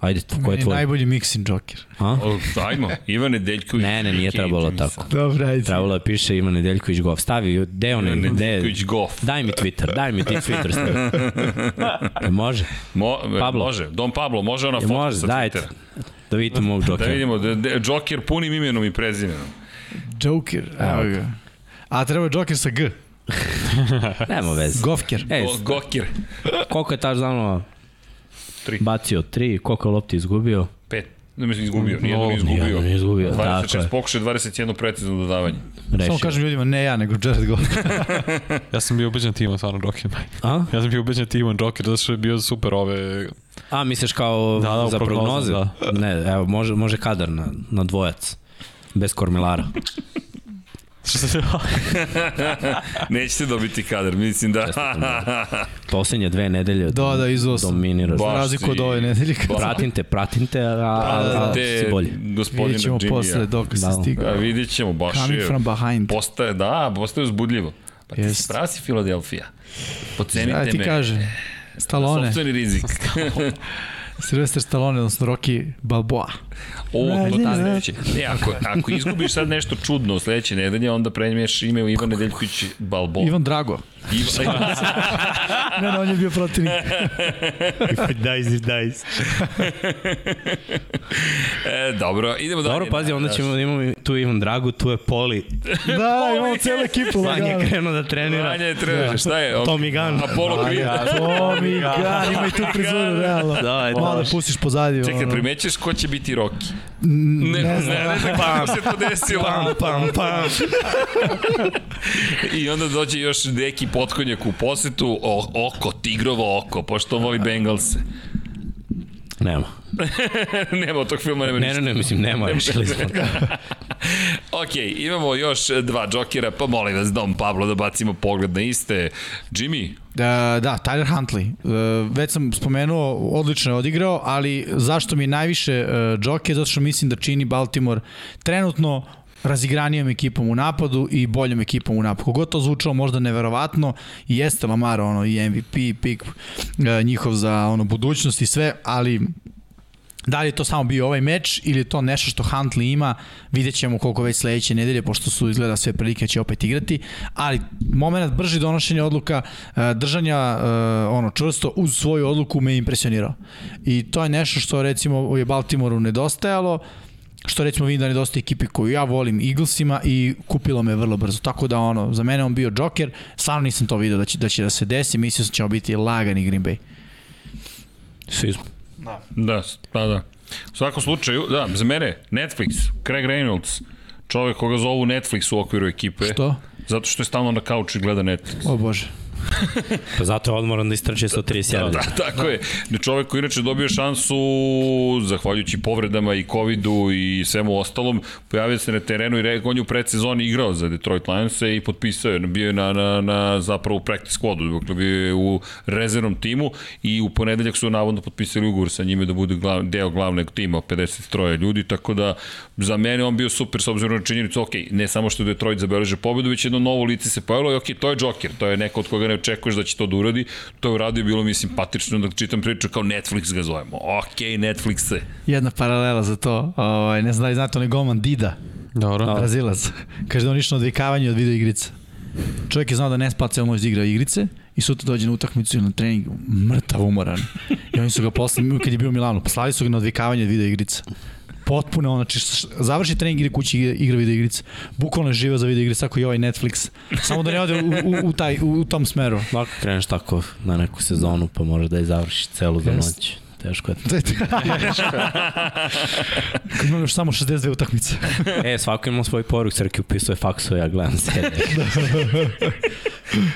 [SPEAKER 2] Ajde, tvo, ko je
[SPEAKER 3] Meni je
[SPEAKER 2] tvoj?
[SPEAKER 3] E, najbolji mixing Joker.
[SPEAKER 2] A?
[SPEAKER 1] O, Ajmo, Ivan Nedeljković.
[SPEAKER 2] Ne, ne, nije
[SPEAKER 1] Miki
[SPEAKER 2] trebalo
[SPEAKER 1] Jimison.
[SPEAKER 2] tako.
[SPEAKER 3] Dobro, ajde.
[SPEAKER 2] Trebalo je piše Ivan Nedeljković Gov. Stavi, gde on je?
[SPEAKER 1] Ivan
[SPEAKER 2] gde-
[SPEAKER 1] Nedeljković Goff.
[SPEAKER 2] Daj mi Twitter, daj mi ti Twitter. Stavi. E, Može?
[SPEAKER 1] Mo,
[SPEAKER 2] Pablo.
[SPEAKER 1] Može, Don Pablo, može ona
[SPEAKER 2] E,
[SPEAKER 1] foto
[SPEAKER 2] Može,
[SPEAKER 1] sa
[SPEAKER 2] dajte.
[SPEAKER 1] Twittera.
[SPEAKER 2] Da vidite mog
[SPEAKER 1] Da
[SPEAKER 2] Jokera.
[SPEAKER 1] vidimo, da, da, Joker punim imenom i prezimenom.
[SPEAKER 3] Joker, evo ga. A treba Joker sa G.
[SPEAKER 2] Nema veze.
[SPEAKER 3] Govker.
[SPEAKER 2] E,
[SPEAKER 1] Go, Gokir,
[SPEAKER 2] koliko je taš zanova
[SPEAKER 1] Tri.
[SPEAKER 2] bacio? Tri. Koliko je lopti izgubio?
[SPEAKER 1] pet. Ne mislim, izgubio, nijedno
[SPEAKER 4] No,
[SPEAKER 1] no, izgubio.
[SPEAKER 2] nijedno nije izgubio,
[SPEAKER 1] 26
[SPEAKER 2] tako je.
[SPEAKER 1] pokušaj, 21 precizno dodavanje.
[SPEAKER 2] Rešio.
[SPEAKER 3] Samo kažem ljudima, ne ja, nego Jared Goff.
[SPEAKER 4] Ja sam bio ubeđen timom, stvarno, Joker.
[SPEAKER 2] A?
[SPEAKER 4] Ja sam bio ubeđen timom Joker, zato što je bio super ove...
[SPEAKER 2] A, misliš kao
[SPEAKER 4] Da, da, u
[SPEAKER 2] za
[SPEAKER 4] prognoze,
[SPEAKER 2] prognoze? Ne, evo, može, može kadar na, na dvojac. Bez kormilara.
[SPEAKER 4] Što se...
[SPEAKER 1] Nećete dobiti kadar, mislim da...
[SPEAKER 2] Poslednje dve nedelje
[SPEAKER 3] Da, da, izuo sam.
[SPEAKER 1] Ba-
[SPEAKER 2] dominiraš.
[SPEAKER 3] Za
[SPEAKER 1] Baš
[SPEAKER 3] razliku od
[SPEAKER 1] ti-
[SPEAKER 3] ove nedelje.
[SPEAKER 1] Ba-
[SPEAKER 2] Pratim te, pratim te, a, a, a
[SPEAKER 1] Pravite
[SPEAKER 2] da, si bolje.
[SPEAKER 3] Vidjet
[SPEAKER 1] gospodina
[SPEAKER 3] ćemo posle
[SPEAKER 1] Jimmy-a.
[SPEAKER 3] dok se
[SPEAKER 2] Da.
[SPEAKER 1] Da,
[SPEAKER 3] stiga.
[SPEAKER 1] vidjet ćemo, baš
[SPEAKER 3] Coming
[SPEAKER 1] je.
[SPEAKER 3] from behind.
[SPEAKER 1] Postaje, da, postaje uzbudljivo. Pa ti
[SPEAKER 3] Jest.
[SPEAKER 1] yes. sprasi Filadelfija. Pocenite
[SPEAKER 3] Ajde ti
[SPEAKER 1] me.
[SPEAKER 3] kaže, Stallone.
[SPEAKER 1] Sopstveni rizik.
[SPEAKER 3] Sylvester Stallone, odnosno Rocky Balboa.
[SPEAKER 1] Ovo, to da sledeće. E, ako, ako izgubiš sad nešto čudno sledeće nedelje, onda preniješ ime u Ivan Nedeljković Balbo.
[SPEAKER 3] Ivan Drago.
[SPEAKER 1] Ivan,
[SPEAKER 3] Ne, ne, on je bio protivnik.
[SPEAKER 5] Dice is dice.
[SPEAKER 1] e, dobro, idemo dalje.
[SPEAKER 2] Dobro, pazi, onda ćemo, imamo tu Ivan Dragu, tu je Poli.
[SPEAKER 3] Da, imamo celu ekipu.
[SPEAKER 2] Sanj je krenuo da trenira.
[SPEAKER 1] Vanja je trener, šta je?
[SPEAKER 5] Tommy Gunn.
[SPEAKER 1] Apollo Creed.
[SPEAKER 3] Tomi Gan, ima i tu frizuru, realno.
[SPEAKER 2] Da, je
[SPEAKER 3] Malo
[SPEAKER 2] to.
[SPEAKER 3] da pustiš pozadiju.
[SPEAKER 1] Čekaj,
[SPEAKER 3] ono.
[SPEAKER 1] primećeš ko će biti Rocky? Ne, ne, ne, ne, znam kako se to desilo.
[SPEAKER 5] Pam, pam, pam.
[SPEAKER 1] I onda dođe još neki potkonjak u posetu, o, oko, tigrovo oko, pošto on voli Bengalse.
[SPEAKER 2] Nema.
[SPEAKER 1] nema od tog filma, nema
[SPEAKER 2] Ne, ne,
[SPEAKER 1] ništa.
[SPEAKER 2] ne, mislim, nema, rešili smo.
[SPEAKER 1] Ok, imamo još dva džokera, pa molim vas, Dom Pablo, da bacimo pogled na iste. Jimmy,
[SPEAKER 3] Da, da, Tyler Huntley. E, Već sam spomenuo, odlično je odigrao, ali zašto mi najviše e, džoke, zato što mislim da čini Baltimore trenutno razigranijom ekipom u napadu i boljom ekipom u napadu. Kogod to zvučalo možda neverovatno, i jeste Lamar ono, i MVP, pik e, njihov za ono, budućnost i sve, ali Da li je to samo bio ovaj meč ili je to nešto što Huntley ima, vidjet ćemo koliko već sledeće nedelje, pošto su izgleda sve prilike da će opet igrati, ali moment brži donošenja odluka, e, držanja e, ono čvrsto uz svoju odluku me je impresionirao. I to je nešto što recimo je Baltimoru nedostajalo, što recimo vidim da nedostaje ekipi koju ja volim Eaglesima i kupilo me vrlo brzo. Tako da ono, za mene on bio džoker, stvarno nisam to video da će da, će da se desi, mislio sam da ćemo biti lagani Green Bay.
[SPEAKER 2] Svi smo.
[SPEAKER 1] Da, pa da. U svakom slučaju, da, za mene Netflix, Craig Reynolds, čovek koga zovu Netflix u okviru ekipe.
[SPEAKER 3] Što?
[SPEAKER 1] Zato što je stalno na kauču i gleda Netflix.
[SPEAKER 3] O bože.
[SPEAKER 2] Pa zato je odmoran da istrče 131.
[SPEAKER 1] Da, tako je. Čovek koji inače dobio šansu zahvaljujući povredama i covidu i svemu ostalom, pojavio se na terenu i rekao, on je u predsezoni igrao za Detroit lions i potpisao je, bio je na, na, na zapravo u practice squadu, dakle bio je u rezervnom timu i u ponedeljak su navodno potpisali ugovor sa njime da bude glav, deo glavnog tima, 53 ljudi, tako da za mene on bio super s obzirom na činjenicu, ok, ne samo što je Detroit zabeleže pobedu, već jedno novo lice se pojavilo i ok, to je Joker, to je neko od koga ne očekuješ da će to da uradi, to je uradio i bilo mi simpatično da čitam priču kao Netflix ga zovemo, ok, Netflix se.
[SPEAKER 3] Jedna paralela za to, ovaj, ne znam da li znate, onaj golman Dida,
[SPEAKER 4] Dobro.
[SPEAKER 3] Brazilac. Kaže da on išao na odvikavanje od video igrica. Čovjek je znao da ne spa celo noć da igra igrice i sutra dođe na utakmicu ili na trening mrtav umoran. I oni su ga posle, kad je bio u Milanu, poslali su ga na odvikavanje od video igrica. Potpuno, ono, znači, š- završi trening, ide kući, igra, igra video igrice. Bukvalno je živa za video igrice, tako i ovaj Netflix. Samo da ne ode u, u, u, taj, u, u tom smeru.
[SPEAKER 2] Lako kreneš tako na neku sezonu, pa možeš da je završiš celu za
[SPEAKER 3] Jest.
[SPEAKER 2] noć. Teško je to.
[SPEAKER 3] Kad imam još samo 62 utakmice.
[SPEAKER 2] E, svako ima svoj poruk, Srki upisuje faksove, ja gledam serije.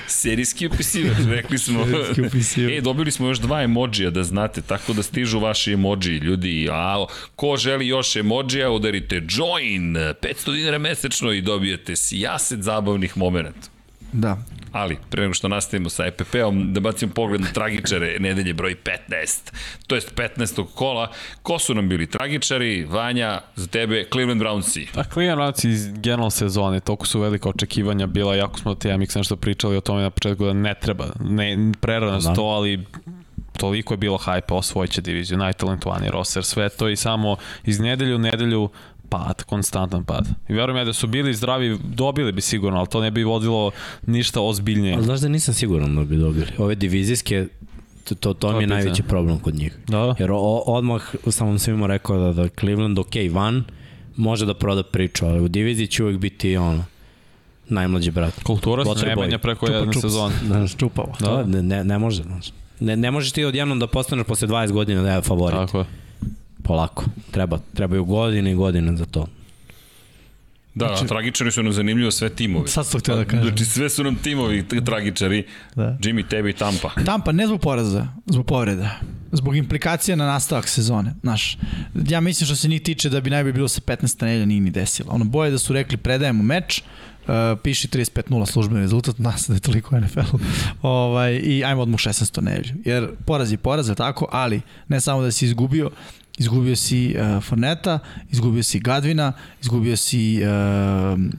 [SPEAKER 1] Serijski upisivač, rekli smo.
[SPEAKER 3] Serijski upisivač.
[SPEAKER 1] E, dobili smo još dva emodžija da znate, tako da stižu vaši emodžiji, ljudi. A ko želi još emodžija, udarite join, 500 dinara mesečno i dobijete sijaset zabavnih momenta.
[SPEAKER 3] Da.
[SPEAKER 1] Ali, pre nego što nastavimo sa EPP-om, da bacimo pogled na tragičare nedelje broj 15, to jest 15. kola. Ko su nam bili tragičari? Vanja, za tebe, Cleveland Brownsi.
[SPEAKER 4] A Cleveland Browns iz generalno sezone, toliko su velika očekivanja bila, jako smo o TMX nešto pričali o tome na početku da ne treba, ne, prerano da.
[SPEAKER 2] Da.
[SPEAKER 4] to, ali toliko je bilo hajpa, osvojiće diviziju, najtalentovaniji roster, sve to i samo iz nedelju u nedelju pad, konstantan pad. I verujem ja da su bili zdravi, dobili bi sigurno, ali to ne bi vodilo ništa ozbiljnije.
[SPEAKER 2] Ali znaš da nisam siguran da bi dobili. Ove divizijske, to, to, to mi je
[SPEAKER 4] pitanje.
[SPEAKER 2] najveći problem kod njih.
[SPEAKER 4] Da, da.
[SPEAKER 2] Jer o, o- odmah sam vam svima rekao da, da Cleveland, ok, van, može da proda priču, ali u diviziji će uvek biti ono, najmlađi brat.
[SPEAKER 4] Kultura
[SPEAKER 2] Waterboy.
[SPEAKER 4] sremanja preko jedne sezone.
[SPEAKER 2] Da,
[SPEAKER 3] Čupavo.
[SPEAKER 4] Da.
[SPEAKER 2] da. Ne, ne, ne može. znaš. Ne, ne možeš ti odjednom da postaneš posle 20 godina da je favorit.
[SPEAKER 4] Tako je.
[SPEAKER 2] Polako. Treba, trebaju godine i godine za to.
[SPEAKER 1] Da, znači, tragičari su nam zanimljivo sve timovi.
[SPEAKER 3] Sad sam htio da kažem.
[SPEAKER 1] Znači, sve su nam timovi t- tragičari. Da.
[SPEAKER 3] Da.
[SPEAKER 1] Jimmy, tebi i Tampa.
[SPEAKER 3] Tampa ne zbog poraza, zbog povreda. Zbog implikacija na nastavak sezone. Znaš, ja mislim što se njih tiče da bi najbolje bilo sa 15 nedelja nije ni desilo. Ono, boje da su rekli predajemo meč, Uh, piši 35-0 službeni rezultat, nas da je toliko NFL. ovaj, I ajmo odmah u 16. nedelju. Jer poraz je poraz, je tako, ali ne samo da si izgubio, izgubio si uh, Forneta, izgubio si Gadvina, izgubio si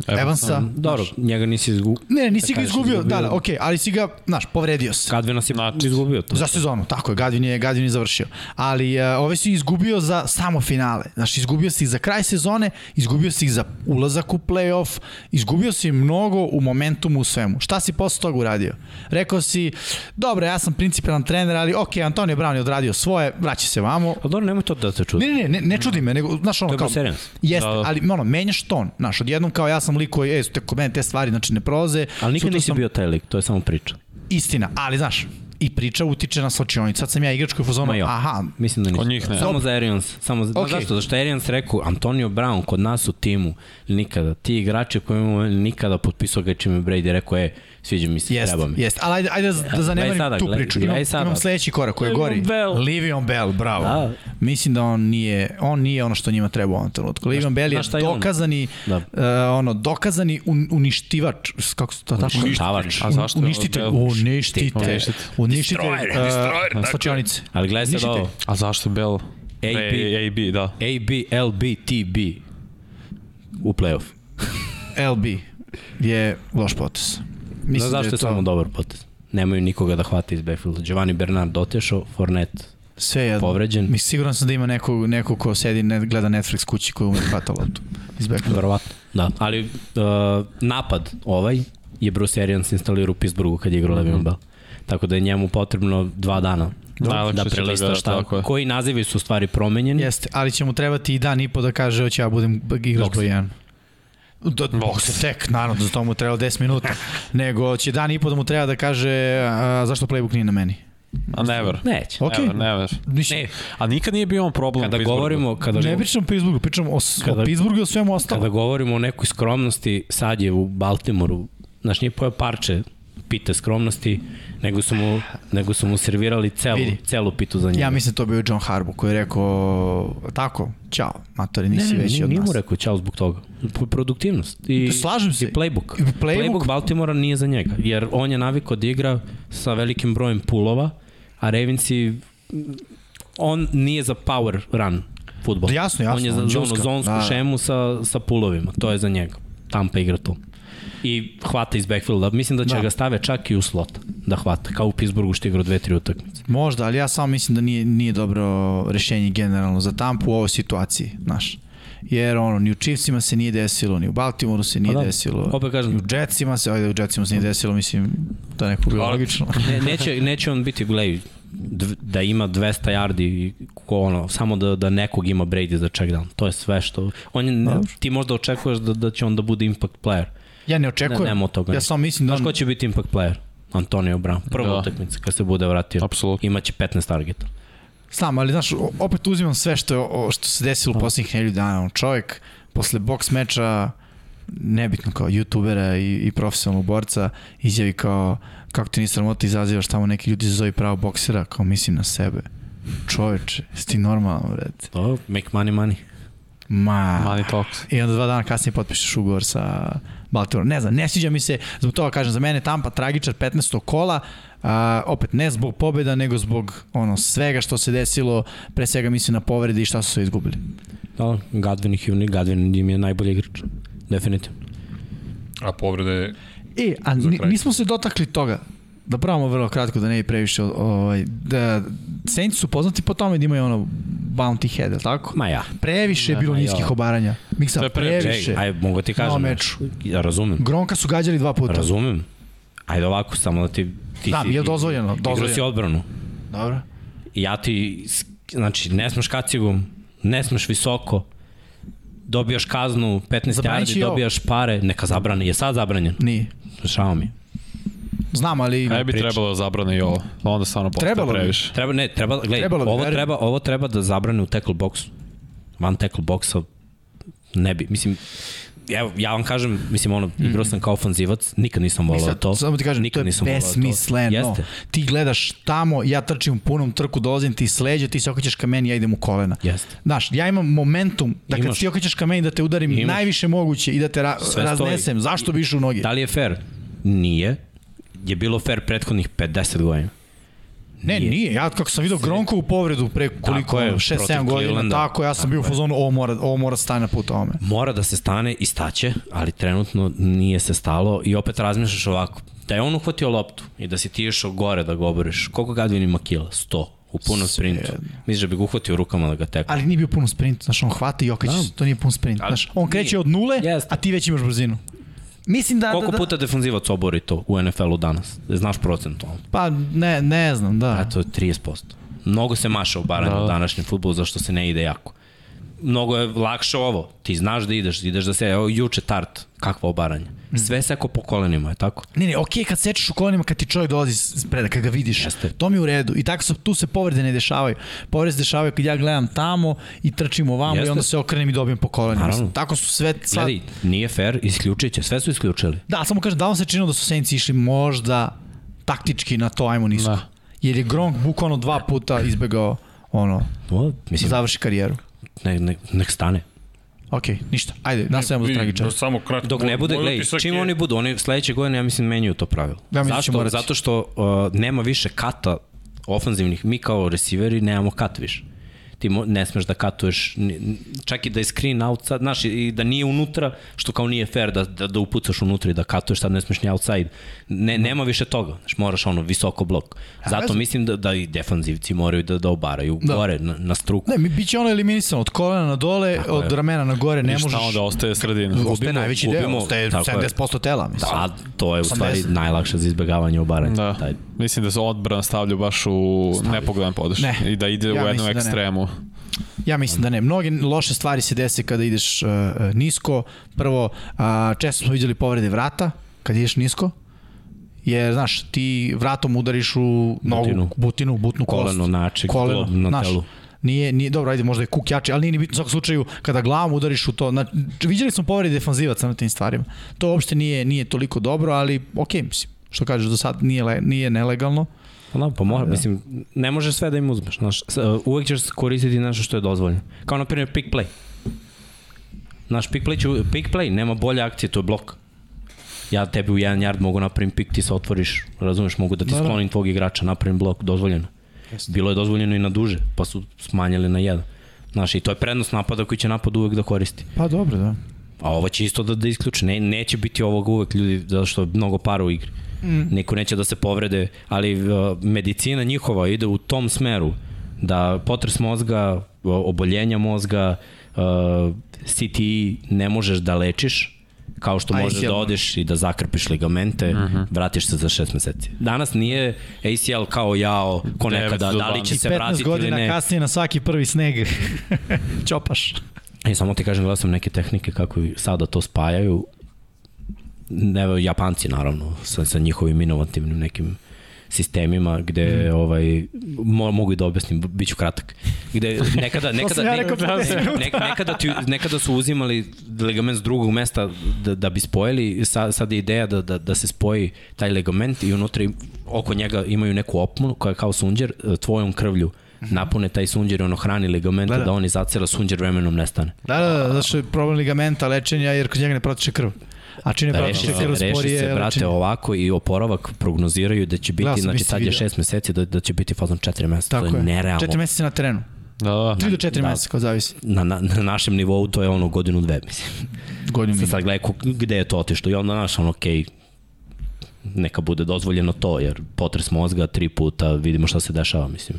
[SPEAKER 3] uh, Evansa.
[SPEAKER 2] Dobro, njega nisi izgu...
[SPEAKER 3] Ne, nisi
[SPEAKER 2] Da
[SPEAKER 3] ga
[SPEAKER 2] kažeš,
[SPEAKER 3] izgubio, da,
[SPEAKER 2] izgubio.
[SPEAKER 3] da, okej, ali si ga, znaš, povredio se.
[SPEAKER 2] Kadve nas je izgubio to.
[SPEAKER 3] Za sezonu, tako je, Gadvin je, Gadvin je završio. Ali uh, ove si izgubio za samo finale. Znači, izgubio si ih za kraj sezone, izgubio si ih za ulazak u play-off, izgubio si mnogo u momentumu u svemu. Šta si posle toga uradio? Rekao si, dobro, ja sam principijalan trener, ali ok, Antonio Brown je odradio svoje, vraća se vamo.
[SPEAKER 2] A dobro, nemoj to da te čudi.
[SPEAKER 3] Ne, ne, ne, ne čudi me, nego, znaš, ono
[SPEAKER 2] To je
[SPEAKER 3] kao...
[SPEAKER 2] Bruce Arians.
[SPEAKER 3] Jeste,
[SPEAKER 4] Da, da.
[SPEAKER 3] ali ono, menjaš ton, znaš, odjednom kao ja sam lik koji, ej, te kod mene te stvari, znači, ne prolaze.
[SPEAKER 2] Ali nikad
[SPEAKER 3] Sutra
[SPEAKER 2] nisi
[SPEAKER 3] sam-
[SPEAKER 2] bio taj lik, to je samo priča.
[SPEAKER 3] Istina, ali znaš, i priča utiče na slačionicu. Sad sam ja igrač koji je u fazonu,
[SPEAKER 2] Ma jo.
[SPEAKER 3] aha,
[SPEAKER 2] Mislim da nisi.
[SPEAKER 4] Kod njih ne.
[SPEAKER 2] Samo za Arians. Samo za... Okay.
[SPEAKER 3] Ok.
[SPEAKER 2] zašto? Zašto je Arians rekao, Antonio Brown kod nas u timu nikada, ti igrači koji imamo nikada potpisao ga je čime Brady rekao, e, sviđa mi se,
[SPEAKER 3] Jest,
[SPEAKER 2] treba mi.
[SPEAKER 3] jest. Ali ajde, ajde da zanemarim
[SPEAKER 2] sada,
[SPEAKER 3] tu
[SPEAKER 2] gledaj,
[SPEAKER 3] priču.
[SPEAKER 2] gledaj
[SPEAKER 3] Imam,
[SPEAKER 2] sada.
[SPEAKER 3] imam sledeći korak koji je gori.
[SPEAKER 2] Le'Veon Bell.
[SPEAKER 3] Livion Bell, bravo.
[SPEAKER 2] Da.
[SPEAKER 3] Mislim da on nije, on nije ono što njima treba u ovom trenutku. Livion Bell je
[SPEAKER 2] znaš šta je on?
[SPEAKER 3] dokazani,
[SPEAKER 2] Da.
[SPEAKER 3] uh, ono, dokazani un, uništivač. S- Kako se to tačno?
[SPEAKER 2] Uništavač.
[SPEAKER 4] A zašto? je
[SPEAKER 3] Uništitelj.
[SPEAKER 4] Bell?
[SPEAKER 3] Uništitelj.
[SPEAKER 4] Uništitelj.
[SPEAKER 3] Uništitelj.
[SPEAKER 1] Destroyer,
[SPEAKER 3] uh,
[SPEAKER 1] destroyer, tako je.
[SPEAKER 3] Slačionice.
[SPEAKER 2] Ali gledaj sad
[SPEAKER 3] Ništa
[SPEAKER 2] ovo.
[SPEAKER 4] A zašto Bell?
[SPEAKER 2] AB.
[SPEAKER 4] E, AB, da.
[SPEAKER 2] AB, LB, TB u play-off.
[SPEAKER 3] LB je loš da potes.
[SPEAKER 2] Znaš zašto je, samo dobar potez? Nemaju nikoga da hvate iz backfielda. Giovanni Bernard otešao, Fournette
[SPEAKER 3] sve jedno.
[SPEAKER 2] povređen.
[SPEAKER 3] Mi siguran sam da ima neko, neko ko sedi ne, gleda Netflix kući koji ume da hvata loptu. Iz backfielda.
[SPEAKER 2] Verovatno. Da, ali uh, napad ovaj je Bruce Arians instalirao u Pittsburghu kad je igrao Le'Veon Bell. Tako da je njemu potrebno dva dana
[SPEAKER 4] Najlakše
[SPEAKER 2] da
[SPEAKER 4] će da
[SPEAKER 2] prelista
[SPEAKER 4] ga-
[SPEAKER 2] šta,
[SPEAKER 4] tako je.
[SPEAKER 2] koji nazivi su u stvari promenjeni.
[SPEAKER 3] Jeste, ali će mu trebati i dan i po da kaže hoće ja budem igrač broj 1. Da, box tek, naravno, za to mu treba 10 minuta. Nego će dan i po da mu treba da kaže a, zašto playbook nije na meni.
[SPEAKER 4] A never.
[SPEAKER 2] Neće.
[SPEAKER 3] Ok.
[SPEAKER 4] Never, never.
[SPEAKER 3] Mislim,
[SPEAKER 2] Ne,
[SPEAKER 4] A nikad nije bio on problem u
[SPEAKER 2] kada
[SPEAKER 4] Pittsburghu.
[SPEAKER 2] govorimo, kada,
[SPEAKER 3] ne pričam o Pittsburghu, pričam o, s-
[SPEAKER 2] Kada-
[SPEAKER 3] o Pittsburghu i o svemu ostalom.
[SPEAKER 2] kada govorimo o nekoj skromnosti, sad je u Baltimoru, znaš, nije pojao parče pite skromnosti, nego su mu, nego su mu servirali celu,
[SPEAKER 3] Vidi.
[SPEAKER 2] celu pitu za njega.
[SPEAKER 3] Ja mislim to bio John Harbaugh koji je rekao tako, čao, matori, da nisi
[SPEAKER 2] ne, ne,
[SPEAKER 3] veći
[SPEAKER 2] nije-
[SPEAKER 3] od
[SPEAKER 2] nije
[SPEAKER 3] nas. Da,
[SPEAKER 2] mu rekao ćao zbog toga. P- Produktivnost. I,
[SPEAKER 3] Slažem se.
[SPEAKER 2] I playbook.
[SPEAKER 3] I
[SPEAKER 2] playbook.
[SPEAKER 3] playbook.
[SPEAKER 2] Playbook Baltimora nije za njega, jer on je navikao da igra sa velikim brojem pulova, a Ravensi, on nije za power run futbol.
[SPEAKER 3] Da, Jasno, jasno,
[SPEAKER 2] On je za
[SPEAKER 3] on
[SPEAKER 2] zonu,
[SPEAKER 3] džuska.
[SPEAKER 2] zonsku
[SPEAKER 3] Da,
[SPEAKER 2] da.
[SPEAKER 3] da.
[SPEAKER 2] šemu sa, sa pulovima, to je za njega. Tampa igra tu. I hvata iz backfielda. Mislim da će da.
[SPEAKER 3] Da.
[SPEAKER 2] ga stave čak i u slot da hvata, kao u Pittsburghu što je igrao dve, tri utakmice.
[SPEAKER 3] Možda, ali ja samo mislim da nije, nije dobro rešenje generalno za Tampu u ovoj situaciji, znaš. Jer ono, ni u Chiefsima se nije desilo, ni u Baltimoru se nije
[SPEAKER 2] Pa
[SPEAKER 3] da,
[SPEAKER 2] da,
[SPEAKER 3] desilo.
[SPEAKER 2] opet kažem. Da.
[SPEAKER 3] Ni u Jetsima se, ajde, u Jetsima se nije desilo, mislim, to je neko bilo
[SPEAKER 1] Ali-
[SPEAKER 3] logično.
[SPEAKER 2] Ne, neće, neće on biti, gledaj, dv- da ima 200 yardi i ko ono, samo da, da nekog ima Brady za check down. To je sve što... On je, ne, ti možda očekuješ da, da će on da bude impact player.
[SPEAKER 3] Ja ne
[SPEAKER 2] Ne,
[SPEAKER 3] očekujem.
[SPEAKER 2] nema od toga.
[SPEAKER 3] ja
[SPEAKER 2] ništa.
[SPEAKER 3] samo mislim da
[SPEAKER 2] Znaš
[SPEAKER 3] on,
[SPEAKER 2] ko će biti impact player? Antonio Brown. Prva da.
[SPEAKER 4] Da.
[SPEAKER 2] utakmica kad se bude vratio.
[SPEAKER 4] Apsolutno.
[SPEAKER 2] Imaće 15 targeta.
[SPEAKER 3] Znam, ali znaš, o- opet uzimam sve što, je, o, što se desilo u poslednjih nedelju dana. Ono, čovjek posle boks meča, nebitno kao youtubera i, i profesionalnog borca, izjavi kao, kako ti nisam sramota izazivaš tamo neki ljudi se zove pravo boksera, kao mislim na sebe. Čoveče, jesi ti normalno, vred?
[SPEAKER 2] To, make money, money.
[SPEAKER 3] Ma.
[SPEAKER 4] Money talks.
[SPEAKER 3] I onda dva dana kasnije potpišeš ugovor sa Baltimoreom. Ne znam, ne sviđa mi se, zbog toga kažem, za mene Tampa tragičar 15. kola, a, opet ne zbog pobjeda, nego zbog ono, svega što se desilo, pre svega mislim na povrede i šta su se izgubili.
[SPEAKER 2] Da, Gadvin i Hivni, Gadvin im je najbolji igrač. Definitivno.
[SPEAKER 1] A povreda je...
[SPEAKER 3] E, a
[SPEAKER 1] Za
[SPEAKER 3] ni,
[SPEAKER 1] kraj.
[SPEAKER 3] nismo se dotakli toga, da pravamo vrlo kratko, da ne bi previše, o- ovaj, da, Saints su poznati po tome da imaju ono bounty head, je li tako?
[SPEAKER 2] Ma da, ja.
[SPEAKER 3] Previše je bilo
[SPEAKER 2] ma,
[SPEAKER 3] niskih
[SPEAKER 2] ja.
[SPEAKER 3] obaranja.
[SPEAKER 4] To
[SPEAKER 3] Miksa,
[SPEAKER 4] je previše.
[SPEAKER 3] previše.
[SPEAKER 2] Aj, mogu ti
[SPEAKER 3] Na
[SPEAKER 2] kažem.
[SPEAKER 3] meču.
[SPEAKER 2] Ja razumem.
[SPEAKER 3] Gronka su gađali dva puta.
[SPEAKER 2] Razumem. Ajde ovako, samo da ti... ti
[SPEAKER 3] Znam,
[SPEAKER 2] si-
[SPEAKER 3] je dozvoljeno,
[SPEAKER 2] Igrao si
[SPEAKER 3] dozvoljeno.
[SPEAKER 2] odbranu.
[SPEAKER 3] Dobro.
[SPEAKER 2] ja ti, znači, ne smeš kacigom, ne smeš visoko, dobijaš kaznu, 15
[SPEAKER 3] Zabranit će
[SPEAKER 2] jardi,
[SPEAKER 3] i ovo.
[SPEAKER 2] dobijaš pare, neka zabrane, je sad zabranjen,
[SPEAKER 3] Nije.
[SPEAKER 2] šao mi.
[SPEAKER 3] Znam, ali...
[SPEAKER 4] Ne bi trebalo da zabrane i ovo. Onda stvarno postaje
[SPEAKER 3] Trebalo bi.
[SPEAKER 4] previše.
[SPEAKER 2] Treba, ne, treba, gledaj,
[SPEAKER 3] Trebalo bi,
[SPEAKER 2] ovo,
[SPEAKER 3] verujem.
[SPEAKER 2] treba, ovo treba da zabrane u tackle boxu. Van tackle boxa ne bi, mislim, evo, ja vam kažem, mislim, ono, igrao sam kao ofanzivac, nikad nisam volao
[SPEAKER 3] Sad,
[SPEAKER 2] to.
[SPEAKER 3] Mhm. Samo ti kažem,
[SPEAKER 2] nikad
[SPEAKER 3] to je
[SPEAKER 2] nisam volao
[SPEAKER 3] besmisleno.
[SPEAKER 2] Jeste.
[SPEAKER 3] Ti gledaš tamo, ja trčim u punom trku, dolazim ti s leđa, ti se okrećeš ka meni, ja idem u kolena.
[SPEAKER 2] Jeste.
[SPEAKER 3] Znaš, ja imam momentum da kad
[SPEAKER 2] Imaš.
[SPEAKER 3] ti okrećeš ka meni da te udarim
[SPEAKER 2] Imaš.
[SPEAKER 3] najviše moguće i da te ra
[SPEAKER 2] Sve
[SPEAKER 3] raznesem.
[SPEAKER 2] stoji.
[SPEAKER 3] Zašto bi išao u noge?
[SPEAKER 2] Da li je fair? Nije. Je bilo fair prethodnih 50 godina.
[SPEAKER 3] ne, nije. Ja kako sam vidio Gronkovu povredu pre koliko
[SPEAKER 2] Tako je,
[SPEAKER 3] je, 6-7
[SPEAKER 2] protiv
[SPEAKER 3] godina,
[SPEAKER 2] Clevelanda.
[SPEAKER 3] tako ja sam bio u fazonu, ovo mora, ovo mora stane na put ovome.
[SPEAKER 2] Mora da se stane i staće, ali trenutno nije se stalo i opet razmišljaš ovako. Da je on uhvatio loptu i da si ti išao gore da ga oboriš, koliko Gadvin ima kila? 100 u punom sprintu. Misliš da bi ga uhvatio rukama da ga tekao.
[SPEAKER 3] Ali nije bio pun sprint, znaš, on hvata i okreće se, to nije pun sprint.
[SPEAKER 2] Da. Ali
[SPEAKER 3] Znaš, on kreće od nule,
[SPEAKER 2] Jeste.
[SPEAKER 3] a ti već imaš brzinu. Mislim da, da,
[SPEAKER 2] Koliko
[SPEAKER 3] da,
[SPEAKER 2] puta defanzivac obori to u NFL-u danas? Da Znaš procentualno.
[SPEAKER 3] pa ne, ne znam, da.
[SPEAKER 2] A to je 30%. Mnogo se maša u baranju da. u današnjem futbolu, zašto se ne ide jako. Mnogo je lakše ovo. Ti znaš da ideš, ideš da se, evo, juče tart, kakva obaranja.
[SPEAKER 3] Mm.
[SPEAKER 2] Sve seko po kolenima, je tako?
[SPEAKER 3] Ne, ne, okej, kad sečeš u kolonima, kad ti čovjek dolazi s preda, kad ga vidiš,
[SPEAKER 2] Jeste.
[SPEAKER 3] to mi je u redu. I tako se, tu se povrede ne dešavaju. Povrede se dešavaju kad ja gledam tamo i trčim ovamo i
[SPEAKER 2] Jeste.
[SPEAKER 3] onda se okrenem i dobijem po kolenima.
[SPEAKER 2] Naravno.
[SPEAKER 3] Mislim, Tako su sve... Sva...
[SPEAKER 2] Gledaj, nije fair, isključit će, sve su isključili.
[SPEAKER 3] Da, samo kažem, da vam se činilo da su Saints išli možda taktički na to, ajmo nisko.
[SPEAKER 4] Da.
[SPEAKER 3] Jer je Gronk bukvalno dva puta izbegao ono,
[SPEAKER 2] O,
[SPEAKER 3] da
[SPEAKER 2] mislim, da.
[SPEAKER 3] završi karijeru.
[SPEAKER 2] ne, ne, nek stane.
[SPEAKER 3] Okej, ništa. Ajde, nastavljamo do
[SPEAKER 1] Vidi, da
[SPEAKER 3] tragičara.
[SPEAKER 1] Samo kratko.
[SPEAKER 2] Dok ne
[SPEAKER 1] moj-
[SPEAKER 2] bude,
[SPEAKER 1] moj
[SPEAKER 2] gledaj,
[SPEAKER 1] utisak
[SPEAKER 2] čim
[SPEAKER 1] je-
[SPEAKER 2] oni budu, oni sledeće godine, ja mislim, menjuju to pravilo.
[SPEAKER 3] Da, mislim da će
[SPEAKER 2] Zašto?
[SPEAKER 3] morati.
[SPEAKER 2] Zato što uh, nema više kata ofanzivnih, mi kao resiveri nemamo kat više. Ti mo, ne smeš da katuješ, ni- ni- čak i da je screen outside, znaš, i- i da nije unutra, što kao nije fair da, da, da upucaš unutra i da katuješ, sad ne smeš ni outside. Ne, nema više toga, znaš, moraš ono, visoko blok. Zato
[SPEAKER 3] veze.
[SPEAKER 2] mislim da, da i defanzivci moraju da, da obaraju
[SPEAKER 3] Da.
[SPEAKER 2] gore, na, na struku.
[SPEAKER 3] Ne, mi bit će ono eliminisano, od kolena na dole, od ramena na gore, ne
[SPEAKER 4] I šta
[SPEAKER 3] možeš...
[SPEAKER 4] onda ostaje sredina?
[SPEAKER 3] Ostaje najveći deo,
[SPEAKER 2] gubimo,
[SPEAKER 3] ostaje
[SPEAKER 2] tako je. Da.
[SPEAKER 3] 70% tela, mislim.
[SPEAKER 2] A Pa, to je u stvari
[SPEAKER 3] 80.
[SPEAKER 2] najlakše za izbjegavanje obaranja.
[SPEAKER 4] Da.
[SPEAKER 2] Taj,
[SPEAKER 4] Mislim da se odbran stavlja baš u nepogledan podeš.
[SPEAKER 3] Ne.
[SPEAKER 4] I da ide
[SPEAKER 3] Ja
[SPEAKER 4] u jednu
[SPEAKER 3] mislim da ne.
[SPEAKER 4] ekstremu.
[SPEAKER 3] Ja mislim da ne. Mnoge loše stvari se dese kada ideš uh, uh, nisko. Prvo, uh, često smo vidjeli povrede vrata kad ideš nisko. Jer, znaš, ti vratom udariš u nogu, butinu,
[SPEAKER 2] Butinu.
[SPEAKER 3] butinu butnu kost.
[SPEAKER 2] Koleno, načić,
[SPEAKER 3] koleno,
[SPEAKER 2] glob na
[SPEAKER 3] znaš,
[SPEAKER 2] telu.
[SPEAKER 3] Nije, nije, dobro, ajde, možda je kuk jači, ali nije ni bitno u svakom slučaju kada glavom udariš u to. Na, viđali smo povrede defanzivaca na tim stvarima. To uopšte nije, nije toliko dobro, ali okej, mislim, što kažeš, do sad nije, le, nije nelegalno.
[SPEAKER 2] Pa da, pa mora, mislim, ne može sve da im uzmeš, znaš, S- uh, uvek ćeš koristiti nešto što je dozvoljeno. Kao na primjer pick play. Znaš, pick play, će, pick play nema bolje akcije, to je blok. Ja tebi u jedan yard mogu napravim pick, ti se otvoriš, razumeš, mogu da ti sklonim tvog igrača, napravim blok, dozvoljeno. Bilo je dozvoljeno i na duže, pa su smanjili na jedan. Znaš, i to je prednost napada koji će napad uvek da koristi.
[SPEAKER 3] Pa dobro, da.
[SPEAKER 2] A ovo će isto da, da isključi. Ne, neće biti ovog uvek ljudi, zato što je mnogo para u igri. Mm. Niko neće da se povrede, ali uh, medicina njihova ide u tom smeru da potres mozga, o- oboljenja mozga, uh, CTI ne možeš da lečiš, kao što
[SPEAKER 3] A,
[SPEAKER 2] možeš
[SPEAKER 3] ACL.
[SPEAKER 2] da odeš i da zakrpiš ligamente, uh
[SPEAKER 4] Mhm.
[SPEAKER 2] -huh. vratiš se za šest meseci. Danas nije ACL kao jao, ko
[SPEAKER 4] Devet
[SPEAKER 2] nekada,
[SPEAKER 4] do
[SPEAKER 2] da li će
[SPEAKER 4] dvanaest.
[SPEAKER 2] se
[SPEAKER 3] 15
[SPEAKER 2] vratiti ili
[SPEAKER 3] godina
[SPEAKER 2] ne.
[SPEAKER 3] kasnije na svaki prvi sneg čopaš.
[SPEAKER 2] I E, samo ti kažem, gledao sam neke tehnike kako i sada to spajaju. Evo, Japanci naravno, sa, sa njihovim inovativnim nekim sistemima gde
[SPEAKER 3] Mhm.
[SPEAKER 2] mm. ovaj mo, mogu i da objasnim b- biću kratak gde nekada nekada
[SPEAKER 3] sam ja
[SPEAKER 2] ne-
[SPEAKER 3] rekao pre
[SPEAKER 2] ne-
[SPEAKER 3] 10 minuta.
[SPEAKER 2] ne, nekada ti, nekada su uzimali ligament s drugog mesta da, da bi spojili sa, sad je ideja da, da, da se spoji taj ligament i unutra im- oko njega imaju neku opmonu koja je kao sunđer e, tvojom krvlju napune taj sunđer i ono hrani ligament da,
[SPEAKER 3] Mhm. Da, da.
[SPEAKER 2] da on izacela sunđer vremenom nestane
[SPEAKER 3] Da, da, da, zašto je problem ligamenta, lečenja, jer kod njega ne protiče krv. A čim ne
[SPEAKER 2] Da reši
[SPEAKER 3] protiče
[SPEAKER 2] se,
[SPEAKER 3] krv,
[SPEAKER 2] reši
[SPEAKER 3] sporije
[SPEAKER 2] se,
[SPEAKER 3] je
[SPEAKER 2] brate,
[SPEAKER 3] lečenje.
[SPEAKER 2] ovako i oporavak prognoziraju da će biti,
[SPEAKER 3] Gledao sam,
[SPEAKER 2] znači
[SPEAKER 3] isti
[SPEAKER 2] sad je
[SPEAKER 3] video.
[SPEAKER 2] šest meseci, da, da će biti fazom četiri meseca,
[SPEAKER 3] Tako
[SPEAKER 2] to je nerealno.
[SPEAKER 3] Četiri meseca na terenu.
[SPEAKER 4] Da, da.
[SPEAKER 3] Tri do četiri da. meseca, kao zavisi.
[SPEAKER 2] Na, na, na našem nivou to je ono godinu dve, mislim.
[SPEAKER 3] Godinu
[SPEAKER 2] Sad,
[SPEAKER 3] mi.
[SPEAKER 2] sad gledaj ko- gde je to otišlo i onda naš ono, okej, neka bude dozvoljeno to, jer potres mozga tri puta, vidimo šta se dešava, mislim.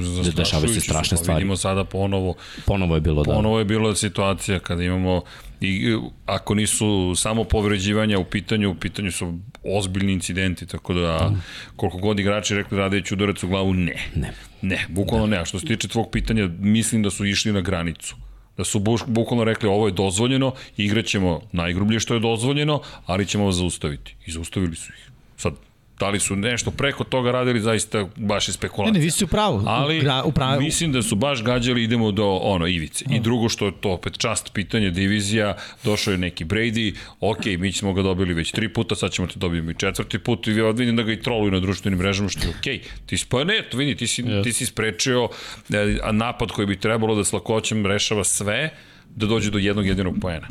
[SPEAKER 1] zastrašujući
[SPEAKER 2] Da, dešavaju se
[SPEAKER 1] su,
[SPEAKER 2] strašne
[SPEAKER 1] pa
[SPEAKER 2] stvari.
[SPEAKER 1] Vidimo sada ponovo
[SPEAKER 2] Ponovo je bilo da...
[SPEAKER 1] Ponovo je bila situacija kada imamo i ako nisu samo povređivanja u pitanju, u pitanju su ozbiljni incidenti, tako da koliko god igrači rekli radeći udarac u glavu, ne. Ne. Ne, bukvalno ne. A što se tiče tvog pitanja, mislim da su išli na granicu. Da su buš- bukvalno rekli ovo je dozvoljeno, igraćemo najgrublje što je dozvoljeno, ali ćemo vas zaustaviti. I zaustavili su ih. Sad, Da li su nešto preko toga radili, zaista baš je
[SPEAKER 3] Ne,
[SPEAKER 1] spekulacija.
[SPEAKER 3] ne, vi ste u pravu.
[SPEAKER 1] Ali
[SPEAKER 3] Gra- u Da. pravu.
[SPEAKER 1] mislim da su baš gađali idemo do ono ivice. I drugo što je to opet čast pitanje divizija, došao je neki Brady, ok, mi smo ga dobili već tri puta, sad ćemo te dobijemo i četvrti put i ja vidim da ga i troluju na društvenim mrežama što je ok. Ti si, pa ne, to vidi, ti si, ti si sprečio e, a napad koji bi trebalo da s lakoćem rešava sve, da dođe do jednog jedinog poena.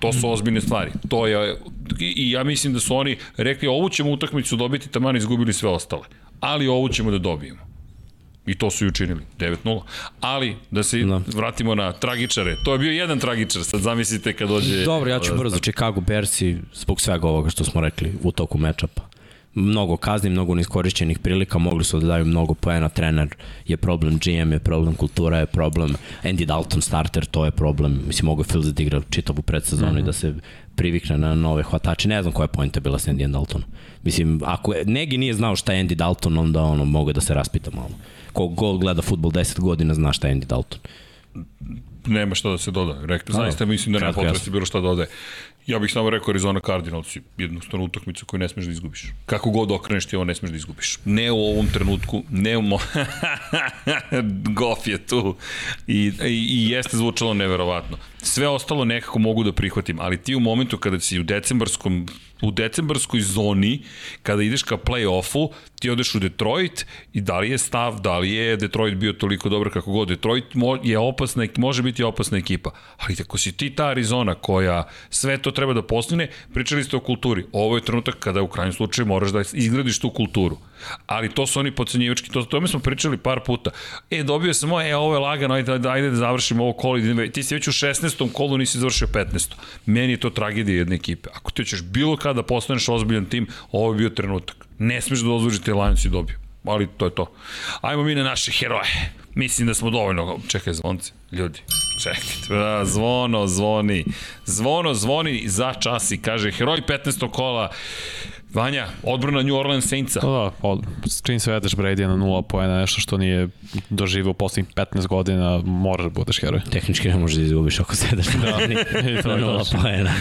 [SPEAKER 1] To su ozbiljne stvari. To je, i, I ja mislim da su oni rekli ovu ćemo utakmicu dobiti, taman izgubili sve ostale. Ali ovu ćemo da dobijemo. I to su i učinili, 9-0. Ali, da se da. vratimo na tragičare. To je bio jedan tragičar, sad zamislite kad dođe...
[SPEAKER 2] Dobro, ja ću brzo. Chicago Bersi, zbog svega ovoga što smo rekli u toku mečapa. Mnogo kazni, mnogo neiskorišćenih prilika, mogli su da daju mnogo poena, trener je problem, GM je problem, kultura je problem, Andy Dalton starter, to je problem. Mislim, mogu je Fields da igra čitavu predsezonu
[SPEAKER 4] Mhm.
[SPEAKER 2] mm -hmm. i da se privikne na nove hvatače. Ne znam koja je pojenta bila s Andy Daltonom. Mislim, ako je, Negi nije znao šta je Andy Dalton, onda ono, mogu da se raspita malo. Ko god gleda futbol 10 godina, zna šta je Andy Dalton.
[SPEAKER 1] Nema šta da se doda. Rekli, zaista mislim da nema
[SPEAKER 2] kratko
[SPEAKER 1] potrebe
[SPEAKER 2] jasno.
[SPEAKER 1] bilo šta da dodaje. Ja bih samo rekao Arizona Cardinals je jednostavno utakmica koju ne smeš da izgubiš. Kako god okreneš ti ovo ne smeš da izgubiš. Ne u ovom trenutku, ne u mo... Goff je tu. I, i, I jeste zvučalo neverovatno. Sve ostalo nekako mogu da prihvatim, ali ti u momentu kada si u decembarskom u decembarskoj zoni, kada ideš ka play-offu, ti odeš u Detroit i da li je stav, da li je Detroit bio toliko dobar kako god, Detroit mo- je opasna, može biti opasna ekipa, ali ako si ti ta Arizona koja sve to treba da postigne, pričali ste o kulturi, ovo je trenutak kada u krajnjem slučaju moraš da izgradiš tu kulturu, ali to su oni pocenjivački, to, o tome smo pričali par puta, e dobio sam ovo, e ovo je lagano, ajde, ajde, ajde da završimo ovo kolo, idem ve- ti si već u 16. kolu nisi završio 15. Meni je to tragedija jedne ekipe, ako ti ćeš bilo kada da postaneš ozbiljan tim, ovo je bio trenutak, ne smeš da dozvoriš da te Lions i dobiju ali to je to. Ajmo mi na naše heroje. Mislim da smo dovoljno... Čekaj, zvonci, ljudi. Čekajte. Da, zvono zvoni. Zvono zvoni za čas i kaže heroj 15. kola. Vanja, odbrana New Orleans Saintsa.
[SPEAKER 4] Pa da, pa, s čim se vedeš Brady na nula poena, nešto što nije doživio poslednjih 15 godina, moraš da budeš heroj.
[SPEAKER 2] Tehnički ne možeš da izgubiš ako sedaš da,
[SPEAKER 4] I to
[SPEAKER 2] na
[SPEAKER 4] je
[SPEAKER 2] nula
[SPEAKER 4] tačno.
[SPEAKER 2] poena.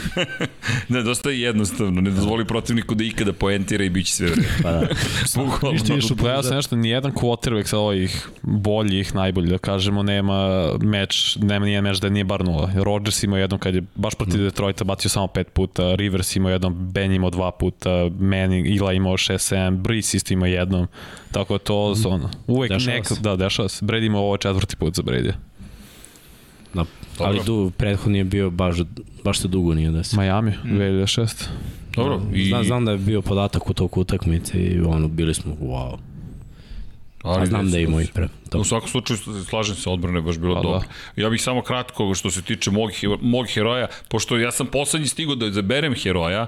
[SPEAKER 1] Ne, dosta je jednostavno. Ne dozvoli protivniku da ikada poentira i bit će sve vreme.
[SPEAKER 2] Pa da.
[SPEAKER 1] Bukvalno.
[SPEAKER 3] Ništa još u
[SPEAKER 4] Gledao sam nešto, nijedan quarterback sa ovih boljih, najboljih, da kažemo, nema meč, nema nijedan meč da nije bar nula. Rodgers imao jednom kad je baš protiv Detroita bacio samo pet puta, Rivers imao jednom, Ben imao dva puta, Manning, Ila imao 6-7, Brees isto imao jednom. Tako da to su ono, uvek
[SPEAKER 2] Dešava
[SPEAKER 4] neka,
[SPEAKER 2] se.
[SPEAKER 4] da, dešava se. Brady imao ovo četvrti put za Brady.
[SPEAKER 2] da. Ali du, prethodni je bio baš, baš se dugo nije desio.
[SPEAKER 4] Miami, 2006.
[SPEAKER 1] Dobro. I,
[SPEAKER 2] Znam, znam da je bio podatak u toku utakmice i ono, bili smo wow. A
[SPEAKER 1] ali
[SPEAKER 2] znam da je imao i pre.
[SPEAKER 1] Da. U
[SPEAKER 2] To.
[SPEAKER 1] svakom slučaju slažem se, odbrana je baš bila
[SPEAKER 4] Pa
[SPEAKER 1] dobra. Da. Ja bih samo kratko što se tiče mog, hero- mog heroja, pošto ja sam poslednji stigao da izaberem heroja,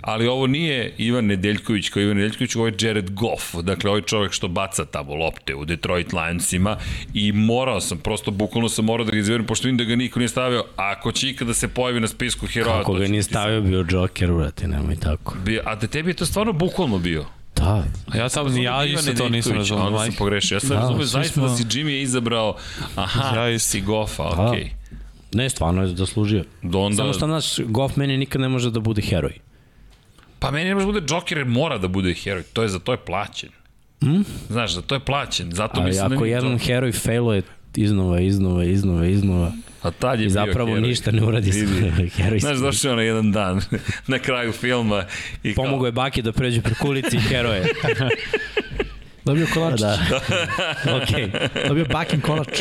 [SPEAKER 1] ali ovo nije Ivan Nedeljković kao Ivan Nedeljković, ovo je Jared Goff, dakle ovaj čovek što baca tamo lopte u Detroit Lionsima i morao sam, prosto bukvalno sam morao da ga izverim, pošto vidim da ga niko nije stavio, a ako će ikada da se pojavi na spisku heroja,
[SPEAKER 2] Ako
[SPEAKER 1] to
[SPEAKER 2] ga
[SPEAKER 1] će
[SPEAKER 2] nije
[SPEAKER 1] biti
[SPEAKER 2] stavio, bio Joker, vrati, nemoj tako.
[SPEAKER 1] sam bio- A da tebi je to stvarno bukvalno bio?
[SPEAKER 2] Da,
[SPEAKER 4] A ja sam, ja
[SPEAKER 1] Ivan
[SPEAKER 4] isto to nisam
[SPEAKER 1] Nedeljković,
[SPEAKER 4] razumio.
[SPEAKER 1] Onda sam
[SPEAKER 4] majke.
[SPEAKER 1] pogrešio. Ja sam da,
[SPEAKER 2] Da,
[SPEAKER 1] razumio
[SPEAKER 2] svi
[SPEAKER 1] zaista da
[SPEAKER 2] smo-
[SPEAKER 1] si Jimmy je izabrao, aha,
[SPEAKER 4] Ja
[SPEAKER 1] ja
[SPEAKER 4] isto.
[SPEAKER 1] si Goffa, okej. Okay.
[SPEAKER 2] ne, stvarno je zaslužio.
[SPEAKER 1] Do onda...
[SPEAKER 2] Samo što, znaš, Goff meni nikad ne može da bude heroj.
[SPEAKER 1] Pa meni ne može da bude Joker, jer mora da bude heroj. To je, za to je plaćen. Mm? Znaš, za to je plaćen. Zato
[SPEAKER 2] Hm? Ali
[SPEAKER 1] mislim da
[SPEAKER 2] ako
[SPEAKER 1] mi je
[SPEAKER 2] jedan
[SPEAKER 1] to...
[SPEAKER 2] heroj failuje iznova, iznova, iznova, iznova,
[SPEAKER 1] A tad je
[SPEAKER 2] i
[SPEAKER 1] bio
[SPEAKER 2] zapravo
[SPEAKER 1] heroj.
[SPEAKER 2] ništa ne uradi s
[SPEAKER 1] Vidi.
[SPEAKER 2] heroj.
[SPEAKER 1] Znaš, došao je onaj jedan dan na kraju filma i kao...
[SPEAKER 2] Pomogao je Baki da pređe preko ulici i heroje.
[SPEAKER 3] Dobio kolač.
[SPEAKER 2] Da. Okej,
[SPEAKER 3] Dobio bakin kolač.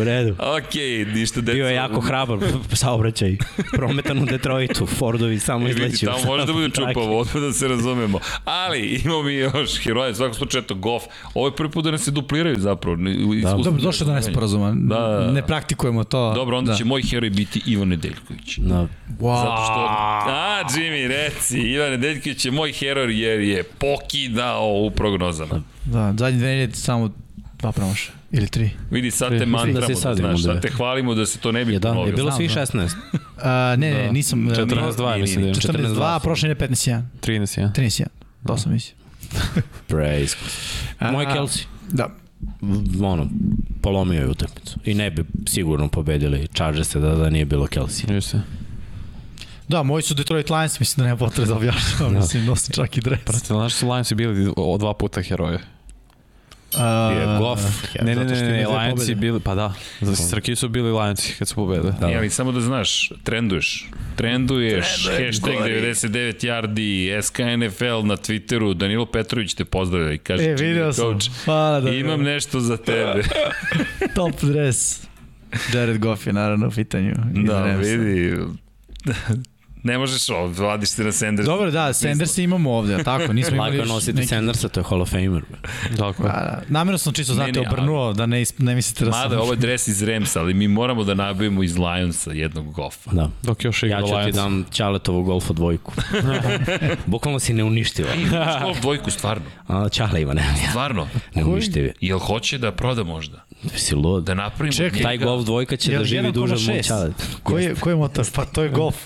[SPEAKER 2] u redu.
[SPEAKER 1] Okej, ništa deca.
[SPEAKER 2] Bio je jako hrabar, saobraćaj. Prometan u Detroitu, Fordovi samo
[SPEAKER 1] E, vidi,
[SPEAKER 2] izleću.
[SPEAKER 1] tamo može da bude čupavo, odmah da se razumemo. Ali imamo mi još heroje, u svakom slučaju, eto, golf. Ovo je prvi put da nas se dupliraju zapravo. Da,
[SPEAKER 3] Dobro, došlo do nesporazuma.
[SPEAKER 1] Da, da, da.
[SPEAKER 3] Ne praktikujemo to.
[SPEAKER 1] Dobro, onda
[SPEAKER 3] da.
[SPEAKER 1] da. će moj heroj biti Ivan Nedeljković.
[SPEAKER 2] Da.
[SPEAKER 3] Wow.
[SPEAKER 1] Zato što... A, Jimmy, reci, Ivan Nedeljković je moj heroj jer je pokidao u prognozama.
[SPEAKER 3] Da, zadnje dve nedelje samo dva promaša. Ili tri.
[SPEAKER 1] Vidi, sad te
[SPEAKER 2] Mislim da
[SPEAKER 1] mantramo,
[SPEAKER 2] se
[SPEAKER 1] da
[SPEAKER 2] sadimo
[SPEAKER 1] znaš, sad
[SPEAKER 2] onda.
[SPEAKER 1] te hvalimo da se to ne bi
[SPEAKER 2] Je, da, je
[SPEAKER 1] ponovilo.
[SPEAKER 2] bilo
[SPEAKER 3] Znam,
[SPEAKER 2] svih
[SPEAKER 3] da.
[SPEAKER 2] 16.
[SPEAKER 3] A, ne,
[SPEAKER 1] Da.
[SPEAKER 3] ne, nisam... e,
[SPEAKER 4] 14-2
[SPEAKER 1] nije,
[SPEAKER 4] mislim da je.
[SPEAKER 3] 14-2,
[SPEAKER 2] 14-2.
[SPEAKER 3] a prošle je 15-1.
[SPEAKER 4] 13, ja.
[SPEAKER 3] 13-1. To sam mislio.
[SPEAKER 2] Praise.
[SPEAKER 3] A,
[SPEAKER 2] Moj
[SPEAKER 3] a,
[SPEAKER 2] Kelsey,
[SPEAKER 3] Da.
[SPEAKER 2] ono, polomio je utakmicu. I ne bi sigurno pobedili Chargers-e da, da nije bilo Kelsey.
[SPEAKER 4] Jeste.
[SPEAKER 3] Da, moji su Detroit Lions, mislim da nema potrebe da objašnjavam, mislim, nosi čak i dres.
[SPEAKER 4] Brate, znaš su Lionsi bili o, dva puta heroje?
[SPEAKER 1] Pa,
[SPEAKER 3] Uh,
[SPEAKER 2] Goff.
[SPEAKER 4] Ne, ne,
[SPEAKER 3] zato
[SPEAKER 4] ne,
[SPEAKER 3] što
[SPEAKER 4] ne,
[SPEAKER 3] ima
[SPEAKER 4] ne
[SPEAKER 3] dve
[SPEAKER 4] Lionsi
[SPEAKER 3] pobede.
[SPEAKER 4] bili, pa da. Zato što Srki su bili Lionsi kad su pobede.
[SPEAKER 1] Da. ali samo da znaš, trenduješ. Trenduješ, hashtag 99 yardi, SKNFL na Twitteru, Danilo Petrović te pozdravlja i kaže,
[SPEAKER 3] E, video
[SPEAKER 1] "Jimmy
[SPEAKER 3] sam.
[SPEAKER 1] Coach,
[SPEAKER 3] Hvala da
[SPEAKER 1] imam nešto za tebe.
[SPEAKER 3] top dres. Jared Goff je naravno u pitanju. iz
[SPEAKER 1] da,
[SPEAKER 3] Ramsa.
[SPEAKER 1] vidi, ne možeš ovo, vadiš se na Sanders.
[SPEAKER 3] Dobro, da, Sanders imamo ovde, a tako, nismo imali...
[SPEAKER 2] Lako
[SPEAKER 3] još
[SPEAKER 2] nositi
[SPEAKER 3] neki-
[SPEAKER 2] Sandersa, to je Hall of Famer.
[SPEAKER 4] Tako je.
[SPEAKER 3] Pa, da. Namerno sam čisto, znate,
[SPEAKER 1] ne, ali-
[SPEAKER 3] obrnuo, da ne, is- ne mislite da sam...
[SPEAKER 1] Mada, ovo je dres iz Remsa, ali mi moramo da nabavimo iz Lionsa jednog gofa.
[SPEAKER 2] Da.
[SPEAKER 4] Dok još igra
[SPEAKER 2] Ja ću
[SPEAKER 4] Lions.
[SPEAKER 2] ti dam Čaletovu golfa dvojku. Bukvalno si neuništiva.
[SPEAKER 1] Ovo dvojku, stvarno,
[SPEAKER 2] A, Čale ima, ne, ne,
[SPEAKER 1] stvarno.
[SPEAKER 2] neuništivi.
[SPEAKER 1] Jel hoće da proda možda?
[SPEAKER 2] Si lud.
[SPEAKER 1] Da napravimo...
[SPEAKER 3] Čekaj,
[SPEAKER 1] od
[SPEAKER 2] Taj
[SPEAKER 1] njega-
[SPEAKER 2] golf dvojka će da
[SPEAKER 3] Jel
[SPEAKER 2] živi
[SPEAKER 3] 1,6?
[SPEAKER 2] duže od moj Čale.
[SPEAKER 3] Koji je, koji je motor? Pa to je golf.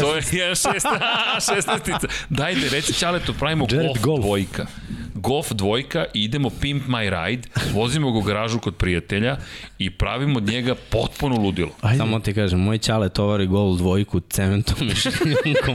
[SPEAKER 1] To je 16. Dajde, reci Ćaletu, pravimo
[SPEAKER 2] Jared
[SPEAKER 1] golf,
[SPEAKER 2] Golf.
[SPEAKER 1] dvojka. Golf dvojka, idemo Pimp My Ride, vozimo ga u garažu kod prijatelja i pravimo od njega potpuno ludilo.
[SPEAKER 3] Ajde.
[SPEAKER 2] Samo ti kažem, moj Čale tovari gol dvojku cementom i šljunkom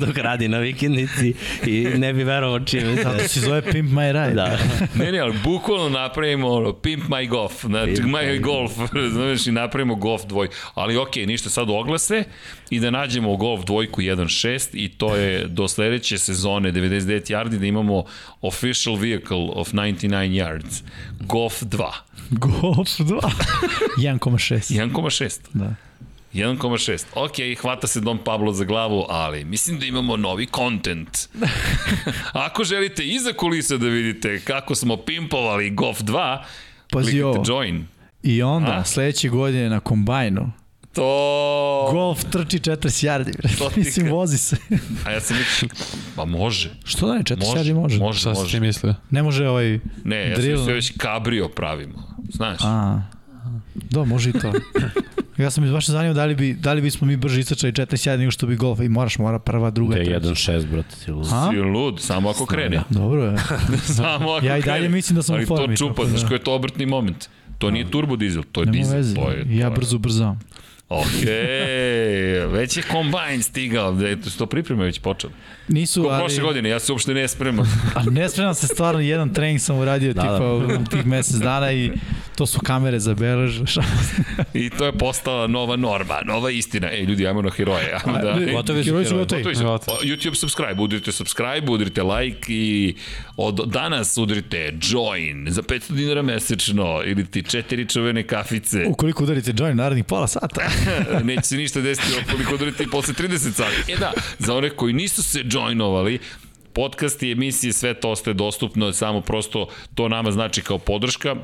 [SPEAKER 2] dok radi na vikendici i ne bi verovao čime
[SPEAKER 3] Zato
[SPEAKER 2] se...
[SPEAKER 3] se zove Pimp My Ride.
[SPEAKER 2] Da.
[SPEAKER 1] Ne, ne, ali bukvalno napravimo ono, Pimp My Golf, znači
[SPEAKER 2] Pimp
[SPEAKER 1] My Golf, znaš, i napravimo golf dvojku. Ali okej, ništa, sad oglase i da nađemo golf dvojku 1.6 i to je do sledeće sezone 99 yardi da imamo official vehicle of 99 yards, golf 2.
[SPEAKER 3] Golf 2. 1,6.
[SPEAKER 1] 1,6.
[SPEAKER 3] Da.
[SPEAKER 1] 1,6. Ok, hvata se Don Pablo za glavu, ali mislim da imamo novi kontent. Ako želite iza kulisa da vidite kako smo pimpovali Golf 2,
[SPEAKER 3] Pazi ovo.
[SPEAKER 1] kliknite join.
[SPEAKER 3] I onda,
[SPEAKER 1] A?
[SPEAKER 3] sledeće godine na kombajnu,
[SPEAKER 1] To...
[SPEAKER 3] golf trči 40 jardi. bre.
[SPEAKER 1] To ti
[SPEAKER 3] Mislim,
[SPEAKER 1] ka-
[SPEAKER 3] vozi se.
[SPEAKER 1] A ja sam mislio, pa može.
[SPEAKER 3] Što da ne, 40
[SPEAKER 1] Može,
[SPEAKER 3] jardi može?
[SPEAKER 1] može,
[SPEAKER 4] Šta si ti
[SPEAKER 1] može.
[SPEAKER 4] mislio?
[SPEAKER 3] Ne može ovaj...
[SPEAKER 1] Ne, ja sam
[SPEAKER 3] Drill.
[SPEAKER 1] mislio već kabrio pravimo. Znaš,
[SPEAKER 3] A, da, može i to. Ja sam iz vaše zanima da li, bi, da li bismo mi brže istračali 40 jardi nego što bi golf i moraš, mora prva, druga,
[SPEAKER 2] To je
[SPEAKER 3] treća.
[SPEAKER 2] 1-6, brate, si lud.
[SPEAKER 3] A?
[SPEAKER 1] si lud, samo ako krene.
[SPEAKER 3] Dobro je.
[SPEAKER 1] Samo ako
[SPEAKER 3] da? Ja i dalje
[SPEAKER 1] krene.
[SPEAKER 3] mislim da sam
[SPEAKER 1] Ali
[SPEAKER 3] u
[SPEAKER 1] to
[SPEAKER 3] formi,
[SPEAKER 1] čupa,
[SPEAKER 3] tako da.
[SPEAKER 1] znaš koji je to obrtni moment. To nije turbo dizel, to je
[SPEAKER 3] Nema
[SPEAKER 1] dizel.
[SPEAKER 3] veze.
[SPEAKER 1] To je, to
[SPEAKER 3] ja
[SPEAKER 1] je-
[SPEAKER 3] brzo brzavam.
[SPEAKER 1] Ok, već je kombajn stigao, da je to pripreme već počelo.
[SPEAKER 3] Nisu,
[SPEAKER 1] Ko
[SPEAKER 3] ali...
[SPEAKER 1] prošle godine, ja se uopšte ne spremam.
[SPEAKER 3] A ne spremam se stvarno, jedan trening sam uradio da,
[SPEAKER 2] Da,
[SPEAKER 3] tipa
[SPEAKER 2] da.
[SPEAKER 3] u tih mesec dana i to su kamere zabeležu.
[SPEAKER 1] I to je postala nova norma, nova istina. Ej, ljudi, ajmo na heroje. Ajmo da...
[SPEAKER 3] Ne,
[SPEAKER 2] Gotovi su
[SPEAKER 3] heroji
[SPEAKER 2] heroji.
[SPEAKER 3] gotovi.
[SPEAKER 1] To je
[SPEAKER 4] Gotovo.
[SPEAKER 1] pa, YouTube subscribe, udrite subscribe, udrite like i od danas udrite join za 500 dinara mesečno ili ti četiri čuvene kafice.
[SPEAKER 3] Ukoliko udarite Johnny narednih pola sata.
[SPEAKER 1] Neće se ništa desiti ukoliko udarite i posle 30 sati. E da, za one koji nisu se joinovali, podcast i emisije, sve to ostaje dostupno, samo prosto to nama znači kao podrška,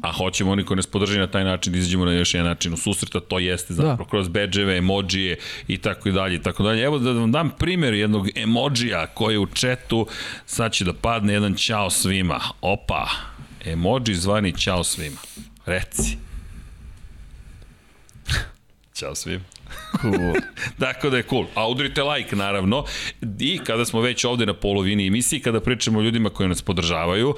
[SPEAKER 1] a hoćemo oni koji nas podrži na taj način da izađemo na još jedan način u susreta, to jeste zapravo da. kroz bedževe, emodžije i tako i dalje i tako dalje. Evo da vam dam primjer jednog emodžija koji je u četu, sad će da padne jedan čao svima. Opa, emodži zvani čao svima. Reci. Ćao svima. Cool. Tako da je cool. A udrite like, naravno. I kada smo već ovde na polovini emisije, kada pričamo o ljudima koji nas podržavaju,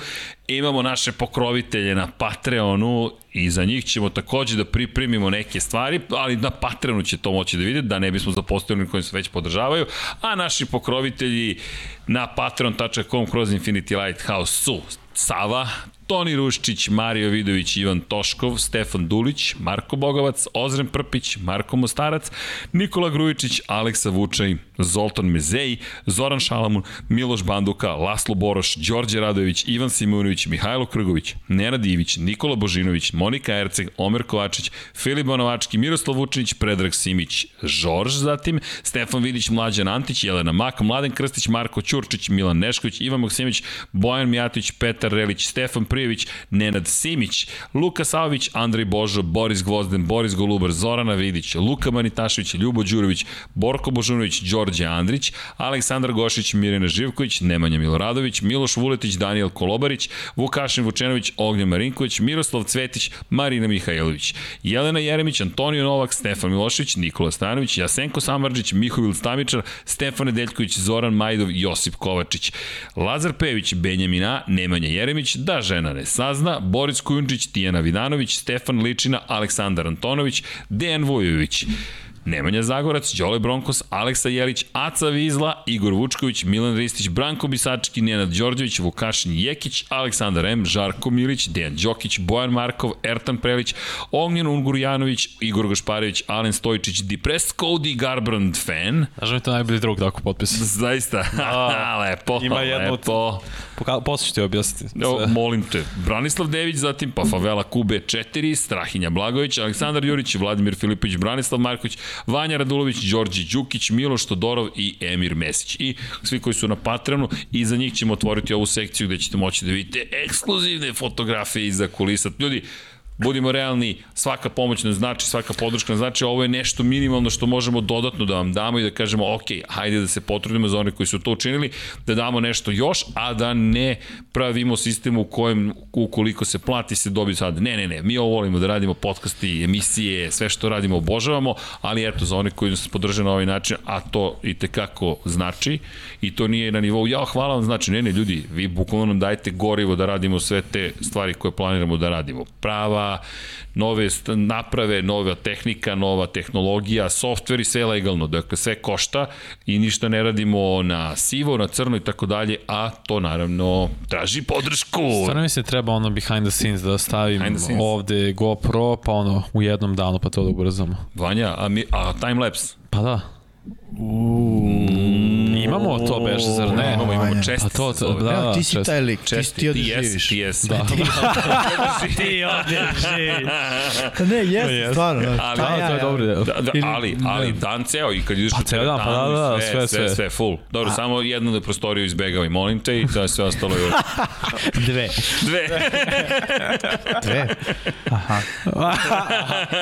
[SPEAKER 1] imamo naše pokrovitelje na Patreonu i za njih ćemo takođe da pripremimo neke stvari, ali na Patreonu će to moći da vidite, da ne bismo zapostavili oni koji se već podržavaju, a naši pokrovitelji na patreon.com kroz Infinity Lighthouse su Sava, Toni Ruščić, Mario Vidović, Ivan Toškov, Stefan Dulić, Marko Bogovac, Ozren Prpić, Marko Mostarac, Nikola Grujičić, Aleksa Vučaj, Zoltan Mezej, Zoran Šalamun, Miloš Banduka, Laslo Boroš, Đorđe Radović, Ivan Simunović, Mihajlo Krgović, Nenad Ivić, Nikola Božinović, Monika Erceg, Omer Kovačić, Filip Bonovački, Miroslav Vučinić, Predrag Simić, Žorž, zatim Stefan Vidić, Mlađan Antić, Jelena Mak, Mladen Krstić, Marko Ćurčić, Milan Nešković, Ivan Maksimović, Bojan Mijatović, Petar Relić, Stefan Prijević, Nenad Simić, Luka Savović, Andrej Božo, Boris Gvozden, Boris Golubar, Zorana Vidić, Luka Manitašević, Ljubo Đurović, Borko Božunović, Đorđe Andrić, Aleksandar Gošić, Mirjana Živković, Nemanja Miloradović, Miloš Vuletić, Daniel Kolobarić, Vukašin Vučenović, Ognjen Marinković, Miroslav Cvetić, Marina Mihajlović, Jelena Jeremić, Antonio Novak, Stefan Milošević, Nikola Stanović, Jasenko Samardžić, Mihovil Stamičar, Stefan Nedeljković, Zoran Majdov, Josip Kovačić, Lazar Pević, Benjamina, Nemanja Jeremić, Da žena ne sazna, Boris Kujundžić, Tijana Vidanović, Stefan Ličina, Aleksandar Antonović, Dejan Vujović. Nemanja Zagorac, Đole Bronkos, Aleksa Jelić, Aca Vizla, Igor Vučković, Milan Ristić, Branko Bisački, Nenad Đorđević, Vukašin Jekić, Aleksandar M, Žarko Milić, Dejan Đokić, Bojan Markov, Ertan Prelić, Ognjen Ungurjanović, Igor Gašparević, Alen Stojičić, Depressed Cody Garbrand fan,
[SPEAKER 4] Znaš mi je to najbolji drug tako potpis.
[SPEAKER 1] zaista, lepo,
[SPEAKER 4] Da. ima jedno od-
[SPEAKER 1] lepo.
[SPEAKER 4] Poka posle ću ti objasniti.
[SPEAKER 1] Evo,
[SPEAKER 4] sve.
[SPEAKER 1] molim te, Branislav Dević, zatim pa Favela Kube 4, Strahinja Blagović, Aleksandar Jurić, Vladimir Filipović, Branislav Marković, Vanja Radulović, Đorđe Đukić, Miloš Todorov i Emir Mesić. I svi koji su na Patreonu i za njih ćemo otvoriti ovu sekciju gde ćete moći da vidite ekskluzivne fotografije iza kulisa. Ljudi, budimo realni, svaka pomoć nam znači, svaka podrška nam znači, ovo je nešto minimalno što možemo dodatno da vam damo i da kažemo, ok, hajde da se potrudimo za one koji su to učinili, da damo nešto još, a da ne pravimo sistem u kojem ukoliko se plati se dobi sad. Ne, ne, ne, mi ovo volimo da radimo podcasti, emisije, sve što radimo obožavamo, ali eto, za one koji nas podrže na ovaj način, a to i tekako znači, i to nije na nivou, ja hvala vam, znači, ne, ne, ljudi, vi bukvalno nam dajete gorivo da radimo sve te stvari koje planiramo da radimo. Prava, nove st- naprave, nova tehnika, nova tehnologija, softver i sve legalno, dakle sve košta i ništa ne radimo na sivo, na crno i tako dalje, a to naravno traži podršku.
[SPEAKER 4] Stvarno mi se treba ono behind the scenes da stavim
[SPEAKER 1] Behind the scenes.
[SPEAKER 4] ovde GoPro, pa ono u jednom danu, pa to da ubrzamo.
[SPEAKER 1] Vanja, a, mi, a time lapse?
[SPEAKER 4] Pa da. Imamo to, Beže, zar ne?
[SPEAKER 1] imamo, imamo
[SPEAKER 3] Vanja.
[SPEAKER 1] česti.
[SPEAKER 4] A to,
[SPEAKER 1] se
[SPEAKER 4] to-
[SPEAKER 1] zove.
[SPEAKER 4] da,
[SPEAKER 3] Evo, ti si
[SPEAKER 4] čest-
[SPEAKER 3] taj lik, ti, si-
[SPEAKER 1] Česti,
[SPEAKER 3] ti
[SPEAKER 1] ti
[SPEAKER 3] odživiš.
[SPEAKER 1] jesi, ti jesi. Da.
[SPEAKER 5] Ti ovde živi.
[SPEAKER 3] Ne, jeste, stvarno.
[SPEAKER 1] Ali-
[SPEAKER 3] da,
[SPEAKER 4] Da,
[SPEAKER 3] ja,
[SPEAKER 4] to
[SPEAKER 3] ja.
[SPEAKER 4] je dobro deo.
[SPEAKER 1] Da, da, ali, ali dan ceo i kad ideš
[SPEAKER 4] Pa
[SPEAKER 1] u
[SPEAKER 4] ceo dan, pa
[SPEAKER 1] teretanu
[SPEAKER 4] da, da,
[SPEAKER 1] i
[SPEAKER 4] da, sve,
[SPEAKER 1] sve,
[SPEAKER 4] sve.
[SPEAKER 1] sve full. Dobro, samo jednu da prostoriju izbegavaj, molim te i to je sve ostalo je
[SPEAKER 2] Dve.
[SPEAKER 1] dve.
[SPEAKER 3] Dve.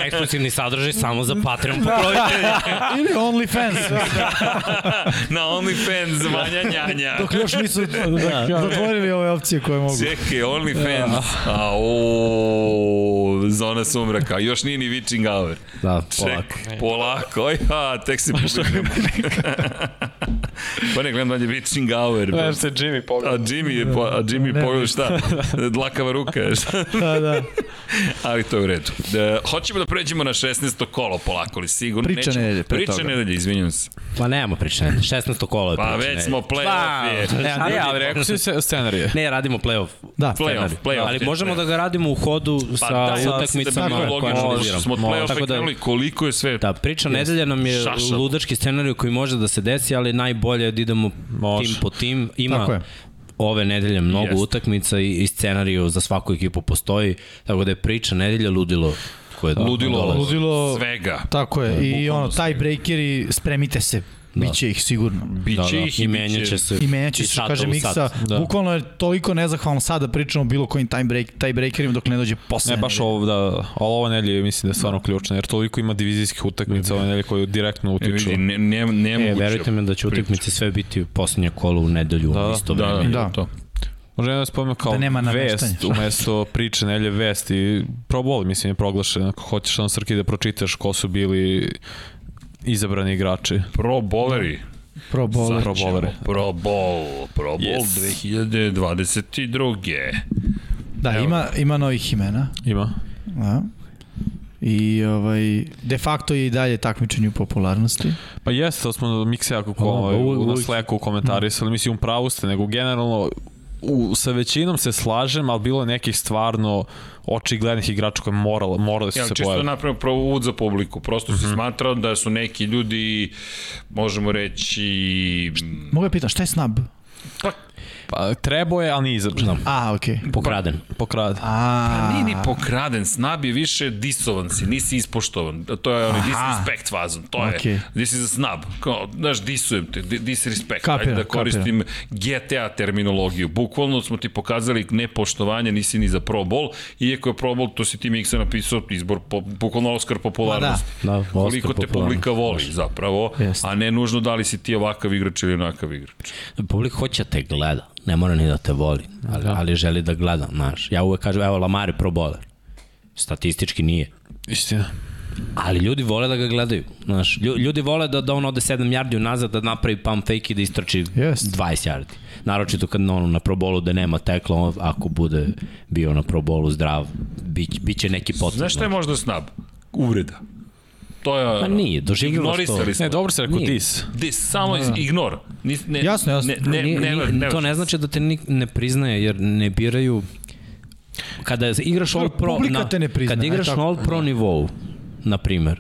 [SPEAKER 2] Eksklusivni sadržaj samo za Patreon
[SPEAKER 3] Da.
[SPEAKER 2] pokrovitelje.
[SPEAKER 3] Ili OnlyFans.
[SPEAKER 1] Na OnlyFans,
[SPEAKER 4] Da.
[SPEAKER 1] Vanja Njanja.
[SPEAKER 3] Dok još nisu da, zatvorili ove opcije koje mogu.
[SPEAKER 1] Čekaj, OnlyFans. A, o, zona sumraka. Još nije ni Witching Hour.
[SPEAKER 2] Da, polako.
[SPEAKER 1] Ček, polako. Oj, ha, tek si pogledam. pa ne, gledam dalje Witching Hour.
[SPEAKER 4] Evo se Jimmy pogleda.
[SPEAKER 1] A Jimmy, je po, a Jimmy pogleda šta? Dlakava ruka. Šta?
[SPEAKER 3] Da, da.
[SPEAKER 1] Ali to je u redu. E, hoćemo da pređemo na 16. kolo polako, ali sigurno
[SPEAKER 3] Priča nedelje pre
[SPEAKER 1] Priča
[SPEAKER 3] toga.
[SPEAKER 1] nedelje, izvinjam se.
[SPEAKER 2] Ma Pa nemamo priče, 16. kolo je
[SPEAKER 1] Pa
[SPEAKER 2] priče,
[SPEAKER 1] već
[SPEAKER 2] ne.
[SPEAKER 1] smo play-off je.
[SPEAKER 2] Pa,
[SPEAKER 4] A ne, ali rekao si se scenarije.
[SPEAKER 2] Ne, radimo play-off.
[SPEAKER 3] Da.
[SPEAKER 1] Play-off, play-off.
[SPEAKER 2] ali
[SPEAKER 1] je,
[SPEAKER 2] možemo
[SPEAKER 1] play-off.
[SPEAKER 2] da ga radimo u hodu sa
[SPEAKER 1] Pa da,
[SPEAKER 2] utakmicama
[SPEAKER 1] da bi bilo logično,
[SPEAKER 2] koje
[SPEAKER 1] pošto smo od
[SPEAKER 2] analiziramo.
[SPEAKER 1] play-offa
[SPEAKER 2] Tako da-
[SPEAKER 1] krenuli, koliko je sve...
[SPEAKER 2] Da, priča nedelja nam je
[SPEAKER 1] Šašavo.
[SPEAKER 2] ludački scenarij koji može da se desi, ali najbolje je da idemo
[SPEAKER 4] Može.
[SPEAKER 2] tim po tim.
[SPEAKER 3] Tako
[SPEAKER 2] Ima
[SPEAKER 3] je.
[SPEAKER 2] ove nedelje mnogo
[SPEAKER 1] Jeste.
[SPEAKER 2] utakmica i, i scenariju za svaku ekipu postoji, tako da je priča nedelja ludilo koje
[SPEAKER 1] Ludilo,
[SPEAKER 2] da dolazi. Da,
[SPEAKER 3] Ludilo-
[SPEAKER 1] svega.
[SPEAKER 3] Tako je. I ono, taj breakeri, spremite se. Biće ih sigurno.
[SPEAKER 1] Biće
[SPEAKER 2] Da, da,
[SPEAKER 1] ih
[SPEAKER 2] i
[SPEAKER 1] i
[SPEAKER 2] menjat će
[SPEAKER 1] biće...
[SPEAKER 2] se.
[SPEAKER 3] I menjat će
[SPEAKER 2] iz
[SPEAKER 3] se,
[SPEAKER 2] sata
[SPEAKER 3] kaže
[SPEAKER 2] u sat.
[SPEAKER 3] Miksa.
[SPEAKER 4] Da.
[SPEAKER 3] Bukvalno je toliko nezahvalno sada da pričamo o bilo kojim time, break, time breakerima dok ne dođe posle.
[SPEAKER 4] Ne baš
[SPEAKER 3] nedelje.
[SPEAKER 4] ovo, da, ali ovo nelje mislim da je stvarno ključno, jer toliko ima divizijskih utakmica ove nelje koji direktno utiču.
[SPEAKER 1] E, Vidi, ne, ne, ne
[SPEAKER 2] E,
[SPEAKER 1] moguće.
[SPEAKER 2] verujte mi da će
[SPEAKER 1] priča.
[SPEAKER 2] utakmice sve biti u poslednje kolo u nedelju da,
[SPEAKER 4] da,
[SPEAKER 2] isto
[SPEAKER 1] Da,
[SPEAKER 2] vreme.
[SPEAKER 1] da, da,
[SPEAKER 3] Da.
[SPEAKER 1] to.
[SPEAKER 4] Možda jedan spomenu kao
[SPEAKER 3] Da nema nameštanja,
[SPEAKER 4] vest
[SPEAKER 3] šta?
[SPEAKER 4] umesto priče nelje vest i probol, mislim, je proglašen. Ako hoćeš on Srki da pročitaš ko su bili izabrani igrači.
[SPEAKER 1] Pro bowleri.
[SPEAKER 3] Pro Pa bowler.
[SPEAKER 4] Pro bowleri.
[SPEAKER 1] Pro bowl. Pro bowl
[SPEAKER 4] Yes.
[SPEAKER 1] 2022.
[SPEAKER 3] Da, ima, ima novih imena.
[SPEAKER 4] Ima.
[SPEAKER 3] Da. I ovaj, de facto je i dalje takmičenje u popularnosti.
[SPEAKER 4] Pa jeste, to smo mikse jako
[SPEAKER 3] Pa
[SPEAKER 4] ko,
[SPEAKER 2] O,
[SPEAKER 4] ovaj,
[SPEAKER 2] uvek,
[SPEAKER 4] u, na
[SPEAKER 2] uvek.
[SPEAKER 4] Slacku
[SPEAKER 3] Mm.
[SPEAKER 4] komentarisali, mislim, u pravu ste, nego generalno u, sa većinom se slažem, ali bilo je nekih stvarno očiglednih igrača koje morali, morali su
[SPEAKER 1] Ja,
[SPEAKER 4] se
[SPEAKER 1] čisto
[SPEAKER 4] pojaviti.
[SPEAKER 1] da napravim pravo uvod za publiku. Prosto se smatra da su neki ljudi, možemo reći...
[SPEAKER 3] Mogu ja pitan, šta je snab?
[SPEAKER 4] Pa, trebao je, ali nije izabran.
[SPEAKER 2] Da.
[SPEAKER 3] A, okej.
[SPEAKER 2] Pokraden.
[SPEAKER 4] Pokrad.
[SPEAKER 3] A,
[SPEAKER 1] Nije ni pokraden, snab je više disovan si, nisi ispoštovan. To je onaj disrespect fazon, to je.
[SPEAKER 3] Okej.
[SPEAKER 1] Okay. This is a snab. Kao, znaš, disujem te, di- disrespect. Kapira, Ajde
[SPEAKER 3] Kapiram,
[SPEAKER 1] da koristim GTA terminologiju. Bukvalno smo ti pokazali nepoštovanje, nisi ni za Pro Bowl, iako je Pro Bowl, to si ti Miksa napisao, izbor, po, bukvalno Oscar popularnosti.
[SPEAKER 2] Da, Oscar
[SPEAKER 1] Koliko te
[SPEAKER 2] popularnosti.
[SPEAKER 1] publika voli zapravo,
[SPEAKER 3] Jeste.
[SPEAKER 1] a ne nužno da li si ti ovakav igrač ili onakav igrač.
[SPEAKER 2] Publika hoće da te gleda, ne mora ni da te voli, ali, ali želi da gleda, znaš. Ja uvek kažem, evo, Lamar je pro bowler. Statistički nije.
[SPEAKER 4] Istina.
[SPEAKER 2] Ali ljudi vole da ga gledaju. Znaš, lju- ljudi vole da, da on ode 7 yardi unazad, da napravi pump fake i da istrači
[SPEAKER 3] Jest.
[SPEAKER 2] 20 yardi. Naročito kad ono, na probolu da nema tekla, on, ako bude bio na probolu zdrav, bit, bit će neki potrebno.
[SPEAKER 1] Znaš šta je možda snab? Uvreda. to je...
[SPEAKER 2] Pa nije, doživljivo
[SPEAKER 1] ignorisali
[SPEAKER 2] što-
[SPEAKER 1] smo.
[SPEAKER 4] Ne, dobro si rekao
[SPEAKER 2] Nije.
[SPEAKER 4] dis.
[SPEAKER 1] Dis, samo iz, ignor. Ni, ne,
[SPEAKER 3] Da. Jasno, jasno.
[SPEAKER 1] Ne, ne,
[SPEAKER 2] Nije-
[SPEAKER 1] ne,
[SPEAKER 2] nije-
[SPEAKER 1] ne, ne,
[SPEAKER 2] to ne znači da te ni, ne priznaje, jer ne biraju... Kada igraš All Pro...
[SPEAKER 3] Publika
[SPEAKER 2] na,
[SPEAKER 3] te ne priznaje,
[SPEAKER 2] Kada
[SPEAKER 3] aj
[SPEAKER 2] igraš
[SPEAKER 3] tako. Da.
[SPEAKER 2] na All Pro nivou, na primer,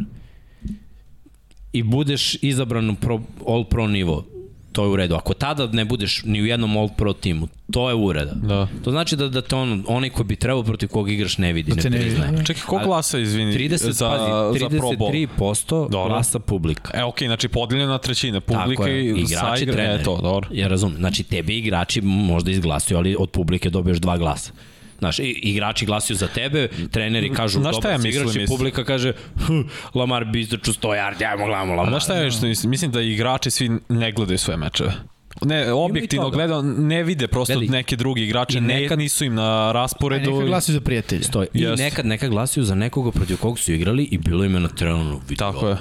[SPEAKER 2] i budeš izabran u pro, All Pro nivo, to je u redu. Ako tada ne budeš ni u jednom All Pro timu, to je ureda.
[SPEAKER 4] Da.
[SPEAKER 2] To znači da, da te on, onaj koji bi trebao protiv koga igraš ne vidi,
[SPEAKER 3] Da te
[SPEAKER 2] ne
[SPEAKER 3] ne vidi,
[SPEAKER 2] priznaje.
[SPEAKER 3] da.
[SPEAKER 4] Čekaj, ko
[SPEAKER 2] A-
[SPEAKER 4] glasa, izvini,
[SPEAKER 2] 30,
[SPEAKER 4] za,
[SPEAKER 2] pazi,
[SPEAKER 4] za Pro Bowl?
[SPEAKER 2] 33%
[SPEAKER 4] Dobro.
[SPEAKER 2] glasa publika.
[SPEAKER 4] E, okej, znači podeljena trećina
[SPEAKER 2] Tako
[SPEAKER 4] publike
[SPEAKER 2] je,
[SPEAKER 4] i sa
[SPEAKER 2] igrači,
[SPEAKER 4] igra,
[SPEAKER 2] treneri.
[SPEAKER 4] e, to, dobro.
[SPEAKER 2] Ja razumem. Znači, tebi igrači možda izglasuju, ali od publike dobiješ dva glasa. Znaš, i- igrači glasuju za tebe, treneri kažu
[SPEAKER 4] Znaš šta
[SPEAKER 2] dobro
[SPEAKER 4] ja
[SPEAKER 2] si
[SPEAKER 4] mislim,
[SPEAKER 2] igrač i
[SPEAKER 4] mislim?
[SPEAKER 2] publika kaže "Hm, Lamar bi izdaču 100 yardi, ajmo gledamo
[SPEAKER 4] A
[SPEAKER 2] Lamar.
[SPEAKER 4] znaš šta je što mislim? Mislim da igrači svi ne gledaju svoje mečeve. Ne, objektivno
[SPEAKER 2] toga.
[SPEAKER 4] gledano, ne vide prosto
[SPEAKER 2] Veli.
[SPEAKER 4] neke drugi igrače,
[SPEAKER 2] I
[SPEAKER 4] nekad
[SPEAKER 2] nekad- Pa
[SPEAKER 4] nisu im na rasporedu.
[SPEAKER 3] Neka glasi za prijatelja.
[SPEAKER 2] Stoji. I
[SPEAKER 4] Jeste.
[SPEAKER 2] nekad, nekad glasuju za nekoga protiv kog su igrali i bilo im je na terenu vidi
[SPEAKER 4] Tako
[SPEAKER 2] ovo,
[SPEAKER 4] je.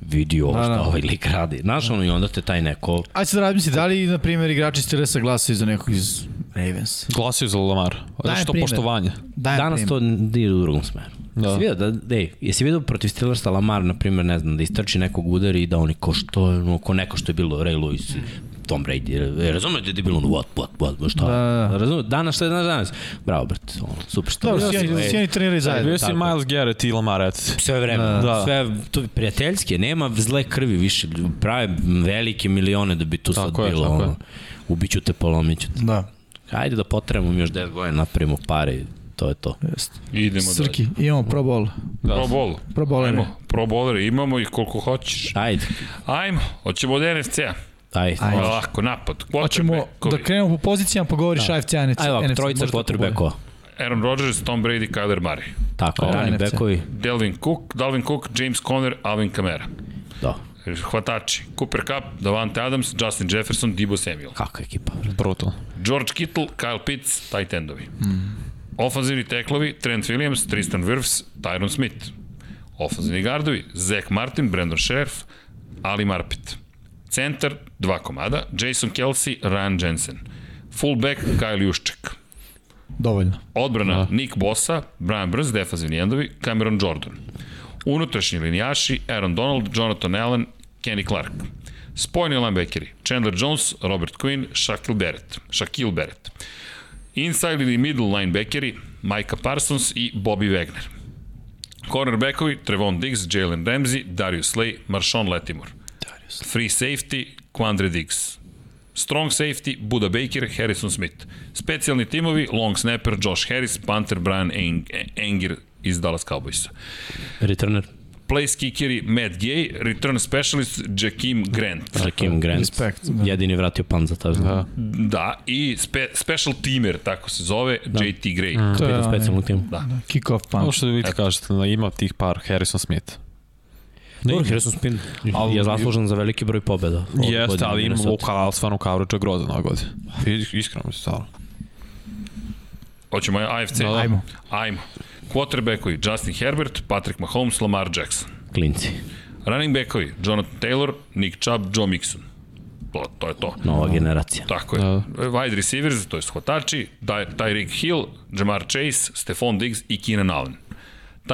[SPEAKER 2] Vidi ovo
[SPEAKER 3] Da,
[SPEAKER 2] šta
[SPEAKER 3] da.
[SPEAKER 2] ovaj lik radi. Znaš, ono, i onda te taj neko
[SPEAKER 3] Ajde sad razmisli, da li, na primjer, igrači Steelers-a glasaju za nekog iz Ravens?
[SPEAKER 4] Glasaju za Lamar.
[SPEAKER 3] Dajem
[SPEAKER 4] što
[SPEAKER 3] primer.
[SPEAKER 4] poštovanje.
[SPEAKER 3] Dajem
[SPEAKER 2] Danas
[SPEAKER 3] primer.
[SPEAKER 2] to ne ide u drugom smeru.
[SPEAKER 4] Da.
[SPEAKER 2] Da. Jesi vidio, da, ej, jesi vidio protiv Steelersa Lamar, na primjer, ne znam, da istrči nekog udari i da oni ko što, je, no, ko neko što je bilo Ray Lewis, Tom Brady, e, razumete da je bilo ono, what, what, what, what, šta?
[SPEAKER 3] Da,
[SPEAKER 2] Da,
[SPEAKER 3] da.
[SPEAKER 2] da. Razumete, danas što je danas, danas. Bravo, brate, ono, super što.
[SPEAKER 4] Da,
[SPEAKER 3] Dobro, svi oni- svi oni treniraju zajedno.
[SPEAKER 4] Bio si Miles Garrett i Lamar, eto.
[SPEAKER 2] sve vreme,
[SPEAKER 4] Da.
[SPEAKER 2] da. sve to je prijateljski, nema zle krvi više, prave velike milione da bi tu
[SPEAKER 4] Tako
[SPEAKER 2] sad
[SPEAKER 4] je,
[SPEAKER 2] bilo,
[SPEAKER 4] tako je.
[SPEAKER 2] ono, ubiću te, polomiću te.
[SPEAKER 3] Da.
[SPEAKER 2] Hajde da potrebamo još 10 godina, napravimo pare, i to je to.
[SPEAKER 1] Idemo
[SPEAKER 3] znači Srki, imamo Pro Bowl.
[SPEAKER 4] Da.
[SPEAKER 1] dalje. Pro bol.
[SPEAKER 3] Pro Bowlere.
[SPEAKER 1] Ajmo, pro bolere, imamo ih koliko hoćeš.
[SPEAKER 2] Ajde,
[SPEAKER 1] Ajmo, hoćemo od NFC-a.
[SPEAKER 2] ajde.
[SPEAKER 3] Ajde.
[SPEAKER 1] Lako, napad.
[SPEAKER 3] Hoćemo da krenemo po pozicijama, pa govoriš AFC, NFC.
[SPEAKER 2] Da. Ajde, ovako,
[SPEAKER 3] NFC,
[SPEAKER 2] trojica
[SPEAKER 3] možda
[SPEAKER 2] potrebe
[SPEAKER 3] po-
[SPEAKER 2] ko?
[SPEAKER 1] Aaron Rodgers, Tom Brady, Kyler Murray.
[SPEAKER 2] Tako,
[SPEAKER 3] Da,
[SPEAKER 2] rani
[SPEAKER 3] NFC.
[SPEAKER 2] bekovi.
[SPEAKER 1] Delvin Cook, Dalvin Cook, James Conner, Alvin Kamara.
[SPEAKER 2] Da.
[SPEAKER 1] Hvatači, Cooper Cup, Davante Adams, Justin Jefferson, Debo Samuel.
[SPEAKER 2] Kakva ekipa, brate.
[SPEAKER 4] Brutal.
[SPEAKER 1] George Kittle, Kyle Pitts, tight endovi. Mm. Ofanzivni teklovi, Trent Williams, Tristan Wirfs, Tyron Smith. Ofanzivni gardovi, Zach Martin, Brandon Sheriff, Ali Marpet. Centar, dva komada, Jason Kelsey, Ryan Jensen. Fullback, Kyle Jušček.
[SPEAKER 3] Dovoljno.
[SPEAKER 1] Odbrana, da. Nick Bosa, Brian Brz, defanzivni endovi, Cameron Jordan. Unutrašnji linijaši, Aaron Donald, Jonathan Allen, Kenny Clark. Spojni linebackeri, Chandler Jones, Robert Quinn, Shaquille Barrett. Shaquille Barrett. Inside ili middle linebackeri, Micah Parsons i Bobby Wagner. Cornerbackovi, Trevon Diggs, Jalen Ramsey, Darius Slay, Marshawn Latimore. Free safety, Quandre Diggs. Strong safety, Buda Baker, Harrison Smith. Specijalni timovi, long snapper, Josh Harris, Panther, Brian Eng Engir iz Dallas Cowboysa.
[SPEAKER 2] Returner,
[SPEAKER 1] Place kickeri, Matt Gay, return specialist, Jakim Grant.
[SPEAKER 2] Rakim Grant.
[SPEAKER 3] Respekt, da.
[SPEAKER 2] Jedini vratio pan za tažno. Da.
[SPEAKER 1] Da, i spe special teamer, tako se zove, da. JT Gray.
[SPEAKER 4] Mm.
[SPEAKER 3] To je
[SPEAKER 2] Pitan
[SPEAKER 3] onaj
[SPEAKER 2] specijalnog tima. Da.
[SPEAKER 3] kick-off
[SPEAKER 4] Ono
[SPEAKER 3] punt.
[SPEAKER 4] što vi kažete, da ima tih par, Harrison Smith.
[SPEAKER 2] Dobro, Harrison Smith
[SPEAKER 4] Ali-
[SPEAKER 2] je zaslužen za veliki broj pobjeda. Ove
[SPEAKER 4] Jeste,
[SPEAKER 2] godine
[SPEAKER 4] ali ima
[SPEAKER 2] Minnesota.
[SPEAKER 4] u Kyle, stvarno u Kavriću je grozan ove godine. I- Iskreno mi se stvarno.
[SPEAKER 1] Hoćemo AFC?
[SPEAKER 4] Da, da.
[SPEAKER 3] Ajmo.
[SPEAKER 1] Ajmo. Quarterbackovi, Justin Herbert, Patrick Mahomes, Lamar Jackson.
[SPEAKER 2] Klinci.
[SPEAKER 1] Running backovi, Jonathan Taylor, Nick Chubb, Joe Mixon. To, to je to.
[SPEAKER 2] Nova generacija.
[SPEAKER 1] Tako je. E,
[SPEAKER 4] Da.
[SPEAKER 1] Wide receivers, to je hvatači, Ty- Tyreek Hill, Jamar Chase, Stephon Diggs i Keenan Allen.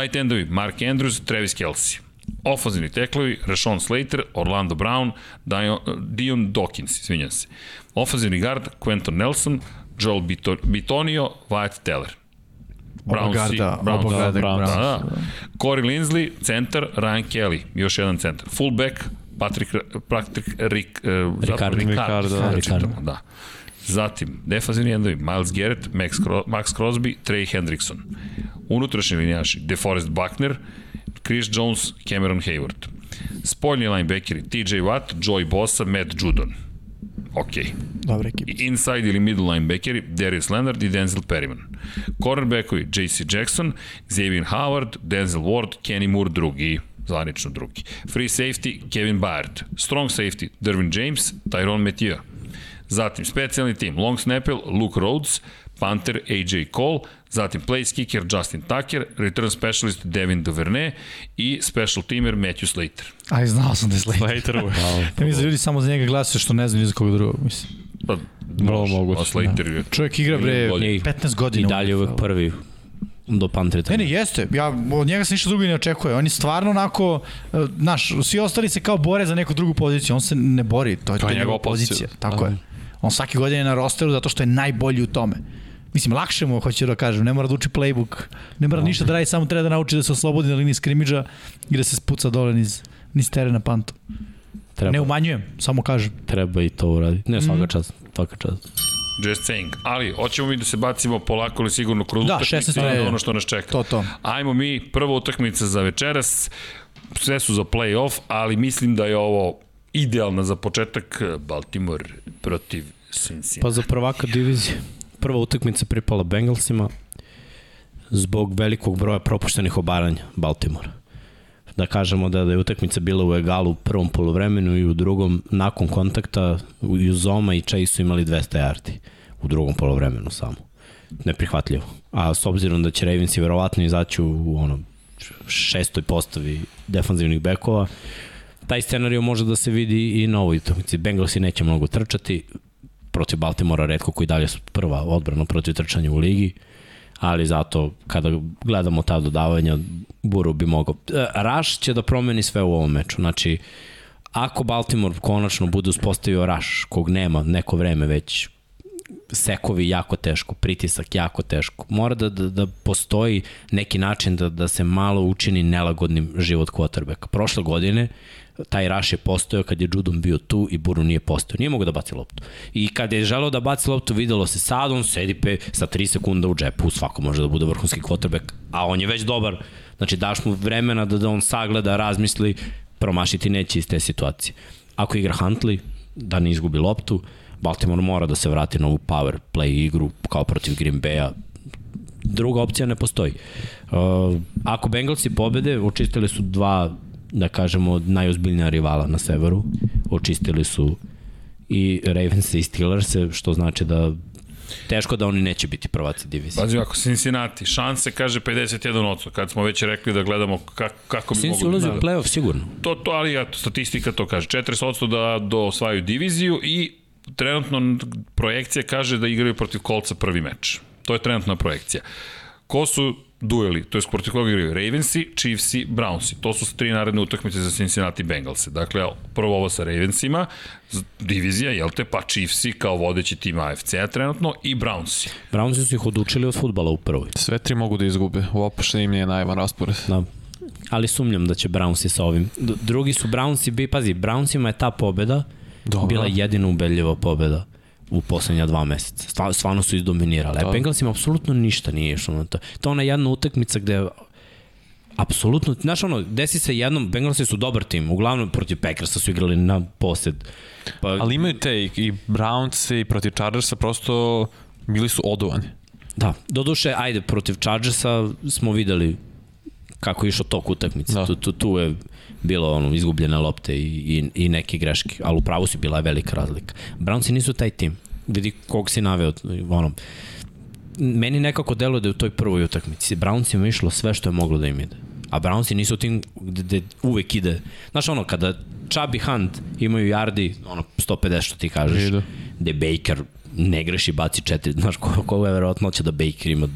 [SPEAKER 1] Tight endovi, Mark Andrews, Travis Kelsey. Ofenzivni teklovi, Rashawn Slater, Orlando Brown, Dion, Dion Dawkins, izvinjam se. Ofenzivni gard, Quentin Nelson, Joel Bito- Bitonio, Wyatt Teller.
[SPEAKER 3] Oba garda, oba
[SPEAKER 1] Brown, Da,
[SPEAKER 3] garda.
[SPEAKER 4] Browns.
[SPEAKER 3] Browns.
[SPEAKER 1] da. Corey Linsley, centar, Ryan Kelly, još jedan centar. Fullback, Patrick, Patrick Rick, uh, Ricardo,
[SPEAKER 2] Ricardo.
[SPEAKER 4] Ricardo,
[SPEAKER 1] da,
[SPEAKER 2] da.
[SPEAKER 1] čitamo, da. Zatim, defanzivni endovi, Miles Garrett, Max, Cro Max Crosby, Trey Hendrickson. Unutrašnji linijaši, DeForest Buckner, Chris Jones, Cameron Hayward. Spoljni linebackeri, TJ Watt, Joy Bosa, Matt Judon. Okej. Okay
[SPEAKER 3] Dobra ekipa.
[SPEAKER 1] inside ili middle linebackeri Darius Leonard i Denzel Perryman. Cornerbackovi JC Jackson, Xavier Howard, Denzel Ward, Kenny Moore drugi, zvanično drugi. Free safety Kevin Byard, strong safety Dervin James, Tyron Mathieu. Zatim specijalni tim long snapper Luke Rhodes, Panther AJ Cole, zatim place kicker Justin Tucker, return specialist Devin Duvernay i special teamer Matthew Slater.
[SPEAKER 3] Aj, znao sam da je Slater.
[SPEAKER 4] Slater uvek.
[SPEAKER 3] Ja mislim da ljudi samo za njega glasaju što ne znam ni za koga drugog, mislim.
[SPEAKER 1] Pa,
[SPEAKER 4] moguće, da.
[SPEAKER 1] a Slater je
[SPEAKER 3] Čovjek igra, bre,
[SPEAKER 1] Milion godina.
[SPEAKER 3] 15
[SPEAKER 2] I
[SPEAKER 3] godina.
[SPEAKER 2] dalje uvek prvi. do Pantreta.
[SPEAKER 3] Ne, ne, jeste. Ja od njega se ništa drugo i ne očekuje. On je stvarno onako, e, znaš, svi ostali se kao bore za neku drugu poziciju. On se ne bori, to je, to je njegova pozicija. Da. pozicija. Tako je. On svaki godin je na rosteru zato što je najbolji u tome. Mislim, lakše mu, hoću da kažem, ne mora da uči playbook, ne mora ništa da radi, samo treba da nauči da se oslobodi na liniji skrimidža i da se spuca dole niz, niz terena pantu.
[SPEAKER 2] Treba,
[SPEAKER 3] Ne umanjujem, samo kažem.
[SPEAKER 2] treba i to uraditi. Ne, svaka čast, svaka čast.
[SPEAKER 1] Just saying. Ali, hoćemo mi da se bacimo polako ili sigurno kroz
[SPEAKER 3] Da,
[SPEAKER 1] utakmicu
[SPEAKER 3] 16
[SPEAKER 1] i onda
[SPEAKER 3] je.
[SPEAKER 1] ono što nas čeka.
[SPEAKER 3] To, to.
[SPEAKER 1] Ajmo mi, prva utakmica za večeras, sve su za play-off, ali mislim da je ovo idealna za početak eh, Baltimore protiv Cincinnati.
[SPEAKER 2] Pa za prvaka divizije. Prva utakmica pripala Bengalsima zbog velikog broja propuštenih obaranja Baltimora. Da kažemo da, da je utakmica bila u egalu u prvom polovremenu i u drugom, nakon kontakta, i u Zoma i Chase su imali 200 yardi u drugom polovremenu samo. Neprihvatljivo. A s obzirom da će Ravens i verovatno izaći u onom šestoj postavi defanzivnih bekova, taj scenariju može da se vidi i na ovoj utakmici. Bengalsi neće mnogo trčati, protiv Baltimora redko koji dalje su prva odbrana protiv trčanja u ligi, ali zato kada gledamo ta dodavanja, Buru bi mogao. E, Raš će da promeni sve u ovom meču, znači ako Baltimore konačno bude uspostavio Raš, kog nema neko vreme već, sekovi jako teško, pritisak jako teško. Mora da, da, da postoji neki način da, da se malo učini nelagodnim život quarterbacka. Prošle godine taj raš je postojao kad je Judon bio tu i Buru nije postojao. Nije mogao da baci loptu. I kad je želeo da baci loptu, videlo se sad, on sedi pe sa 3 sekunda u džepu, svako može da bude vrhunski quarterback, a on je već dobar. Znači daš mu vremena da, da on sagleda, razmisli, promašiti neće iz te situacije. Ako igra Huntley, da ne izgubi loptu, Baltimore mora da se vrati na ovu power play igru kao protiv Green Bay-a. Druga opcija ne postoji. Uh, ako Bengalsi pobede, očistili su dva, da kažemo, najozbiljnija rivala na severu. Očistili su i Ravens i Steelers, što znači da teško da oni neće biti prvaci divizije.
[SPEAKER 1] Pazi, ako Cincinnati, šanse kaže 51%, kad smo već rekli da gledamo kako, kako bi
[SPEAKER 2] Sinci
[SPEAKER 1] mogli
[SPEAKER 2] ulazi u
[SPEAKER 1] da-
[SPEAKER 2] playoff sigurno.
[SPEAKER 1] To, to, ali ja, statistika to kaže. 40% da, da osvajaju diviziju i trenutno projekcija kaže da igraju protiv kolca prvi meč. To je trenutna projekcija. Ko su dueli, to je protiv koga igraju Ravensi, Chiefsi, Brownsi. To su tri naredne utakmice za Cincinnati Bengalse. Dakle, prvo ovo sa Ravensima, z- divizija, jel te, pa Chiefsi kao vodeći tim AFC-a trenutno i Brownsi.
[SPEAKER 2] Brownsi su ih odučili od futbala u prvoj.
[SPEAKER 4] Sve tri mogu da izgube, uopšte im nije najvan raspored.
[SPEAKER 2] Da. Ali sumnjam da će Brownsi sa ovim. D- Drugi su Brownsi, bi, pazi, Brownsima je ta pobeda
[SPEAKER 4] Dobro.
[SPEAKER 2] bila jedina ubedljiva pobeda u poslednja dva meseca. Stvarno, stvarno su izdominirali. Da. Bengalsima apsolutno ništa nije išlo na to. To je ona jedna utakmica gde apsolutno, znaš ono, desi se jednom, Bengalsi su dobar tim, uglavnom protiv Packersa su igrali na posed. Pa,
[SPEAKER 4] Ali imaju te i, i Browns i protiv Chargersa prosto bili su oduvani.
[SPEAKER 2] Da, doduše, ajde, protiv Chargersa smo videli kako je išao tok utakmice. Da.
[SPEAKER 4] Da.
[SPEAKER 2] Tu, tu, tu je bilo ono, izgubljene lopte i, i, i neke greške, ali upravo si bila je velika razlika. Brownsi nisu taj tim. Vidi kog si naveo, ono, meni nekako deluje da je u toj prvoj utakmici Brownsima išlo sve što je moglo da im ide. A Brownsi nisu tim gde, gde uvek ide. Znaš ono, kada Chubby Hunt imaju yardi, ono, 150 što ti kažeš,
[SPEAKER 4] Idu.
[SPEAKER 2] gde Baker ne greši, baci četiri, znaš, ko, ko je verovatno će da Baker ima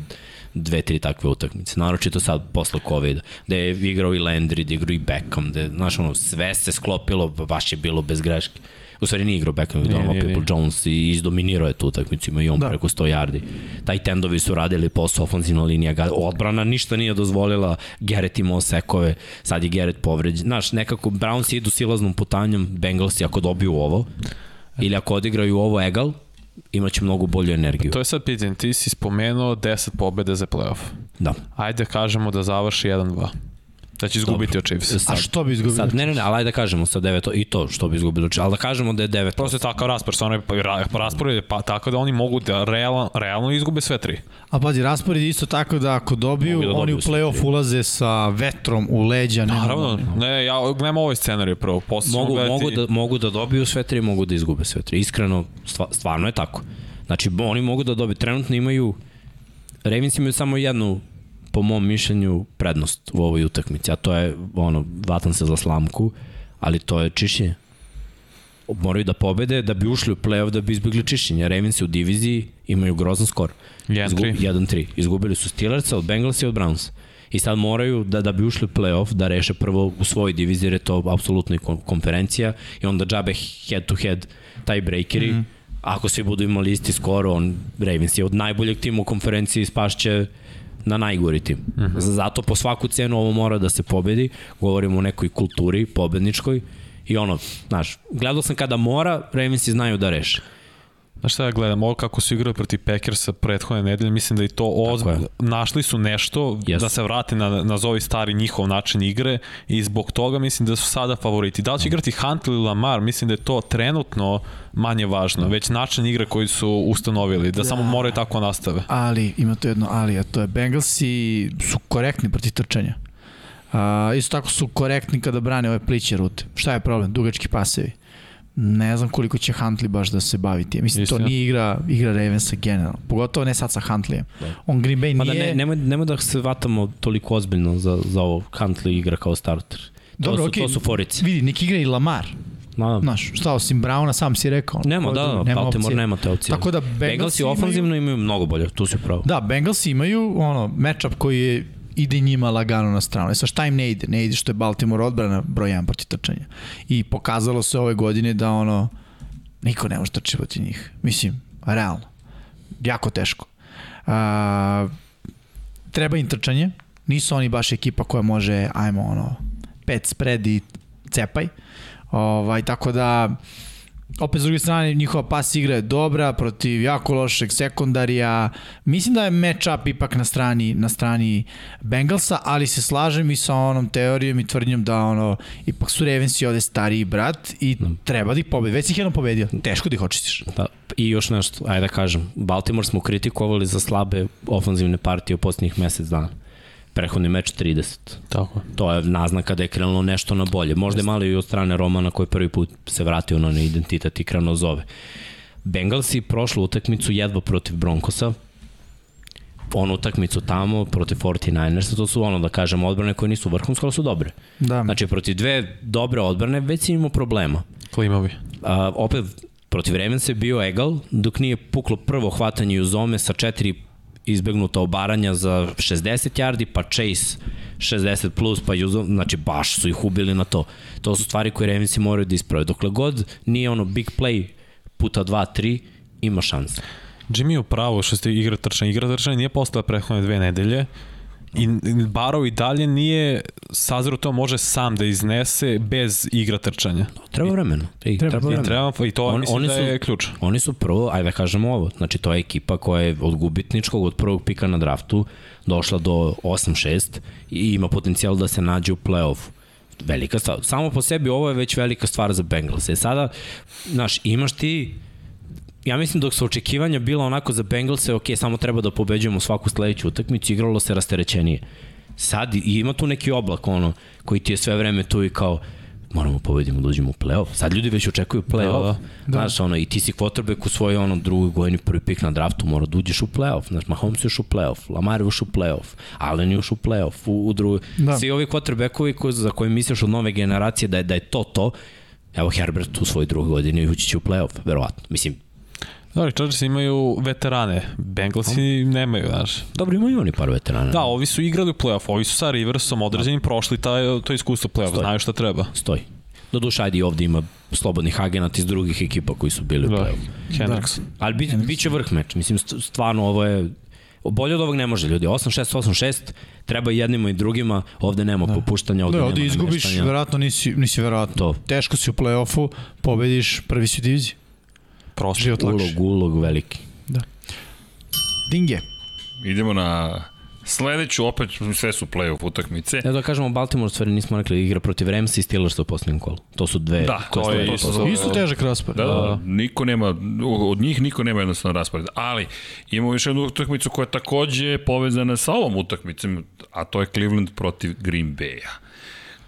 [SPEAKER 2] dve, tri takve utakmice, naročito sad posle COVID-a, gde je igrao i Landry, gde je igrao i Beckham, gde, znaš, ono, sve se sklopilo, baš je bilo bez greške. U stvari nije igrao Beckham, nije,
[SPEAKER 4] nije,
[SPEAKER 2] nije,
[SPEAKER 4] nije.
[SPEAKER 2] Jones i izdominirao je tu utakmicu, ima i on da. preko 100 yardi. Taj tendovi su radili posao, ofenzivna linija, ga- odbrana ništa nije dozvolila, Garrett imao sekove, sad je Garrett povređen. Znaš, nekako Browns idu silaznom putanjom, Bengalsi ako dobiju ovo, ili ako odigraju ovo egal, imaće mnogo bolju
[SPEAKER 3] Pa
[SPEAKER 2] energiju.
[SPEAKER 4] To je sad pitanje, ti si spomenuo 10 pobjede za playoff.
[SPEAKER 2] Da.
[SPEAKER 4] Ajde kažemo da završi 1-2. Da će izgubiti od Chiefs.
[SPEAKER 3] A
[SPEAKER 2] Sad,
[SPEAKER 3] što bi izgubili?
[SPEAKER 2] sad, ne, ne, ne, ali ajde da kažemo sa 9 i to što bi izgubilo, ali da kažemo da je 9
[SPEAKER 4] Prosto je takav raspored, stvarno je pa, ra- raspored je pa, tako da oni mogu da realno, realno izgube sve tri.
[SPEAKER 3] A pazi, raspored je isto tako da ako dobiju,
[SPEAKER 2] Mogu
[SPEAKER 3] da dobiju
[SPEAKER 2] da
[SPEAKER 3] oni u
[SPEAKER 2] dobiju sve
[SPEAKER 3] play-off ulaze sa vetrom u leđa. nema-
[SPEAKER 4] Naravno, ne, ja gledam ovaj scenarij prvo, posle ćemo
[SPEAKER 2] mogu,
[SPEAKER 4] gledati-
[SPEAKER 2] mogu, da, mogu da dobiju sve tri, mogu da izgube sve tri. Iskreno, stva- stvarno je tako. Znači, bo- oni mogu da dobiju. Trenutno imaju, Ravens imaju samo jednu, po mom mišljenju, prednost u ovoj utakmici, a to je, ono, vatan se za slamku, ali to je čišćenje. moraju da pobede da bi ušli u play-off da bi izbjegli čišćenje. Ravens u diviziji imaju grozan skor.
[SPEAKER 4] 1-3.
[SPEAKER 2] Izgu- 1-3. Izgubili su Steelersa od Bengalsa i od Brownsa. I sad moraju da, da bi ušli u play-off da reše prvo u svojoj diviziji jer je to apsolutno i kon- konferencija i onda džabe head to head taj breakeri. Mm -hmm. Ako svi budu imali isti skor, on Ravens je od najboljeg tima u konferenciji spašće na najgori tim. Mm -hmm. Zato po svaku cenu ovo mora da se pobedi. Govorimo o nekoj kulturi pobedničkoj i ono, znaš, gledao sam kada mora, Ravensi znaju da reše.
[SPEAKER 4] Znaš šta ja gledam, ovo kako su igrali protiv Packersa prethodne nedelje, mislim da i to ozbiljno, našli su nešto yes.
[SPEAKER 2] Jesu.
[SPEAKER 4] da se vrate na, nazovi stari njihov način igre i zbog toga mislim da su sada favoriti. Da li će igrati Hunt ili Lamar, mislim da je to trenutno manje važno, već način igre koji su ustanovili, da samo moraju tako nastave.
[SPEAKER 3] Ali, ima to jedno ali, a to je Bengalsi su korektni proti trčanja. A, isto tako su korektni kada brane ove pliće rute. Šta je problem? Dugački pasevi. Ne znam koliko će Huntley baš da se bavi tim. Mislim, Istina. to
[SPEAKER 4] Istina.
[SPEAKER 3] nije igra, igra Ravensa generalno. Pogotovo ne sad sa Huntleyem. On Green Bay
[SPEAKER 2] Pa da
[SPEAKER 3] nije...
[SPEAKER 2] ne, nemoj, nemoj da se vatamo toliko ozbiljno za, za ovo. Huntley igra kao starter. Dobro, to, su,
[SPEAKER 3] okej,
[SPEAKER 2] to su forice.
[SPEAKER 3] Vidi, nek igra i Lamar.
[SPEAKER 2] No, no.
[SPEAKER 3] Znaš, šta osim Browna, sam si rekao.
[SPEAKER 2] Nema,
[SPEAKER 3] Ko-
[SPEAKER 2] da, da, nema Baltimore
[SPEAKER 3] opcije.
[SPEAKER 2] nema te opcije.
[SPEAKER 3] Tako da Bengalsi,
[SPEAKER 2] Bengalsi
[SPEAKER 3] imaju-
[SPEAKER 2] ofanzivno imaju mnogo bolje, tu si pravo.
[SPEAKER 3] Da, Bengalsi imaju ono, matchup koji je ide njima lagano na stranu. E sad šta im ne ide? Ne ide što je Baltimore odbrana broj 1 protiv trčanja. I pokazalo se ove godine da ono, niko ne može trči protiv njih. Mislim, realno. Jako teško. A, treba im trčanje. Nisu oni baš ekipa koja može, ajmo ono, pet spread i cepaj. Ovaj, tako da, opet s druge strane, njihova pas igra je dobra protiv jako lošeg sekundarija. Mislim da je matchup ipak na strani, na strani Bengalsa, ali se slažem i sa onom teorijom i tvrdnjom da ono, ipak su Ravensi ovde stariji brat i treba da ih pobedi. Već si ih jednom pobedio. Teško da ih očistiš.
[SPEAKER 2] Da, I još nešto, ajde da kažem, Baltimore smo kritikovali za slabe ofanzivne partije u poslednjih mesec dana. Prehodni meč 30.
[SPEAKER 4] Tako.
[SPEAKER 2] To je naznaka da je krenulo nešto na bolje. Možda je malo i od strane Romana koji je prvi put se vratio na onaj identitet i krenuo zove. Bengalsi prošlu utakmicu jedva protiv Broncosa, onu utakmicu tamo protiv 49ersa, to su ono da kažem odbrane koje nisu vrhunske, ali su dobre.
[SPEAKER 3] Da.
[SPEAKER 2] Znači protiv dve dobre odbrane već si imao problema
[SPEAKER 4] Klimavi.
[SPEAKER 2] a, opet protiv Ravensa je bio egal, dok nije puklo prvo hvatanje u zome sa četiri izbegnuta obaranja za 60 yardi, pa Chase 60 plus, pa Juzom, znači baš su ih ubili na to. To su stvari koje Ravensi moraju da isprave. Dokle god nije ono big play puta 2-3, ima šanse.
[SPEAKER 4] Jimmy je u pravu što ste igra trčanja. Igra trčanja nije postala prethodne dve nedelje i Barov i dalje nije sazreo to može sam da iznese bez igra trčanja.
[SPEAKER 2] Treba vremena. I, treba,
[SPEAKER 4] I, treba, i to On,
[SPEAKER 2] On-
[SPEAKER 4] mislim
[SPEAKER 2] oni
[SPEAKER 4] da
[SPEAKER 2] su-
[SPEAKER 4] je ključ.
[SPEAKER 2] Oni su prvo, ajde da kažemo ovo, znači to je ekipa koja je od gubitničkog, od prvog pika na draftu došla do 8-6 i ima potencijal da se nađe u play-offu. Velika stvar. Samo po sebi ovo je već velika stvar za Bengals. E sada, znaš, imaš ti ja mislim dok su očekivanja bila onako za Bengalse, ok, samo treba da pobeđujemo svaku sledeću utakmicu, igralo se rasterećenije. Sad i- ima tu neki oblak ono, koji ti je sve vreme tu i kao, moramo pobedimo da uđemo u play-off. Sad ljudi već očekuju play-off. Da, da. Znaš, ono, i ti si quarterback u svojoj ono, drugoj godini prvi pik na draftu, mora da uđeš u play-off. Znaš, Mahomes je još u play-off, Lamar je još u play-off, Allen je još u play-off, u, u drugoj. Da. Svi ovi quarterbackovi koji, za koje misliš od nove generacije da je, da je to to, Evo Herbert u svojoj drugoj godini ući će u play-off, verovatno. Mislim,
[SPEAKER 4] Dobro, Chargers imaju veterane, Bengalsi nemaju, znaš.
[SPEAKER 2] Dobro, imaju i oni par veterana.
[SPEAKER 4] Da, ovi su igrali u playoff, ovi su sa Riversom određeni, prošli taj, to iskustvo playoff,
[SPEAKER 2] Stoji.
[SPEAKER 4] znaju šta treba.
[SPEAKER 2] Stoji. Doduše, ajde i ovde ima slobodnih agenata iz drugih ekipa koji su bili u
[SPEAKER 4] Da,
[SPEAKER 2] play-offu.
[SPEAKER 4] Hendricks.
[SPEAKER 2] Ali bit, bit će vrh meč. Mislim, st- stvarno ovo je... Bolje od ovog ne može, ljudi. 8-6, 8-6, treba i jednima i drugima. Ovde nema da. popuštanja,
[SPEAKER 3] Da,
[SPEAKER 2] ovde da, nema
[SPEAKER 3] ovde izgubiš,
[SPEAKER 2] nameštanja.
[SPEAKER 3] verovatno nisi, nisi verovatno.
[SPEAKER 2] To.
[SPEAKER 3] Teško si u play-offu, pobediš, prvi si u diviziji.
[SPEAKER 4] Prošli.
[SPEAKER 3] Život lakši.
[SPEAKER 2] Ulog, ulog veliki.
[SPEAKER 3] Dinge.
[SPEAKER 1] Idemo na sledeću, opet sve su play-off utakmice.
[SPEAKER 2] Evo da kažemo, Baltimore u stvari nismo rekli da igra protiv Ramsa i Steelers u poslednjem kolu. To su dve
[SPEAKER 1] Da,
[SPEAKER 2] koje
[SPEAKER 1] to je-
[SPEAKER 2] stoje.
[SPEAKER 1] to su-
[SPEAKER 3] Isto težak raspored.
[SPEAKER 1] Da, da, niko nema, od njih niko nema jednostavno raspored. Ali, imamo još jednu utakmicu koja je takođe povezana sa ovom utakmicom, a to je Cleveland protiv Green Bay-a.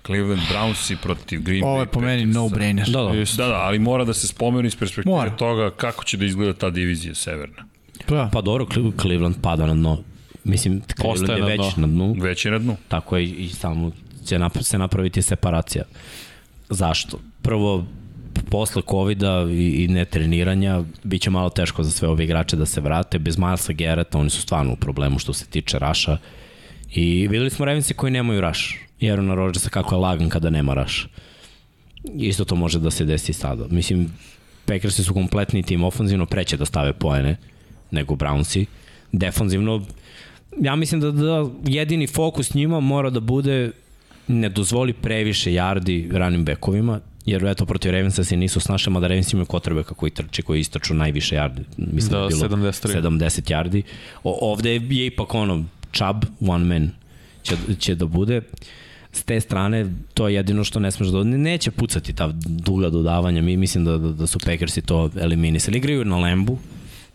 [SPEAKER 1] Cleveland Brownsi protiv Green
[SPEAKER 3] Ovo
[SPEAKER 1] Bay.
[SPEAKER 3] je po meni no-brainer.
[SPEAKER 2] Da, da.
[SPEAKER 1] Da, da, ali mora da se spomenu iz perspektive
[SPEAKER 3] Mora.
[SPEAKER 1] mora. toga kako će da izgleda ta divizija severna.
[SPEAKER 3] Pa,
[SPEAKER 2] Pa dobro, Cle- Cleveland pada na dno. Mislim, Cleveland je
[SPEAKER 4] na
[SPEAKER 2] već
[SPEAKER 4] dno.
[SPEAKER 2] na dnu.
[SPEAKER 1] Već je na dnu.
[SPEAKER 2] tako je i samo će nap se napraviti separacija. Zašto? Prvo, posle COVID-a i, i netreniranja bit će malo teško za sve ove igrače da se vrate. Bez Milesa Gerrata oni su stvarno u problemu što se tiče Raša. I videli smo Ravense koji nemaju Raš. I Aarona Rodgersa kako je lagan kada nema Raša. Isto to može da se desi i sada. Mislim, Packersi su kompletni tim ofanzivno, preće da stave poene nego Brownsi. Defanzivno, ja mislim da, da jedini fokus njima mora da bude ne dozvoli previše yardi ranim bekovima, jer eto protiv Ravensa se nisu snašli, mada Ravens imaju kotrbeka koji trče, koji istraču najviše yardi. Mislim da,
[SPEAKER 4] Da,
[SPEAKER 2] da je bilo
[SPEAKER 4] 73.
[SPEAKER 2] 70 yardi. O, ovde je ipak ono, Chubb, one man će, će da bude. S te strane, to je jedino što ne smeš da... ne- Neće pucati ta duga dodavanja. Mi mislim da, da, da su Packersi to eliminisali. Igraju na Lembu,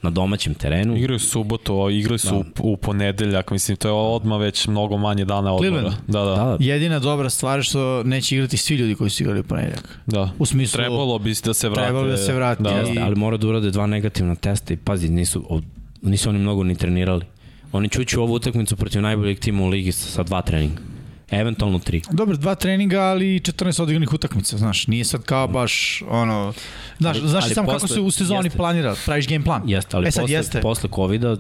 [SPEAKER 2] na domaćem terenu.
[SPEAKER 4] Igraju subotu, a igrali su da. u, u ponedeljak, mislim to je odma već mnogo manje dana odmora.
[SPEAKER 3] Cleveland?
[SPEAKER 4] Da, da.
[SPEAKER 2] Da,
[SPEAKER 3] Jedina dobra stvar je što neće igrati svi ljudi koji su igrali u ponedjeljak.
[SPEAKER 4] da.
[SPEAKER 3] U smislu,
[SPEAKER 4] Trebalo bi da se vrate.
[SPEAKER 3] Trebalo bi da se vrate.
[SPEAKER 4] Da.
[SPEAKER 3] I-
[SPEAKER 2] Jeste, ali mora da urade dva negativna testa i pazi, nisu, od- nisu oni mnogo ni trenirali. Oni će ući u ovu utakmicu protiv najboljeg tima u ligi sa, sa dva treninga. Eventualno tri.
[SPEAKER 3] Dobro, dva treninga, ali i 14 odigranih utakmica, znaš, nije sad kao baš ono, znaš,
[SPEAKER 2] Ali-
[SPEAKER 3] znaš
[SPEAKER 2] ali
[SPEAKER 3] samo kako
[SPEAKER 2] posle-
[SPEAKER 3] se u sezoni
[SPEAKER 2] jeste.
[SPEAKER 3] planira, praviš game plan.
[SPEAKER 2] Jeste, ali
[SPEAKER 3] e
[SPEAKER 2] e
[SPEAKER 3] sad
[SPEAKER 2] posle,
[SPEAKER 3] jeste.
[SPEAKER 2] posle COVID-a,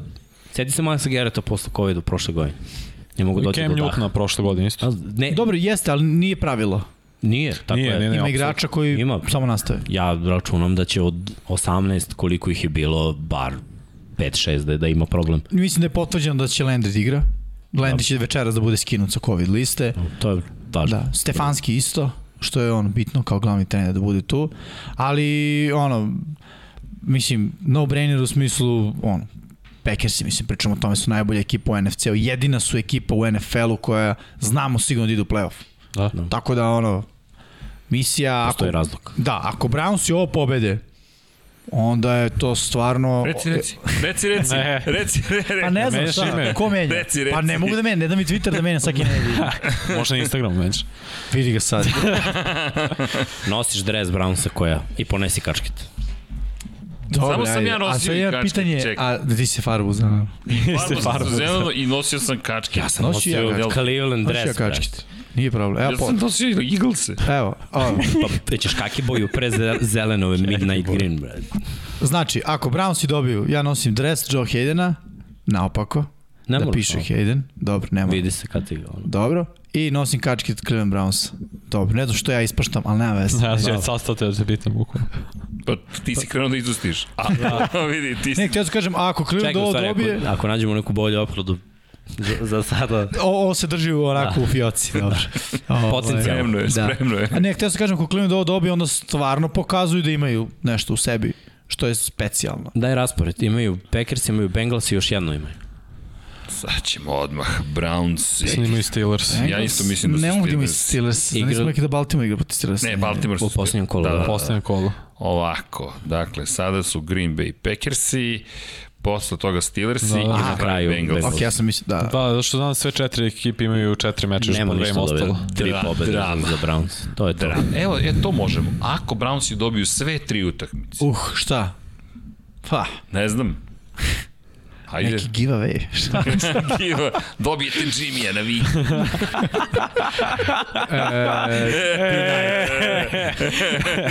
[SPEAKER 2] sedi se Milesa Gerrata posle COVID-a prošle godine. Ne mogu
[SPEAKER 4] I
[SPEAKER 2] doći
[SPEAKER 4] Cam
[SPEAKER 2] do da. daha.
[SPEAKER 4] Newtona prošle godine isto.
[SPEAKER 2] A, Ne,
[SPEAKER 3] Dobro, jeste, ali nije pravilo.
[SPEAKER 2] nije, tako
[SPEAKER 4] Nije, nije,
[SPEAKER 2] je.
[SPEAKER 4] nije.
[SPEAKER 3] Ima
[SPEAKER 4] apsolutno.
[SPEAKER 3] igrača koji
[SPEAKER 2] Ima.
[SPEAKER 3] samo nastave.
[SPEAKER 2] Ja računam da će od 18 koliko ih je bilo, bar 5-6 da, da ima problem.
[SPEAKER 3] Mislim da je potvrđeno da će Landry da igra. Landry će večeras da bude skinut sa COVID liste.
[SPEAKER 2] To je važno.
[SPEAKER 3] Da, Stefanski isto, što je on bitno kao glavni trener da bude tu. Ali, ono, mislim, no brainer u smislu, ono, Packersi, mislim, pričamo o tome, su najbolja ekipa u NFC-u. Jedina su ekipa u NFL-u koja znamo sigurno da idu u playoff.
[SPEAKER 4] Da.
[SPEAKER 3] Tako da, ono, misija...
[SPEAKER 2] Postoji
[SPEAKER 3] ako,
[SPEAKER 2] razlog.
[SPEAKER 3] da, ako Browns i ovo pobede, onda je to stvarno...
[SPEAKER 1] Reci, reci, reci, reci,
[SPEAKER 4] Ne.
[SPEAKER 1] reci, reci,
[SPEAKER 3] Pa ne znam
[SPEAKER 4] Menjaš
[SPEAKER 3] šta,
[SPEAKER 4] ime?
[SPEAKER 3] ko menja?
[SPEAKER 1] Reci, reci.
[SPEAKER 3] Pa ne mogu da menja, ne da mi Twitter da menja svaki nedelje.
[SPEAKER 4] Možda na Instagramu već.
[SPEAKER 3] Vidi ga sad.
[SPEAKER 2] Nosiš dres Brownsa koja i ponesi kačket.
[SPEAKER 3] Dobre,
[SPEAKER 1] Samo sam
[SPEAKER 3] ajde.
[SPEAKER 1] ja nosio
[SPEAKER 3] A sad
[SPEAKER 1] i
[SPEAKER 3] ja
[SPEAKER 1] kačke,
[SPEAKER 3] pitanje,
[SPEAKER 1] čekaj.
[SPEAKER 3] a da ti se farbu znam.
[SPEAKER 1] Farbu sam
[SPEAKER 4] farbu.
[SPEAKER 1] zeleno i nosio sam kačke. Ja sam
[SPEAKER 3] nosio ja
[SPEAKER 1] jel-
[SPEAKER 2] Cleveland
[SPEAKER 3] Nosi ja
[SPEAKER 2] dres. brate.
[SPEAKER 3] kačkit. Nije problem. Evo,
[SPEAKER 1] Ja
[SPEAKER 3] po,
[SPEAKER 1] sam nosio Eaglese.
[SPEAKER 3] evo, ovo.
[SPEAKER 2] Pa prećeš kaki boju pre ze- zelenove Midnight Green, brad.
[SPEAKER 3] Znači, ako Brownsi dobiju, ja nosim dres Joe Haydena, naopako,
[SPEAKER 2] Ne
[SPEAKER 3] da
[SPEAKER 2] moraš
[SPEAKER 3] piše
[SPEAKER 2] ovo.
[SPEAKER 3] Hayden, dobro, nema.
[SPEAKER 2] Vidi se kad ti ga ono.
[SPEAKER 3] Dobro. I nosim kačkit Cleveland Browns. Dobro, ne znam što ja ispaštam, ali nema veze.
[SPEAKER 4] Ja ću sastav te da te pitam bukvalno.
[SPEAKER 1] Pa ti si krenuo da izustiš. A,
[SPEAKER 3] Da.
[SPEAKER 1] vidi, ti
[SPEAKER 3] Ne,
[SPEAKER 1] si...
[SPEAKER 3] htio sam kažem, ako Cleveland
[SPEAKER 2] Čekaj, u
[SPEAKER 3] ovo
[SPEAKER 2] stvari,
[SPEAKER 3] dobije,
[SPEAKER 2] ako, ako nađemo neku bolju opkladu za, za sada,
[SPEAKER 3] o- ovo se drži u onako u fioci, dobro. Ovaj.
[SPEAKER 2] Da. Potencijalno.
[SPEAKER 1] Spremno je,
[SPEAKER 3] Da.
[SPEAKER 1] spremno je.
[SPEAKER 3] A ne, htio sam kažem, ako Cleveland ovo dobije, onda stvarno pokazuju da imaju nešto u sebi, što je specijalno.
[SPEAKER 2] daj raspored. Imaju Packers, imaju Bengals i još jedno imaju.
[SPEAKER 1] Sad ćemo odmah. Browns i...
[SPEAKER 4] Mislim da imaju Steelers.
[SPEAKER 1] Ja isto mislim da su
[SPEAKER 3] Ne mogu da imaju
[SPEAKER 1] Steelers.
[SPEAKER 3] Steelers. Igra...
[SPEAKER 2] Igra-
[SPEAKER 3] Nismo neki da Baltimore igra protiv Steelsa.
[SPEAKER 1] Ne, Baltimore su...
[SPEAKER 2] U posljednjem kolu, da.
[SPEAKER 4] Poslednje kolo.
[SPEAKER 1] Ovako, dakle, sada su Green Bay Packersi, posle toga Steelersi
[SPEAKER 4] Da.
[SPEAKER 1] i
[SPEAKER 4] A,
[SPEAKER 1] na
[SPEAKER 2] na kraju
[SPEAKER 1] kraju Bengals.
[SPEAKER 3] Ok, ja sam mislim, da.
[SPEAKER 4] Da, zato što znam sve četiri ekipe imaju četiri meča, još po
[SPEAKER 2] Nema
[SPEAKER 4] dve im
[SPEAKER 2] ništa da
[SPEAKER 4] ostalo.
[SPEAKER 2] Tri
[SPEAKER 1] Dra-
[SPEAKER 2] pobede
[SPEAKER 1] drama.
[SPEAKER 2] za Browns. To je to.
[SPEAKER 1] Dra. Evo, e, to možemo. Ako Brownsi dobiju sve tri utakmice,
[SPEAKER 3] Uh, šta? Pa,
[SPEAKER 1] ne znam, Ajde,
[SPEAKER 3] neki giveaway. Šta?
[SPEAKER 1] Kiva, dobijete Jimmya na vi.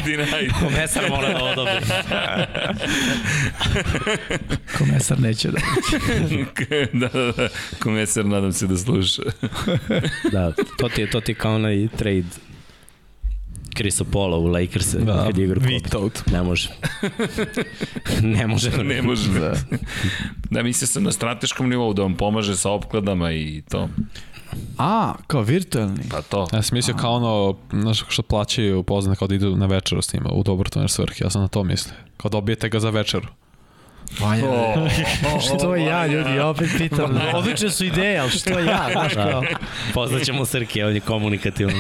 [SPEAKER 1] Dinaj.
[SPEAKER 2] Mesar mora da ovo dobije.
[SPEAKER 3] Komesar neće da.
[SPEAKER 1] da, da, da. Komesar, nadam se da sluša.
[SPEAKER 2] Da, to ti je, to ti je kao onaj trade Krisa Paula u Lakers-e.
[SPEAKER 4] Da,
[SPEAKER 2] kad je igra u kopu.
[SPEAKER 4] Vitold.
[SPEAKER 2] Ne može. ne može.
[SPEAKER 1] Ne može. Da. da, mislio sam na strateškom nivou da vam pomaže sa opkladama i to.
[SPEAKER 3] A, kao virtualni.
[SPEAKER 1] Pa to.
[SPEAKER 4] Ja sam mislio kao ono, znaš što plaćaju poznan kao da idu na večeru s njima, u dobrotvorne svrhe, ja sam na to mislio. Kao dobijete ga za večeru.
[SPEAKER 3] Vanja.
[SPEAKER 1] O,
[SPEAKER 3] Što ja, ljudi, opet pitam. Odlične su ideje, ali što ja, znaš kao?
[SPEAKER 2] Poznaćemo Srke, on je komunikativan.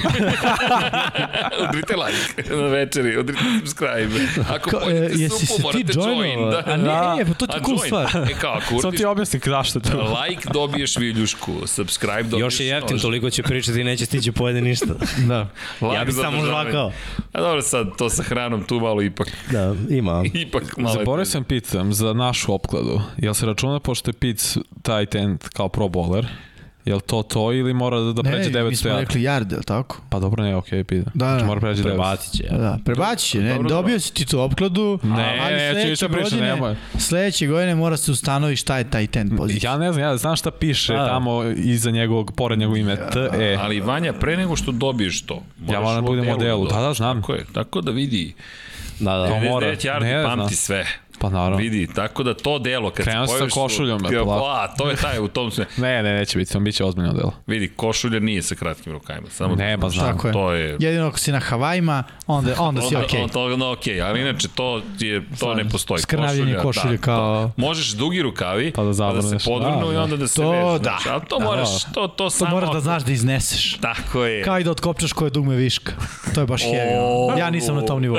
[SPEAKER 1] udrite like na večeri, udrite subscribe. Ako
[SPEAKER 3] Ka,
[SPEAKER 1] Ka,
[SPEAKER 3] e,
[SPEAKER 1] pojedete
[SPEAKER 3] jesi se
[SPEAKER 1] supu,
[SPEAKER 3] ti
[SPEAKER 1] morate join.
[SPEAKER 3] joinovao?
[SPEAKER 1] Da,
[SPEAKER 3] A ne,
[SPEAKER 1] da.
[SPEAKER 3] ne, pa to ti je
[SPEAKER 1] A
[SPEAKER 3] cool
[SPEAKER 1] join.
[SPEAKER 3] stvar.
[SPEAKER 1] E kao, ako
[SPEAKER 4] Samo
[SPEAKER 1] uradiš
[SPEAKER 4] ti objasnim zašto to.
[SPEAKER 1] like, dobiješ viljušku, subscribe, dobiješ
[SPEAKER 2] Još je jeftin,
[SPEAKER 1] nož.
[SPEAKER 2] toliko će pričati i neće stići pojede ništa.
[SPEAKER 3] Da.
[SPEAKER 1] Like
[SPEAKER 2] Ja bih samo
[SPEAKER 1] zadržavanje.
[SPEAKER 2] žvakao.
[SPEAKER 1] A dobro sad, to sa hranom tu malo ipak,
[SPEAKER 2] Da, ima.
[SPEAKER 1] ipak malo. je
[SPEAKER 4] Zaboravio sam pitam za našu opkladu. Jel se računa pošto je Pic taj tent kao pro bowler? Jel to to ili mora da, da pređe 900
[SPEAKER 3] mi smo
[SPEAKER 4] yardi?
[SPEAKER 3] rekli yard, je li tako?
[SPEAKER 4] Pa dobro, ne, okej, okay, pide.
[SPEAKER 3] Da,
[SPEAKER 4] znači,
[SPEAKER 3] da.
[SPEAKER 4] mora pređe 900.
[SPEAKER 2] Prebacit će.
[SPEAKER 3] Da, prebaći će, ne, dobio si ti tu opkladu,
[SPEAKER 4] Ne,
[SPEAKER 3] ali
[SPEAKER 4] neću
[SPEAKER 3] sledeće
[SPEAKER 4] ništa pričati,
[SPEAKER 3] godine-
[SPEAKER 4] nemoj.
[SPEAKER 3] Sledeće godine mora se ustanovi šta je taj ten pozicija.
[SPEAKER 4] Ja ne znam, ja znam šta piše
[SPEAKER 2] Da.
[SPEAKER 4] tamo iza njegovog, pored njegovog ime, E. TE.
[SPEAKER 1] Ali Vanja, pre nego što dobiješ to, moraš
[SPEAKER 4] Ja moram da
[SPEAKER 1] u
[SPEAKER 4] budem u delu, da,
[SPEAKER 1] dobiješ.
[SPEAKER 4] da, znam.
[SPEAKER 1] Tako je, tako da vidi.
[SPEAKER 2] Da, da.
[SPEAKER 4] To mora.
[SPEAKER 1] 99 yardi
[SPEAKER 4] Ne,
[SPEAKER 1] pamti
[SPEAKER 4] znam.
[SPEAKER 1] sve.
[SPEAKER 4] Pa naravno.
[SPEAKER 1] Vidi, tako da to delo kad
[SPEAKER 4] Krenuo
[SPEAKER 1] se
[SPEAKER 4] sam
[SPEAKER 1] pojaviš...
[SPEAKER 4] sa košuljom,
[SPEAKER 1] u-
[SPEAKER 4] me, polako.
[SPEAKER 1] A, to je taj u tom sve.
[SPEAKER 4] Ne, ne, neće biti, on bit će ozbiljno delo.
[SPEAKER 1] Vidi, košulja nije sa kratkim rukavima. Samo
[SPEAKER 4] Ne, pa znam.
[SPEAKER 3] Tako je.
[SPEAKER 1] To je...
[SPEAKER 3] Jedino ako si na Havajima, onda, onda si
[SPEAKER 1] Onda,
[SPEAKER 3] okej.
[SPEAKER 1] okay. to, no, okej, ali inače to, ti je, to ne postoji.
[SPEAKER 3] Skrnavljenje košulje
[SPEAKER 1] da,
[SPEAKER 3] kao-
[SPEAKER 1] to. Možeš dugi rukavi,
[SPEAKER 4] Pa da
[SPEAKER 1] se
[SPEAKER 4] zavrneš.
[SPEAKER 1] podvrnu
[SPEAKER 4] Da,
[SPEAKER 1] i
[SPEAKER 4] da.
[SPEAKER 1] onda da se
[SPEAKER 3] To
[SPEAKER 1] vežu.
[SPEAKER 3] da.
[SPEAKER 1] ali to moraš, to, to,
[SPEAKER 3] To
[SPEAKER 1] samo...
[SPEAKER 3] moraš da znaš da izneseš.
[SPEAKER 1] Tako je.
[SPEAKER 3] Kao i da otkopčaš koje dugme viška. To je baš heavy. ono. Ja nisam na tom nivou.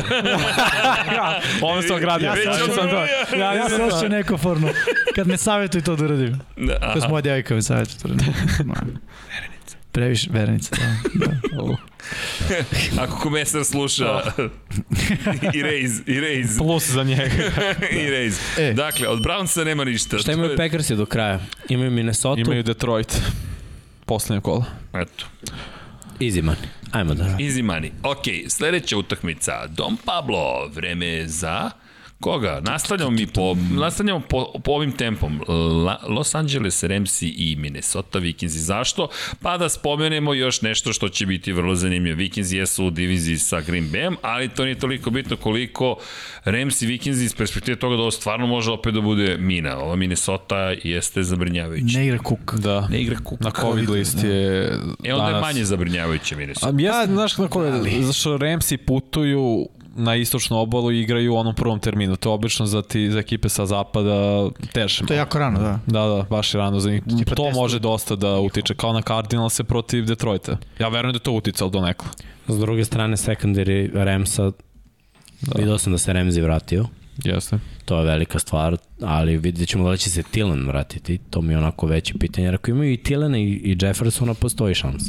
[SPEAKER 4] Ovo se ogradio.
[SPEAKER 1] Već
[SPEAKER 4] Ja sam
[SPEAKER 1] sam
[SPEAKER 4] to.
[SPEAKER 3] Ja, ja sam osjećao nekomfortno. Kad me savjetuj to da uradim.
[SPEAKER 1] Da,
[SPEAKER 3] To je moja devojka me savjetuje to da uradim. Verenica. Previše, verenica. Da. da.
[SPEAKER 1] ako komesar sluša i rejz, i rejz,
[SPEAKER 4] Plus za njega.
[SPEAKER 1] i rejz.
[SPEAKER 3] E.
[SPEAKER 1] Dakle, od Brownsa nema ništa.
[SPEAKER 2] Šta imaju
[SPEAKER 1] To je-
[SPEAKER 2] Packersi do kraja? Imaju Minnesota,
[SPEAKER 4] Imaju
[SPEAKER 2] imaju...
[SPEAKER 4] Detroit. Poslednje kolo.
[SPEAKER 1] Eto.
[SPEAKER 2] easy money. Ajmo da.
[SPEAKER 1] Easy money. Ok, sledeća utakmica. Dom Pablo, vreme za... Koga? Nastavljamo mi po, nastavljamo po, po ovim tempom. La, Los Angeles, Ramsey i Minnesota Vikings. I zašto? Pa da spomenemo još nešto što će biti vrlo zanimljivo. Vikings jesu u diviziji sa Green Bayem, ali to nije toliko bitno koliko Ramsey Vikings iz perspektive toga da ovo stvarno može opet da bude mina. Ova Minnesota jeste zabrinjavajuća.
[SPEAKER 3] Ne igra kuk.
[SPEAKER 4] Da.
[SPEAKER 1] Ne igra kuka.
[SPEAKER 4] Na COVID list je
[SPEAKER 1] E onda je
[SPEAKER 4] danas-
[SPEAKER 1] manje zabrinjavajuća Minnesota.
[SPEAKER 4] A ja, znaš na koje, zašto Remsi putuju na istočnu obalu i igraju u onom prvom terminu. To je obično za, ti, za ekipe sa zapada teško.
[SPEAKER 3] To je jako rano, da.
[SPEAKER 4] Da, da, baš je rano za njih.
[SPEAKER 3] Tipa
[SPEAKER 4] To
[SPEAKER 3] testu.
[SPEAKER 4] može dosta da utiče, kao na Cardinalse protiv Detroita. Ja verujem da je to uticalo do nekla.
[SPEAKER 2] S druge strane, secondary Ramsa, da. vidio sam da se Ramsey vratio.
[SPEAKER 4] Jeste.
[SPEAKER 2] To je velika stvar, ali vidjet ćemo da li će se Tilen vratiti. To mi je onako veće pitanje. Jer ako imaju i Tilena i, i Jeffersona, postoji šans.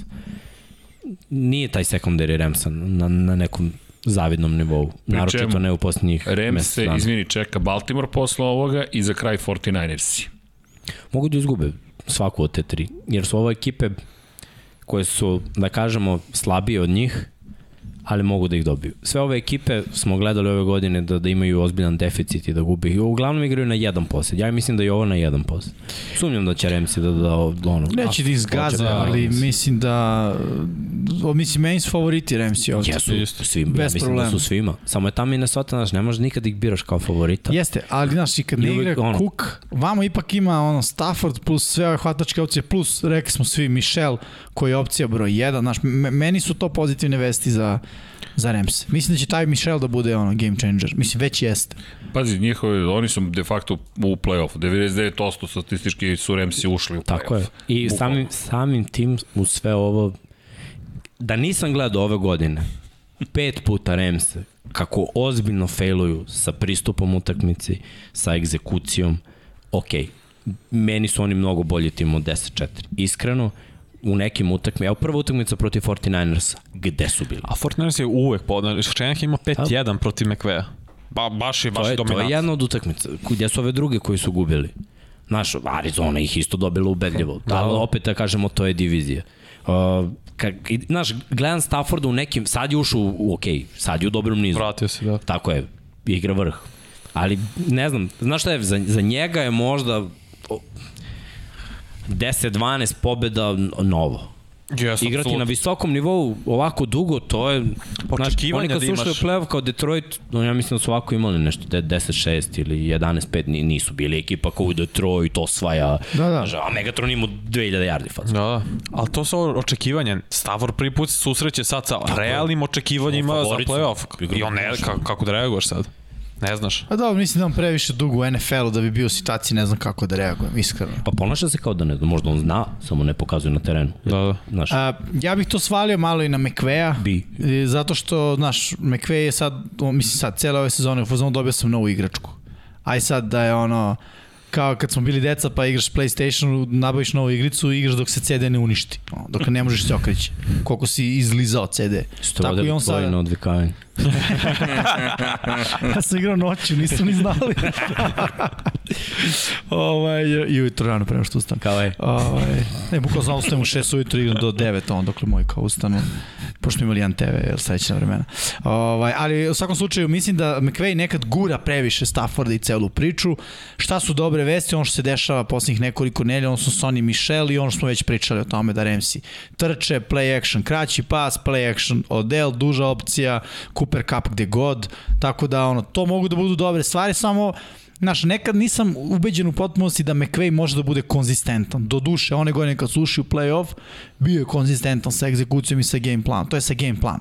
[SPEAKER 2] Nije taj secondary Ramsa na, na nekom zavidnom nivou. Naročito
[SPEAKER 1] čemu?
[SPEAKER 2] ne u posljednjih
[SPEAKER 1] Rams
[SPEAKER 2] mesec
[SPEAKER 1] se,
[SPEAKER 2] dana.
[SPEAKER 1] izvini, čeka Baltimore posle ovoga i za kraj 49ersi.
[SPEAKER 2] mogu da izgube svaku od te tri, jer su ovo ekipe koje su, da kažemo, slabije od njih, ali mogu da ih dobiju. Sve ove ekipe smo gledali ove godine da, da imaju ozbiljan deficit i da gube. I uglavnom igraju na jedan posed. Ja mislim da je ovo na jedan posed. Sumnjam da će Remsi da, da, da ono...
[SPEAKER 3] Neće da izgaze,
[SPEAKER 2] da,
[SPEAKER 3] ali
[SPEAKER 2] mislim.
[SPEAKER 3] mislim da... O, mislim, meni su favoriti Remsi ovdje.
[SPEAKER 2] Jesu,
[SPEAKER 4] Isto.
[SPEAKER 2] svima. ja
[SPEAKER 3] Bez
[SPEAKER 2] mislim
[SPEAKER 3] problema.
[SPEAKER 2] da su svima. Samo je tamo Minnesota, znaš, ne možeš nikad da ih biraš kao favorita.
[SPEAKER 3] Jeste, ali znaš, i kad ne
[SPEAKER 2] I uvek
[SPEAKER 3] igra
[SPEAKER 2] ono.
[SPEAKER 3] Cook, vamo ipak ima ono Stafford plus sve ove hvatačke opcije, plus rekli smo svi Michel koji je opcija broj 1, znaš, me- meni su to pozitivne vesti za za Rams. Mislim da će taj Michel da bude ono game changer. Mislim već jeste.
[SPEAKER 1] Pazi, njihove, oni su de facto u play-offu. 99% statistički su Ramsi ušli u play-off.
[SPEAKER 2] Tako je. I
[SPEAKER 1] Bukvalno.
[SPEAKER 2] samim, samim tim u sve ovo, da nisam gledao ove godine, pet puta Remse, kako ozbiljno failuju sa pristupom utakmici, sa egzekucijom, ok, meni su oni mnogo bolji tim od 10-4. Iskreno, u nekim utakmicama, evo prva utakmica protiv 49ersa, gde su bili?
[SPEAKER 4] A Fortnite je uvek podnaš. Šenjah ima 5-1 protiv McVeja. Ba, baš je, baš
[SPEAKER 2] to
[SPEAKER 4] je
[SPEAKER 2] je, to je
[SPEAKER 4] dominant.
[SPEAKER 2] jedna od utakmica. Gde su ove druge koji su gubili? Znaš, Arizona ih isto dobila ubedljivo. Da, ali opet da kažemo, to je divizija. Uh, ka, i, znaš, gledam Stafforda u nekim, sad je ušao, u- u, ok, sad je u dobrom nizu.
[SPEAKER 4] Vratio se, da.
[SPEAKER 2] Tako je, igra vrh. Ali, ne znam, znaš šta je, za, za njega je možda o, 10-12 pobeda n- novo.
[SPEAKER 4] Yes,
[SPEAKER 2] Igrati na visokom nivou ovako dugo, to je... Znaš,
[SPEAKER 4] Očekivanja
[SPEAKER 2] oni kad
[SPEAKER 4] da
[SPEAKER 2] su ušli u
[SPEAKER 4] imaš.
[SPEAKER 2] play-off kao Detroit, no, ja mislim da su ovako imali nešto, de- 10-6 ili 11-5, ni- nisu bili ekipa kao u Detroit, osvaja.
[SPEAKER 3] Da, da.
[SPEAKER 2] Znaš, a Megatron ima 2000 yardi
[SPEAKER 4] Da,
[SPEAKER 2] facu.
[SPEAKER 4] da. Ali to su očekivanja. Stavor prvi put se susreće sad sa realnim očekivanjima za
[SPEAKER 2] Favorit su.
[SPEAKER 4] playoff. I on ne, kako, kako da reaguješ sad? Ne znaš.
[SPEAKER 3] A da, mislim da on previše dugo u NFL-u da bi bio u situaciji ne znam kako da reagujem, iskreno.
[SPEAKER 2] Pa ponaša se kao da ne zna, možda on zna, samo ne pokazuje na terenu.
[SPEAKER 4] Da, da.
[SPEAKER 2] Znaš,
[SPEAKER 3] A, ja bih to svalio malo i na McVeja.
[SPEAKER 2] Bi.
[SPEAKER 3] E, Zato što, znaš, McVej je sad, on, mislim sad, cele ove sezone u fazonu dobio sam novu igračku. Aj sad da je ono, kao kad smo bili deca pa igraš PlayStation, nabaviš novu igricu i igraš dok se CD ne uništi. Ono, Dok ne možeš se okreći. Koliko si izlizao CD.
[SPEAKER 2] Strodeli tvoje
[SPEAKER 3] sada-
[SPEAKER 2] na odvikavanje.
[SPEAKER 3] ja sam igrao noću, nisu ni znali. ovaj, I ujutro rano prema što ustan.
[SPEAKER 2] Kao je.
[SPEAKER 3] Ovaj, ne, bukvalo znam ustajem u 6 ujutro igram do 9, on dokle moji kao ustanu. Pošto smo imali jedan TV, jel srećna vremena. Ovaj, ali u svakom slučaju mislim da McVay nekad gura previše Stafforda i celu priču. Šta su dobre vesti, ono što se dešava poslednjih nekoliko nelja, ono su Sonny Michel i ono što smo već pričali o tome da Remsi trče, play action kraći pas, play action odel, duža opcija, Cooper Cup gde god. Tako da ono, to mogu da budu dobre stvari, samo Znaš, nekad nisam ubeđen u potpunosti da McVay može da bude konzistentan. Do duše, one godine kad su ušli u playoff, bio je konzistentan sa egzekucijom i sa game planom. To je sa game planom.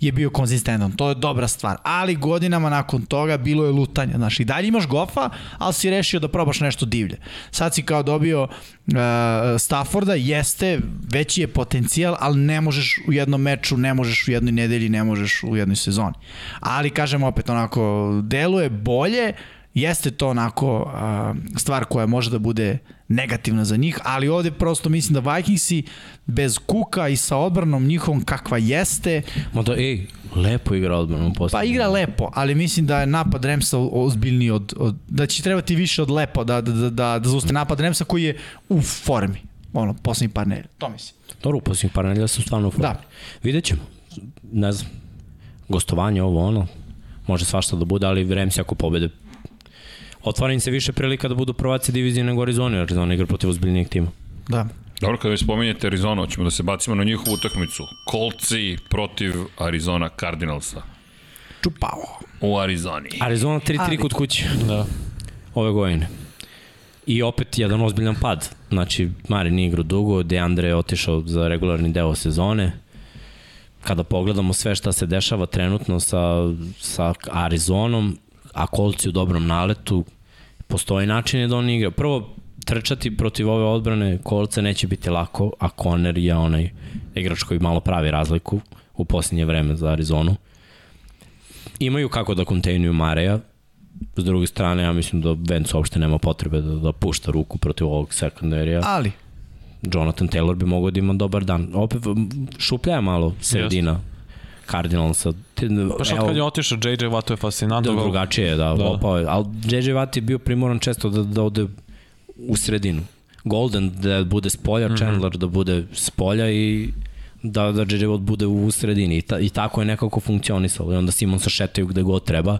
[SPEAKER 3] Je bio konzistentan, to je dobra stvar. Ali godinama nakon toga bilo je lutanja. Znaš, i dalje imaš gofa, ali si rešio da probaš nešto divlje. Sad si kao dobio uh, Stafforda, jeste, veći je potencijal, ali ne možeš u jednom meču, ne možeš u jednoj nedelji, ne možeš u jednoj sezoni. Ali, kažem opet, onako, deluje bolje, jeste to onako a, stvar koja može da bude negativna za njih, ali ovde prosto mislim da Vikingsi bez Kuka i sa odbranom njihovom kakva jeste,
[SPEAKER 2] Mada, da, ej, lepo igra odbranu
[SPEAKER 3] pa
[SPEAKER 2] posle.
[SPEAKER 3] igra lepo, ali mislim da je napad Remsa ozbiljniji od, od da će trebati više od lepo da, da, da, da, da zaustavi napad Remsa koji je u formi, ono, poslednji par nedelja, to mislim.
[SPEAKER 2] Dobro, u posljednjih par nedelja su stvarno u formi.
[SPEAKER 3] Da.
[SPEAKER 2] Vidjet ćemo. Ne znam, gostovanje ovo ono, može svašta da bude, ali Remsi ako pobede otvara im se više prilika da budu prvaci divizije nego Arizona, jer Arizona igra protiv ozbiljnijeg tima.
[SPEAKER 3] Da.
[SPEAKER 1] Dobro, kada već spominjete Arizona, ćemo da se bacimo na njihovu utakmicu. Kolci protiv Arizona Cardinalsa
[SPEAKER 3] Čupao.
[SPEAKER 1] u Arizoni.
[SPEAKER 2] Arizona 3-3 kod kuće. Da. Ove godine. I opet jedan ozbiljan pad. Znači, Mari nije igrao dugo, Deandre je otišao za regularni deo sezone. Kada pogledamo sve šta se dešava trenutno sa, sa Arizonom, a kolci u dobrom naletu, postoji način da on igra. Prvo, trčati protiv ove odbrane kolce neće biti lako, a Conner je onaj igrač koji malo pravi razliku u posljednje vreme za Arizonu imaju kako da kontejnuju Mareja, s druge strane, ja mislim da Vance uopšte nema potrebe da, da pušta ruku protiv ovog sekundarija.
[SPEAKER 3] Ali,
[SPEAKER 2] Jonathan Taylor bi mogao da ima dobar dan. Opet m, šuplja je malo sredina Cardinalsa. Te-
[SPEAKER 4] Pa šta
[SPEAKER 2] evo,
[SPEAKER 4] kad je otišao JJ Watt, to je fascinantno.
[SPEAKER 2] Da,
[SPEAKER 4] Da,
[SPEAKER 2] drugačije je, da, da.
[SPEAKER 4] Da.
[SPEAKER 2] opao je. Ali JJ Watt je bio primoran često da, da ode u sredinu. Golden da bude s polja,
[SPEAKER 4] Mhm.
[SPEAKER 2] mm -hmm. Chandler da bude s polja i da, da JJ Watt bude u sredini. I, ta, i tako je nekako funkcionisalo. I onda Simon se šetaju gde god treba.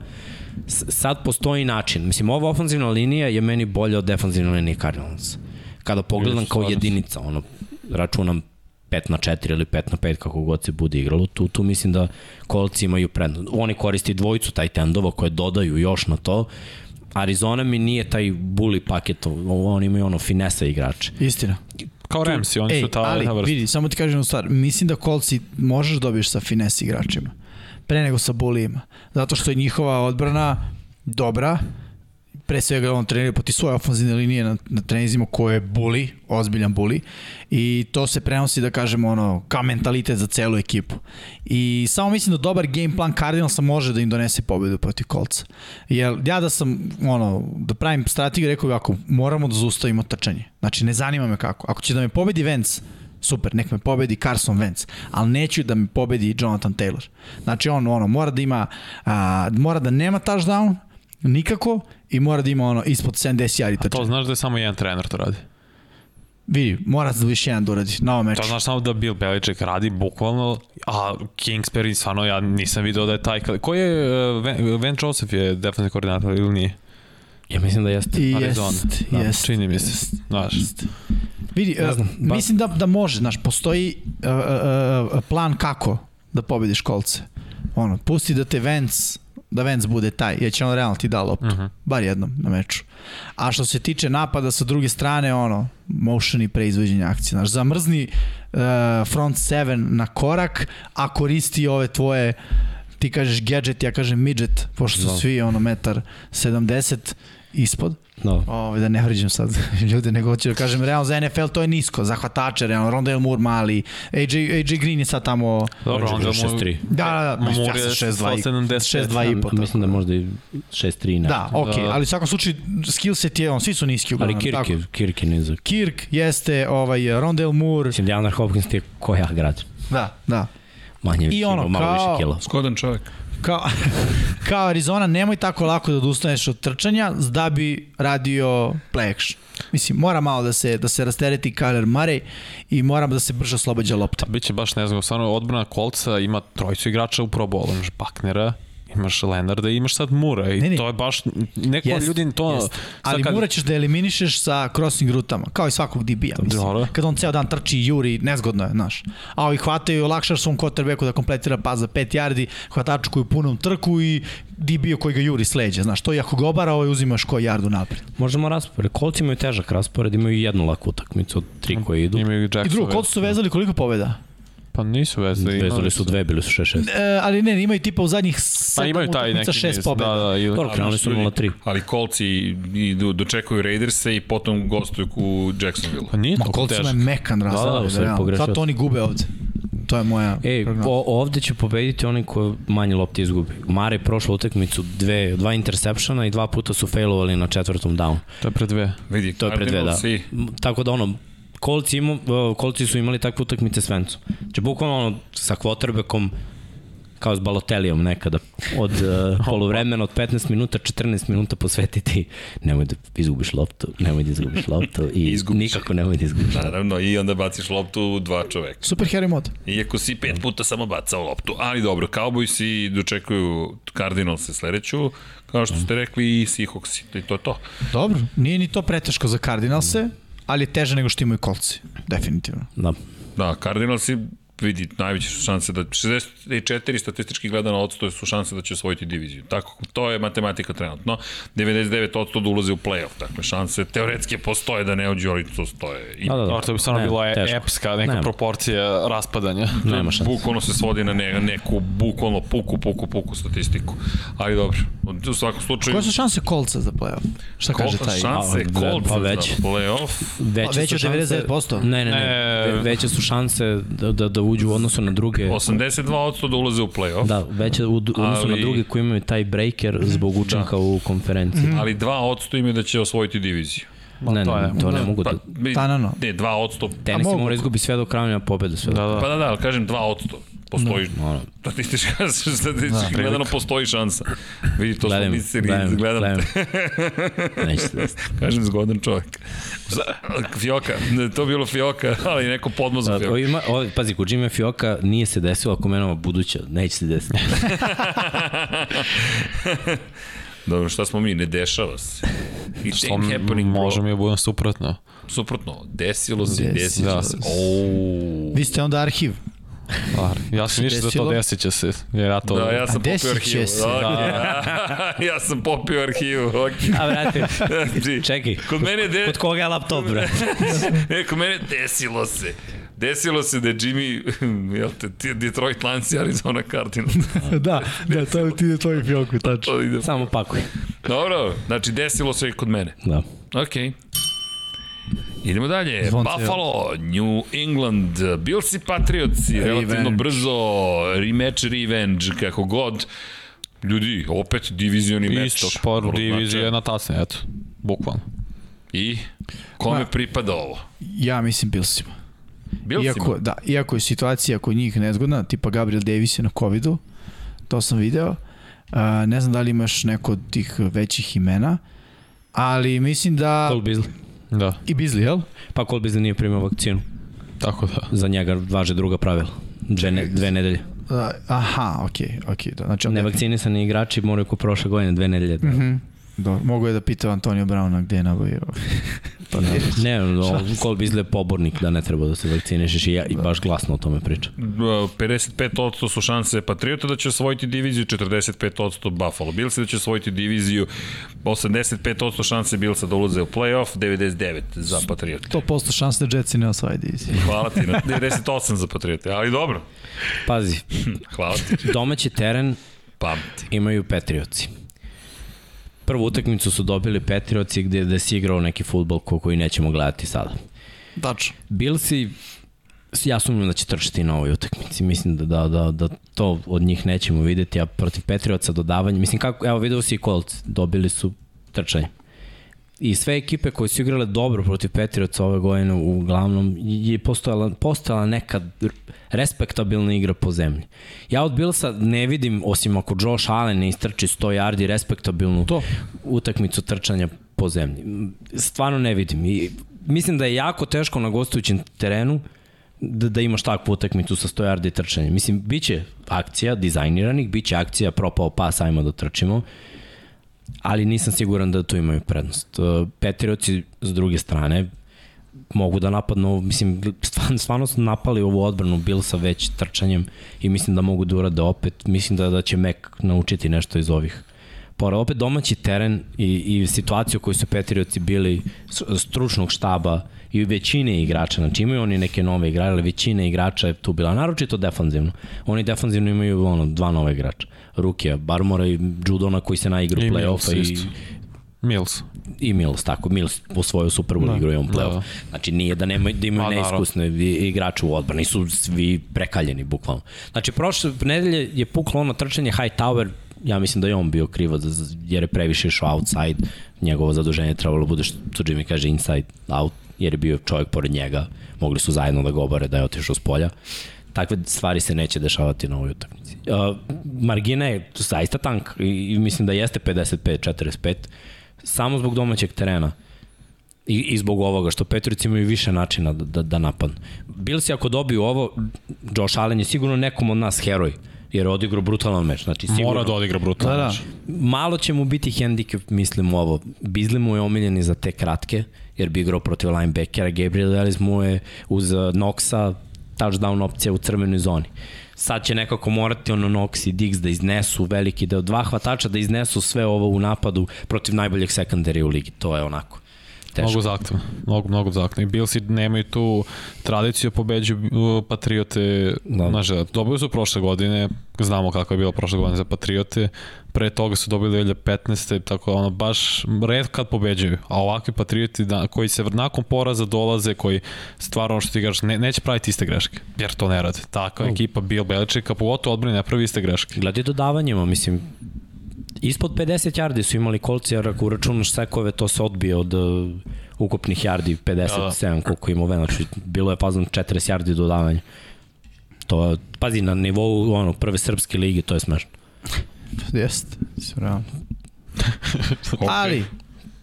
[SPEAKER 2] S, sad postoji način. Mislim, ova ofenzivna linija je meni bolja od defanzivne linije Cardinals. Kada pogledam kao jedinica, ono, računam 5 na 4 ili 5 na 5 kako god se bude igralo, tu, tu mislim da kolci imaju prednost. Oni koristi dvojicu taj tendova koje dodaju još na to. Arizona mi nije taj bully paket, ovo, oni imaju ono finesa igrače.
[SPEAKER 3] istina.
[SPEAKER 4] Kao Remsi, oni
[SPEAKER 3] Ej,
[SPEAKER 4] su ta,
[SPEAKER 3] ali,
[SPEAKER 4] ta vrsta.
[SPEAKER 3] vidi, samo ti kažem jednu stvar, mislim da kolci možeš dobiješ sa fines igračima, pre nego sa bolijima, zato što je njihova odbrana dobra, pre svega on trenira poti svoje ofenzivne linije na, na trenizima koje je buli, ozbiljan buli i to se prenosi da kažemo ono kao mentalitet za celu ekipu. I samo mislim da dobar game plan Cardinalsa može da im donese pobedu protiv Colca. Jer ja da sam ono da pravim strategiju rekao bih ako moramo da zaustavimo trčanje. Znači ne zanima me kako. Ako će da me pobedi Vance, super, nek me pobedi Carson Wentz, ali neću da me pobedi Jonathan Taylor. Znači on ono, mora da ima, a, mora da nema touchdown, nikako, i mora da ima ono ispod 70 yardi
[SPEAKER 4] To
[SPEAKER 3] trčanja.
[SPEAKER 4] znaš da je samo jedan trener to radi.
[SPEAKER 3] Vidi, mora da više jedan da uradi na ovom meču.
[SPEAKER 4] To znaš samo da Bill Belichick radi bukvalno, a Kingsbury stvarno ja nisam video da je taj... Koji je, uh, Van, Van Joseph je defensivni koordinator ili nije?
[SPEAKER 2] Ja mislim da jeste.
[SPEAKER 3] I
[SPEAKER 4] Arizona.
[SPEAKER 3] jest,
[SPEAKER 4] Da,
[SPEAKER 3] jest.
[SPEAKER 4] čini mi se, znaš.
[SPEAKER 3] Vidi,
[SPEAKER 2] Ne
[SPEAKER 3] uh,
[SPEAKER 2] znam, ba-
[SPEAKER 3] mislim da, da može, znaš, postoji uh, uh, uh, plan kako da pobediš kolce. Ono, pusti da te Vance da Vance bude taj, jer će on realno ti da loptu, uh
[SPEAKER 4] Mhm.
[SPEAKER 3] -huh. bar jednom na meču. A što se tiče napada sa druge strane, ono, motion i preizvođenje akcije. Znaš, zamrzni uh, front seven na korak, a koristi ove tvoje ti kažeš gadget, ja kažem midget, pošto su
[SPEAKER 2] Da.
[SPEAKER 3] svi ono metar 70 ispod.
[SPEAKER 2] Da.
[SPEAKER 3] Ove, da ne vređam sad ljude, nego hoću da kažem, realno za NFL to je nisko, za hvatače, realno, Rondell Moore mali, AJ, Aj Green je sad tamo...
[SPEAKER 4] Dobro, onda mu...
[SPEAKER 2] 6-3.
[SPEAKER 3] Da, da, da, mislim, ja
[SPEAKER 4] Moore
[SPEAKER 3] sam
[SPEAKER 4] je
[SPEAKER 3] 6-2
[SPEAKER 4] 170.
[SPEAKER 3] 6-2 i po.
[SPEAKER 2] Ja,
[SPEAKER 3] Tako.
[SPEAKER 2] mislim da možda i 6-3. ne.
[SPEAKER 3] Da, okej,
[SPEAKER 4] Da.
[SPEAKER 3] ali u svakom slučaju skill set je on, svi su niski
[SPEAKER 2] Ali
[SPEAKER 3] uglavnom.
[SPEAKER 2] Kirk
[SPEAKER 3] tako.
[SPEAKER 2] je, Kirk je nizak.
[SPEAKER 3] Kirk jeste ovaj Rondell Moore,
[SPEAKER 2] Mislim, Deandre Hopkins ti je koja grad.
[SPEAKER 3] da, da.
[SPEAKER 2] manje više,
[SPEAKER 3] ono,
[SPEAKER 2] ima malo
[SPEAKER 3] kao-
[SPEAKER 2] više kila.
[SPEAKER 1] Skodan čovjek.
[SPEAKER 3] Kao, kao Arizona, nemoj tako lako da odustaneš od trčanja da bi radio play action. Mislim, mora malo da se, da se rastereti Kyler Murray i moram da se brže oslobađa lopta.
[SPEAKER 4] Biće baš ne znam, stvarno odbrana kolca ima trojicu igrača u Pro Bowlu, imaš Baknera, imaš Lenarda i imaš sad Mura i
[SPEAKER 3] Ne, ne.
[SPEAKER 4] to je baš, neko
[SPEAKER 3] Jest,
[SPEAKER 4] ljudi to...
[SPEAKER 3] jest.
[SPEAKER 4] sad
[SPEAKER 3] Ali
[SPEAKER 4] kad-
[SPEAKER 3] morat ćeš da eliminišeš sa crossing rutama, kao i svakog DB-a, mislim.
[SPEAKER 4] Dobro.
[SPEAKER 3] Kad on ceo dan trči i juri, nezgodno je, znaš. A ovi hvataju, i olakšaš svom quarterbacku da kompletira pas za 5 yardi, hvataču koji punom trku i DB-u koji ga juri sleđe, znaš. To i ako ga obara, ovaj uzimaš koji yardu napred.
[SPEAKER 2] Možemo raspored. Kolci imaju težak raspored, imaju i jednu laku utakmicu od tri koje idu.
[SPEAKER 4] Imaju Jackson.
[SPEAKER 3] I drugo, kod su vezali koliko pobjeda?
[SPEAKER 4] Pa nisu vezali.
[SPEAKER 2] Vezali su dve, bili su 6-6.
[SPEAKER 3] E, ali ne, imaju tipa u zadnjih
[SPEAKER 4] Pa
[SPEAKER 3] 7
[SPEAKER 4] imaju taj
[SPEAKER 3] utakmica
[SPEAKER 4] neki
[SPEAKER 3] 6
[SPEAKER 4] niz,
[SPEAKER 3] pobjeda.
[SPEAKER 4] Da, da, ili...
[SPEAKER 2] Dobro, krenuli su 0-3.
[SPEAKER 1] Ali kolci idu, dočekuju Raiderse i potom gostuju u Jacksonville.
[SPEAKER 4] Pa nije
[SPEAKER 3] Ma
[SPEAKER 4] toliko
[SPEAKER 3] koliko su
[SPEAKER 4] teško.
[SPEAKER 3] me mekan
[SPEAKER 2] da,
[SPEAKER 3] razvali,
[SPEAKER 2] u stvari
[SPEAKER 3] realno.
[SPEAKER 2] pogrešio
[SPEAKER 3] Zato
[SPEAKER 2] sam.
[SPEAKER 3] oni gube ovde. To je moja
[SPEAKER 2] Ej,
[SPEAKER 3] prognoza.
[SPEAKER 2] E, o, ovde će pobediti oni koji manje lopte izgubi. Mare je prošla utakmicu dve, dva intersepšana i dva puta su failovali na četvrtom down.
[SPEAKER 4] To je pre dve.
[SPEAKER 1] Vidi,
[SPEAKER 2] To je pre dve, da.
[SPEAKER 1] Cardinals i-
[SPEAKER 2] M, Tako da ono, kolci, ima, kolci su imali takve utakmice s Vencom. Znači, bukvalno ono, sa quarterbackom kao s balotelijom nekada. Od uh, polovremena, od 15 minuta, 14 minuta posvetiti. Nemoj da izgubiš loptu, nemoj da izgubiš loptu i
[SPEAKER 1] Izgubiš.
[SPEAKER 2] nikako nemoj da izgubiš loptu.
[SPEAKER 1] Naravno, i onda baciš loptu u dva čoveka.
[SPEAKER 3] Super Harry mod.
[SPEAKER 1] Iako si pet
[SPEAKER 2] Mhm.
[SPEAKER 1] puta samo bacao loptu. Ali dobro, Cowboys i dočekuju Cardinalse sledeću, kao što
[SPEAKER 2] Mhm.
[SPEAKER 1] ste rekli i Seahawks. I to je to.
[SPEAKER 3] Dobro, nije ni to preteško za Cardinalse, ali je teže nego što imaju kolci, definitivno.
[SPEAKER 2] Da.
[SPEAKER 1] Da, Cardinalsi vidi najveće su šanse da 64 statistički gledano odstoje su šanse da će osvojiti diviziju. Tako, to je matematika trenutno. 99 odsto da ulaze u play-off. Dakle, šanse teoretske postoje da ne uđu, ali to stoje. I
[SPEAKER 2] Da, da, da.
[SPEAKER 4] Dobro, to bi stvarno e-
[SPEAKER 2] Ne,
[SPEAKER 4] bila
[SPEAKER 2] teško.
[SPEAKER 4] epska neka
[SPEAKER 2] Nema.
[SPEAKER 4] proporcija raspadanja.
[SPEAKER 2] Nema šanse.
[SPEAKER 1] Bukvalno se svodi na ne, neku, bukvalno puku, puku, puku statistiku. Ali dobro, u svakom slučaju...
[SPEAKER 3] Koje su šanse kolca za playoff? Šta kaže taj?
[SPEAKER 1] šanse
[SPEAKER 2] Pa,
[SPEAKER 1] Colts
[SPEAKER 2] pa
[SPEAKER 1] za
[SPEAKER 2] već.
[SPEAKER 1] play-off?
[SPEAKER 2] Veće,
[SPEAKER 3] Pa, veće
[SPEAKER 2] su
[SPEAKER 3] od 99%?
[SPEAKER 2] Šanse, ne, ne,
[SPEAKER 4] Ne.
[SPEAKER 2] ne. Ve- Veće su šanse da, da, da uđu u odnosu na druge.
[SPEAKER 1] 82% da ulaze u play-off, da.
[SPEAKER 2] Da, veće u u odnosu na
[SPEAKER 1] Ali-
[SPEAKER 2] druge koji imaju taj breaker zbog učinka u konferenciji.
[SPEAKER 1] ali 2% im je da će osvojiti diviziju.
[SPEAKER 2] Ne,
[SPEAKER 4] to
[SPEAKER 2] ne,
[SPEAKER 4] je-
[SPEAKER 2] to ne mogu da...
[SPEAKER 1] Pa, mi-
[SPEAKER 3] Tanano.
[SPEAKER 1] Ne, 2%.
[SPEAKER 2] Tenis
[SPEAKER 3] mogu.
[SPEAKER 2] mora izgubi sve do kraja pobede sve.
[SPEAKER 4] Da,
[SPEAKER 2] Da.
[SPEAKER 4] da.
[SPEAKER 1] Pa da, da, ali kažem 2%. Postoji, no. statistička, statistički gledano postoji šansa. Vidi, to
[SPEAKER 2] Gledam,
[SPEAKER 1] smo nici,
[SPEAKER 2] gledam,
[SPEAKER 1] gledam, gledam,
[SPEAKER 2] gledam. Neće se desiti.
[SPEAKER 1] kažem zgodan čovjek. Za- Fioka, ne, to je bilo Fioka, ali neko podmozak
[SPEAKER 2] O,
[SPEAKER 1] Fioka.
[SPEAKER 2] ima, o, pazi, kod Jimmy Fioka nije se desilo, ako menova buduća, neće se desiti.
[SPEAKER 1] Dobro, šta smo mi, ne dešava se. It
[SPEAKER 4] Što
[SPEAKER 1] ain't happening, bro.
[SPEAKER 4] možemo i budem suprotno.
[SPEAKER 1] Suprotno, desilo se, desilo
[SPEAKER 4] da.
[SPEAKER 1] se. Ouuu.
[SPEAKER 3] Vi ste onda arhiv.
[SPEAKER 4] Stvar. Ja sam mislio da to
[SPEAKER 3] Desilo?
[SPEAKER 4] desit će se. Jer ja to...
[SPEAKER 1] Da, ja sam popio
[SPEAKER 3] desit će
[SPEAKER 1] arhivu.
[SPEAKER 3] se.
[SPEAKER 1] Da. ja sam popio arhivu. Okay.
[SPEAKER 2] A vrati,
[SPEAKER 1] Znači,
[SPEAKER 2] čekaj,
[SPEAKER 1] Kod mene, de,
[SPEAKER 2] kod koga je laptop, bre?
[SPEAKER 1] ne, kod mene desilo se. Desilo se da je Jimmy, jel te, ti- Detroit Lions i Arizona Cardinals.
[SPEAKER 3] da, da, to je ti je tvoj fioku, tačno.
[SPEAKER 1] To ide.
[SPEAKER 2] Samo pakuj.
[SPEAKER 1] Dobro, znači desilo se i kod mene.
[SPEAKER 2] Da.
[SPEAKER 1] Ok. Idemo dalje.
[SPEAKER 3] Zvonce,
[SPEAKER 1] Buffalo, New England, Bills i Patriotsi, relativno
[SPEAKER 3] Revenge.
[SPEAKER 1] brzo, rematch, revenge, kako god. Ljudi, opet divizioni meč.
[SPEAKER 4] Isto, spor,
[SPEAKER 1] Vrlo
[SPEAKER 4] divizija
[SPEAKER 1] značajan.
[SPEAKER 4] jedna tasna, eto. Bukvalno.
[SPEAKER 1] I kome
[SPEAKER 3] Ma-
[SPEAKER 1] pripada ovo?
[SPEAKER 3] Ja mislim Bilsima.
[SPEAKER 1] Bilsima?
[SPEAKER 3] Iako, da, iako je situacija kod njih nezgodna, tipa Gabriel Davis je na COVID-u, to sam video. A, ne znam da li imaš neko od tih većih imena, ali mislim da...
[SPEAKER 2] Cole Beasley.
[SPEAKER 4] Da,
[SPEAKER 3] I Bizli, jel?
[SPEAKER 2] Pa Cole Beasley nije primio vakcinu.
[SPEAKER 4] tako da.
[SPEAKER 2] Za njega važe druga pravila. Dve, ne, dve nedelje.
[SPEAKER 3] Da, aha, okej, okej. Da, znači, onda-
[SPEAKER 2] Nevakcinisani igrači moraju ko prošle godine dve nedelje. Da.
[SPEAKER 3] Mhm. Dobro, mogu je da pita Antonio Browna gde je nabavio.
[SPEAKER 2] Pa ne, ne, no, Cole Beasley je pobornik da ne treba da se vakcinišeš i ja i baš glasno o tome priča.
[SPEAKER 1] 55% su šanse Patriota da će osvojiti diviziju, 45% Buffalo Bills da će osvojiti diviziju, 85% šanse Billsa da ulaze u playoff, 99% za Patriote.
[SPEAKER 3] 100% šanse da Jetsi ne osvaje diviziju.
[SPEAKER 1] Hvala ti, na 98 za Patriote, ali dobro. hm,
[SPEAKER 2] Pazi,
[SPEAKER 1] Hvala ti,
[SPEAKER 2] domaći teren
[SPEAKER 1] pamti.
[SPEAKER 2] imaju Patriotsi. Prvu utakmicu su dobili Patriotsi gde, gde si igrao neki futbol ko, koji nećemo gledati sada.
[SPEAKER 3] Tačno.
[SPEAKER 2] Billsi, ja sumnjam da će trčati na ovoj utakmici. Mislim da, da, da, da to od njih nećemo videti, a protiv Patriotsa dodavanje, mislim kako, evo video si i Colts, dobili su trčanje. i sve ekipe koje su igrale dobro protiv Petrioca ove godine uglavnom je postojala, postojala neka respektabilna igra po zemlji. Ja od Bilsa ne vidim, osim ako Josh Allen ne istrči 100 yardi respektabilnu to. utakmicu trčanja po zemlji. Stvarno ne vidim. I mislim da je jako teško na gostujućem terenu da, da imaš takvu utakmicu sa 100 yardi trčanja. Mislim, bit će akcija dizajniranih, bit će akcija propao pas, ajmo da trčimo ali nisam siguran da tu imaju prednost. Petrioci s druge strane mogu da napadnu, mislim, stvarno, stvarno su napali ovu odbranu Bilsa već trčanjem i mislim da mogu da urade opet. Mislim da, da će Mac naučiti nešto iz ovih pora. Opet domaći teren i, i situaciju koju su Petrioci bili stručnog štaba i većine igrača, znači imaju oni neke nove igrače, ali većina igrača je tu bila, naročito defanzivno. Oni defanzivno imaju ono, dva nove igrača, Rukija, Barmora i Judona koji se naigru
[SPEAKER 4] I
[SPEAKER 2] play-offa
[SPEAKER 4] Mills
[SPEAKER 2] i,
[SPEAKER 4] isto. Mills.
[SPEAKER 2] i Mills, tako, Mills osvojio Super Bowl da. igru i on play-off. Da.
[SPEAKER 4] Da.
[SPEAKER 2] Znači nije da, nema, da imaju
[SPEAKER 4] Pa, naravno.
[SPEAKER 2] neiskusne i- igrače u odbrani, su svi prekaljeni bukvalno. Znači prošle nedelje je puklo ono trčanje High Tower, ja mislim da je on bio krivo za- za- jer je previše išao outside, njegovo zaduženje je trebalo da bude što Tsuji mi kaže inside out, jer je bio čovjek pored njega, mogli su zajedno da govore da je otišao s polja. Takve stvari se neće dešavati na ovoj utakmici. Uh, margina je zaista tank i, i mislim da jeste 55-45 samo zbog domaćeg terena. I, i zbog ovoga, što Petrovic imaju više načina da, da, da napadnu. Bilsi ako dobiju ovo, Josh Allen je sigurno nekom od nas heroj, jer je odigrao brutalan meč. Znači, sigurno,
[SPEAKER 4] Mora da odigra brutalno.
[SPEAKER 3] Da, da.
[SPEAKER 2] malo će mu biti hendikep, mislim ovo. Bizli mu je omiljeni za te kratke, jer bi igrao protiv linebackera, Gabriel Ellis mu je uz eh, Noxa touchdown opcija u crvenoj zoni. Sad će nekako morati ono Nox i Diggs da iznesu veliki deo, dva hvatača da iznesu sve ovo u napadu protiv najboljeg sekundari u ligi. To je onako teško.
[SPEAKER 4] Mnogo zahtevno. Mnogo, mnogo zahtevno. I Billsi nemaju tu tradiciju da pobeđuju uh, Patriote
[SPEAKER 2] Da.
[SPEAKER 4] da. na željet. Dobili su prošle godine, znamo kako je bilo prošle godine za Patriote. Pre toga su dobili 2015. Tako da ono baš red kad pobeđuju. A ovakvi Patrioti da, koji se nakon poraza dolaze, koji stvarno ono što ti gaš, ne, neće praviti iste greške. Jer to ne rade. Takva ekipa Bill Belichicka, pogotovo odbrani ne pravi iste greške.
[SPEAKER 2] Gledaj dodavanjima, mislim, ispod 50 jardi su imali kolci, jer ako uračunaš sekove, to se odbije od uh, ukupnih jardi, 57 da, da. koliko ima ove, znači bilo je fazno 40 jardi dodavanja. To je, pazi, na nivou ono, prve srpske ligi, to je smešno.
[SPEAKER 3] Jeste, si vrao. Ali,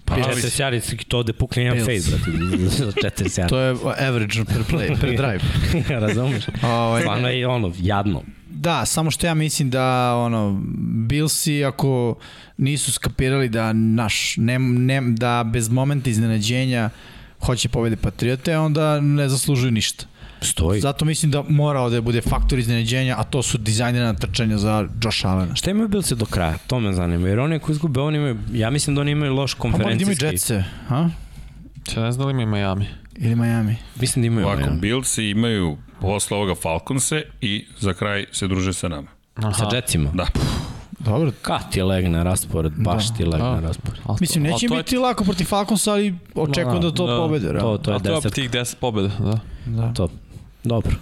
[SPEAKER 2] Pa,
[SPEAKER 3] Ali-
[SPEAKER 2] 40 jardi, to ovde pukne jedan
[SPEAKER 3] Bills.
[SPEAKER 2] face, brate, za 40 jardi.
[SPEAKER 3] to je average per play, per drive.
[SPEAKER 2] Razumeš?
[SPEAKER 3] Ovaj,
[SPEAKER 2] Stvarno je ono, jadno.
[SPEAKER 3] Da, samo što ja mislim da ono Billsi ako nisu skapirali da naš ne, ne, da bez momenta iznenađenja hoće pobede Patriote, onda ne zaslužuju ništa.
[SPEAKER 2] Stoji.
[SPEAKER 3] Zato mislim da mora ovde da bude faktor iznenađenja, a to su dizajnirana trčanja za Josh Allena.
[SPEAKER 2] Šta imaju Bilse do kraja? To me zanima. Jer oni ako izgube, oni imaju, ja mislim da oni imaju loš
[SPEAKER 3] Pa možda
[SPEAKER 2] konferencijski.
[SPEAKER 3] imaju Jetse, ha?
[SPEAKER 4] Ja ne znam da li ima i Miami.
[SPEAKER 3] Ili Miami.
[SPEAKER 2] Mislim da imaju.
[SPEAKER 1] Ovako,
[SPEAKER 2] ja.
[SPEAKER 1] Billsi imaju posle ovoga Falconse i za kraj se druže sa nama.
[SPEAKER 2] Sa Jetsima?
[SPEAKER 1] Da.
[SPEAKER 3] Dobro.
[SPEAKER 2] Kad ti legne raspored, baš da. ti legne da.
[SPEAKER 4] Da.
[SPEAKER 2] raspored.
[SPEAKER 4] Ali to-
[SPEAKER 3] Mislim,
[SPEAKER 4] ali
[SPEAKER 3] neće
[SPEAKER 4] to
[SPEAKER 3] im
[SPEAKER 4] je-
[SPEAKER 3] biti lako protiv Falconsa, ali očekujem da to
[SPEAKER 4] Da,
[SPEAKER 3] pobede.
[SPEAKER 4] da.
[SPEAKER 3] realno.
[SPEAKER 2] To, to je
[SPEAKER 4] A to je
[SPEAKER 2] deset.
[SPEAKER 4] tih 10 pobjeda, da.
[SPEAKER 3] Da.
[SPEAKER 2] To. Dobro.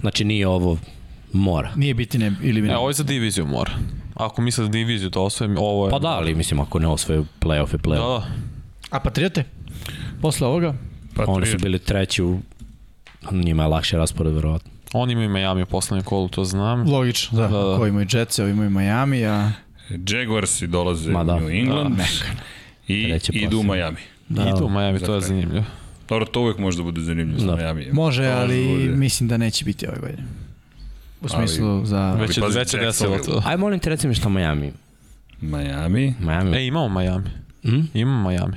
[SPEAKER 2] Znači nije ovo mora.
[SPEAKER 3] Nije biti ne, ili bi ne.
[SPEAKER 4] E, ovo je za diviziju mora. Ako misle da diviziju da osvojim, ovo je...
[SPEAKER 2] Pa da, ali mislim ako ne osvoje playoff
[SPEAKER 4] Da,
[SPEAKER 2] i playoff.
[SPEAKER 4] da.
[SPEAKER 3] A Patriote? Posle ovoga?
[SPEAKER 2] Oni su
[SPEAKER 1] Patriot.
[SPEAKER 2] bili treći u njima je lakše raspored verovatno.
[SPEAKER 4] Oni imaju Miami u poslednjem kolu, to znam.
[SPEAKER 3] Logično, da.
[SPEAKER 4] Da, da.
[SPEAKER 3] da. Ko imaju Jetsa, ovi imaju Miami, a...
[SPEAKER 1] Jaguarsi dolaze
[SPEAKER 2] Ma da.
[SPEAKER 1] u New England i
[SPEAKER 2] Treće
[SPEAKER 1] idu u
[SPEAKER 2] posle.
[SPEAKER 1] Miami.
[SPEAKER 4] Da, Idu u Miami, to je
[SPEAKER 1] Za kraj.
[SPEAKER 4] zanimljivo.
[SPEAKER 1] Dobro, to uvek može da bude zanimljivo sa
[SPEAKER 2] Da.
[SPEAKER 1] Miami.
[SPEAKER 3] Može,
[SPEAKER 1] To
[SPEAKER 3] ali
[SPEAKER 1] može da bude.
[SPEAKER 3] mislim da neće biti ove godine. U
[SPEAKER 1] Ali-
[SPEAKER 3] smislu za...
[SPEAKER 4] Već je,
[SPEAKER 1] pazi,
[SPEAKER 4] već je desilo
[SPEAKER 1] Jacksonville.
[SPEAKER 4] to.
[SPEAKER 2] Aj molim te reci mi šta Miami.
[SPEAKER 1] Miami.
[SPEAKER 2] Miami.
[SPEAKER 4] E, imamo Miami.
[SPEAKER 2] Mm?
[SPEAKER 4] Imamo Miami.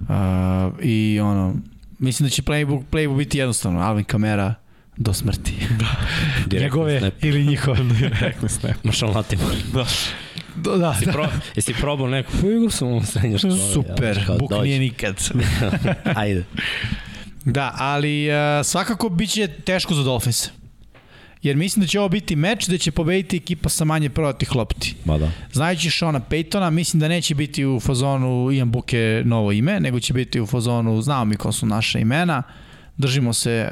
[SPEAKER 3] Uh, I ono, mislim da će playbook, playbook biti jednostavno, Alvin Kamera do smrti.
[SPEAKER 2] Direktno snap.
[SPEAKER 3] ili njihove.
[SPEAKER 4] Rekli snap.
[SPEAKER 2] Marshall Latimore.
[SPEAKER 4] Da.
[SPEAKER 3] Da, da.
[SPEAKER 2] Pro, jesi probao neko? Pa igrao sam u srednjoj školi.
[SPEAKER 3] Super,
[SPEAKER 2] kao,
[SPEAKER 3] Buk
[SPEAKER 2] dođi.
[SPEAKER 3] nije nikad.
[SPEAKER 2] Ajde.
[SPEAKER 3] Da, ali uh, svakako bit će teško za Dolphins. Jer mislim da će ovo biti meč da će pobediti ekipa sa manje prodatih lopti.
[SPEAKER 2] Ba da.
[SPEAKER 3] Znajući Šona Paytona, mislim da neće biti u fazonu Ian Buke novo ime, nego će biti u fazonu znamo mi ko su naša imena, držimo se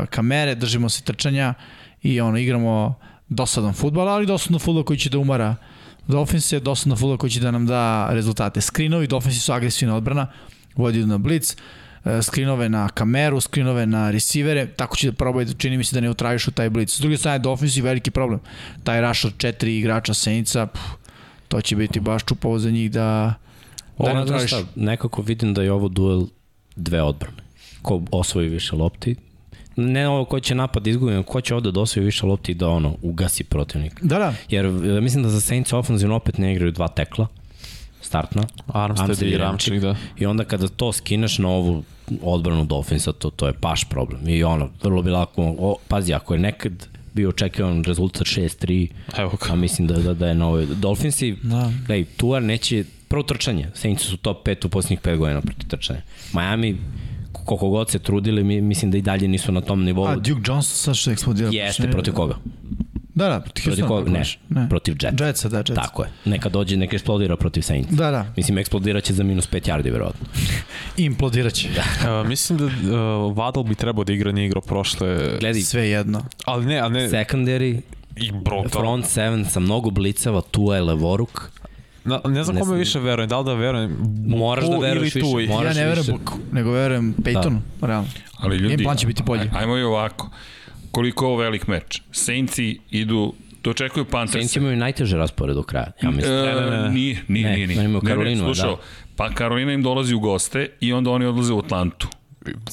[SPEAKER 3] uh, kamere, držimo se trčanja i ono, igramo dosadan futbal, ali dosadno futbol koji će da umara Dolphins je dosadno futbol koji će da nam da rezultate. Skrinovi, Dolphins su agresivna odbrana, vodi na blitz, e, skrinove na kameru, skrinove na resivere, tako će da probaju, da čini mi se da ne utravišu taj blitz. S druge strane, Dolphins je veliki problem. Taj rush od četiri igrača Senica, pff, to će biti baš čupavo za njih da, da ne
[SPEAKER 2] Ono, znaš
[SPEAKER 3] utraviš.
[SPEAKER 2] šta, nekako vidim da je ovo duel dve odbrane. Ko osvoji više lopti, ne ovo ko će napad izgubiti, nego ko će ovde da osvoji više lopti i da ono, ugasi protivnika.
[SPEAKER 3] Da, da.
[SPEAKER 2] Jer e, mislim da za Saints ofenzivno opet ne igraju dva tekla, startna.
[SPEAKER 4] Armstead i Ramčnik, da.
[SPEAKER 2] I onda kada to skineš na ovu odbranu Dolphinsa, to, to je baš problem. I ono, vrlo bi lako, o, pazi, ako je nekad bio očekivan rezultat 6-3,
[SPEAKER 4] Evo ga.
[SPEAKER 2] a mislim da, da, da je na ovoj... Dolphinsi,
[SPEAKER 3] Da.
[SPEAKER 2] da. gledaj, Tuar neće, prvo trčanje, Saints su top 5 u posljednjih 5 godina protiv trčanja. Miami, koliko god se trudili, mi, mislim da i dalje nisu na tom nivou.
[SPEAKER 3] A Duke Johnson sad što je eksplodirao.
[SPEAKER 2] Jeste, protiv koga?
[SPEAKER 3] Da, da, protiv
[SPEAKER 2] Protiv
[SPEAKER 3] Houstona,
[SPEAKER 2] koga? Ne,
[SPEAKER 3] kažeš.
[SPEAKER 2] protiv Jetsa.
[SPEAKER 3] Jetsa, da, Jetsa.
[SPEAKER 2] Tako je. Neka dođe, neka eksplodira protiv Saints.
[SPEAKER 3] Da, da,
[SPEAKER 2] Mislim, eksplodiraće za minus 5 yardi, verovatno.
[SPEAKER 3] implodirat će. Da.
[SPEAKER 4] Uh, mislim da uh, Vadal bi trebao da igra, nije igrao prošle...
[SPEAKER 2] Gledaj,
[SPEAKER 3] Sve jedno.
[SPEAKER 4] Ali ne, ali ne...
[SPEAKER 2] secondary,
[SPEAKER 4] I bro, da,
[SPEAKER 2] front seven sa mnogo blicava, tu je levoruk.
[SPEAKER 4] na, ne znam
[SPEAKER 2] Ne
[SPEAKER 4] kome
[SPEAKER 2] znam.
[SPEAKER 4] više verujem, da li da verujem...
[SPEAKER 2] Moraš da
[SPEAKER 4] Buku ili
[SPEAKER 2] veruješ više,
[SPEAKER 4] Tui?
[SPEAKER 2] moraš.
[SPEAKER 3] Ja ne verujem
[SPEAKER 2] više.
[SPEAKER 3] Buku, nego verujem Paytonu, da. realno.
[SPEAKER 1] Ali ljudi,
[SPEAKER 3] Game plan će biti bolji.
[SPEAKER 1] aj- Ajmo i ovako. Koliko je ovo velik meč? Saintsi idu, dočekuju Panthers.
[SPEAKER 2] Saints imaju najteže raspored do kraja. Ja mislim,
[SPEAKER 1] E, Nije, nije,
[SPEAKER 2] Ne,
[SPEAKER 1] nije. nije.
[SPEAKER 2] oni imaju
[SPEAKER 1] ne,
[SPEAKER 2] Karolinu,
[SPEAKER 1] slušao,
[SPEAKER 2] da.
[SPEAKER 1] Pa Karolina im dolazi u goste i onda oni odlaze u Atlantu.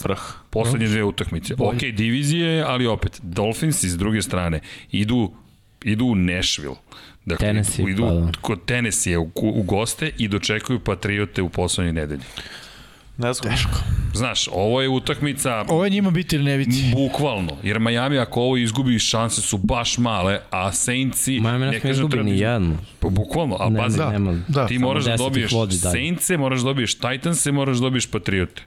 [SPEAKER 4] Vrh.
[SPEAKER 1] Poslednje dve utakmice. Ok, divizije, ali opet, Dolphins s druge strane idu, idu u Nashville. Dakle,
[SPEAKER 2] Tennessee,
[SPEAKER 1] idu
[SPEAKER 2] pa da.
[SPEAKER 1] kod Tennessee u, u goste i dočekuju Patriote u poslednjoj nedelji.
[SPEAKER 4] Ne znam. Teško.
[SPEAKER 1] Znaš, ovo je utakmica
[SPEAKER 3] Ovo je njima biti ili ne biti.
[SPEAKER 1] bukvalno, jer Miami ako ovo izgubi šanse su baš male, a Saintsi...
[SPEAKER 2] Miami nas ne izgubi ni jednu.
[SPEAKER 1] Pa bukvalno, a
[SPEAKER 2] Ne,
[SPEAKER 1] pazi,
[SPEAKER 2] da. nema.
[SPEAKER 3] Da.
[SPEAKER 1] ti
[SPEAKER 2] Samo
[SPEAKER 1] moraš da
[SPEAKER 2] deset ih
[SPEAKER 1] dobiješ
[SPEAKER 2] vodi dalje.
[SPEAKER 1] Saintse, moraš da dobiješ Titanse, moraš da dobiješ Patriote.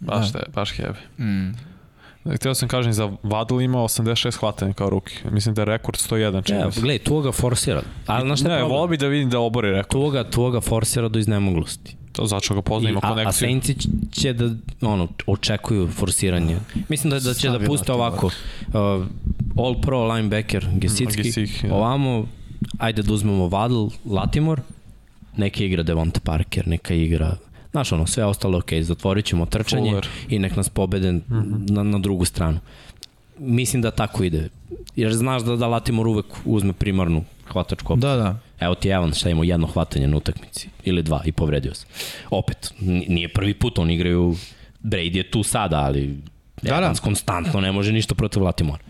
[SPEAKER 4] Baš, da. baš heavy. Mm. Htio sam kažem, za Vadal ima 86 hvatanja kao ruki. Mislim da je rekord 101 čini
[SPEAKER 2] Ja,
[SPEAKER 4] mi se.
[SPEAKER 2] gledaj, tu ga forsira. Ali znaš šta je
[SPEAKER 4] Ne, volao
[SPEAKER 2] problem?
[SPEAKER 4] bi da vidim da obori rekord.
[SPEAKER 2] Tu ga, tu ga forsira do iznemoglosti.
[SPEAKER 4] To začeo ga
[SPEAKER 2] I,
[SPEAKER 4] poznajem, ima
[SPEAKER 2] a, a
[SPEAKER 4] konekciju.
[SPEAKER 2] Saintsi će da ono, očekuju forsiranje. Mislim da, da će da
[SPEAKER 3] Stabilno
[SPEAKER 2] puste
[SPEAKER 3] to,
[SPEAKER 2] ovako. Uh, all pro linebacker Gesicki.
[SPEAKER 4] Gesicki, da.
[SPEAKER 2] Ovamo, ajde da uzmemo Vadl, Latimor. Neka igra Devonta Parker, neka igra Znaš ono, sve ostalo ok, zatvorit ćemo trčanje
[SPEAKER 4] Fuller.
[SPEAKER 2] i nek nas pobede na, na drugu stranu. Mislim da tako ide. Jer znaš da, da Latimor uvek uzme primarnu hvatačku
[SPEAKER 3] Da, da.
[SPEAKER 2] Evo ti Evan šta ima jedno hvatanje na utakmici ili dva i povredio se. Opet, n- nije prvi put, oni igraju, Brady je tu sada, ali
[SPEAKER 3] Da,
[SPEAKER 2] da,
[SPEAKER 3] da.
[SPEAKER 2] Evans konstantno ne može ništa protiv Latimora.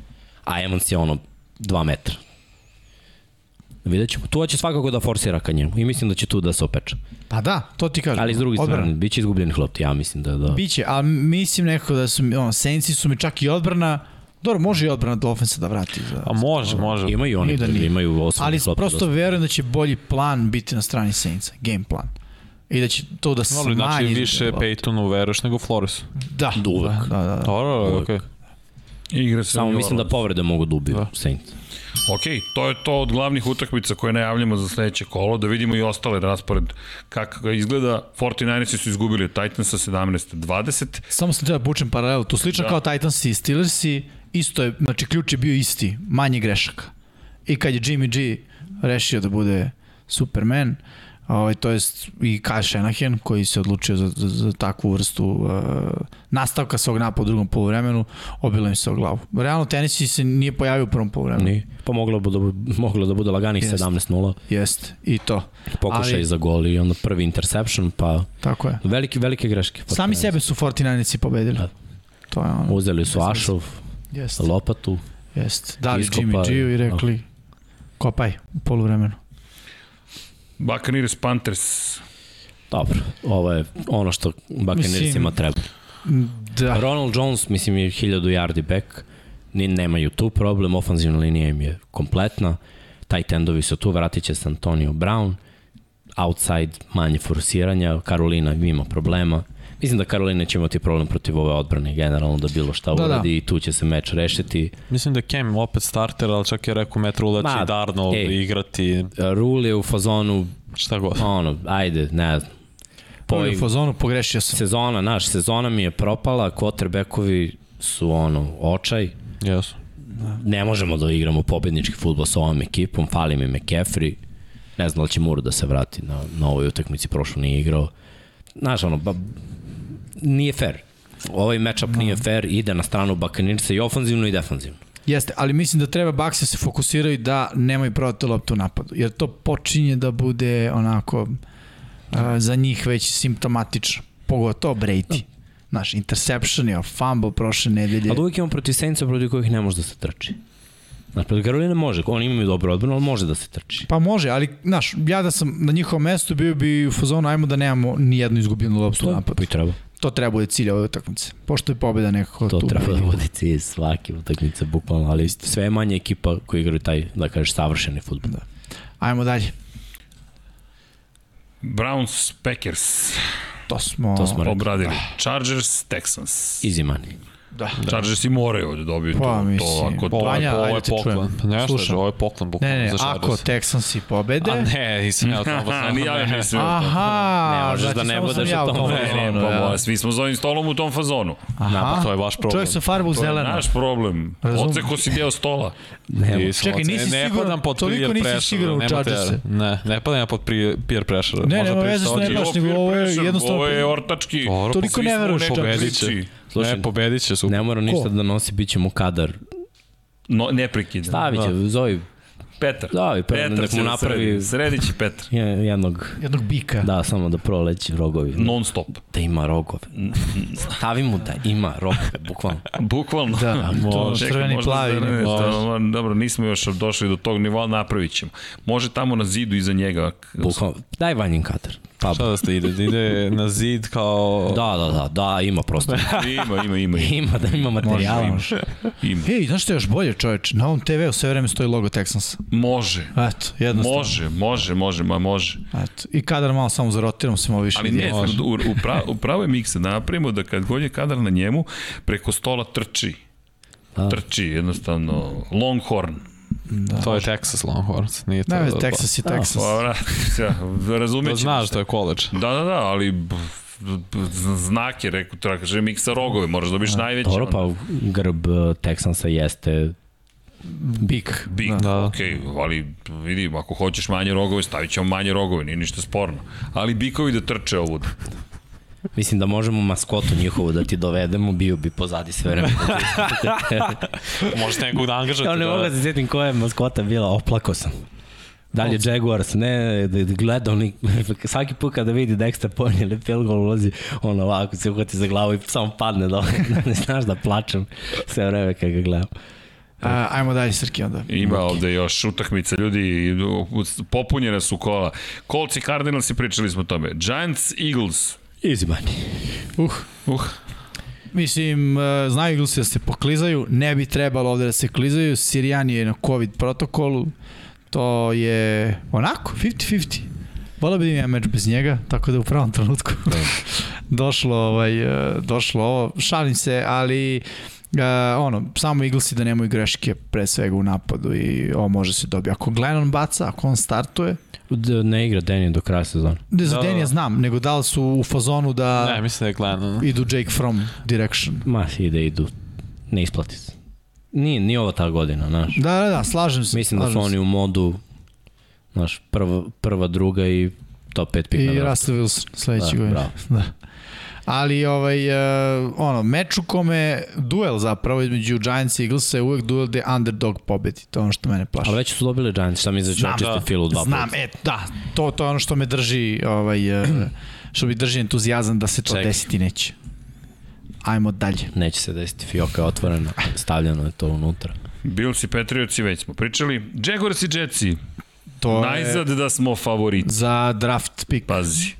[SPEAKER 2] A Evans je ono dva metra. Vidjet ćemo. Tu će svakako da forsira ka njemu i mislim da će tu da se opeče.
[SPEAKER 3] Pa da, to ti kažem.
[SPEAKER 2] Ali s druge
[SPEAKER 3] Odbrana.
[SPEAKER 2] strane, bit će izgubljenih lopti, ja mislim da... da.
[SPEAKER 3] Biće, ali mislim nekako da su, mi- ono, Sensi su mi čak i odbrana, dobro, može i odbrana do ofensa da vrati. Za,
[SPEAKER 4] A može, može.
[SPEAKER 2] Ima i oni,
[SPEAKER 3] Nije da nije.
[SPEAKER 2] imaju osam
[SPEAKER 3] ali
[SPEAKER 2] lopti.
[SPEAKER 3] prosto verujem da će bolji plan biti na strani Sensa, game plan. I da će to da smanji.
[SPEAKER 4] Ali znači više
[SPEAKER 3] izgled.
[SPEAKER 4] Paytonu veruješ nego Floresu.
[SPEAKER 3] Da.
[SPEAKER 2] Uvek.
[SPEAKER 3] Da, da, da.
[SPEAKER 4] Dobro, okej.
[SPEAKER 1] Igra se
[SPEAKER 2] Samo
[SPEAKER 1] u New
[SPEAKER 2] mislim da
[SPEAKER 1] Orleans.
[SPEAKER 2] povrede mogu da ubiju da. Saints.
[SPEAKER 1] Ok, to je to od glavnih utakmica koje najavljamo za sledeće kolo, da vidimo i ostale raspored kako ga izgleda. 49-si su izgubili od Titansa 17-20.
[SPEAKER 3] Samo sam treba da bučem paralelu. Tu slično
[SPEAKER 1] Da.
[SPEAKER 3] da. kao Titans i Steelers i isto je, znači ključ je bio isti, manje grešaka. I kad je Jimmy G rešio da bude Superman, ovaj, to jest i Kyle Shanahan koji se odlučio za, za, za takvu vrstu uh, nastavka svog napada u drugom poluvremenu, obilo im se o glavu. Realno Tennessee se nije pojavio u prvom poluvremenu.
[SPEAKER 2] Nije. Pa moglo, bu- da, bu- moglo da bude laganih
[SPEAKER 3] Jeste.
[SPEAKER 2] 17-0.
[SPEAKER 3] Jeste, i to.
[SPEAKER 2] pokušaj
[SPEAKER 3] Ali-
[SPEAKER 2] za gol i onda prvi interception, pa
[SPEAKER 3] Tako je.
[SPEAKER 2] velike, velike greške.
[SPEAKER 3] Sami sebe su 49-ici pobedili.
[SPEAKER 2] Da.
[SPEAKER 3] To je ono.
[SPEAKER 2] Uzeli su Ašov,
[SPEAKER 3] Jeste.
[SPEAKER 2] lopatu.
[SPEAKER 3] Jeste. Dali
[SPEAKER 2] Iskopali.
[SPEAKER 3] Jimmy G-u i rekli kopaj u poluvremenu.
[SPEAKER 1] Buccaneers Panthers.
[SPEAKER 2] Dobro, ovo je ono što Buccaneersima
[SPEAKER 3] Mislim-
[SPEAKER 2] treba.
[SPEAKER 3] Da.
[SPEAKER 2] Ronald Jones, mislim, je 1000 yardi back. Ni, nemaju tu problem, ofanzivna linija im je kompletna. tight endovi su tu, vratit će se Antonio Brown, outside manje forsiranja, Karolina ima problema. Mislim da Karolina će imati problem protiv ove odbrane generalno da bilo šta
[SPEAKER 3] Da,
[SPEAKER 2] da,
[SPEAKER 3] da.
[SPEAKER 2] uradi da. i tu će se meč rešiti.
[SPEAKER 4] Mislim da je Cam opet starter, ali čak je rekao Matt Rule da će
[SPEAKER 2] Ma,
[SPEAKER 4] i Darnold
[SPEAKER 2] ej.
[SPEAKER 4] igrati
[SPEAKER 2] Rule je u fazonu,
[SPEAKER 4] šta god.
[SPEAKER 2] Pa ono, ajde, ne znam.
[SPEAKER 3] Po
[SPEAKER 2] Poj-
[SPEAKER 3] fazonu pogrešio sam.
[SPEAKER 2] sezona, naš, sezona mi je propala, quarterbackovi su ono, očaj,
[SPEAKER 4] Jesu.
[SPEAKER 2] ne možemo da igramo pobednički futbol sa ovom ekipom, fali mi McCaffrey, ne znam da li će Muru da se vrati na, na ovoj utakmici, prošlo nije igrao. Znaš, ono, ba, nije fair. Ovaj matchup nije fair, ide na stranu Bakanirca i ofanzivno i defanzivno.
[SPEAKER 3] Jeste, ali mislim da treba Bakse se fokusiraju da nemaju prodati loptu u napadu, jer to počinje da bude onako a, za njih već simptomatično. Pogotovo Brady. Znaš, interception je fumble prošle nedelje.
[SPEAKER 2] Da. Ali uvijek imamo protiv Saintsa protiv kojih ne može da se trči. Znači, protiv Karolina može, oni imaju dobru odbranu, ali može da se trči.
[SPEAKER 3] Pa može, ali znaš, ja da sam na njihovom mestu bio bi u fazonu ajmo da nemamo ni jednu izgubljenu loptu u napadu.
[SPEAKER 2] Pa i treba.
[SPEAKER 3] To treba da bude cilj ove utakmice. Pošto je pobeda nekako
[SPEAKER 2] To
[SPEAKER 3] tu.
[SPEAKER 2] treba da bude cilj svake utakmice, bukvalno, ali sve je manje ekipa koji igraju taj, da kažeš, savršeni futbol. Da.
[SPEAKER 3] Ajmo dalje.
[SPEAKER 1] Browns, Packers,
[SPEAKER 3] To smo...
[SPEAKER 2] To smo rekli.
[SPEAKER 1] obradili. Chargers, Texans.
[SPEAKER 2] Easy money.
[SPEAKER 3] Da.
[SPEAKER 1] Chargersi moraju da dobiju
[SPEAKER 3] Pa,
[SPEAKER 1] to, to
[SPEAKER 3] mislim.
[SPEAKER 1] ako
[SPEAKER 4] Ovo je,
[SPEAKER 3] Vanja,
[SPEAKER 4] ovo
[SPEAKER 3] ajde
[SPEAKER 4] je
[SPEAKER 3] te
[SPEAKER 4] poklon.
[SPEAKER 3] čujem.
[SPEAKER 4] Ne,
[SPEAKER 3] Slušam.
[SPEAKER 4] što ovo je poklon,
[SPEAKER 3] Ne,
[SPEAKER 4] bukvalno.
[SPEAKER 3] ne,
[SPEAKER 4] za Chargers.
[SPEAKER 3] ako Texansi pobede...
[SPEAKER 4] A ne, nisam ja tamo
[SPEAKER 1] A,
[SPEAKER 4] sam.
[SPEAKER 1] ni ja nisam.
[SPEAKER 3] Aha,
[SPEAKER 2] Ne možeš
[SPEAKER 3] znači,
[SPEAKER 2] da ne
[SPEAKER 3] samo sam
[SPEAKER 2] budeš
[SPEAKER 3] ja
[SPEAKER 2] u tom
[SPEAKER 1] Ne, ne,
[SPEAKER 3] fazonu,
[SPEAKER 1] pa
[SPEAKER 3] ja.
[SPEAKER 1] moja, svi smo za ovim stolom u tom fazonu.
[SPEAKER 4] Na, pa to je vaš problem.
[SPEAKER 3] Čovjek sa farba u
[SPEAKER 1] To je
[SPEAKER 2] Pa
[SPEAKER 3] zeleno.
[SPEAKER 2] da.
[SPEAKER 1] naš problem.
[SPEAKER 3] Razumem.
[SPEAKER 1] Oceko si deo stola.
[SPEAKER 2] Nema.
[SPEAKER 4] Nisam
[SPEAKER 3] Čekaj,
[SPEAKER 4] ocenjen.
[SPEAKER 3] nisi
[SPEAKER 4] E, ne,
[SPEAKER 3] siguran-
[SPEAKER 4] padam pod
[SPEAKER 3] toliko
[SPEAKER 4] peer
[SPEAKER 3] nisi
[SPEAKER 4] pressure,
[SPEAKER 3] siguran u
[SPEAKER 4] nema
[SPEAKER 3] Chargerse.
[SPEAKER 4] te- Ne, ne padam ja pod pri- peer pressure.
[SPEAKER 3] Ne,
[SPEAKER 4] Možda
[SPEAKER 3] nema veze što ne
[SPEAKER 4] pristaođe.
[SPEAKER 3] baš, nego ovo je
[SPEAKER 1] Pressure,
[SPEAKER 3] jednostavno-
[SPEAKER 1] Ovo je ortački.
[SPEAKER 4] Dobro,
[SPEAKER 3] Toliko
[SPEAKER 4] pa svi
[SPEAKER 3] ne
[SPEAKER 4] smo
[SPEAKER 3] veruješ
[SPEAKER 4] u pobedit će.
[SPEAKER 1] Chargersi.
[SPEAKER 2] Slušaj,
[SPEAKER 4] Ne, pobedit će, super.
[SPEAKER 2] Ne mora ništa da nosi, bit će mu kadar.
[SPEAKER 1] No, neprekidno. Da.
[SPEAKER 2] Stavit će, zovi
[SPEAKER 1] Petar.
[SPEAKER 2] Davi,
[SPEAKER 3] pa
[SPEAKER 2] Petar,
[SPEAKER 1] Petar
[SPEAKER 2] nek
[SPEAKER 1] će
[SPEAKER 2] mu
[SPEAKER 1] da
[SPEAKER 2] napravi-
[SPEAKER 1] sredi. Sredi će Petar.
[SPEAKER 2] je- jednog,
[SPEAKER 3] Jednog bika.
[SPEAKER 2] da, samo da proleći rogovi.
[SPEAKER 1] Non stop.
[SPEAKER 2] Da ima rogove. Stavi mu da ima rogove, bukvalno.
[SPEAKER 1] Bukvalno.
[SPEAKER 3] Da, to
[SPEAKER 1] Čekaj,
[SPEAKER 3] crveni da.
[SPEAKER 1] možda
[SPEAKER 3] plavi.
[SPEAKER 1] za-
[SPEAKER 3] ne.
[SPEAKER 1] ne, to- dobro, nismo još došli do tog nivoa, napravit ćemo. Može tamo na zidu iza njega.
[SPEAKER 2] bukvalno. Daj vanjim kadar. Pa,
[SPEAKER 4] Šta da ste ide? Da ide na zid kao...
[SPEAKER 2] da, da, da, da, ima prosto.
[SPEAKER 1] Ima, ima, ima. ima.
[SPEAKER 2] Ima, da ima materijala.
[SPEAKER 3] može.
[SPEAKER 1] ima.
[SPEAKER 3] Ej, znaš što je još bolje, čoveč? Na ovom TV-u sve vreme stoji logo Texansa.
[SPEAKER 1] Može.
[SPEAKER 3] Eto, jednostavno.
[SPEAKER 1] Može, može, može, ma može.
[SPEAKER 3] Eto, I kadar malo samo zarotiram, se malo više
[SPEAKER 1] Ali
[SPEAKER 3] vidi.
[SPEAKER 1] ne, u, u, pra, u pravo je mikse da napravimo da kad god je kadar na njemu, preko stola trči.
[SPEAKER 2] Da.
[SPEAKER 1] Trči, jednostavno, longhorn.
[SPEAKER 4] To je Texas Longhorns, nije to...
[SPEAKER 3] Da, Ne,
[SPEAKER 4] da-
[SPEAKER 3] Texas je Texas.
[SPEAKER 1] Pa, vrati se,
[SPEAKER 4] Da
[SPEAKER 1] razumeći.
[SPEAKER 4] znaš to je koleđ.
[SPEAKER 1] Da, da, da, ali b- b- b- znak je, rekao, treba kaže miksa rogove, moraš da biš najveći.
[SPEAKER 2] Dobro,
[SPEAKER 1] ono,
[SPEAKER 2] pa grb eh, Texansa jeste
[SPEAKER 3] Bik.
[SPEAKER 1] Big, da.
[SPEAKER 4] Da.
[SPEAKER 1] ok, ali vidim, ako hoćeš manje rogove, stavit ćemo manje rogove, nije ništa sporno. Ali bikovi da trče ovud.
[SPEAKER 2] Mislim da možemo maskotu njihovu da ti dovedemo, bio bi pozadi sve vreme.
[SPEAKER 4] Možete nekog da angažate.
[SPEAKER 2] Ja ne mogu da se sjetim koja je maskota bila, oplako sam. Da li je Jaguars, ne, da da gleda oni, svaki put kada vidi Dexter Pony ili field goal ulazi, on ovako se uhvati za glavu i samo padne dole, ne znaš da plačem sve vreme kada ga gledam.
[SPEAKER 3] A, E, ajmo dalje, Srki, onda.
[SPEAKER 1] Ima ovde još utakmica, ljudi, popunjena su kola. Colts i Cardinals i pričali smo o tome. Giants, Eagles.
[SPEAKER 2] Easy money.
[SPEAKER 3] Uh,
[SPEAKER 1] Uh,
[SPEAKER 3] Mislim, e, znaju Eaglesi da se poklizaju, ne bi trebalo ovde da se klizaju, Sirijan je na COVID protokolu, to je onako, 50-50. Volao bi da imam meč bez njega, tako da u pravom trenutku došlo, ovaj, e, došlo ovo, šalim se, ali Uh, ono, samo Eaglesi da nemaju greške pre svega u napadu i ovo može se dobiti. Ako Glennon baca, ako on startuje,
[SPEAKER 2] Da ne igra Danny do kraja sezona.
[SPEAKER 3] ne za
[SPEAKER 4] Da,
[SPEAKER 3] da,
[SPEAKER 4] da, da.
[SPEAKER 3] znam, nego da li su u fazonu da
[SPEAKER 4] Ne, mislim da je Glenn.
[SPEAKER 3] idu Jake From direction.
[SPEAKER 2] Ma, ide, idu. Ne isplati se. Nije, nije ovo ta godina, znaš.
[SPEAKER 3] Da, da, da, slažem se.
[SPEAKER 2] Mislim da su
[SPEAKER 3] slažem se.
[SPEAKER 2] oni u modu, znaš, prva, prva druga i top 5 pika.
[SPEAKER 3] I Russell Wilson sledeći
[SPEAKER 2] Da,
[SPEAKER 3] da, godin.
[SPEAKER 2] bravo.
[SPEAKER 3] Da. Ali ovaj, uh, ono, meč u kome duel zapravo između Giants i Eaglesa je uvek duel gde underdog pobedi. To je ono što mene plaši.
[SPEAKER 2] Ali već su dobili Giants, šta mi znači
[SPEAKER 3] Znam,
[SPEAKER 2] očiste
[SPEAKER 4] da.
[SPEAKER 2] filu dva
[SPEAKER 3] Znam,
[SPEAKER 2] puta.
[SPEAKER 3] e, da, to, to je ono što me drži, ovaj, uh, što mi drži entuzijazam da se to
[SPEAKER 2] Čekaj.
[SPEAKER 3] desiti neće. Ajmo dalje.
[SPEAKER 2] Neće se desiti, fioka je otvorena, stavljeno je to unutra.
[SPEAKER 3] Znači,
[SPEAKER 1] Bills i Patriots i već smo pričali. Jaguars i Jetsi.
[SPEAKER 3] To je
[SPEAKER 1] Najzad da smo favoriti.
[SPEAKER 3] za draft pick.
[SPEAKER 1] Pazi.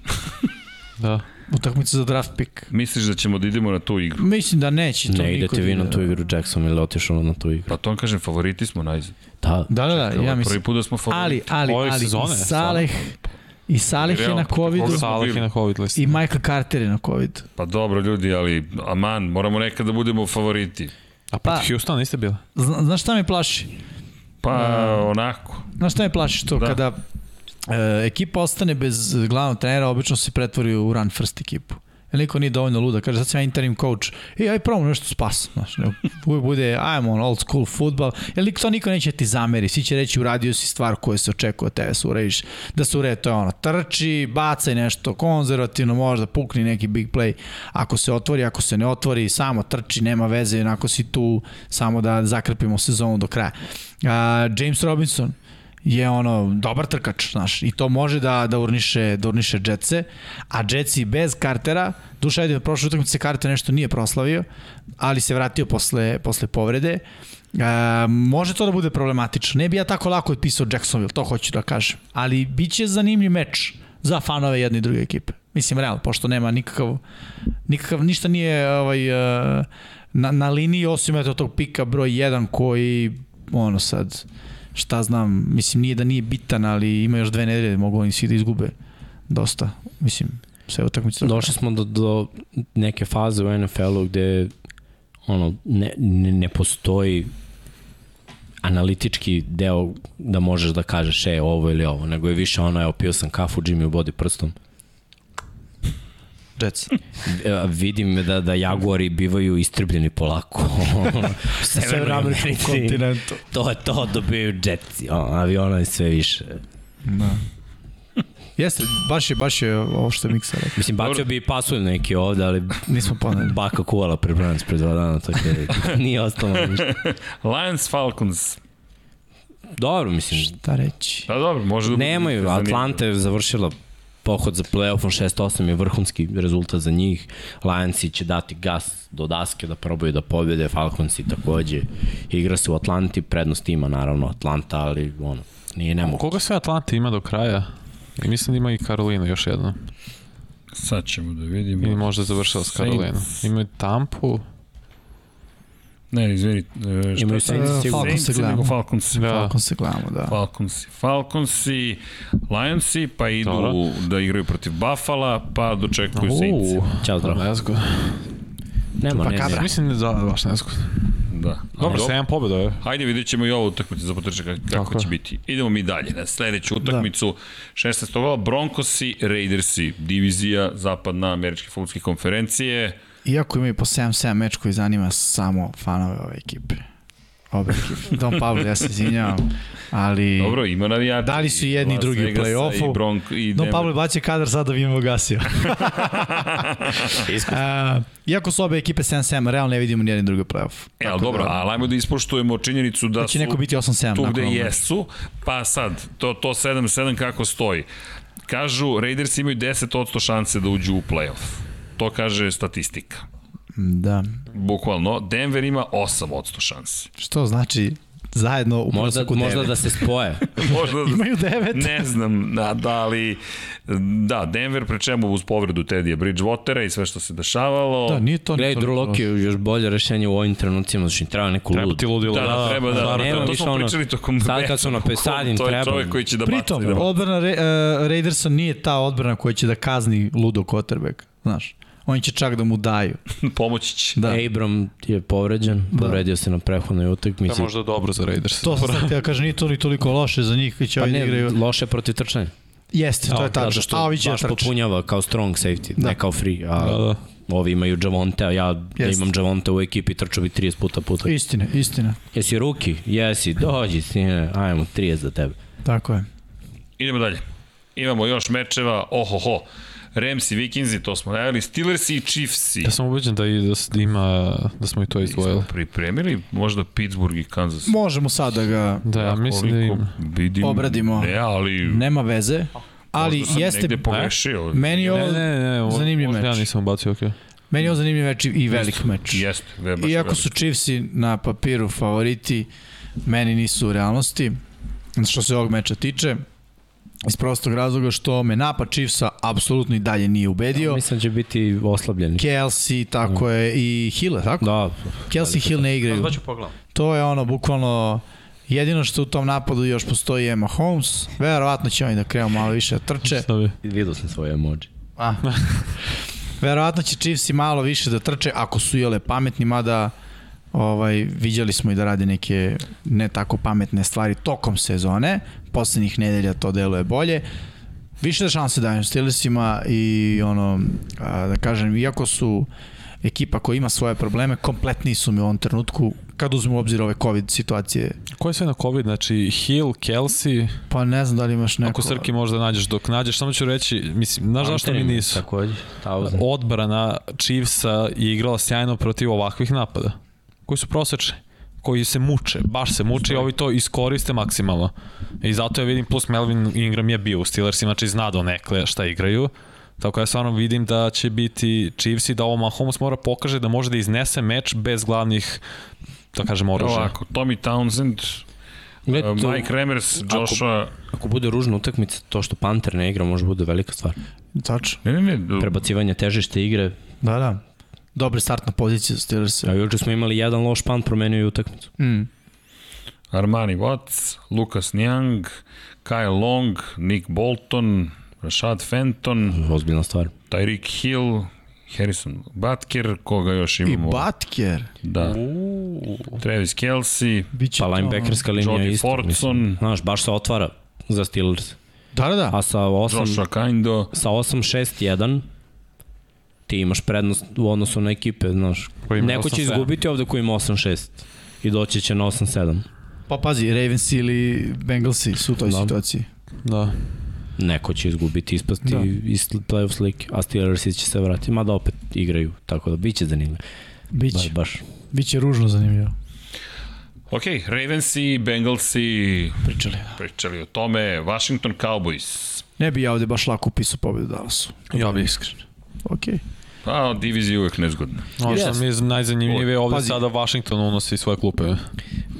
[SPEAKER 4] Da.
[SPEAKER 3] utakmica za draft pick.
[SPEAKER 1] Misliš da ćemo da idemo na tu igru?
[SPEAKER 3] Mislim da neće to
[SPEAKER 2] Ne
[SPEAKER 3] niko
[SPEAKER 2] idete vi
[SPEAKER 3] da
[SPEAKER 2] na
[SPEAKER 3] ide.
[SPEAKER 2] tu igru Jackson ili otišao na tu igru.
[SPEAKER 1] Pa to vam kažem, favoriti smo najzad.
[SPEAKER 2] Da,
[SPEAKER 3] Da, da, da,
[SPEAKER 1] Ovo
[SPEAKER 3] ja
[SPEAKER 1] je
[SPEAKER 3] mislim.
[SPEAKER 1] Prvi put da smo favoriti.
[SPEAKER 3] Ali, ali,
[SPEAKER 4] Ove
[SPEAKER 3] ali,
[SPEAKER 4] sezone,
[SPEAKER 3] i
[SPEAKER 4] stvarno.
[SPEAKER 3] Saleh, i Saleh je
[SPEAKER 1] Realno,
[SPEAKER 3] na
[SPEAKER 1] protiv
[SPEAKER 3] COVID-u,
[SPEAKER 1] koga
[SPEAKER 4] Salih je na COVID listi.
[SPEAKER 3] i Michael Carter je na COVID-u.
[SPEAKER 1] Pa dobro ljudi, ali aman, moramo nekad da budemo favoriti.
[SPEAKER 3] pa-
[SPEAKER 4] A pa Houston niste bili?
[SPEAKER 3] Zna, znaš šta me plaši?
[SPEAKER 1] Pa
[SPEAKER 3] Da.
[SPEAKER 1] onako.
[SPEAKER 3] Znaš šta me plaši to
[SPEAKER 1] Da.
[SPEAKER 3] da. kada e, ekipa ostane bez e, glavnog trenera, obično se pretvori u run first ekipu. Jer niko nije dovoljno luda. Kaže, sad sam ja interim coach. E, aj probamo nešto spas. Znaš, ne, uvijek bude, ajmo on old school futbal. Jer niko, to niko neće da ti zameri. Svi će reći, uradio si stvar koja se očekuje od tebe, da se urediš. Da se uredi, to je ono, trči, bacaj nešto konzervativno, možda pukni neki big play. Ako se otvori, ako se ne otvori, samo trči, nema veze, onako si tu, samo da zakrpimo sezonu do kraja. A, James Robinson, je ono dobar trkač, znaš, i to može da da urniše, da urniše Jetсе, a Jetsi bez Cartera, duša ajde, prošle utakmice Carter nešto nije proslavio, ali se vratio posle, posle povrede. E, može to da bude problematično. Ne bi ja tako lako otpisao Jacksonville, to hoću da kažem. Ali bit će zanimljiv meč za fanove jedne i druge ekipe. Mislim, realno, pošto nema nikakav, nikakav ništa nije ovaj, e, na, na liniji, osim eto tog pika broj 1 koji, ono sad, šta znam, mislim nije da nije bitan, ali ima još dve nedelje, mogu oni svi da izgube dosta, mislim, sve utakmice.
[SPEAKER 2] došli smo do, do neke faze u NFL-u gde ono, ne, ne, ne postoji analitički deo da možeš da kažeš e, ovo ili ovo, nego je više ono, evo, pio sam kafu, Jimmy u bodi prstom.
[SPEAKER 3] Jets.
[SPEAKER 2] E, vidim da, da jaguari bivaju istrbljeni polako. U Severnoj Americi.
[SPEAKER 3] kontinentu.
[SPEAKER 2] To je to, dobijaju jetci, ono, aviona i sve više.
[SPEAKER 3] Da. Jeste, baš je, baš je ovo što je Miksa rekao.
[SPEAKER 2] Mislim, bacio bi i pasulj neki ovde, ali
[SPEAKER 3] Nismo poneli.
[SPEAKER 2] baka kuvala pred Browns pre dva dana, tako da nije ostalo ništa.
[SPEAKER 1] Lions Falcons.
[SPEAKER 2] Dobro, mislim,
[SPEAKER 3] Šta reći?
[SPEAKER 1] Pa dobro, može da bude
[SPEAKER 2] nemaju,
[SPEAKER 1] zanimljivo.
[SPEAKER 2] Atlanta je završila pohod za playoffom 6-8 je vrhunski rezultat za njih. Lionsi će dati gas do daske da probaju da pobjede, Falconsi takođe. Igra se u Atlanti, prednost ima naravno Atlanta, ali ono, nije nemoguće.
[SPEAKER 4] Koga sve Atlanta ima do kraja? I mislim da ima i Karolina još jedno.
[SPEAKER 1] Sad ćemo da
[SPEAKER 4] Ili
[SPEAKER 1] vidimo.
[SPEAKER 4] možda završila s
[SPEAKER 1] Saints.
[SPEAKER 4] Karolinom. Imaju Tampu.
[SPEAKER 1] Ne, izvini. e, šta-
[SPEAKER 2] Imaju
[SPEAKER 3] E,
[SPEAKER 2] Saints sigurno.
[SPEAKER 3] Falcons se
[SPEAKER 1] Saints nego
[SPEAKER 3] gledamo.
[SPEAKER 1] Falcons.
[SPEAKER 4] Da.
[SPEAKER 3] Falcons se gledamo, da.
[SPEAKER 1] Falconsi. Falconsi, Lionsi, pa idu
[SPEAKER 4] Dobro.
[SPEAKER 1] da igraju protiv Buffalo, pa dočekuju Saintsi.
[SPEAKER 2] Ćao, zdravo.
[SPEAKER 4] Nezgodno.
[SPEAKER 2] Nema,
[SPEAKER 3] Pa
[SPEAKER 2] ne,
[SPEAKER 3] kabra.
[SPEAKER 2] ne.
[SPEAKER 4] Mislim da da, baš nezgodno.
[SPEAKER 1] Da.
[SPEAKER 4] Dobro,
[SPEAKER 1] Dobro.
[SPEAKER 4] 7 pobjeda je.
[SPEAKER 1] Hajde vidjet ćemo i ovo utakmicu za potrčak kako
[SPEAKER 4] Tako
[SPEAKER 1] Tako.
[SPEAKER 4] je.
[SPEAKER 1] će biti. Idemo mi dalje na sledeću utakmicu. Da. 16. gola Broncosi, Raidersi, divizija zapadna američke futbolske konferencije.
[SPEAKER 3] Iako imaju po 7-7 meč koji zanima samo fanove ove ekipe. Obe ekipe. Don Pablo, ja se izvinjavam, ali...
[SPEAKER 1] Dobro, ima navijača.
[SPEAKER 3] Da li su jedni i drugi u play-offu?
[SPEAKER 1] I Bronco, i
[SPEAKER 3] Don
[SPEAKER 1] Denver.
[SPEAKER 3] Pablo baće kadar sada da vidimo gasio.
[SPEAKER 2] Iskus.
[SPEAKER 3] A, iako su obe ekipe 7-7, realno ne vidimo nijedan drugi playoff.
[SPEAKER 1] E, ali dobro, ali ajmo da ispoštujemo činjenicu da
[SPEAKER 3] Da će
[SPEAKER 1] su
[SPEAKER 3] neko biti 8-7.
[SPEAKER 1] tu
[SPEAKER 3] nakon
[SPEAKER 1] gde
[SPEAKER 3] ovog meča.
[SPEAKER 1] jesu, pa sad, to, to 7-7 kako stoji. Kažu, Raiders imaju 10% šanse da uđu u play-off. To kaže statistika.
[SPEAKER 3] Da.
[SPEAKER 1] Bukvalno, Denver ima 8% šanse.
[SPEAKER 3] Što znači zajedno u
[SPEAKER 2] Možda,
[SPEAKER 3] proseku
[SPEAKER 2] možda
[SPEAKER 3] devet.
[SPEAKER 2] da se spoje.
[SPEAKER 1] Možda
[SPEAKER 3] Imaju devet.
[SPEAKER 1] Ne znam, da, da, ali da, Denver pre čemu uz povredu Tedija Bridgewatera i sve što se dešavalo.
[SPEAKER 3] Da, nije to...
[SPEAKER 2] Gledaj,
[SPEAKER 3] nije to-
[SPEAKER 2] Drew Locke je još bolje rešenje u ovim trenucima, znači im treba neko
[SPEAKER 4] Treba
[SPEAKER 2] lud.
[SPEAKER 4] ti ludilo.
[SPEAKER 1] Da, da, treba da, da,
[SPEAKER 2] nema
[SPEAKER 1] da, to
[SPEAKER 2] više
[SPEAKER 1] smo
[SPEAKER 2] ono-
[SPEAKER 1] pričali tokom
[SPEAKER 2] sad kad su na
[SPEAKER 1] večera,
[SPEAKER 2] Pesadin,
[SPEAKER 1] to je
[SPEAKER 2] treba
[SPEAKER 1] čovjek
[SPEAKER 2] im.
[SPEAKER 1] koji će da baci.
[SPEAKER 3] Pritom, odbrana Re, uh, Raidersa nije ta odbrana koja će da kazni ludo quarterback, znaš. Oni će čak da mu daju.
[SPEAKER 1] pomoći će.
[SPEAKER 3] Da.
[SPEAKER 2] Abram je povređen, povredio se na prehodnoj
[SPEAKER 4] Da,
[SPEAKER 2] utakmici.
[SPEAKER 4] možda dobro za Raiders.
[SPEAKER 3] To sam sad teo kažem, nije to ni toliko loše za njih koji će
[SPEAKER 2] Pa
[SPEAKER 3] ovaj da
[SPEAKER 2] ne,
[SPEAKER 3] igraju.
[SPEAKER 2] loše protiv trčanja.
[SPEAKER 3] Jeste, to
[SPEAKER 2] Da,
[SPEAKER 3] je tačno.
[SPEAKER 2] zato što
[SPEAKER 3] A ovi će da
[SPEAKER 2] baš
[SPEAKER 3] trče.
[SPEAKER 2] popunjava kao strong safety,
[SPEAKER 3] Da.
[SPEAKER 2] ne kao free. A
[SPEAKER 4] Da, da.
[SPEAKER 2] Ovi imaju Javonte, a ja da
[SPEAKER 3] Jeste.
[SPEAKER 2] imam Javonte u ekipi, trčao bi 30 puta puta.
[SPEAKER 3] Istina, istina.
[SPEAKER 2] Jesi ruki? Jesi, dođi, sine, ajmo, 30 za tebe.
[SPEAKER 3] Tako je.
[SPEAKER 1] Idemo dalje. Imamo još mečeva, ohoho. Rams i Vikingsi, to smo najavili, Steelers i Chiefsi.
[SPEAKER 4] Ja sam ubeđen da, i, da, s- da ima, da smo i to izdvojili.
[SPEAKER 1] Smo pripremili, možda Pittsburgh i Kansas.
[SPEAKER 3] Možemo sad da ga...
[SPEAKER 4] Da, ja mislim da
[SPEAKER 1] Koliko
[SPEAKER 4] ima.
[SPEAKER 1] vidim,
[SPEAKER 3] Obradimo.
[SPEAKER 1] Ne, ali...
[SPEAKER 3] Nema veze, ali
[SPEAKER 1] možda sam
[SPEAKER 3] jeste...
[SPEAKER 1] negde pogrešio.
[SPEAKER 3] Meni je
[SPEAKER 4] Ne,
[SPEAKER 3] ovo,
[SPEAKER 4] ne, ne, ne, ovo-
[SPEAKER 3] zanimljiv
[SPEAKER 4] možda
[SPEAKER 3] meč.
[SPEAKER 4] Ja nisam ubacio, okej.
[SPEAKER 3] meni je ovo zanimljiv meč i velik meč.
[SPEAKER 1] Jeste, Weber.
[SPEAKER 3] Iako su Chiefsi na papiru favoriti, meni nisu u realnosti, što se ovog meča tiče. Iz prostog razloga što me napad Chiefsa apsolutno i dalje nije ubedio.
[SPEAKER 2] Mislim da će biti oslabljen.
[SPEAKER 3] Kelsey, tako je, i Hill, tako?
[SPEAKER 2] Da,
[SPEAKER 3] Kelsey i Hill ne igraju.
[SPEAKER 4] ću pogledam.
[SPEAKER 3] To je ono, bukvalno, jedino što u tom napadu još postoji je Mahomes. Verovatno će oni da krenu malo više da trče.
[SPEAKER 4] Šta bi?
[SPEAKER 2] vidio sam svoje emoji.
[SPEAKER 3] A. Verovatno će Chiefsi malo više da trče ako su jele pametni, mada ovaj, viđali smo i da radi neke ne tako pametne stvari tokom sezone. Poslednjih nedelja to deluje bolje. Više da šanse dajem Steelersima i ono, a, da kažem, iako su ekipa koja ima svoje probleme, kompletniji su mi u ovom trenutku, kad uzmem u obzir ove COVID situacije.
[SPEAKER 4] Ko je sve na COVID? Znači Hill, Kelsey,
[SPEAKER 3] Pa ne znam da li imaš neko...
[SPEAKER 4] ako Srki možda nađeš dok nađeš, samo ću reći, mislim, znaš zašto mi nisu?
[SPEAKER 2] Takođe, Tauzan.
[SPEAKER 4] Odbrana Chiefsa je igrala sjajno protiv ovakvih napada, koji su prosečni koji se muče, baš se muče i ovi to iskoriste maksimalno. I zato ja vidim, plus Melvin Ingram je bio u Steelersima, znači zna do nekle šta igraju. Tako ja stvarno vidim da će biti Chiefs i da ovo Mahomes mora pokaže da može da iznese meč bez glavnih, da kažem, oružja.
[SPEAKER 1] Ovako, Tommy Townsend,
[SPEAKER 3] E,
[SPEAKER 1] um,
[SPEAKER 2] Gledaj, to-
[SPEAKER 1] Mike Remers,
[SPEAKER 2] Ako-
[SPEAKER 1] Joshua...
[SPEAKER 2] Ako bude ružna utakmica, to što Panter ne igra može bude velika stvar.
[SPEAKER 3] Tačno.
[SPEAKER 1] Ne, ne, ne,
[SPEAKER 2] Prebacivanje težište igre.
[SPEAKER 3] Da, da. Dobra startna pozicija za Steelers.
[SPEAKER 2] A juče smo imali jedan loš pan, promenio je utakmicu.
[SPEAKER 3] Mm.
[SPEAKER 1] Armani Watts, Lucas Niang, Kyle Long, Nick Bolton, Rashad Fenton,
[SPEAKER 2] Ozbiljna stvar. Pa
[SPEAKER 1] Tyreek Hill, Harrison Butker, koga još
[SPEAKER 3] I
[SPEAKER 1] imamo?
[SPEAKER 3] Batker.
[SPEAKER 1] Da. Travis Kelsey,
[SPEAKER 3] Biće
[SPEAKER 2] Pa
[SPEAKER 3] to, ono.
[SPEAKER 2] linebackerska linija je
[SPEAKER 1] Jody
[SPEAKER 2] isto. mislim.
[SPEAKER 1] Fortson,
[SPEAKER 2] Znaš, baš se otvara za Steelers.
[SPEAKER 3] Da, da, da.
[SPEAKER 2] A sa 8
[SPEAKER 1] Joshua Kindo,
[SPEAKER 2] sa 8-6-1 ti imaš prednost u odnosu na ekipe, znaš.
[SPEAKER 4] Koji ima
[SPEAKER 2] Neko će
[SPEAKER 4] 8-7.
[SPEAKER 2] izgubiti ovde koji ima 8-6 i doći će na 8-7.
[SPEAKER 3] Pa pazi, Ravens ili Bengalsi su u toj
[SPEAKER 2] Da.
[SPEAKER 3] situaciji.
[SPEAKER 4] Da.
[SPEAKER 2] Neko će izgubiti, ispasti
[SPEAKER 3] Da.
[SPEAKER 2] da. iz playoff slike, a Steelers će se vratiti, mada opet igraju, tako da biće zanimljivo. Baš,
[SPEAKER 3] Biće,
[SPEAKER 2] baš.
[SPEAKER 3] da. biće ružno zanimljivo.
[SPEAKER 1] Ok, Ravensi, Bengalsi,
[SPEAKER 3] Pričali.
[SPEAKER 1] pričali o tome, Washington Cowboys.
[SPEAKER 3] Ne bi ja ovde baš lako upisao pobedu Dallasu.
[SPEAKER 4] Ja bih iskreno.
[SPEAKER 3] Okej.
[SPEAKER 1] Pa, divizija je uvek nezgodna.
[SPEAKER 4] Ono što
[SPEAKER 2] Jeste.
[SPEAKER 4] mi je najzanimljivije, ovde
[SPEAKER 3] Pazi.
[SPEAKER 4] sada Washington unosi svoje klupe.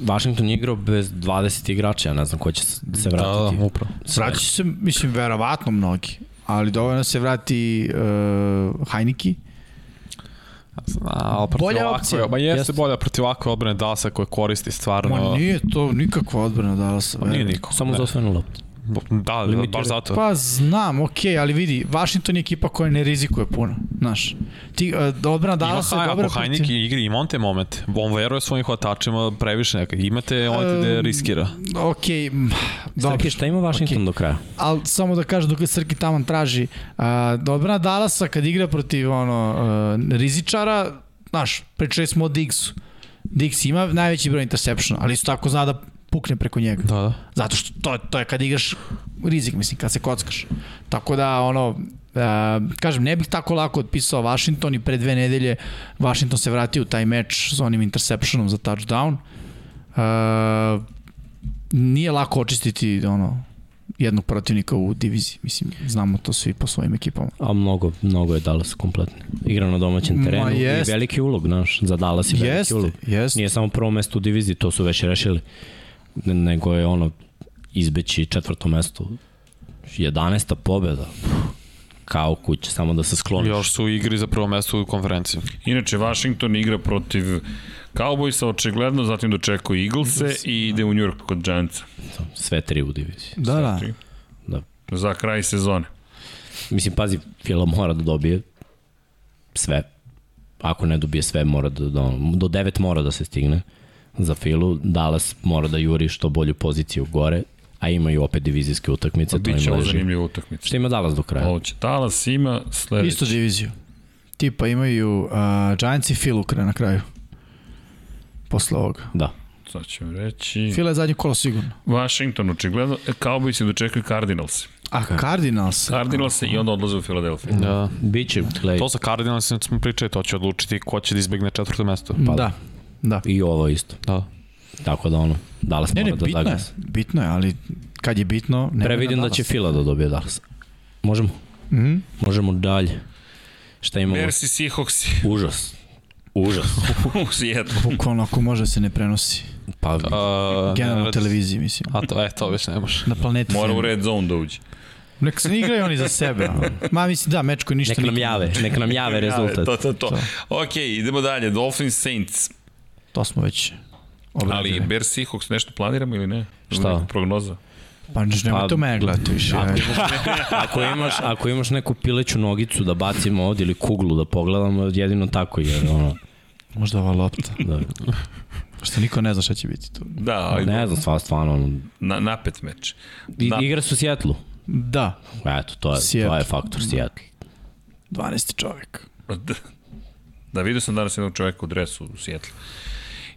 [SPEAKER 2] Washington je igrao bez 20 igrača, ja ne znam ko će se
[SPEAKER 4] Da,
[SPEAKER 2] se vratiti.
[SPEAKER 4] da, upravo.
[SPEAKER 3] Vraća se, mislim, verovatno mnogi. Ali dovoljno se vrati uh, Heineke.
[SPEAKER 4] A, ali protiv
[SPEAKER 3] Bolja
[SPEAKER 4] ovakve-
[SPEAKER 3] opcija.
[SPEAKER 4] Ma jeste,
[SPEAKER 2] Jeste.
[SPEAKER 4] bolja protiv ovakve odbrane Dasa koje koristi stvarno.
[SPEAKER 3] Ma nije to nikakva odbrana Dallasa.
[SPEAKER 4] Pa nije
[SPEAKER 3] veruj.
[SPEAKER 4] niko.
[SPEAKER 2] Samo
[SPEAKER 4] Ne.
[SPEAKER 2] za osvojenu loptu.
[SPEAKER 4] Da, da, baš
[SPEAKER 2] Limitirano.
[SPEAKER 4] zato.
[SPEAKER 3] Pa znam, okej, ali vidi, Washington je ekipa koja ne rizikuje puno, znaš. Ti, uh, odbrana
[SPEAKER 4] Ima
[SPEAKER 3] Dallasa je
[SPEAKER 4] Haj,
[SPEAKER 3] dobra.
[SPEAKER 4] ako Hajnik igri, ima on te momente. On veruje svojim hvatačima previše nekak. Imate momente gde
[SPEAKER 3] Ehm,
[SPEAKER 4] riskira.
[SPEAKER 3] Okej, m, dobro.
[SPEAKER 2] Srki, šta ima Washington do kraja?
[SPEAKER 3] ali samo da kažem dok je Srki taman traži a, dobrana Dalasa kad igra protiv ono a, rizičara znaš, pričali smo o Diggsu Diggs ima najveći broj interception ali isto tako zna da pukne preko njega
[SPEAKER 4] Da, da.
[SPEAKER 3] zato što to, to je kad igraš rizik mislim, kad se kockaš tako da ono a, kažem, ne bih tako lako otpisao Washington i pre dve nedelje Washington se vratio u taj meč s onim interceptionom za touchdown a, nije lako očistiti ono jednog protivnika u diviziji. Mislim, znamo to svi po svojim ekipama.
[SPEAKER 2] A mnogo, mnogo je Dallas kompletno. Igra na domaćem
[SPEAKER 3] Ma,
[SPEAKER 2] terenu i
[SPEAKER 3] jest.
[SPEAKER 2] veliki ulog, znaš, za Dallas je veliki ulog.
[SPEAKER 3] jeste.
[SPEAKER 2] Nije samo prvo mesto u diviziji, to su već rešili, ne- nego je ono izbeći četvrto mesto. 11. pobjeda. Kao kuće, samo da se skloniš.
[SPEAKER 4] Još su u igri za prvo mesto u konferenciji.
[SPEAKER 1] Inače, Washington igra protiv Cowboysa, očigledno, zatim dočekuje Eaglese i ide u New York kod Giantsa.
[SPEAKER 2] Sve tri u diviziji.
[SPEAKER 3] Da, da.
[SPEAKER 2] Da.
[SPEAKER 1] Za kraj sezone. Pa
[SPEAKER 2] Mislim, pazi, Fila mora da dobije sve. Ako ne dobije sve, mora da, da ono, do 9 mora da se stigne za Filu. Dallas mora da juri što bolju poziciju gore, a imaju opet divizijske
[SPEAKER 3] Pa
[SPEAKER 2] utakmice, to
[SPEAKER 1] Biće
[SPEAKER 2] im
[SPEAKER 1] ovo
[SPEAKER 2] leži.
[SPEAKER 1] zanimljiva utakmica.
[SPEAKER 2] Šta ima Dallas do kraja?
[SPEAKER 1] Ovo će Talas ima sledeći.
[SPEAKER 3] Isto diviziju. Tipa imaju uh, Giants i Phil ukra na kraju. Posle ovoga.
[SPEAKER 2] Da.
[SPEAKER 1] Sad ću vam reći.
[SPEAKER 3] Phil je zadnje kolo sigurno.
[SPEAKER 1] Washington očigledno, e, Cowboys je dočekali Cardinals.
[SPEAKER 3] A Cardinals?
[SPEAKER 1] Cardinals i onda odlaze u Filadelfiju.
[SPEAKER 4] Da.
[SPEAKER 2] Biće, gledaj,
[SPEAKER 4] To sa Cardinalsima smo pričali, to će odlučiti ko će da izbegne četvrto mesto.
[SPEAKER 3] Pa, da. Da.
[SPEAKER 2] i ovo isto.
[SPEAKER 4] Da.
[SPEAKER 2] Tako da ono, Dallas
[SPEAKER 3] Ne, ne,
[SPEAKER 2] mora da
[SPEAKER 3] bitno je.
[SPEAKER 2] zaglasa.
[SPEAKER 3] Bitno je, ali kad je bitno... Ne
[SPEAKER 2] Previdim da će Fila da dobije Dallas. Možemo?
[SPEAKER 3] Mm
[SPEAKER 2] Možemo dalje. Šta imamo?
[SPEAKER 1] Bears i Seahawks
[SPEAKER 2] Užas. Užas.
[SPEAKER 1] u Seattle.
[SPEAKER 3] Bukvalno ako može se ne prenosi.
[SPEAKER 2] Pa,
[SPEAKER 4] A,
[SPEAKER 3] Generalno na
[SPEAKER 4] Nenad-
[SPEAKER 3] televiziji, mislim.
[SPEAKER 4] A to, e, to već ne može.
[SPEAKER 3] Na planeti.
[SPEAKER 1] Mora u
[SPEAKER 3] Zemlji.
[SPEAKER 1] red zone da uđe.
[SPEAKER 3] Nek se igraju oni za sebe. ono. Ma mislim da, meč koji ništa
[SPEAKER 2] Nek nam
[SPEAKER 3] nikad-
[SPEAKER 2] jave, nek nam jave rezultat.
[SPEAKER 1] To, da. to, to. Ok, idemo dalje. Dolphins Saints.
[SPEAKER 3] To smo već
[SPEAKER 1] Ali
[SPEAKER 3] obradili. Ali,
[SPEAKER 1] Bears Seahawks nešto planiramo ili ne?
[SPEAKER 2] Šta?
[SPEAKER 1] Neka Prognoza.
[SPEAKER 3] pa nemoj to mene gledati više.
[SPEAKER 2] Ako imaš, ako imaš neku pileću nogicu da bacimo ovde ili kuglu da pogledamo, jedino tako je. Ono,
[SPEAKER 3] Možda ova lopta.
[SPEAKER 2] da,
[SPEAKER 3] Što niko ne zna šta će biti tu.
[SPEAKER 1] Da, ali
[SPEAKER 2] ne znam, stvarno, stvarno. Ono,
[SPEAKER 1] na, napet meč.
[SPEAKER 2] I,
[SPEAKER 1] Da.
[SPEAKER 2] Igra su u Sjetlu.
[SPEAKER 3] Da,
[SPEAKER 2] Eto, to je, to
[SPEAKER 3] Seattle.
[SPEAKER 2] je faktor Sjetlu.
[SPEAKER 3] 12. čovjek.
[SPEAKER 1] Da, da vidio sam danas jednog čoveka u dresu u Sjetlu.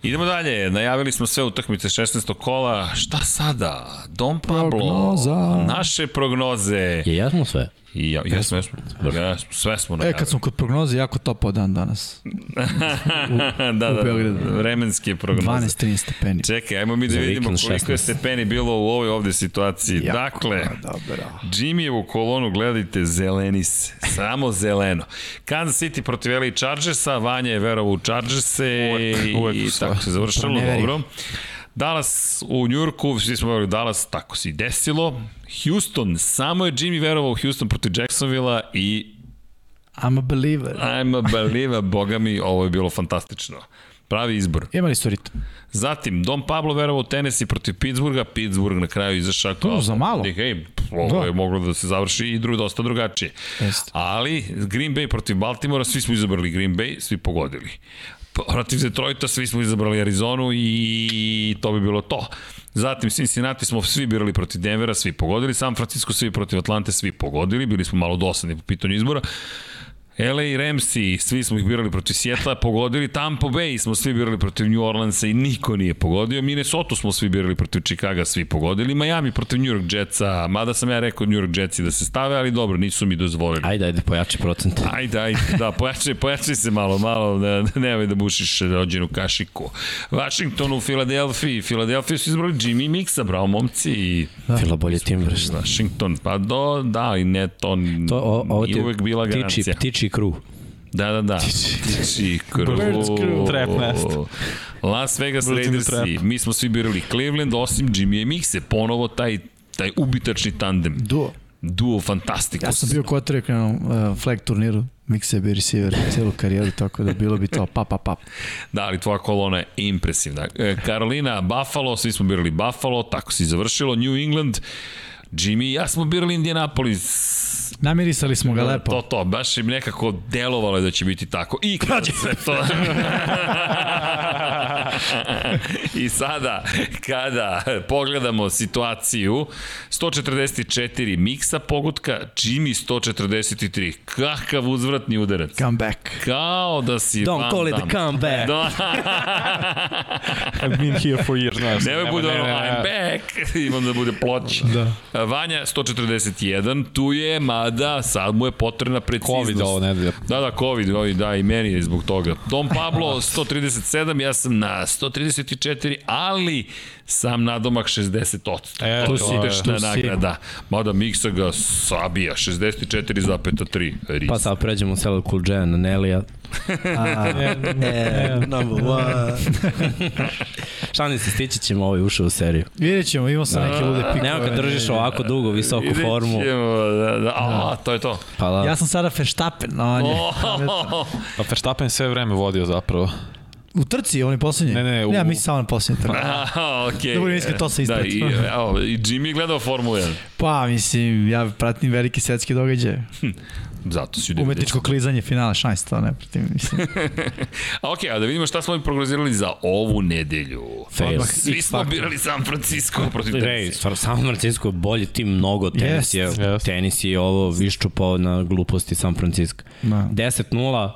[SPEAKER 1] Idemo dalje, najavili smo sve utakmice 16. kola, šta sada? Dom Pablo,
[SPEAKER 3] Prognoza.
[SPEAKER 1] naše prognoze.
[SPEAKER 2] Je jasno sve?
[SPEAKER 1] I ja, jesmo, jesmo, jesmo, sve smo
[SPEAKER 3] E,
[SPEAKER 1] najavili.
[SPEAKER 3] kad smo kod prognoze, jako topao dan danas.
[SPEAKER 1] da, da,
[SPEAKER 3] Beogradu.
[SPEAKER 1] vremenske prognoze.
[SPEAKER 3] 12-13 stepeni.
[SPEAKER 1] Čekaj, ajmo mi da
[SPEAKER 2] Za
[SPEAKER 1] vidimo
[SPEAKER 2] vikend
[SPEAKER 1] koliko je
[SPEAKER 2] 16.
[SPEAKER 1] stepeni bilo u ovoj ovde situaciji.
[SPEAKER 3] Jako
[SPEAKER 1] dakle,
[SPEAKER 3] Dobro.
[SPEAKER 1] Jimmyevu kolonu gledajte zeleni se, samo zeleno. Kansas City protiv LA Chargersa, Vanja je verovao u Chargerse
[SPEAKER 4] uvek
[SPEAKER 1] i
[SPEAKER 4] sve.
[SPEAKER 1] tako se završilo,
[SPEAKER 3] Pa ne verujem.
[SPEAKER 1] dobro. Dallas u Njurku, svi smo verovali u Dallas, tako se i desilo. Houston, samo je Jimmy verovao u Houston protiv Jacksonville i
[SPEAKER 3] I'm a believer.
[SPEAKER 1] I'm a believer, boga mi, ovo je bilo fantastično. Pravi izbor.
[SPEAKER 3] Imali su ritam.
[SPEAKER 1] Zatim, Dom Pablo verovao u Tennessee protiv Pittsburgha, Pittsburgh na kraju izašao kao...
[SPEAKER 3] za malo.
[SPEAKER 1] Ej, Hej, ovo
[SPEAKER 3] Da.
[SPEAKER 1] je moglo da se završi i dru, dosta drugačije.
[SPEAKER 3] Jeste.
[SPEAKER 1] Ali, Green Bay protiv Baltimora, svi smo izabrali Green Bay, svi pogodili. Protiv Detroita, svi smo izabrali Arizonu i to bi bilo to. Zatim Cincinnati smo svi birali protiv Denvera, svi pogodili, San Francisco svi protiv Atlante, svi pogodili, bili smo malo dosadni po pitanju izbora. LA i Ramsey, svi smo ih birali protiv Sjetla, pogodili Tampa Bay, smo svi birali protiv New Orleansa i niko nije pogodio. Minnesota smo svi birali protiv Chicaga, svi pogodili. Miami protiv New York Jetsa, mada sam ja rekao New York Jetsi da se stave, ali dobro, nisu mi dozvolili.
[SPEAKER 2] Ajde, ajde, pojači procente.
[SPEAKER 1] Ajde, ajde, da, pojačaj, pojačaj se malo, malo, da, da nemoj da bušiš rođenu kašiku. Washington u Filadelfiji, Filadelfiju su izbrali Jimmy Mixa, bravo momci, i
[SPEAKER 2] Da. Fila bolje tim vrš.
[SPEAKER 1] Washington, pa do, da, i ne, to,
[SPEAKER 2] To, o, ovo ti
[SPEAKER 1] i
[SPEAKER 2] je
[SPEAKER 1] uvek bila
[SPEAKER 2] ptiči,
[SPEAKER 1] garancija.
[SPEAKER 2] ptiči kru.
[SPEAKER 1] Da, da, da. Ptiči
[SPEAKER 4] Birds
[SPEAKER 1] crew.
[SPEAKER 4] crew. Trap nest.
[SPEAKER 1] Las Vegas
[SPEAKER 4] Birds in the
[SPEAKER 1] Raidersi.
[SPEAKER 4] trap.
[SPEAKER 1] Mi smo svi birali Cleveland, osim Jimmy i Mixe. Ponovo taj, taj ubitačni tandem.
[SPEAKER 3] Duo.
[SPEAKER 1] Duo fantastikus.
[SPEAKER 3] Ja sam bio kotrek na uh, flag turniru, mikse bi receiver celu karijeru, tako da bilo bi to pa pa pa.
[SPEAKER 1] Da, ali tvoja kolona je impresivna. E, Karolina, Buffalo, svi smo birali Buffalo, tako se i završilo. New England, Jimmy i ja smo birali Indianapolis.
[SPEAKER 3] Namirisali smo
[SPEAKER 4] Da,
[SPEAKER 3] ga lepo.
[SPEAKER 1] Da, To, to, baš im nekako delovalo je da će biti tako. I krađe sve to. I sada, kada pogledamo situaciju, 144 miksa pogotka, Jimmy 143. Kakav uzvratni udarac.
[SPEAKER 3] Come back.
[SPEAKER 1] Kao da si
[SPEAKER 2] Don't call it a comeback.
[SPEAKER 1] Da,
[SPEAKER 4] I've been here for years, znaš. da
[SPEAKER 1] Nemoj bude ono, I'm back, imam da bude ploč. Da. Vanja, 141, tu je, mada sad mu je potrebna preciznost.
[SPEAKER 4] Covid ovo nedelje.
[SPEAKER 1] Da, da, COVID, ovi, da, i meni je zbog toga. Dom Pablo, 137, ja sam na 134, ali sam nadomak 60%.
[SPEAKER 4] E,
[SPEAKER 1] to
[SPEAKER 4] to
[SPEAKER 1] si
[SPEAKER 4] je,
[SPEAKER 1] idešna
[SPEAKER 3] tu si.
[SPEAKER 1] nagrada. Mada Miksa ga sabija, 64,3. Ris.
[SPEAKER 2] Pa sad pređemo u Selo Cool J na Nelija. Number one. Šalim se, stići ćemo ovaj ušao u seriju.
[SPEAKER 3] Vidjet ćemo, imao
[SPEAKER 4] Da.
[SPEAKER 3] sam neke lude pikove.
[SPEAKER 2] Nema kad držiš ovako dugo, visoku
[SPEAKER 1] Vidjet
[SPEAKER 2] formu.
[SPEAKER 1] ćemo, Da, da, a, to je to.
[SPEAKER 2] Pa da.
[SPEAKER 3] Ja sam sada Verstappen, a on je.
[SPEAKER 4] Pa Verstappen sve vreme vodio zapravo.
[SPEAKER 3] U trci, on je posljednji?
[SPEAKER 4] Ne, ne, u-
[SPEAKER 3] Ja, mislim samo na posljednji trci.
[SPEAKER 1] Aha, okej.
[SPEAKER 3] Dobro, niske, to se
[SPEAKER 1] Da,
[SPEAKER 3] isprati.
[SPEAKER 1] i, evo, i Jimmy je gledao Formulu 1.
[SPEAKER 3] Pa, mislim, ja pratim velike svetske događaje.
[SPEAKER 1] Zato si u 90.
[SPEAKER 3] Umetničko klizanje finala, šanj to ne pratim, mislim.
[SPEAKER 1] A okej, a da vidimo šta smo im prognozirali za ovu nedelju.
[SPEAKER 2] Fail.
[SPEAKER 1] Odmah, Svi smo birali San Francisco protiv
[SPEAKER 2] Rej,
[SPEAKER 1] Tennessee.
[SPEAKER 2] stvarno, San Francisco je bolji tim mnogo, tenis je,
[SPEAKER 3] Jest.
[SPEAKER 4] Jest.
[SPEAKER 2] tenis je ovo viščupao na gluposti San Francisco.
[SPEAKER 3] Da.
[SPEAKER 2] 10-0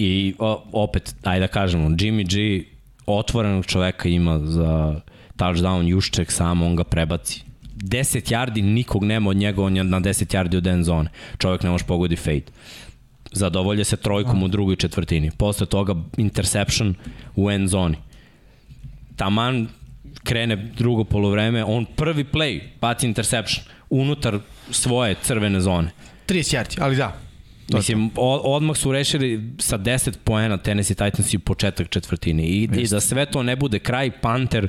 [SPEAKER 2] i o, opet, ajde da kažemo, Jimmy G otvorenog čoveka ima za touchdown, jušček samo, on ga prebaci. 10 yardi, nikog nema od njega, on je na 10 yardi od end zone. Čovek ne može pogodi fade. Zadovolje se trojkom u drugoj četvrtini. Posle toga interception u end zoni taman krene drugo polovreme, on prvi play, baci interception, unutar svoje crvene zone.
[SPEAKER 3] 30 jardi, ali da.
[SPEAKER 2] Mislim, o- odmah su rešili sa 10 poena Tennessee Titans i početak četvrtine. I, I da sve to ne bude kraj, Panter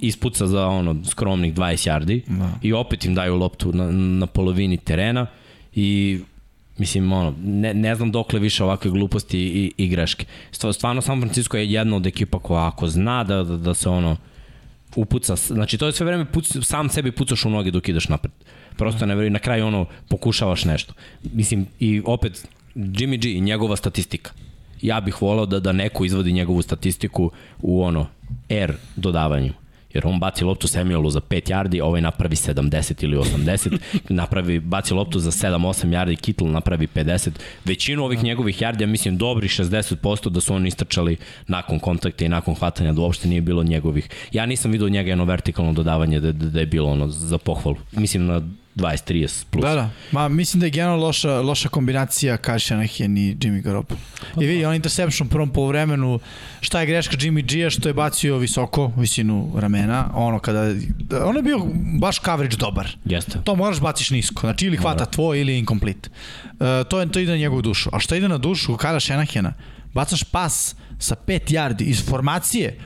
[SPEAKER 2] ispuca za ono skromnih 20 yardi
[SPEAKER 3] Da.
[SPEAKER 2] i opet im daju loptu na, na polovini terena i mislim ono ne, ne znam dokle više ovakve gluposti i, i greške. Stva- Stvarno San Francisco je jedna od ekipa koja ako zna da, da, da se ono upuca, s- znači to je sve vreme puc, sam sebi pucaš u noge dok ideš napred. Prosto ne verujem, na kraju ono pokušavaš nešto. Mislim i opet Jimmy G i njegova statistika. Ja bih volao da, da neko izvodi njegovu statistiku u ono R dodavanju. Jer on baci loptu Samuelu za 5 yardi, ovaj napravi 70 ili 80, napravi, baci loptu za 7-8 yardi, Kittle napravi 50. Većinu ovih njegovih yardi, ja mislim dobri 60% da su oni istrčali nakon kontakta i nakon hvatanja, da uopšte nije bilo njegovih. Ja nisam vidio od njega jedno vertikalno dodavanje da, da, da je bilo ono za pohvalu. Mislim na 20-30 plus.
[SPEAKER 3] Da, da. Ma, mislim da je generalno loša, loša kombinacija Kašija Nahen i Jimmy Garoppolo. I vidi, on interception u prvom polovremenu, šta je greška Jimmy G-a što je bacio visoko, visinu ramena, ono kada, ono je bio baš coverage dobar.
[SPEAKER 2] Jeste.
[SPEAKER 3] To moraš baciš nisko, znači ili hvata tvoj ili je incomplete. E, to, je, to ide na njegovu dušu. A što ide na dušu Kyle Shanahana? Bacaš pas sa 5 yardi iz formacije,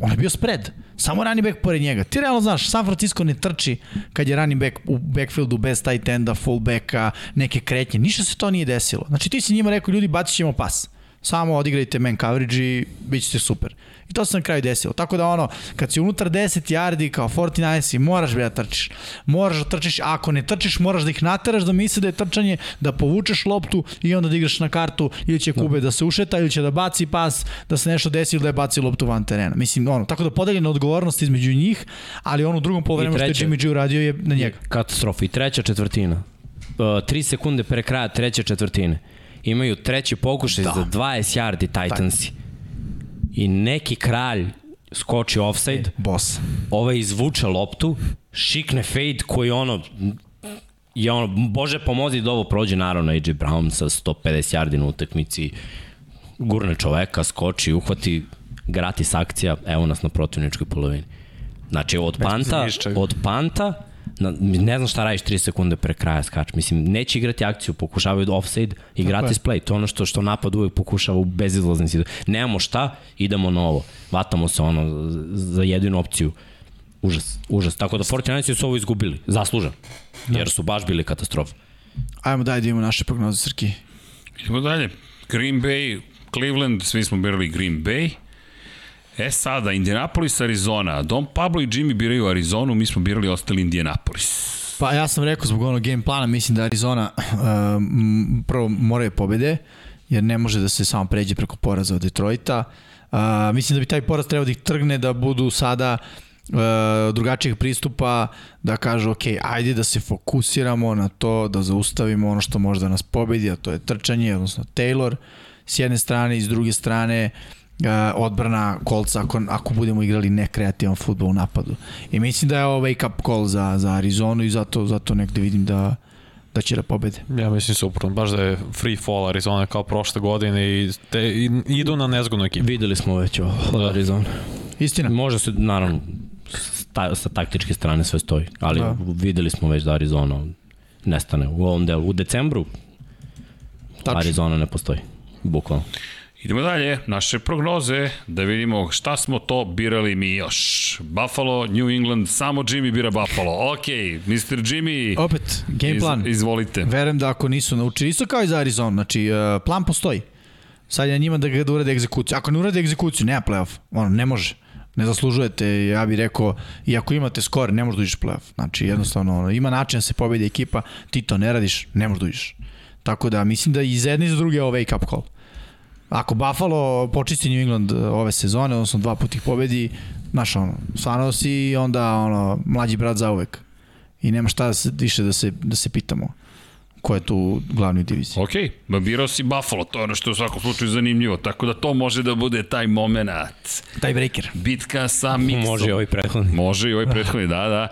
[SPEAKER 3] on je bio spread. Samo running back pored njega. Ti realno znaš, San Francisco ne trči kad je running back u backfieldu bez tight enda, fullbacka, neke kretnje. Ništa se to nije desilo. Znači ti si njima rekao, ljudi, bacit ćemo pas. Samo odigrajte man coverage i bit ćete super. I to se na kraju desilo. Tako da ono, kad si unutar 10 yardi kao 49 i moraš bre da trčiš. Moraš da trčiš, a ako ne trčiš, moraš da ih nateraš da misle da je trčanje, da povučeš loptu i onda da igraš na kartu ili će Kube da se ušeta ili će da baci pas, da se nešto desi ili da je baci loptu van terena. Mislim, ono, tako da podeljena odgovornost između njih, ali ono u drugom povremenu što je
[SPEAKER 2] treće.
[SPEAKER 3] Jimmy G uradio je na njega.
[SPEAKER 2] Katastrofa. I treća četvrtina. Uh, tri sekunde pre kraja treće četvrtine. Imaju treći pokušaj da. za 20 yardi Titansi. I neki kralj skoči offside,
[SPEAKER 3] Boss.
[SPEAKER 2] ovaj izvuče loptu, šikne fade koji ono je ono, bože pomozi da ovo prođe naravno AJ Brown sa 150 yardi na utakmici gurne čoveka, skoči, uhvati gratis akcija, evo nas na protivničkoj polovini. Znači, od panta, od panta, na, ne znam šta radiš 3 sekunde pre kraja skač. Mislim, neće igrati akciju, pokušavaju da offside i gratis play. To je ono što, što napad uvek pokušava u bezizlazni situaciji. Nemamo šta, idemo na ovo. Vatamo se ono za jedinu opciju. Užas, užas. Tako da 49 su ovo izgubili. Zaslužan. Jer su baš bili katastrofa.
[SPEAKER 3] Ajmo daj da imamo naše prognoze, Srki.
[SPEAKER 1] Idemo dalje. Green Bay, Cleveland, svi smo birali Green Bay. E sada, Indianapolis, Arizona. Don Pablo i Jimmy biraju Arizonu, mi smo birali ostali Indianapolis.
[SPEAKER 3] Pa ja sam rekao zbog onog game plana, mislim da Arizona um, prvo moraju pobede, jer ne može da se samo pređe preko poraza od Detroita. Uh, mislim da bi taj poraz trebao da ih trgne da budu sada uh, drugačijih pristupa, da kažu ok, ajde da se fokusiramo na to, da zaustavimo ono što može da nas pobedi, a to je trčanje, odnosno Taylor, s jedne strane i s druge strane e, odbrana kolca ako, ako budemo igrali nekreativan futbol u napadu. I mislim da je ovo wake up call za, za Arizonu i zato, zato negde vidim da, da će da pobede.
[SPEAKER 4] Ja mislim suprotno, baš da je free fall Arizona kao prošle godine i, te, i idu na nezgodnu ekipu.
[SPEAKER 2] Videli smo već ovo od Arizona.
[SPEAKER 3] Istina.
[SPEAKER 2] Da. Može se, naravno, sta, sa taktičke strane sve stoji, ali
[SPEAKER 3] Da.
[SPEAKER 2] da. videli smo već da Arizona nestane u ovom delu. U decembru
[SPEAKER 3] Tačno.
[SPEAKER 2] Tačno. Arizona ne postoji, bukvalno.
[SPEAKER 1] Idemo dalje, naše prognoze, da vidimo šta smo to birali mi još. Buffalo, New England, samo Jimmy bira Buffalo. Ok, Mr. Jimmy,
[SPEAKER 3] Opet, game plan.
[SPEAKER 1] Iz, izvolite.
[SPEAKER 3] Verujem da ako nisu naučili, isto kao i za Arizonu, znači e, plan postoji. Sad je na njima da ga da urade egzekuciju. Ako ne urade egzekuciju, nema playoff. Ono, ne može. Ne zaslužujete, ja bih rekao, i ako imate skor, ne možeš da uđeš u playoff. Znači, jednostavno, ono, ima način da se pobedi ekipa, ti to ne radiš, ne možeš da uđeš. Tako da, mislim da i za jedne i za druge je ovo wake up call. Ako Buffalo počisti New England e, ove sezone, odnosno dva put ih pobedi, znaš, ono, stvarno si onda, ono, mlađi brat zauvek. I nema šta da se, više da se, da se pitamo ko je tu glavni u diviziji.
[SPEAKER 1] Ok, ma birao si Buffalo, to je ono što je u svakom slučaju zanimljivo, tako da to može da bude taj moment.
[SPEAKER 3] Taj breaker.
[SPEAKER 1] Bitka sa Mixom.
[SPEAKER 2] Može i ovaj prethodni.
[SPEAKER 1] Može i ovaj prethodni, da, da.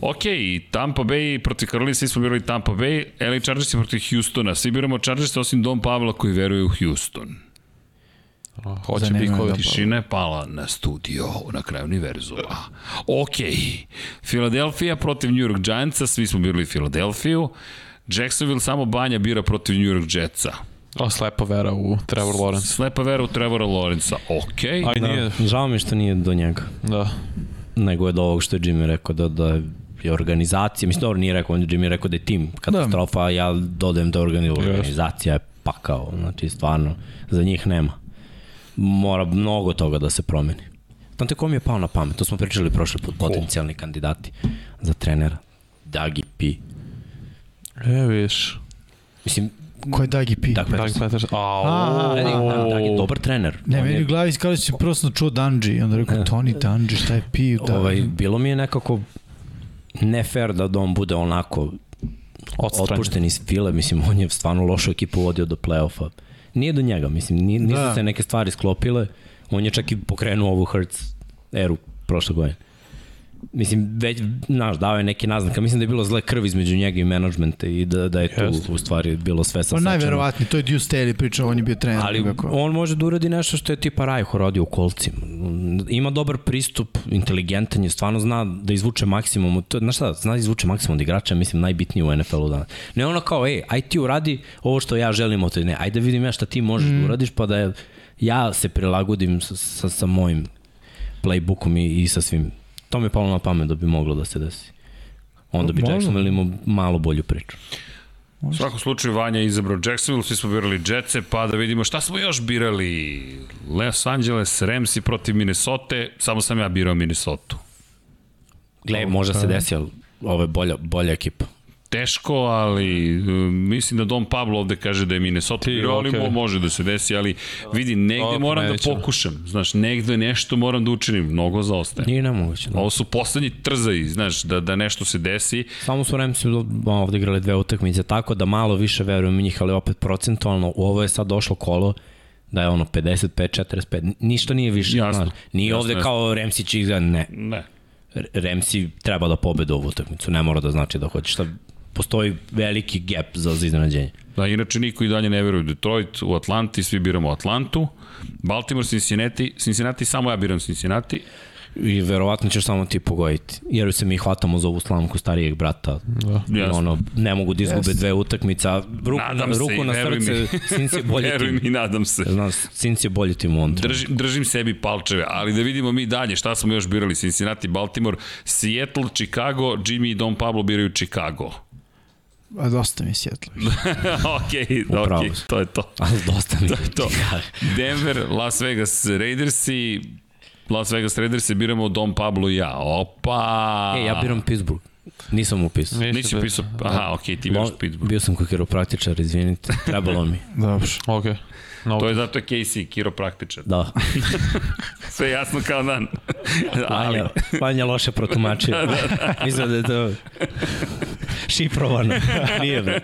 [SPEAKER 1] Ok, Tampa Bay protiv Karolina, svi smo birali Tampa Bay, LA Chargers protiv Houstona, svi biramo Chargers osim Don Pavla koji veruje u Houston.
[SPEAKER 4] Hoće
[SPEAKER 3] Zanimljivo,
[SPEAKER 4] bikovi.
[SPEAKER 3] da.
[SPEAKER 1] Tišina je pala na studio na kraju univerzuma. Ok, Philadelphia protiv New York Giantsa, svi smo birali Philadelphiju, Jacksonville samo Banja bira protiv New York Jetsa.
[SPEAKER 4] O, slepa vera u Trevor Lawrence.
[SPEAKER 3] Da.
[SPEAKER 2] Da.
[SPEAKER 1] Slepa vera u Trevora Lawrencea, ok.
[SPEAKER 4] A i nije,
[SPEAKER 2] Žao mi je što nije do njega.
[SPEAKER 4] da.
[SPEAKER 2] nego je do ovog što je Jimmy rekao da, da je organizacija, mislim dobro nije rekao, on je Jimmy rekao da je tim katastrofa, da. ja dodajem da je organi- organizacija je pakao, znači stvarno za njih nema. Mora mnogo toga da se promeni. Znate ko mi je pao na pamet? To smo pričali prošli put, potencijalni kandidati za trenera. Dagi P.
[SPEAKER 4] E, vidiš.
[SPEAKER 2] Mislim,
[SPEAKER 3] Ko je Dagi P?
[SPEAKER 2] Dag
[SPEAKER 4] Doug
[SPEAKER 2] Peterson.
[SPEAKER 4] Peterson.
[SPEAKER 3] A,
[SPEAKER 4] Au.
[SPEAKER 2] Ne, ne, Dag je da, dobar trener.
[SPEAKER 3] Ne,
[SPEAKER 2] On
[SPEAKER 3] meni
[SPEAKER 2] je- E.
[SPEAKER 3] u glavi skali se prosto čuo Danji, i onda rekao Tony Danji, šta je P? Da.
[SPEAKER 2] ovaj, bilo mi je nekako ne fair da on bude onako
[SPEAKER 4] Odstranjen.
[SPEAKER 2] otpušten iz file, mislim, on je stvarno lošu ekipu vodio do play-offa. Nije do njega, mislim, ni- nisu
[SPEAKER 3] Da.
[SPEAKER 2] se neke stvari sklopile, on je čak i pokrenuo ovu Hertz eru prošle godine. Mislim, već, znaš, dao je neke naznake, mislim da je bilo zle krv između njega i menadžmenta i da, da je tu
[SPEAKER 4] Jeste.
[SPEAKER 2] u stvari bilo sve
[SPEAKER 3] Pa
[SPEAKER 2] sasačeno.
[SPEAKER 3] najverovatnije, to je Deuce Staley pričao, on je bio trener.
[SPEAKER 2] Ali
[SPEAKER 3] nekako.
[SPEAKER 2] on može da uradi nešto što je tipa Rajho rodio u kolcima. Ima dobar pristup, inteligentan je, stvarno zna da izvuče maksimum. od- To, znaš šta, zna da izvuče maksimum od igrača, mislim, najbitnije u NFL-u danas. Ne ono kao, ej, aj ti uradi ovo što ja želim od tebe. Ne, ajde da vidim ja šta ti možeš mm. da uradiš, pa da ja, ja se prilagodim sa, sa, sa mojim playbookom i, i sa svim. To mi je palo na pamet da bi moglo da se desi. Onda bi Jackson imao malo bolju priču.
[SPEAKER 1] U svakom slučaju Vanja je izabrao Jacksonville, svi smo birali Jetsa, pa da vidimo šta smo još birali. Los Angeles, Ramsey protiv Minnesota, samo sam ja birao Minnesota.
[SPEAKER 2] Gle, možda se desi, ali ovo je bolja, bolja ekipa.
[SPEAKER 1] Teško, ali e, mislim da Don Pablo ovde kaže da je Minnesota
[SPEAKER 4] Ti,
[SPEAKER 1] birao, ali
[SPEAKER 4] okej.
[SPEAKER 1] mo- može da se desi, ali vidi, negde
[SPEAKER 4] Dobro,
[SPEAKER 1] moram da
[SPEAKER 4] nećemo.
[SPEAKER 1] pokušam. Znaš, negde nešto moram da učinim, mnogo zaostajem.
[SPEAKER 2] Nije nemoguće. Da.
[SPEAKER 1] Ovo su poslednji trzaji, znaš, da, da nešto se desi.
[SPEAKER 2] Samo su Remsi ovde igrali dve utakmice, tako da malo više verujem u njih, ali opet procentualno u ovo je sad došlo kolo da je ono 55-45, ništa nije više.
[SPEAKER 1] Jasno.
[SPEAKER 2] znaš. Nije
[SPEAKER 1] Jasno,
[SPEAKER 2] ovde
[SPEAKER 1] jasno.
[SPEAKER 2] kao Remsi će igra, ne.
[SPEAKER 1] Ne.
[SPEAKER 2] R- Remsi treba da pobede ovu utakmicu, ne mora da znači da hoće. Šta, postoji veliki gap za, za iznenađenje.
[SPEAKER 1] Da, inače niko i dalje ne veruje u Detroit, u Atlanti, svi biramo Atlantu. Baltimore, Cincinnati, Cincinnati, samo ja biram Cincinnati.
[SPEAKER 2] I verovatno ćeš samo ti pogoditi. Jer se mi hvatamo za ovu slamku starijeg brata. Da.
[SPEAKER 1] Jasno.
[SPEAKER 2] Ono, ne mogu da izgube yes. dve utakmice. a Ruku,
[SPEAKER 1] Nadam se
[SPEAKER 2] ruku
[SPEAKER 1] i
[SPEAKER 2] na
[SPEAKER 1] veruj mi.
[SPEAKER 2] srce, Sinci je bolji
[SPEAKER 1] Veruj
[SPEAKER 2] tim.
[SPEAKER 1] mi, nadam se.
[SPEAKER 2] Znam, Sinci je bolji tim u ovom trenutku.
[SPEAKER 1] Držim, držim sebi palčeve, ali da vidimo mi dalje šta smo još birali. Cincinnati, Baltimore, Seattle, Chicago, Jimmy i Don Pablo biraju Chicago.
[SPEAKER 3] A dosta mi je Seattle. E,
[SPEAKER 1] ok,
[SPEAKER 2] Upravo
[SPEAKER 1] ok,
[SPEAKER 2] si.
[SPEAKER 1] to je to.
[SPEAKER 2] Ali dosta mi je.
[SPEAKER 1] to. Denver, Las Vegas Raiders i Las Vegas Raiders biramo Don Pablo i ja. Opa!
[SPEAKER 2] E, ja biram Pittsburgh. Nisam upisao.
[SPEAKER 1] Nisi
[SPEAKER 4] da-
[SPEAKER 1] pisao, aha, ok, ti biraš
[SPEAKER 2] Mo-
[SPEAKER 1] Pittsburgh.
[SPEAKER 2] Bio sam kod kiropraktičara, izvinite. Trebalo mi.
[SPEAKER 3] Dobro.
[SPEAKER 4] Okej. No,
[SPEAKER 1] To je zato je Casey kiropraktičar.
[SPEAKER 2] Da.
[SPEAKER 1] Sve jasno kao dan. Ali, da,
[SPEAKER 2] Vanja, Vanja loše protumačio. Mislim da je to šifrovano. Nije bre.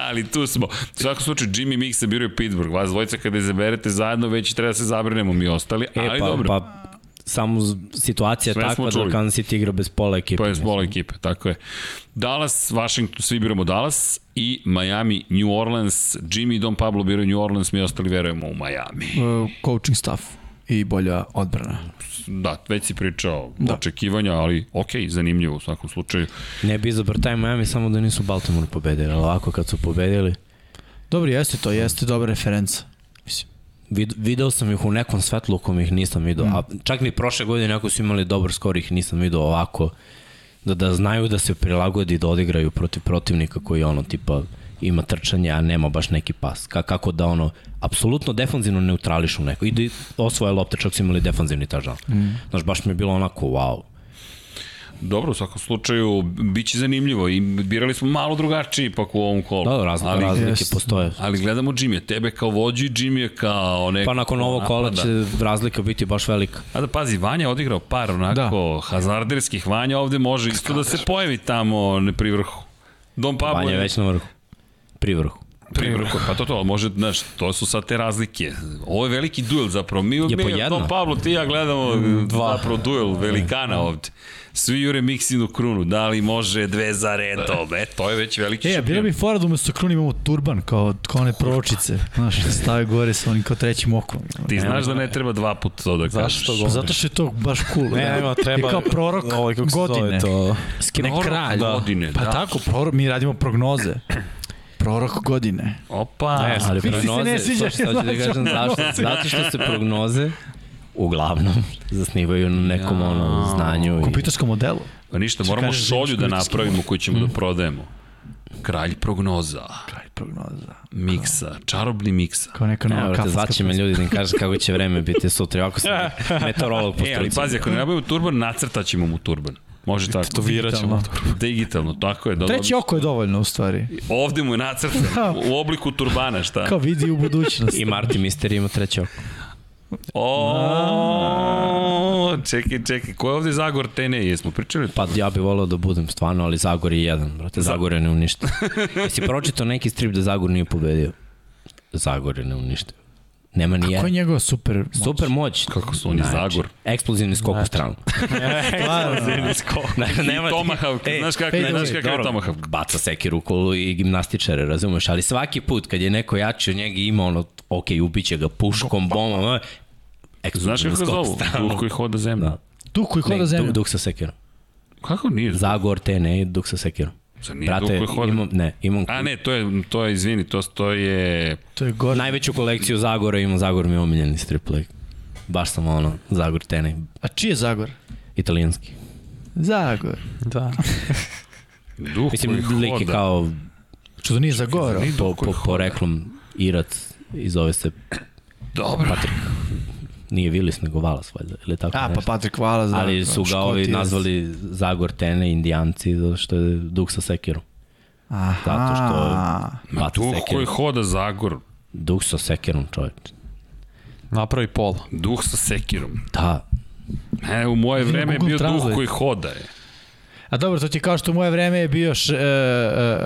[SPEAKER 1] ali tu smo. U svakom slučaju, Jimmy Mix biraju Pittsburgh. Vas dvojica kada izaberete zajedno, već i treba da se zabrinemo mi ostali.
[SPEAKER 2] E,
[SPEAKER 1] ali
[SPEAKER 2] pa,
[SPEAKER 1] dobro.
[SPEAKER 2] pa samo z- situacija
[SPEAKER 1] Sve
[SPEAKER 2] je
[SPEAKER 1] smo
[SPEAKER 2] takva da
[SPEAKER 1] čuli.
[SPEAKER 2] Kansas City igra bez pola ekipe.
[SPEAKER 1] Pa je pola ekipe, tako je. Dallas, Washington, svi biramo Dallas i Miami, New Orleans, Jimmy i Don Pablo biraju New Orleans, mi ostali verujemo u Miami.
[SPEAKER 3] Uh, coaching staff i bolja odbrana.
[SPEAKER 1] Da, već si pričao da. očekivanja, ali ok, zanimljivo u svakom slučaju.
[SPEAKER 2] Ne bi izabr taj Miami samo da nisu Baltimore pobedili, ali ovako kad su pobedili,
[SPEAKER 3] Dobro, jeste to, jeste dobra referenca.
[SPEAKER 2] Vid, video sam ih u nekom svetlu u kom ih nisam video. A čak ni prošle godine ako su imali dobar skor ih nisam video ovako. Da, da znaju da se prilagodi da odigraju protiv protivnika koji ono tipa ima trčanje, a nema baš neki pas. Ka, kako da ono, apsolutno defanzivno neutrališu neko. I da osvoje lopte, čak su imali defanzivni tažan. Mm. Znaš, baš mi je bilo onako wow.
[SPEAKER 1] Dobro, u svakom slučaju, bit će zanimljivo i birali smo malo drugačiji ipak u ovom kolu.
[SPEAKER 2] Da, da, razlike,
[SPEAKER 1] ali,
[SPEAKER 2] razlike
[SPEAKER 3] jest.
[SPEAKER 2] postoje.
[SPEAKER 1] ali gledamo Jimmy, tebe kao vođu i Jimmy kao neko...
[SPEAKER 2] Pa nakon ovog kola
[SPEAKER 1] napada.
[SPEAKER 2] će razlika biti baš velika.
[SPEAKER 1] A da pazi, Vanja je odigrao par onako da. hazarderskih Vanja, ovde može isto da se pojavi tamo ne pri vrhu. Don Pablo
[SPEAKER 2] Vanja je već na vrhu. Pri vrhu.
[SPEAKER 1] pri vrhu. Pa to to, ali može, znaš, to su sad te razlike. Ovo je veliki duel zapravo. Mi,
[SPEAKER 2] po
[SPEAKER 1] mi
[SPEAKER 2] jedno. Mm,
[SPEAKER 1] Don Pablo, ti i ja gledamo Dva. zapravo duel velikana ovde. Svi jure Miksinu krunu, da li može dve za redom, e, to je već veliki
[SPEAKER 3] E, a bilo
[SPEAKER 1] šampion.
[SPEAKER 3] bi fora da umesto kruna imamo turban, kao, kao one proročice. Znaš, da stave gore sa onim kao trećim okom.
[SPEAKER 1] Ti znaš da ne treba dva puta to da kažeš.
[SPEAKER 4] zašto
[SPEAKER 3] Pa
[SPEAKER 4] govoriš?
[SPEAKER 3] Zato što je to baš cool.
[SPEAKER 4] Ne,
[SPEAKER 3] da.
[SPEAKER 4] nema, treba...
[SPEAKER 3] I kao prorok
[SPEAKER 4] Ovaj, kako se zove
[SPEAKER 3] godine.
[SPEAKER 4] To.
[SPEAKER 2] Skim
[SPEAKER 1] Prorok godine,
[SPEAKER 3] Pa
[SPEAKER 1] da.
[SPEAKER 3] tako, prorok, mi radimo prognoze. Prorok godine.
[SPEAKER 1] Opa,
[SPEAKER 2] Ali
[SPEAKER 3] Vidi se, ne
[SPEAKER 2] prognoze,
[SPEAKER 3] sviđa
[SPEAKER 2] sad ću da
[SPEAKER 3] mi,
[SPEAKER 2] kažem
[SPEAKER 3] znači,
[SPEAKER 2] zašto, zato što se prognoze uglavnom zasnivaju na nekom ja. ono znanju. i-
[SPEAKER 3] Kompjuterskom modelu.
[SPEAKER 1] Pa ništa, moramo
[SPEAKER 3] kažeš
[SPEAKER 1] šolju da
[SPEAKER 3] Zimskovićski
[SPEAKER 1] napravimo koju ćemo da prodajemo. Kralj prognoza,
[SPEAKER 3] Kraj prognoza.
[SPEAKER 1] miksa, čarobni miksa.
[SPEAKER 3] Kao neka
[SPEAKER 2] Ne,
[SPEAKER 3] nova
[SPEAKER 2] brate,
[SPEAKER 3] kafanska.
[SPEAKER 2] zvaće me ljudi da im kaže kako će vreme biti sutra, ovako sam meteorolog po
[SPEAKER 1] E, ali
[SPEAKER 2] struci.
[SPEAKER 1] pazi, ako ne nabavimo turban, nacrtat ćemo mu turban. Može tako.
[SPEAKER 4] Tetovirat ćemo.
[SPEAKER 1] Digitalno, tako je. Da,
[SPEAKER 3] Treći oko je dovoljno u stvari.
[SPEAKER 1] Ovde mu je nacrtan, u obliku turbana, šta?
[SPEAKER 3] Kao vidi u budućnost.
[SPEAKER 2] I Marti Mister ima treće oko.
[SPEAKER 1] O, čekaj, čekaj, ko je ovde Zagor Tene? Jesmo pričali?
[SPEAKER 2] Pa ja bih volao da budem stvarno, ali Zagor je jedan, brate. Zagor je ne uništio. Jesi pročitao neki strip da Zagor nije pobedio? Zagor je ne uništio. Nema ni
[SPEAKER 3] Koja je
[SPEAKER 2] jedan.
[SPEAKER 3] njegova super moć?
[SPEAKER 2] Super moć. Znači,
[SPEAKER 1] Kako su oni Zagor?
[SPEAKER 2] Eksplozivni skok u stranu.
[SPEAKER 3] Stvarno.
[SPEAKER 2] Ne,
[SPEAKER 1] I Tomahawk, e, znaš kako,
[SPEAKER 3] fade
[SPEAKER 1] znaš
[SPEAKER 3] away,
[SPEAKER 1] kako je Tomahawk?
[SPEAKER 2] baca sekiru u kolu i gimnastičare, razumeš? Ali svaki put kad je neko jači od njega ima ono, ok, ubiće ga puškom, bombom, ono,
[SPEAKER 1] Znaš kako ga
[SPEAKER 2] eksplozivni skok
[SPEAKER 1] zovu?
[SPEAKER 2] u stranu.
[SPEAKER 1] Duh koji hoda zemlju.
[SPEAKER 2] Da.
[SPEAKER 3] Tu koji
[SPEAKER 2] Ne,
[SPEAKER 3] hoda
[SPEAKER 2] Duh,
[SPEAKER 3] zemlju.
[SPEAKER 2] duh sa sekirom.
[SPEAKER 1] Kako nije?
[SPEAKER 2] Zagor te ne, duh sa sekirom.
[SPEAKER 1] Zar nije
[SPEAKER 2] Brate,
[SPEAKER 1] duh koji hoda?
[SPEAKER 2] imam, ne, imam
[SPEAKER 1] A ne, to je, to je, izvini, to, to je...
[SPEAKER 3] To je gore.
[SPEAKER 2] najveću kolekciju Zagora, imam Zagor mi je omiljeni strip leg. Baš sam ono, Zagor Tene,
[SPEAKER 3] A čiji je Zagor?
[SPEAKER 2] italijanski.
[SPEAKER 3] Zagor.
[SPEAKER 4] Da.
[SPEAKER 1] Duh koji
[SPEAKER 2] Mislim, lik je
[SPEAKER 1] hoda.
[SPEAKER 2] kao Pa,
[SPEAKER 3] Što da nije Zagor? a?
[SPEAKER 2] po, po, poreklom Irac i zove se
[SPEAKER 1] Dobro.
[SPEAKER 2] Patrik. Nije Willis, nego Valas, valjda, ili tako
[SPEAKER 3] A, pa
[SPEAKER 2] nešto.
[SPEAKER 3] Patrik Valas, da.
[SPEAKER 2] Ali su ga ovi
[SPEAKER 3] Škotijac.
[SPEAKER 2] nazvali Zagor Tene, indijanci, zato što je duh sa sekirom.
[SPEAKER 3] Aha.
[SPEAKER 2] zato što-
[SPEAKER 1] Ma
[SPEAKER 2] Bata
[SPEAKER 1] duh
[SPEAKER 2] sekira.
[SPEAKER 1] koji hoda Zagor.
[SPEAKER 2] Duh sa sekirom, čovječ.
[SPEAKER 4] Napravi pol.
[SPEAKER 1] Duh sa sekirom.
[SPEAKER 2] Da,
[SPEAKER 1] E, u moje
[SPEAKER 3] Vidim
[SPEAKER 1] vreme je
[SPEAKER 3] Google
[SPEAKER 1] bio duh
[SPEAKER 3] Translate.
[SPEAKER 1] koji hoda. Je.
[SPEAKER 3] A dobro, to ti je kao što u moje vreme je bio š, e,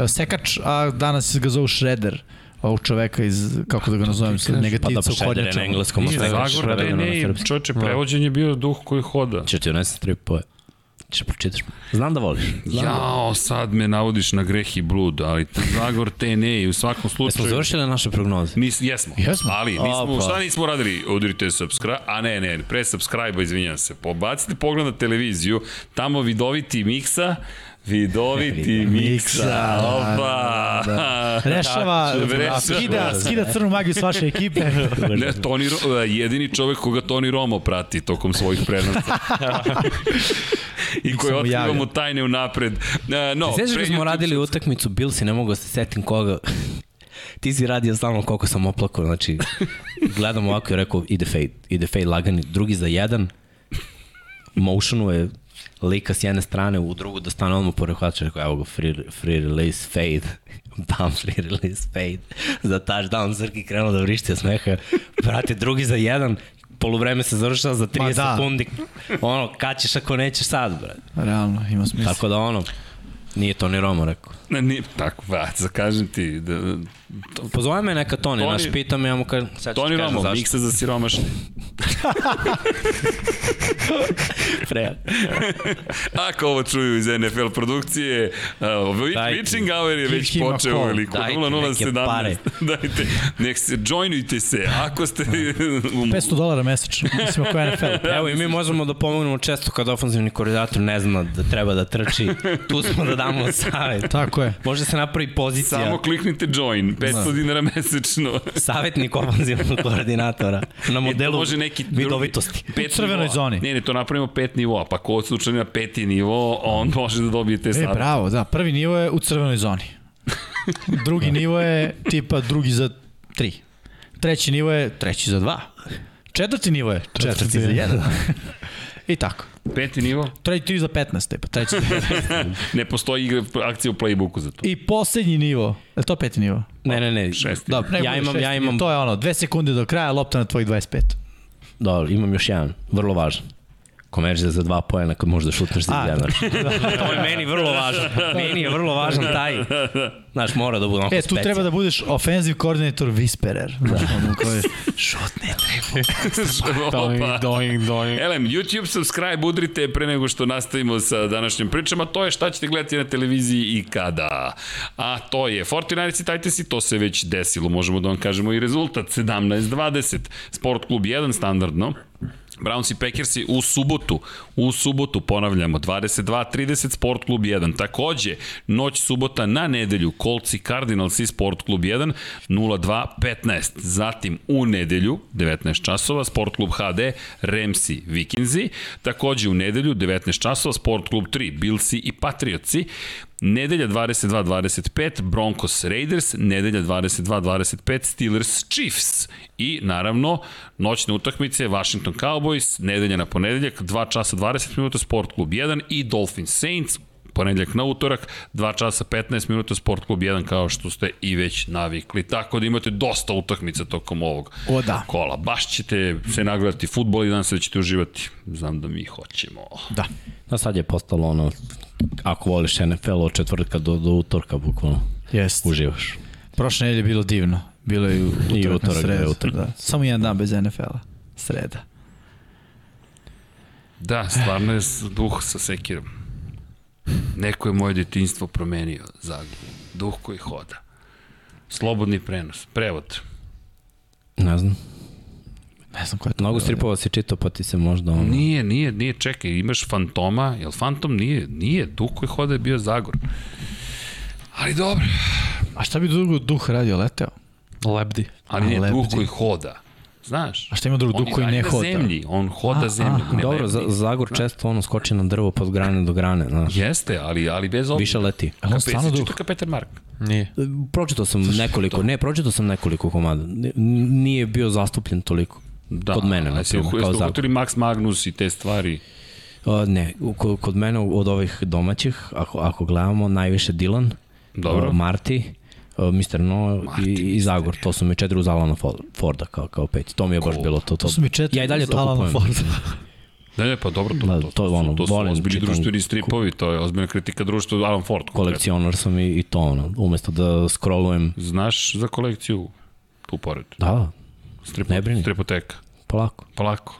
[SPEAKER 3] e, sekač, a danas ga zovu Shredder. Ovog čoveka iz, kako da ga nazovem, sa
[SPEAKER 2] pa da
[SPEAKER 3] negativca u
[SPEAKER 2] pošedere na
[SPEAKER 3] hodnjačama.
[SPEAKER 2] engleskom. a
[SPEAKER 1] Nije
[SPEAKER 2] svega
[SPEAKER 1] Zagor,
[SPEAKER 2] šredere
[SPEAKER 1] ne,
[SPEAKER 2] na
[SPEAKER 1] ne,
[SPEAKER 2] srpskom.
[SPEAKER 1] čoče, prevođen je bio duh koji hoda.
[SPEAKER 2] Češ ti unesem stripove? Češ pročitaš mi? Znam da voliš.
[SPEAKER 1] Jao, sad me navodiš na greh i blud, ali t- Zagor te ne i u svakom
[SPEAKER 2] Jesmo
[SPEAKER 1] slučaju...
[SPEAKER 2] završili naše prognoze?
[SPEAKER 1] Nis, jesmo.
[SPEAKER 3] Jesmo.
[SPEAKER 1] Ali nismo,
[SPEAKER 2] Opa.
[SPEAKER 1] šta nismo radili? Udirite subscribe, a ne, ne, pre subscribe, izvinjam se. Pobacite pogled na televiziju, tamo vidoviti miksa, vidoviti miksa, opa.
[SPEAKER 3] Rešava,
[SPEAKER 1] Da, rešava.
[SPEAKER 3] skida, skida crnu magiju s vaše ekipe.
[SPEAKER 1] Ne, Toni, Ro- e, jedini čovek koga Toni Romo prati tokom svojih prenosa. I koji
[SPEAKER 3] mu
[SPEAKER 1] otkrivamo
[SPEAKER 3] javio.
[SPEAKER 1] tajne u napred. no,
[SPEAKER 2] Sećaš
[SPEAKER 1] pre
[SPEAKER 2] da smo
[SPEAKER 1] YouTube-
[SPEAKER 2] radili utakmicu Bills i ne mogu da se setim koga. Ti si radio stalno koliko sam oplakao, znači gledam ovako i rekao ide fade, ide fade lagani, drugi za jedan, motionu je lika s jedne strane u drugu da stane odmah pored hvatača, rekao evo ga free, free release fade, bam free release fade, za touchdown Srki krenuo da vrišti od smeha, brate drugi za jedan, poluvreme se završava za 30
[SPEAKER 3] da.
[SPEAKER 2] da. sekundi, ono kad ćeš ako nećeš sad, brate.
[SPEAKER 3] Realno, ima smisla.
[SPEAKER 2] Tako da ono, nije Toni Romo rekao.
[SPEAKER 1] Ne, nije, tako, ba, zakažem ti. Da,
[SPEAKER 2] Pozove me neka Toni,
[SPEAKER 1] Toni-
[SPEAKER 2] Toni naš pita me, ja mu kažem, sad ću
[SPEAKER 1] Toni
[SPEAKER 2] ti kažem
[SPEAKER 1] Romo,
[SPEAKER 2] zašto.
[SPEAKER 1] miksa za siromašne.
[SPEAKER 2] Pre,
[SPEAKER 1] Ako ovo čuju iz NFL produkcije, uh,
[SPEAKER 2] Dajte.
[SPEAKER 1] Witching Hour je već
[SPEAKER 3] ima
[SPEAKER 1] počeo
[SPEAKER 3] call.
[SPEAKER 1] veliko.
[SPEAKER 2] Dajte neke
[SPEAKER 1] 0017.
[SPEAKER 2] pare. Da.
[SPEAKER 1] Dajte, nek se, joinujte se. Ako ste... u-
[SPEAKER 3] 500 dolara mesečno, mislim ako je NFL.
[SPEAKER 2] evo i mi možemo da pomognemo često kad ofenzivni koordinator ne zna da treba da trči. Tu smo da damo savjet.
[SPEAKER 3] Tako je.
[SPEAKER 2] Može se napravi pozicija.
[SPEAKER 1] Samo kliknite join, 500
[SPEAKER 2] Da.
[SPEAKER 1] dinara mesečno.
[SPEAKER 2] Savjetnik ofenzivnog koordinatora na
[SPEAKER 1] E, to
[SPEAKER 2] modelu
[SPEAKER 1] može neki drugi-
[SPEAKER 2] vidovitosti.
[SPEAKER 1] Pet
[SPEAKER 3] U crvenoj
[SPEAKER 1] nivoa.
[SPEAKER 3] zoni.
[SPEAKER 1] Ne, ne, to napravimo pet nivoa, pa ko slučajno na peti nivo, on može da dobije te
[SPEAKER 3] E,
[SPEAKER 1] sada.
[SPEAKER 3] bravo, da, prvi nivo je u crvenoj zoni. Drugi nivo je tipa drugi za tri. Treći nivo je treći za dva. Četvrti nivo je četvrti, za jedan. I tako.
[SPEAKER 1] Peti nivo?
[SPEAKER 3] Treći za 15, tipa. Treći za 15.
[SPEAKER 1] Ne postoji igra, akcija u playbooku za to.
[SPEAKER 3] I poslednji nivo. Je li to peti nivo?
[SPEAKER 2] Ne, ne, ne.
[SPEAKER 1] Šesti.
[SPEAKER 3] E, Dobro, nego
[SPEAKER 2] Ja
[SPEAKER 3] je
[SPEAKER 2] imam-
[SPEAKER 3] šesti
[SPEAKER 2] ja
[SPEAKER 3] nivo.
[SPEAKER 2] imam-
[SPEAKER 3] To je ono, dve sekunde do kraja, lopta na tvojih 25.
[SPEAKER 2] Dobro, imam još jedan, vrlo važan. Komeržija za dva pojena kad možeš da šutneš za
[SPEAKER 3] A,
[SPEAKER 2] jedan. to je meni vrlo važno. Meni je vrlo važan taj. Znaš, mora da bude onako
[SPEAKER 3] E, tu treba da budeš offensive coordinator whisperer. Znaš, Da, ono koji šutne
[SPEAKER 1] Opa. E.
[SPEAKER 4] Doing, doing, doing.
[SPEAKER 1] Elem, YouTube subscribe udrite pre nego što nastavimo sa današnjim pričama, to je šta ćete gledati na televiziji i kada. A to je 49ers i Titansi, to se već desilo, možemo da vam kažemo i rezultat, 17-20, Sport klub 1 standardno. Browns i Packersi u subotu, u subotu ponavljamo 22:30 Sport klub 1. Takođe noć subota na nedelju Colts i Cardinals i Sport klub 1 02:15. Zatim u nedelju 19 časova Sport klub HD Rams i Vikinzi. Takođe u nedelju 19 časova Sport klub 3 Billsi i Patriotsi. Nedelja 22-25 Broncos Raiders, nedelja 22-25 Steelers Chiefs i naravno noćne utakmice Washington Cowboys, nedelja na ponedeljak 2 časa 20 minuta Sport klub 1 i Dolphin Saints ponedeljak na utorak, 2 časa 15 minuta Sport klub 1 kao što ste i već navikli. Tako da imate dosta utakmica tokom ovog
[SPEAKER 3] O, da.
[SPEAKER 1] kola. Baš ćete se nagledati futbol i danas da ćete uživati. Znam da mi hoćemo.
[SPEAKER 3] Da.
[SPEAKER 2] Da sad je postalo ono, ako voliš NFL od četvrtka do, do utorka bukvalno,
[SPEAKER 3] Jest.
[SPEAKER 2] uživaš.
[SPEAKER 3] Prošle nedelje je bilo divno. Bilo je u utorak,
[SPEAKER 2] I
[SPEAKER 3] na
[SPEAKER 2] utorak, da,
[SPEAKER 3] sredu,
[SPEAKER 2] utorak.
[SPEAKER 3] Da. Samo jedan dan bez NFL-a. Sreda.
[SPEAKER 1] Da, stvarno je s- duh sa sekirom. Neko je moje detinjstvo promenio zaglu. Duh koji hoda. Slobodni prenos. Prevod.
[SPEAKER 2] Ne znam.
[SPEAKER 3] Ne znam koja je to.
[SPEAKER 2] Mnogo
[SPEAKER 3] bila.
[SPEAKER 2] stripova si čitao, pa ti se možda ono...
[SPEAKER 1] Nije, nije, nije, čekaj, imaš fantoma, jel fantom nije, nije, duh koji hoda je bio Zagor. Ali dobro,
[SPEAKER 3] A šta bi drugo duh radio? Leteo?
[SPEAKER 4] Lebdi.
[SPEAKER 1] ali nije
[SPEAKER 3] A,
[SPEAKER 1] duh
[SPEAKER 3] lebdi.
[SPEAKER 1] koji hoda. Znaš?
[SPEAKER 3] A šta ima drugo
[SPEAKER 1] On
[SPEAKER 3] duh
[SPEAKER 1] je
[SPEAKER 3] koji ne
[SPEAKER 1] dalje na
[SPEAKER 3] hoda?
[SPEAKER 1] zemlji, on hoda zemljom. ne
[SPEAKER 2] Dobro,
[SPEAKER 1] leti.
[SPEAKER 2] za, Zagor često ono skoči na drvo pod grane do grane, znaš.
[SPEAKER 1] Jeste, ali, ali bez obzira.
[SPEAKER 2] Više leti.
[SPEAKER 3] Ali on
[SPEAKER 1] Kape-
[SPEAKER 3] stvarno
[SPEAKER 1] si
[SPEAKER 3] duh.
[SPEAKER 1] čitao Peter Mark.
[SPEAKER 4] Nije.
[SPEAKER 2] Pročitao sam nekoliko, ne, pročitao sam nekoliko komada. N- Nije bio zastupljen toliko.
[SPEAKER 1] Da,
[SPEAKER 2] Kod mene, na
[SPEAKER 1] ali se
[SPEAKER 2] primer,
[SPEAKER 1] uhu-
[SPEAKER 2] kao
[SPEAKER 1] jeste
[SPEAKER 2] Zagor.
[SPEAKER 1] uhvatili Max Magnus i te stvari.
[SPEAKER 2] A, ne, u- ko- kod mene od ovih domaćih, ako, ako gledamo, najviše Dylan,
[SPEAKER 1] Dobro.
[SPEAKER 2] a, Marti, a, Mr. No i, i Zagor. To su mi četiri uz Alana Fo- Forda kao, kao pet. To mi je baš bilo to. To,
[SPEAKER 3] To su mi četiri
[SPEAKER 2] Ja i dalje
[SPEAKER 3] uz
[SPEAKER 2] to
[SPEAKER 3] Alana
[SPEAKER 2] kupujem.
[SPEAKER 3] Forda.
[SPEAKER 1] Da, ne, pa dobro, to,
[SPEAKER 2] Da,
[SPEAKER 1] to,
[SPEAKER 2] to je ono,
[SPEAKER 1] to su
[SPEAKER 2] volim,
[SPEAKER 1] ozbiljni
[SPEAKER 2] čitam-
[SPEAKER 1] društveni stripovi, to je ozbiljna kritika društva, Alan Ford. konkretno.
[SPEAKER 2] Kolekcionar sam i, i to ono. Umesto da scrollujem,
[SPEAKER 1] Znaš za kolekciju tu pored?
[SPEAKER 2] da,
[SPEAKER 1] Strip,
[SPEAKER 2] Ne brini.
[SPEAKER 1] Stripoteka,
[SPEAKER 2] polako.
[SPEAKER 1] polako.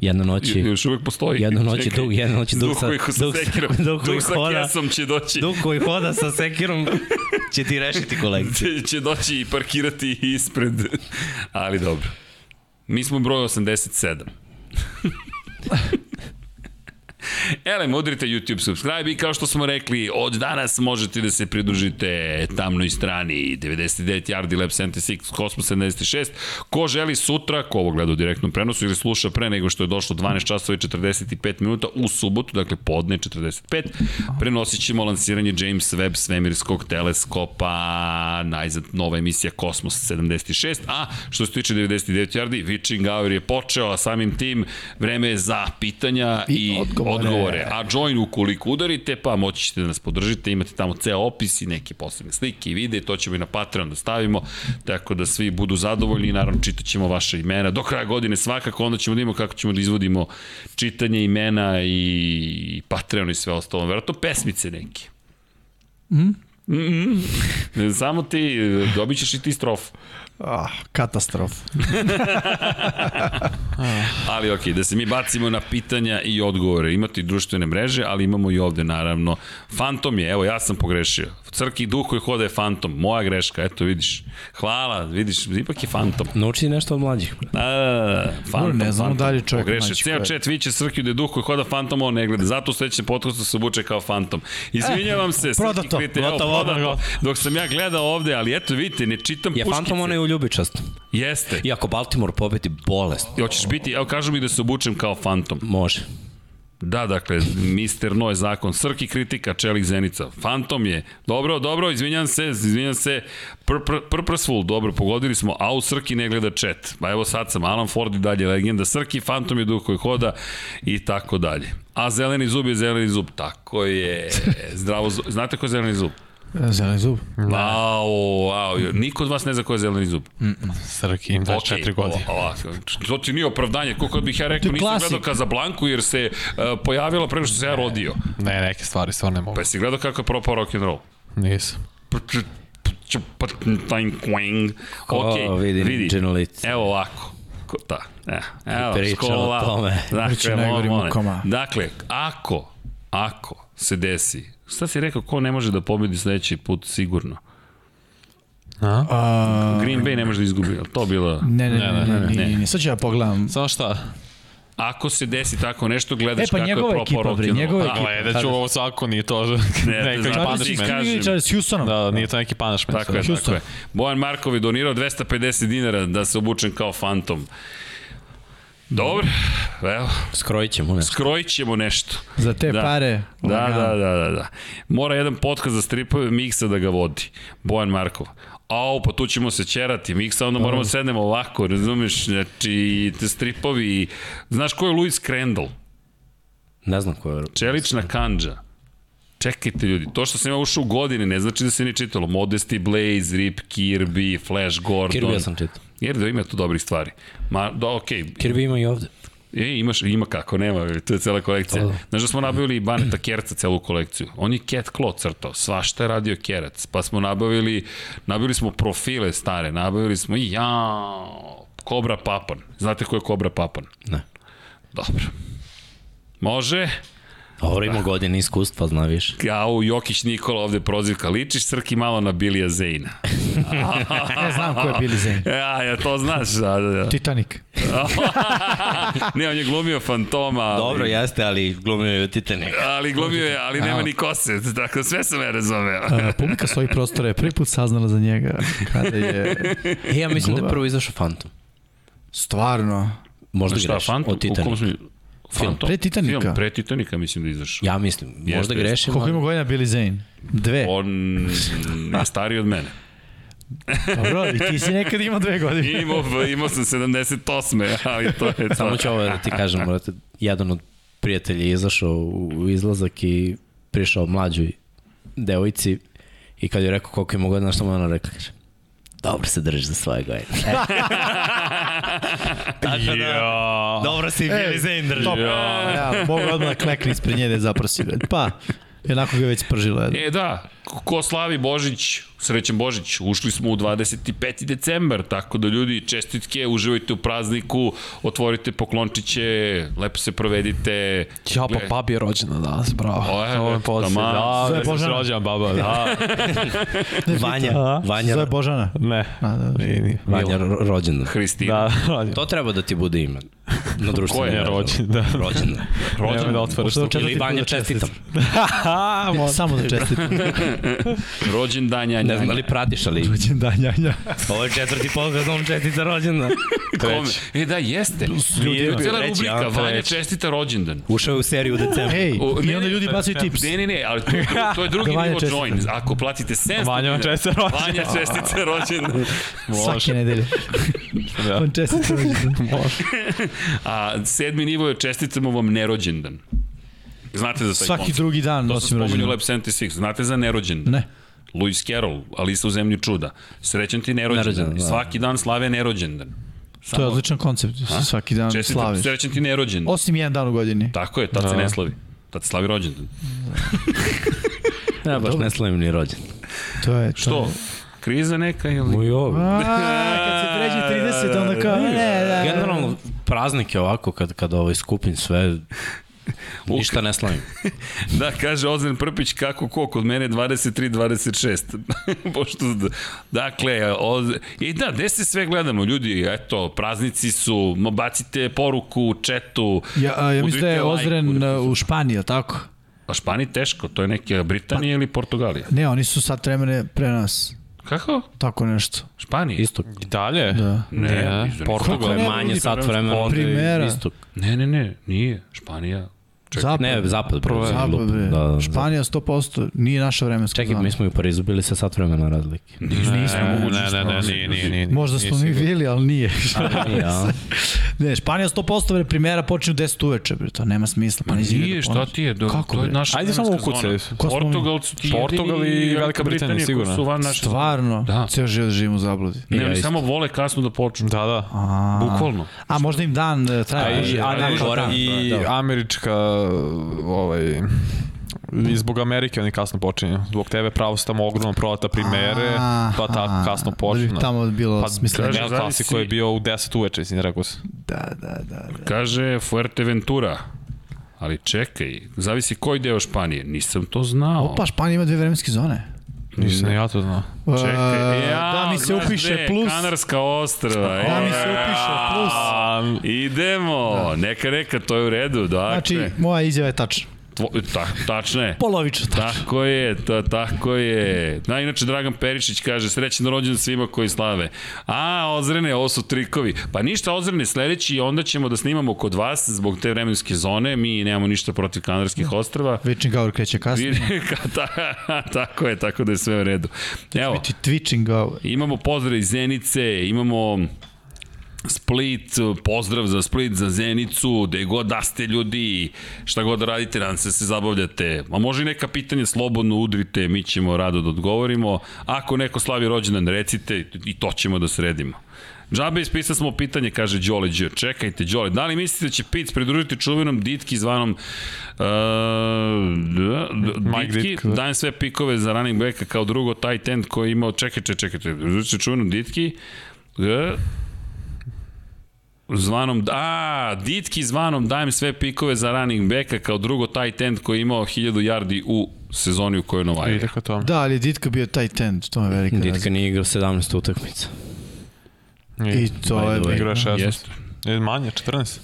[SPEAKER 2] Jedne
[SPEAKER 1] I,
[SPEAKER 2] noći,
[SPEAKER 1] još uvek postoji.
[SPEAKER 2] jedne noći
[SPEAKER 1] Čekaj.
[SPEAKER 2] dug, jedne noći dug
[SPEAKER 1] Duh
[SPEAKER 2] sa,
[SPEAKER 1] koji sa
[SPEAKER 2] dug,
[SPEAKER 1] sekirom,
[SPEAKER 2] sa,
[SPEAKER 1] duh,
[SPEAKER 2] dug koji
[SPEAKER 1] sa
[SPEAKER 2] hoda,
[SPEAKER 1] kesom će doći.
[SPEAKER 2] dug koji hoda sa sekirom će ti rešiti kolekciju.
[SPEAKER 1] Će- će doći i parkirati ispred. Ali dobro. Mi smo broj 87. Elem, udrite YouTube subscribe i kao što smo rekli, od danas možete da se pridružite tamnoj strani 99 Yardi Lab 76, Cosmos 76. Ko želi sutra, ko ovo gleda u direktnom prenosu ili sluša pre nego što je došlo 12 časova i 45 minuta u subotu, dakle podne 45, prenosit ćemo lansiranje James Webb svemirskog teleskopa, najzad nova emisija Kosmos 76, a što se tiče 99 Yardi, Witching Hour je počeo, a samim tim vreme je za pitanja i, i odgovore.
[SPEAKER 3] odgovore.
[SPEAKER 1] odgovore. A join ukoliko udarite, pa moći ćete da nas podržite, imate tamo ceo opis i neke posebne slike i videe, to ćemo i na Patreon da stavimo, tako da svi budu zadovoljni i naravno čitat ćemo vaše imena. Do kraja godine svakako, onda ćemo da imamo kako ćemo da izvodimo čitanje imena i Patreon i sve ostalo. Verovatno pesmice neke. Mm? Mm -mm. Samo ti, dobit ćeš i ti strofu.
[SPEAKER 3] Ah, katastrof.
[SPEAKER 1] Ali ok, da se mi bacimo na pitanja i odgovore. Imate i društvene mreže, ali imamo i ovde naravno. Fantom je, evo ja sam pogrešio. Crki duh koji hoda je fantom. Moja greška, eto vidiš. Hvala, vidiš, ipak je fantom.
[SPEAKER 2] Nauči nešto od mlađih.
[SPEAKER 1] Da, da, da, da, fantom,
[SPEAKER 3] ne znamo
[SPEAKER 1] fantom.
[SPEAKER 3] da li je čovjek
[SPEAKER 1] Pogrešio.
[SPEAKER 3] mlađi
[SPEAKER 1] Ceo
[SPEAKER 3] čovjek.
[SPEAKER 1] chat viće Srki da je duh koji hoda fantom, a on ne gleda. Zato u sledećem podcastu se obuče kao fantom. Izvinjavam se, Srki
[SPEAKER 3] Eh, Prodato,
[SPEAKER 1] krite, evo,
[SPEAKER 4] gotovo,
[SPEAKER 1] prodato.
[SPEAKER 4] gotovo.
[SPEAKER 1] Dok sam ja gledao ovde, ali eto vidite, ne čitam
[SPEAKER 2] Je
[SPEAKER 1] puškice.
[SPEAKER 2] Fantom onaj u ljubičast.
[SPEAKER 1] Jeste.
[SPEAKER 2] I ako Baltimore pobedi bolest,
[SPEAKER 1] I hoćeš biti, evo kažu mi da se obučem kao fantom.
[SPEAKER 2] može.
[SPEAKER 1] Da, dakle, Mister No je zakon. Srki kritika, Čelik Zenica. Fantom je. Dobro, dobro, izvinjam se, izvinjam se. Pr, pr, purposeful, dobro, pogodili smo. A u Srki ne gleda chat. Pa evo sad sam, Alan Ford i dalje legenda. Srki, Fantom je duh koji hoda i tako dalje. A zeleni zub je zeleni zub. Tako je. Zdravo, zub. znate ko je zeleni zub?
[SPEAKER 3] Zeleni zub.
[SPEAKER 1] Wow, wow. Niko od vas ne zna ko je zeleni zub.
[SPEAKER 4] Srki,
[SPEAKER 3] Da,
[SPEAKER 4] im 24 okay, godine.
[SPEAKER 1] O, o, to ti nije opravdanje. Koliko bih ja rekao,
[SPEAKER 3] je
[SPEAKER 1] nisam
[SPEAKER 3] klasik.
[SPEAKER 1] gledao Kazablanku jer se uh, pojavila prema što se ja rodio.
[SPEAKER 4] Ne, neke stvari stvarno ne mogu.
[SPEAKER 1] Pa si gledao kako je propao Pa rock and roll?
[SPEAKER 4] Nisam.
[SPEAKER 1] pa Ok,
[SPEAKER 2] vidim,
[SPEAKER 1] vidi. E.
[SPEAKER 2] Gino lice.
[SPEAKER 1] Evo ovako. Ko, da, e, evo,
[SPEAKER 2] Priča o
[SPEAKER 1] škola.
[SPEAKER 2] tome.
[SPEAKER 1] Dakle,
[SPEAKER 3] Priča o
[SPEAKER 1] moj,
[SPEAKER 3] najgorim
[SPEAKER 1] moj.
[SPEAKER 3] mukama.
[SPEAKER 1] dakle, ako, ako se desi, šta si rekao, ko ne može da pobedi sledeći put sigurno?
[SPEAKER 4] A?
[SPEAKER 1] Green Bay ne može da izgubi, ali to bilo...
[SPEAKER 3] Ne, ne, ne, ne, ne, ne, ne, ne. Sad ću ja pogledam.
[SPEAKER 4] Samo šta?
[SPEAKER 1] Ako se desi tako nešto, gledaš
[SPEAKER 6] E, pa
[SPEAKER 1] kako je
[SPEAKER 6] njegova
[SPEAKER 1] propao
[SPEAKER 6] ekipa, bre,
[SPEAKER 1] Rocky
[SPEAKER 6] njegova
[SPEAKER 1] Roll.
[SPEAKER 6] ekipa.
[SPEAKER 1] Da,
[SPEAKER 4] Gledat ću ovo svako, nije to
[SPEAKER 1] Ne,
[SPEAKER 4] neki
[SPEAKER 1] znači,
[SPEAKER 4] punishment.
[SPEAKER 6] Charles Houstonom.
[SPEAKER 4] Da, nije to neki punishment.
[SPEAKER 1] Tako je, da. tako je. Bojan Markov je donirao 250 dinara da se obučem kao fantom. Dobro, evo,
[SPEAKER 2] Skrojit ćemo nešto.
[SPEAKER 1] skrojit ćemo nešto.
[SPEAKER 3] Za te
[SPEAKER 1] Da.
[SPEAKER 3] da. pare.
[SPEAKER 1] Da, da, da, da, da. Mora jedan podcast za stripove Miksa da ga vodi. Bojan Markov. Au, pa tu ćemo se ćerati. Miksa, onda moramo da sednemo ovako, razumeš? Znači, te stripovi... Znaš ko je Luis Krendel?
[SPEAKER 2] Ne znam ko je.
[SPEAKER 1] Čelična kanđa. Čekajte ljudi, to što sam ja ušao u godine ne znači da se nije čitalo. Modesty Blaze, Rip Kirby, Flash Gordon.
[SPEAKER 2] Kirby ja sam čitao.
[SPEAKER 1] Jer da ima tu dobrih stvari. Ma, da, okej,
[SPEAKER 2] Kirby ima i ovde.
[SPEAKER 1] E, imaš, ima kako, nema, to je cela kolekcija.
[SPEAKER 2] Da.
[SPEAKER 1] Znaš da smo nabavili i Baneta Kerca celu kolekciju. On je Cat Claw crtao, svašta je radio Kerac. Pa smo nabavili, nabavili smo profile stare, nabavili smo i jao, Kobra Papan. Znate ko je Kobra Papan?
[SPEAKER 2] Ne.
[SPEAKER 1] Dobro. Može,
[SPEAKER 2] Dobro, ima godine iskustva, zna više.
[SPEAKER 1] kao Jokić Nikola ovde prozivka, ličiš Srki malo na Bilija Zejna.
[SPEAKER 3] Ja Pa znam ko je Billy Zane.
[SPEAKER 1] E, Ja, ja to znaš, da, da, da.
[SPEAKER 3] Titanic.
[SPEAKER 1] ne, on je glumio fantoma. ali-
[SPEAKER 2] Dobro, jeste, ali glumio je Titanic.
[SPEAKER 1] Ali glumio je, ali nema ni kose, tako da sve sam ja razumeo.
[SPEAKER 3] Uh, publika svojih prostora je prvi put saznala za njega kada je...
[SPEAKER 2] E, ja mislim da
[SPEAKER 3] Gluma.
[SPEAKER 2] je prvo izašao Phantom.
[SPEAKER 3] Stvarno.
[SPEAKER 2] Možda greš od Titanica.
[SPEAKER 1] Fantom?
[SPEAKER 3] Pre Titanika.
[SPEAKER 1] Film, pre Titanika mislim da izašao.
[SPEAKER 2] Ja mislim,
[SPEAKER 1] Jeste,
[SPEAKER 2] možda grešim.
[SPEAKER 3] Koliko
[SPEAKER 2] ali-
[SPEAKER 3] ima godina Billy Zane? Dve.
[SPEAKER 1] On je stariji od mene.
[SPEAKER 3] Dobro, Pa i ti si nekad imao dve godine.
[SPEAKER 1] Imao, imao sam 78. ali to je to.
[SPEAKER 2] Samo ću ovo da ti kažem, brate, jedan od prijatelja je izašao u izlazak i prišao mlađoj devojci i kad je rekao koliko ima godina, što mu je ona rekla, kaže, dobro se drži za svoje godine. E. Tako da, dobro si bili za Indrži.
[SPEAKER 3] E, Top. Ja, mogu odmah da klekne ispred nje da je zaprosi. bre. Pa, jednako ga je već pržila.
[SPEAKER 1] E da, ko slavi Božić, srećan Božić, ušli smo u 25. decembar, tako da ljudi čestitke, uživajte u prazniku, otvorite poklončiće, lepo se provedite.
[SPEAKER 4] Ja, pa
[SPEAKER 1] Gle-
[SPEAKER 4] babi je rođena danas, bravo.
[SPEAKER 1] O, e,
[SPEAKER 4] Ovo je posle.
[SPEAKER 1] taman.
[SPEAKER 4] Da,
[SPEAKER 3] Sve
[SPEAKER 4] da sam
[SPEAKER 3] Božana.
[SPEAKER 4] rođena baba, da.
[SPEAKER 2] Vanja, Vanja,
[SPEAKER 3] Zove Božana. Pa, da,
[SPEAKER 4] Ne. Nije, nije.
[SPEAKER 2] Vanja ro- rođendan.
[SPEAKER 1] Hristina.
[SPEAKER 4] Da, rođena.
[SPEAKER 2] To treba da ti bude ime na društvenim
[SPEAKER 1] je
[SPEAKER 2] mrežama.
[SPEAKER 4] rođen, da.
[SPEAKER 2] Rođendan.
[SPEAKER 4] Nemoj da otvaraš tu.
[SPEAKER 2] Ili Vanja čestitam.
[SPEAKER 3] Samo da čestitam.
[SPEAKER 1] Rođendan Janja.
[SPEAKER 2] Ne znam da li pratiš, ali
[SPEAKER 3] Rođen dan, Janja.
[SPEAKER 2] ovo je četvrti podcast, on čestita rođendan.
[SPEAKER 1] Kome? E da, jeste. Ljudi, Cela
[SPEAKER 2] treći,
[SPEAKER 1] rubrika,
[SPEAKER 2] a,
[SPEAKER 1] Vanja
[SPEAKER 2] treći.
[SPEAKER 1] čestita rođendan.
[SPEAKER 2] Ušao je u seriju u decembru.
[SPEAKER 3] Ej,
[SPEAKER 1] O, ne,
[SPEAKER 3] i onda
[SPEAKER 1] ne,
[SPEAKER 3] ljudi bacaju tips.
[SPEAKER 1] Ne, ne, ne, ali to, je dru- to je drugi
[SPEAKER 3] Da Vanja
[SPEAKER 1] nivo
[SPEAKER 3] čestita.
[SPEAKER 1] join. Ako platite 700
[SPEAKER 4] Vanja vam
[SPEAKER 1] dinara,
[SPEAKER 4] čestita rođendan.
[SPEAKER 1] Vanja čestita rođendan.
[SPEAKER 3] Svake nedelje.
[SPEAKER 4] Da.
[SPEAKER 3] On čestita.
[SPEAKER 1] A sedmi nivo je čestitamo vam nerođendan. Znate za taj
[SPEAKER 3] Svaki
[SPEAKER 1] koncept.
[SPEAKER 3] drugi dan
[SPEAKER 1] To sam
[SPEAKER 3] nosim
[SPEAKER 1] spomenuo
[SPEAKER 3] rođendan.
[SPEAKER 1] Lab 76. Znate za nerođendan?
[SPEAKER 3] Ne.
[SPEAKER 1] Lewis Carroll, Alisa u zemlji čuda. Srećan ti nerođendan.
[SPEAKER 2] Nerođendan, da.
[SPEAKER 1] Svaki dan slave nerođendan.
[SPEAKER 3] To je odličan koncept. Svaki dan
[SPEAKER 1] Čestitam,
[SPEAKER 3] slaviš.
[SPEAKER 1] srećan ti nerođendan.
[SPEAKER 3] Osim jedan dan u godini.
[SPEAKER 1] Tako je, tad se ne slavi. Tad se slavi rođendan.
[SPEAKER 2] Ja baš ne slavim ni rođen.
[SPEAKER 3] To je to.
[SPEAKER 1] Što? Kriza neka ili...
[SPEAKER 2] Moj ovo.
[SPEAKER 3] A, kad se pređe 30, onda kao, ne, da.
[SPEAKER 2] Generalno, praznike ovako, kad, kad ovaj skupim sve, ništa ne slavim.
[SPEAKER 1] Da, kaže Ozren Prpić, kako ko, kod mene je 23-26. Pošto, dakle, Oz... i da, gde se sve gledamo, ljudi, eto, praznici su, ma, bacite poruku u četu.
[SPEAKER 3] Ja, a, ja mislim da je
[SPEAKER 1] udrite like,
[SPEAKER 3] Ozren
[SPEAKER 1] udrite-
[SPEAKER 3] a, u Španiji, jel tako?
[SPEAKER 1] A Špani teško, to je neke Britanija
[SPEAKER 3] Pa-
[SPEAKER 1] ili Portugalija.
[SPEAKER 3] Ne, oni su sad vremene pre nas.
[SPEAKER 1] Kako?
[SPEAKER 3] Tako nešto.
[SPEAKER 1] Španija?
[SPEAKER 2] Istok.
[SPEAKER 4] I dalje?
[SPEAKER 3] Da.
[SPEAKER 1] Ne,
[SPEAKER 4] Ne,
[SPEAKER 1] izvini.
[SPEAKER 4] E, Portugal.
[SPEAKER 2] To je
[SPEAKER 3] ne,
[SPEAKER 2] manje
[SPEAKER 3] ljudi,
[SPEAKER 2] sat vremena. onda je
[SPEAKER 3] Primera.
[SPEAKER 2] Istok.
[SPEAKER 1] ne, ne, ne, nije. Španija.
[SPEAKER 3] Zapad.
[SPEAKER 2] Ne, zapad. Prvo
[SPEAKER 3] Zapad, bre.
[SPEAKER 2] Da, da, da.
[SPEAKER 3] Španija 100%, nije naša vremenska
[SPEAKER 2] Čekaj, mi smo i u Parizu bili sa sat vremena razlike.
[SPEAKER 4] Ne, ne, ne, ne, nije, nije, nije.
[SPEAKER 3] Možda smo mi bili, ali nije.
[SPEAKER 4] Da.
[SPEAKER 2] Ali, ja.
[SPEAKER 3] ne, Španija 100% bre, primjera počinju 10 uveče, bre, to nema smisla. Pa nisi
[SPEAKER 1] Nije, šta ti je? Do,
[SPEAKER 3] Kako,
[SPEAKER 1] to je
[SPEAKER 3] bre?
[SPEAKER 1] naša
[SPEAKER 4] Ajde samo
[SPEAKER 1] vremenska
[SPEAKER 4] ukucaj.
[SPEAKER 1] zona.
[SPEAKER 3] Ko smo mi?
[SPEAKER 1] Portugal su ti
[SPEAKER 4] Portugal i
[SPEAKER 1] jedini,
[SPEAKER 4] Velika Britanija,
[SPEAKER 1] koji
[SPEAKER 4] sigurno.
[SPEAKER 1] Su van naše
[SPEAKER 3] Stvarno,
[SPEAKER 1] Da.
[SPEAKER 3] da. ceo život živimo u zabludi.
[SPEAKER 1] Ne,
[SPEAKER 2] Ja
[SPEAKER 1] oni
[SPEAKER 2] isto.
[SPEAKER 1] samo vole kasno da počnu.
[SPEAKER 4] Da, da.
[SPEAKER 3] Pa.
[SPEAKER 1] Bukvalno.
[SPEAKER 3] A možda im dan e, traje.
[SPEAKER 4] i, da,
[SPEAKER 3] duže,
[SPEAKER 4] a,
[SPEAKER 3] ali
[SPEAKER 4] ne,
[SPEAKER 3] možda dan.
[SPEAKER 4] i američka ovaj i zbog Amerike oni kasno počinju. Zbog tebe pravo su tamo ogromno prodata primere, pa tako
[SPEAKER 3] Aha,
[SPEAKER 4] kasno
[SPEAKER 3] Da
[SPEAKER 4] počinju.
[SPEAKER 3] bi tamo bilo
[SPEAKER 4] Pa,
[SPEAKER 3] smisleno.
[SPEAKER 1] Kaže,
[SPEAKER 4] Ne,
[SPEAKER 1] zavisi-
[SPEAKER 4] klasiko je bio u 10 uveče, mislim, rekao sam.
[SPEAKER 3] Da, da, da. da.
[SPEAKER 1] Kaže Fuerteventura. Ali čekaj, zavisi koji deo Španije. Nisam to znao.
[SPEAKER 3] Pa Španija ima dve vremenske zone.
[SPEAKER 4] Nisam ja to znao.
[SPEAKER 1] Čekaj,
[SPEAKER 3] E,
[SPEAKER 1] ja,
[SPEAKER 3] da mi se
[SPEAKER 1] znaš
[SPEAKER 3] upiše
[SPEAKER 1] gde,
[SPEAKER 3] plus.
[SPEAKER 1] Kanarska ostrva.
[SPEAKER 3] Da mi
[SPEAKER 1] e.
[SPEAKER 3] se upiše plus. Da.
[SPEAKER 1] A, idemo, neka, neka, to je u redu, dakle.
[SPEAKER 3] Znači, moja izjava je tačna. Da.
[SPEAKER 1] Tvo, ta, tačno je.
[SPEAKER 3] Polovično tačna.
[SPEAKER 1] Tako je, ta, tako je. Da, inače, Dragan Perišić kaže, srećan rođendan svima koji slave. A, Ozrene, ovo su trikovi. Pa ništa, Ozrene, sledeći, onda ćemo da snimamo kod vas zbog te vremenske zone. Mi nemamo ništa protiv
[SPEAKER 3] Da.
[SPEAKER 1] Kanarskih ostrava.
[SPEAKER 3] Vični gaur kreće kasno.
[SPEAKER 1] Ta- tako je, tako da je sve u redu. Evo,
[SPEAKER 3] Ti twitching gaur.
[SPEAKER 1] imamo pozdrav iz Zenice, imamo Split, pozdrav za Split, za Zenicu, gde god da ste ljudi, šta god da radite, nam se se zabavljate. A može i neka pitanja slobodno udrite, mi ćemo rado da odgovorimo. Ako neko slavi rođendan, recite i to ćemo da sredimo. Džabe ispisao smo pitanje, kaže Đole Đ. Čekajte, Đole, da li mislite da će Pic pridružiti čuvenom Ditki zvanom uh, da, da,
[SPEAKER 4] Mike
[SPEAKER 1] Ditki?
[SPEAKER 4] Ditka, da.
[SPEAKER 1] Dajem sve pikove za running backa kao drugo tight end koji je imao, čekajte, čekajte, pridružit će čuvenom Ditki, E, zvanom, a, Ditki zvanom dajem sve pikove za running backa kao drugo tight end koji je imao 1000 yardi u sezoni u kojoj
[SPEAKER 4] I
[SPEAKER 1] Novajera.
[SPEAKER 4] tako to.
[SPEAKER 3] Da, ali je Ditka bio tight end, to je velika
[SPEAKER 2] Ditka
[SPEAKER 3] razlika.
[SPEAKER 2] nije igrao 17 utakmica.
[SPEAKER 3] I to je...
[SPEAKER 2] By the way.
[SPEAKER 4] Igra
[SPEAKER 3] bilo.
[SPEAKER 4] je 16.
[SPEAKER 1] Jeste.
[SPEAKER 4] E, manje, 14.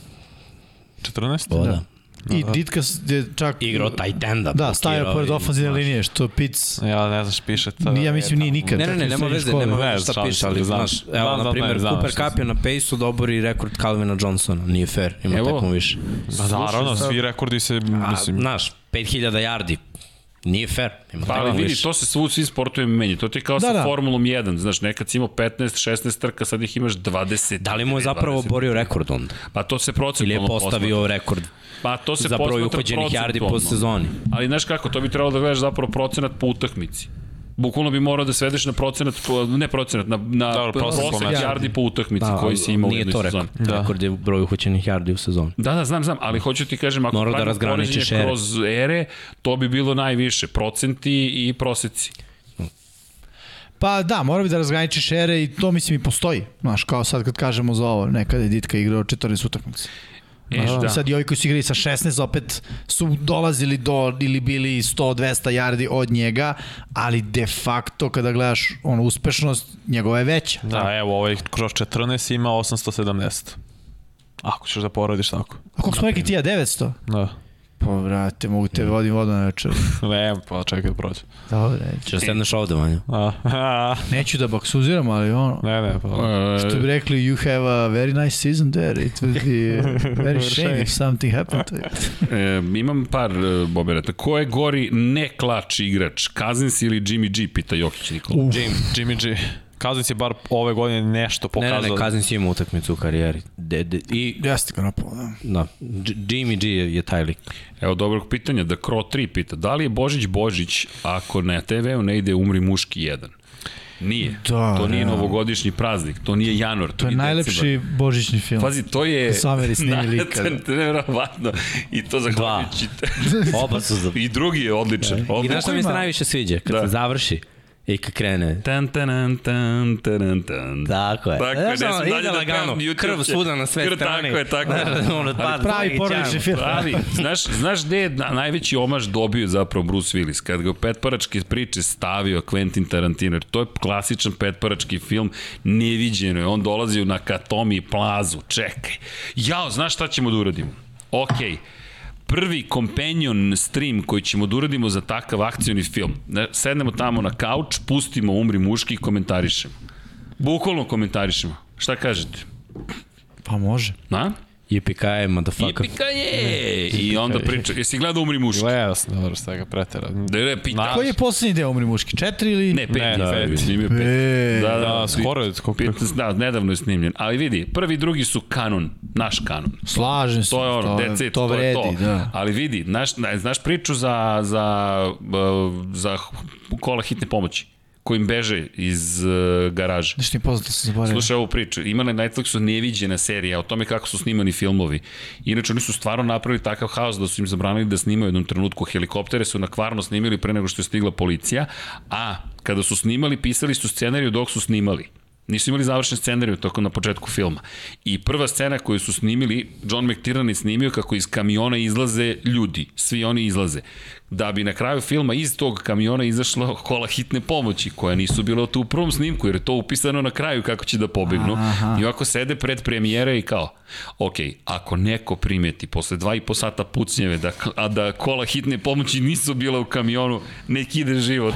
[SPEAKER 4] 14?
[SPEAKER 2] O, da.
[SPEAKER 3] I Ditka je čak...
[SPEAKER 2] Igrao tight enda.
[SPEAKER 3] Da, stavio
[SPEAKER 2] blokirao
[SPEAKER 3] pored
[SPEAKER 2] i-
[SPEAKER 3] ofanzivne
[SPEAKER 2] znaš.
[SPEAKER 3] linije, što Pic...
[SPEAKER 4] Ja ne znam šta piše. Ta,
[SPEAKER 3] Ja mislim nije nikad.
[SPEAKER 2] Ne, ne,
[SPEAKER 3] čak
[SPEAKER 2] ne,
[SPEAKER 3] i u srednjoj
[SPEAKER 2] nema veze,
[SPEAKER 3] školi.
[SPEAKER 2] nema
[SPEAKER 4] Ne,
[SPEAKER 2] veze šta
[SPEAKER 4] znam,
[SPEAKER 2] piše,
[SPEAKER 4] znam,
[SPEAKER 2] ali
[SPEAKER 4] znam.
[SPEAKER 2] znaš,
[SPEAKER 4] Znam,
[SPEAKER 2] evo,
[SPEAKER 4] znam,
[SPEAKER 2] na primjer,
[SPEAKER 4] znam,
[SPEAKER 2] Cooper
[SPEAKER 4] znam.
[SPEAKER 2] Cup je na pace-u dobori rekord Calvina Johnsona, nije fair, ima
[SPEAKER 1] Evo.
[SPEAKER 2] tekmu više.
[SPEAKER 4] Da, naravno, svi rekordi se,
[SPEAKER 2] A,
[SPEAKER 4] mislim...
[SPEAKER 2] znaš, 5000 yardi, nije fair, ima
[SPEAKER 1] Pa
[SPEAKER 2] tekmu
[SPEAKER 1] ali vidi,
[SPEAKER 2] više.
[SPEAKER 1] to se svu u svim sportovima menja. To ti je kao da,
[SPEAKER 3] Da,
[SPEAKER 1] sa da.
[SPEAKER 3] da.
[SPEAKER 1] Formulom 1. Znaš, nekad si imao 15, 16 trka, sad ih imaš 20.
[SPEAKER 2] Da li mu je zapravo
[SPEAKER 1] 20.
[SPEAKER 2] borio rekord onda?
[SPEAKER 1] Pa to se
[SPEAKER 2] Ili
[SPEAKER 1] procentualno
[SPEAKER 2] je postavio rekord
[SPEAKER 1] posmatra. Pa to se
[SPEAKER 2] za broj
[SPEAKER 1] posmatra
[SPEAKER 2] uhođenih yardi po
[SPEAKER 1] procentualno.
[SPEAKER 2] sezoni?
[SPEAKER 1] Ali znaš kako, to bi trebalo da gledaš zapravo procenat po utakmici. Bukvalno bi morao da svedeš na procenat, po- ne procenat, na, na
[SPEAKER 4] Dobro, prosek
[SPEAKER 1] prosek
[SPEAKER 4] pomenuo.
[SPEAKER 1] yardi po utakmici
[SPEAKER 2] Da,
[SPEAKER 1] koji si imao u
[SPEAKER 2] nije
[SPEAKER 1] jednoj
[SPEAKER 2] to
[SPEAKER 1] sezoni.
[SPEAKER 2] rekord, da. rekord je broj uhoćenih yardi u sezoni.
[SPEAKER 1] Da, da, znam, znam, ali hoću ti kažem, ako
[SPEAKER 2] Morao da
[SPEAKER 1] pravimo
[SPEAKER 2] razgraničiš
[SPEAKER 1] poređenje
[SPEAKER 2] ere.
[SPEAKER 1] kroz ere, to bi bilo najviše, procenti i proseci.
[SPEAKER 3] Pa da, mora bi da razgraničiš ere i to mislim i postoji. Znaš, kao sad kad kažemo za ovo, nekada je Ditka igrao 14 utakmica.
[SPEAKER 1] E, da.
[SPEAKER 3] I sad i ovi koji su igrali sa 16 opet su dolazili do ili bili 100-200 yardi od njega, ali de facto kada gledaš ono uspešnost, njegova je veća.
[SPEAKER 4] Da, evo, ovaj kroz 14 ima 870. Ako ćeš da porodiš tako.
[SPEAKER 3] A koliko smo rekli ti ja 900?
[SPEAKER 4] Da.
[SPEAKER 3] Pa vrate, mogu te vodim vodu na večer.
[SPEAKER 4] Ne, pa čekaj da prođe.
[SPEAKER 3] Dobro,
[SPEAKER 2] Če
[SPEAKER 1] E.
[SPEAKER 2] da sedneš ovde, Vanja?
[SPEAKER 4] A, a,
[SPEAKER 3] neću da baksuziram, ali ono,
[SPEAKER 4] ne, ne, pa.
[SPEAKER 1] E,
[SPEAKER 3] što bi rekli, you have a very nice season there, it would be very shame if something happened to you.
[SPEAKER 1] E, imam par e, boberata. Ko je gori ne klač igrač? Kazins ili Jimmy G? Pita Jokić Nikola.
[SPEAKER 4] Jim, Jimmy G. Kaznic je bar ove godine nešto
[SPEAKER 2] Ne,
[SPEAKER 4] pokazao.
[SPEAKER 2] ne, ne, Kazin si imao utakmicu u karijeri. De, de, I,
[SPEAKER 3] Jeste ga napao, da.
[SPEAKER 2] da, Dž- Jimmy G je, je taj lik.
[SPEAKER 1] Evo dobrog pitanja, da Kro 3 pita. Da li je Božić Božić ako na TV-u ne ide Umri muški 1? Nije.
[SPEAKER 3] Da,
[SPEAKER 1] to nije
[SPEAKER 3] da.
[SPEAKER 1] novogodišnji praznik, to nije januar, to,
[SPEAKER 3] To je najlepši božićni film.
[SPEAKER 1] Pazi, to je...
[SPEAKER 3] Sameri snimi lika.
[SPEAKER 1] To je nevjerovatno. I to zahvaljujući...
[SPEAKER 2] Oba su za...
[SPEAKER 1] I drugi je odličan.
[SPEAKER 2] I
[SPEAKER 1] odličan.
[SPEAKER 2] znaš šta mi se najviše sviđa? Kad
[SPEAKER 1] Da.
[SPEAKER 2] se završi i kad krene.
[SPEAKER 1] Tan, tan, tan, tan, tan.
[SPEAKER 2] Tako je.
[SPEAKER 1] Tako je, ne
[SPEAKER 2] Znaš, ono,
[SPEAKER 1] sam dalje
[SPEAKER 2] ide
[SPEAKER 1] da
[SPEAKER 2] lagano,
[SPEAKER 1] pevam, YouTube
[SPEAKER 2] krv
[SPEAKER 1] će-
[SPEAKER 2] svuda na sve
[SPEAKER 1] Krv,
[SPEAKER 2] strane.
[SPEAKER 1] tako je, tako je.
[SPEAKER 2] Znaš, ono, pa,
[SPEAKER 3] Pravi porodični film.
[SPEAKER 1] Pravi. Znaš, znaš gde je na- najveći omaž dobio zapravo Bruce Willis? Kad ga u petparačke priče stavio Quentin Tarantino. jer To je klasičan petparački film. Neviđeno je. On dolazi na Katomi plazu. Čekaj. Jao, znaš šta ćemo da uradimo? Okej. prvi companion stream koji ćemo da uradimo za takav akcioni film. Ne, Sednemo tamo na kauč, pustimo Umri muški i komentarišemo. Bukvalno komentarišemo. Šta kažete?
[SPEAKER 3] Pa može.
[SPEAKER 1] Na?
[SPEAKER 2] Jipikaj, motherfucker.
[SPEAKER 1] Jipika je! I onda priča. Jesi gledao Umri muški?
[SPEAKER 4] Gledao sam, dobro, sve ga pretera.
[SPEAKER 1] Da je pita.
[SPEAKER 3] Koji je poslednji deo Umri muški? Četiri ili...
[SPEAKER 1] Ne, peti.
[SPEAKER 4] Ne,
[SPEAKER 1] Da,
[SPEAKER 4] peti.
[SPEAKER 1] Snimio peti.
[SPEAKER 3] E,
[SPEAKER 1] Da, da,
[SPEAKER 4] Da,
[SPEAKER 1] da,
[SPEAKER 4] skoro je skoro.
[SPEAKER 1] 15, da, nedavno je snimljen. Ali vidi, prvi i drugi su kanon, naš kanon.
[SPEAKER 3] slažem se.
[SPEAKER 1] To je ono, that's it, to,
[SPEAKER 3] vredi,
[SPEAKER 1] je to.
[SPEAKER 3] Da.
[SPEAKER 1] Ali vidi, znaš, na- znaš priču za, za, uh, za h- kola hitne pomoći kojim beže iz uh, garaže.
[SPEAKER 3] Nešto mi je poznato sam zaboravio.
[SPEAKER 1] Slušaj ovu priču, ima na Netflixu neviđena serija o tome kako su snimani filmovi. Inače, oni su stvarno napravili takav haos da su im zabranili da snimaju u jednom trenutku. Helikoptere su na kvarno snimili pre nego što je stigla policija, a kada su snimali, pisali su scenariju dok su snimali. Nisu imali završen scenariju tokom na početku filma. I prva scena koju su snimili, John McTiernan je snimio kako iz kamiona izlaze ljudi. Svi oni izlaze. Da bi na kraju filma iz tog kamiona izašla kola hitne pomoći, koja nisu bila tu u prvom snimku, jer je to upisano na kraju kako će da pobegnu. Aha. I ovako sede pred premijere i kao, ok, ako neko primeti posle dva i po sata pucnjeve da, a da kola hitne pomoći nisu bila u kamionu, nek ide život.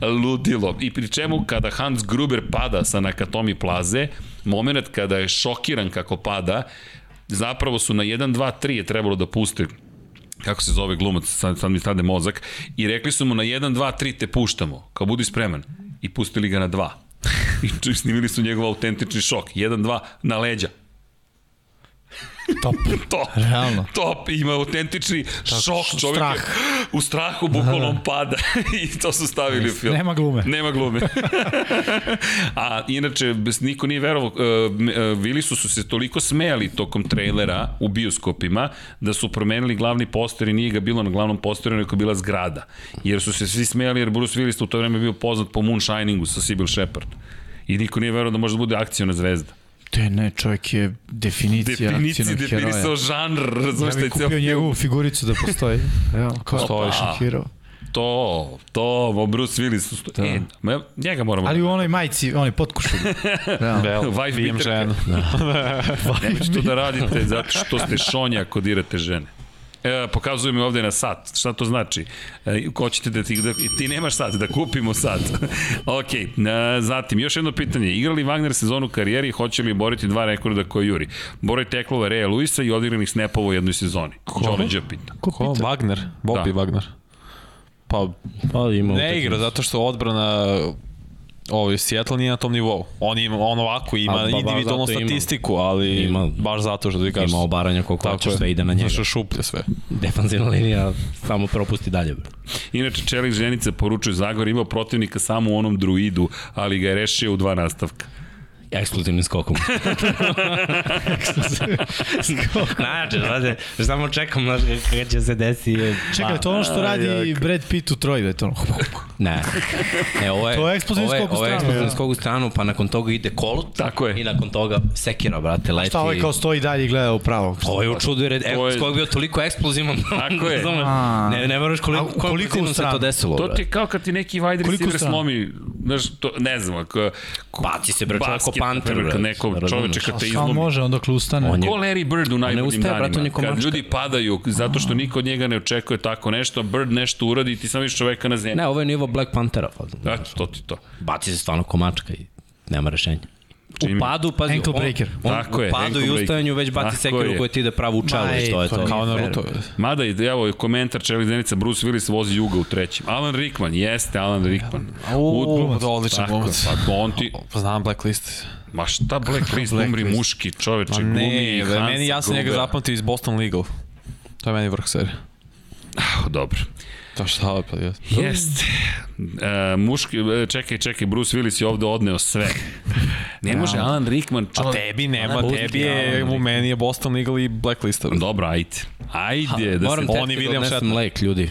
[SPEAKER 1] ludilo. I pri čemu kada Hans Gruber pada sa Nakatomi plaze, moment kada je šokiran kako pada, zapravo su na 1, 2, 3 je trebalo da puste kako se zove glumac, sad, sad mi stade mozak, i rekli su mu na 1, 2, 3 te puštamo, kao budi spreman. I pustili ga na 2. I snimili su njegov autentični šok. 1, 2, na leđa.
[SPEAKER 3] Top.
[SPEAKER 1] top.
[SPEAKER 3] Realno.
[SPEAKER 1] Top, ima autentični Tako, šok čovjek. Strah. Je, u strahu bukvalno da, da. pada i to su stavili Just, u film.
[SPEAKER 3] Nema glume.
[SPEAKER 1] Nema glume. A inače, niko nije verovao, uh, su, su se toliko smejali tokom trejlera u bioskopima da su promenili glavni poster i nije ga bilo na glavnom posteru, nego je bila zgrada. Jer su se svi smejali jer Bruce Willis u to vreme bio poznat po Moonshiningu sa Sibyl Shepard. I niko nije verovao da može da bude akcijona zvezda.
[SPEAKER 3] Te ne, čovjek je definicija
[SPEAKER 1] Definici, definisao žanr, razumiješ
[SPEAKER 3] ja
[SPEAKER 1] da je
[SPEAKER 3] kupio film. njegovu figuricu da postoji. Evo, kao postoji šokirao.
[SPEAKER 1] To, to, bo Bruce Willis. Da. E, njega moramo...
[SPEAKER 3] Ali u onoj majici, onoj potkušu.
[SPEAKER 1] da. Bel, Wife bijem ženu. Da. Nemojte to da radite, zato što ste šonja kod dirate žene. E, pokazuju mi ovde na sat. Šta to znači? E, hoćete da ti, da, ti nemaš sat, da kupimo sat. ok, e, zatim, još jedno pitanje. Igrali Wagner sezonu karijeri i hoće li boriti dva rekorda koje juri? Boraj teklova Reja Luisa i odigranih snapova u jednoj sezoni. Ko? Johnny Đe pita.
[SPEAKER 4] Ko, Ko? Wagner? Bobby da. Wagner. Pa,
[SPEAKER 2] pa ima
[SPEAKER 4] ne igra, zato što odbrana ovaj Seattle nije na tom nivou. On ima on ovako ima A, ba, individualnu statistiku, ima. ali ima, baš zato što ti kažeš.
[SPEAKER 2] Ima obaranja koliko Tako hoćeš, sve ide na njega.
[SPEAKER 4] Zašto šuplje sve.
[SPEAKER 2] Defanzivna linija samo propusti dalje. Bro.
[SPEAKER 1] Inače Čelik Ženica poručuje Zagor imao protivnika samo u onom druidu, ali ga je rešio u dva nastavka
[SPEAKER 2] ekskluzivnim skokom. ekskluzivnim skokom. Znači, znači, samo čekam na kada će se Pa- desi.
[SPEAKER 3] Čekaj, to ono što radi jak. Brad Pitt u Troji, da je to ono.
[SPEAKER 2] ne. ne ovo je,
[SPEAKER 3] to je eksplozivni skok u stranu.
[SPEAKER 2] Ovo je eksplozivni skok u stranu, pa nakon toga ide kolut.
[SPEAKER 1] Tako je.
[SPEAKER 2] I nakon toga sekira, brate, leti.
[SPEAKER 3] Šta ovo je kao stoji dalje i gleda upravo?
[SPEAKER 2] Ovo je u čudu, jer je, je... skok bio toliko eksplozivan.
[SPEAKER 1] Pa,
[SPEAKER 2] da
[SPEAKER 1] Tako je.
[SPEAKER 2] ne, ne moraš koliko, koliko, koliko se to desilo.
[SPEAKER 1] To ti je kao kad ti neki wide receiver slomi, znaš, to, ne znam, ko,
[SPEAKER 2] ko, baci Pa, se bre, čovjek
[SPEAKER 1] Panter, kad neko čoveče kad te izlomi. Šta
[SPEAKER 3] može, onda klustane.
[SPEAKER 1] On je, ko Larry Bird u najboljim ustaje, danima. Brat, kad ljudi padaju, zato što niko od njega ne očekuje tako nešto, Bird nešto uradi i ti samo viš čoveka na zemlji.
[SPEAKER 2] Ne, ovo je nivo Black Panthera. Da,
[SPEAKER 1] to ti to.
[SPEAKER 2] Baci se stvarno komačka i nema rešenja. Jimmy. U padu, pazi,
[SPEAKER 3] ankle breaker.
[SPEAKER 2] On, on, tako je, padu i ustajanju već baci sekiru koja ti ide pravo u čelo i to je to.
[SPEAKER 4] pa Kao Naruto.
[SPEAKER 1] Mada i evo je komentar Čelik Denica, Bruce Willis vozi juga u trećem. Alan Rickman, jeste Alan Rickman.
[SPEAKER 4] Uuu, da odličan glumac.
[SPEAKER 1] Pa on ti...
[SPEAKER 4] Znam Blacklist.
[SPEAKER 1] Ma šta Blacklist, Black umri muški čoveče, Znači, glumi
[SPEAKER 4] ne, Hans meni da ja sam njega zapamtio iz Boston Legal. To je meni vrh serija.
[SPEAKER 1] Ah, Dobro.
[SPEAKER 4] To šta je pa jest.
[SPEAKER 1] Jest. E, muški, čekaj, čekaj, Bruce Willis je ovde odneo sve. Ne može ja. Alan Rickman
[SPEAKER 4] čovjek. Pa tebi nema, Alan tebi je, u meni je Boston Legal i Blacklist.
[SPEAKER 1] Dobro, ajde. Ajde. Ha, da
[SPEAKER 2] moram se... Oni William Shatner. Lake, ljudi.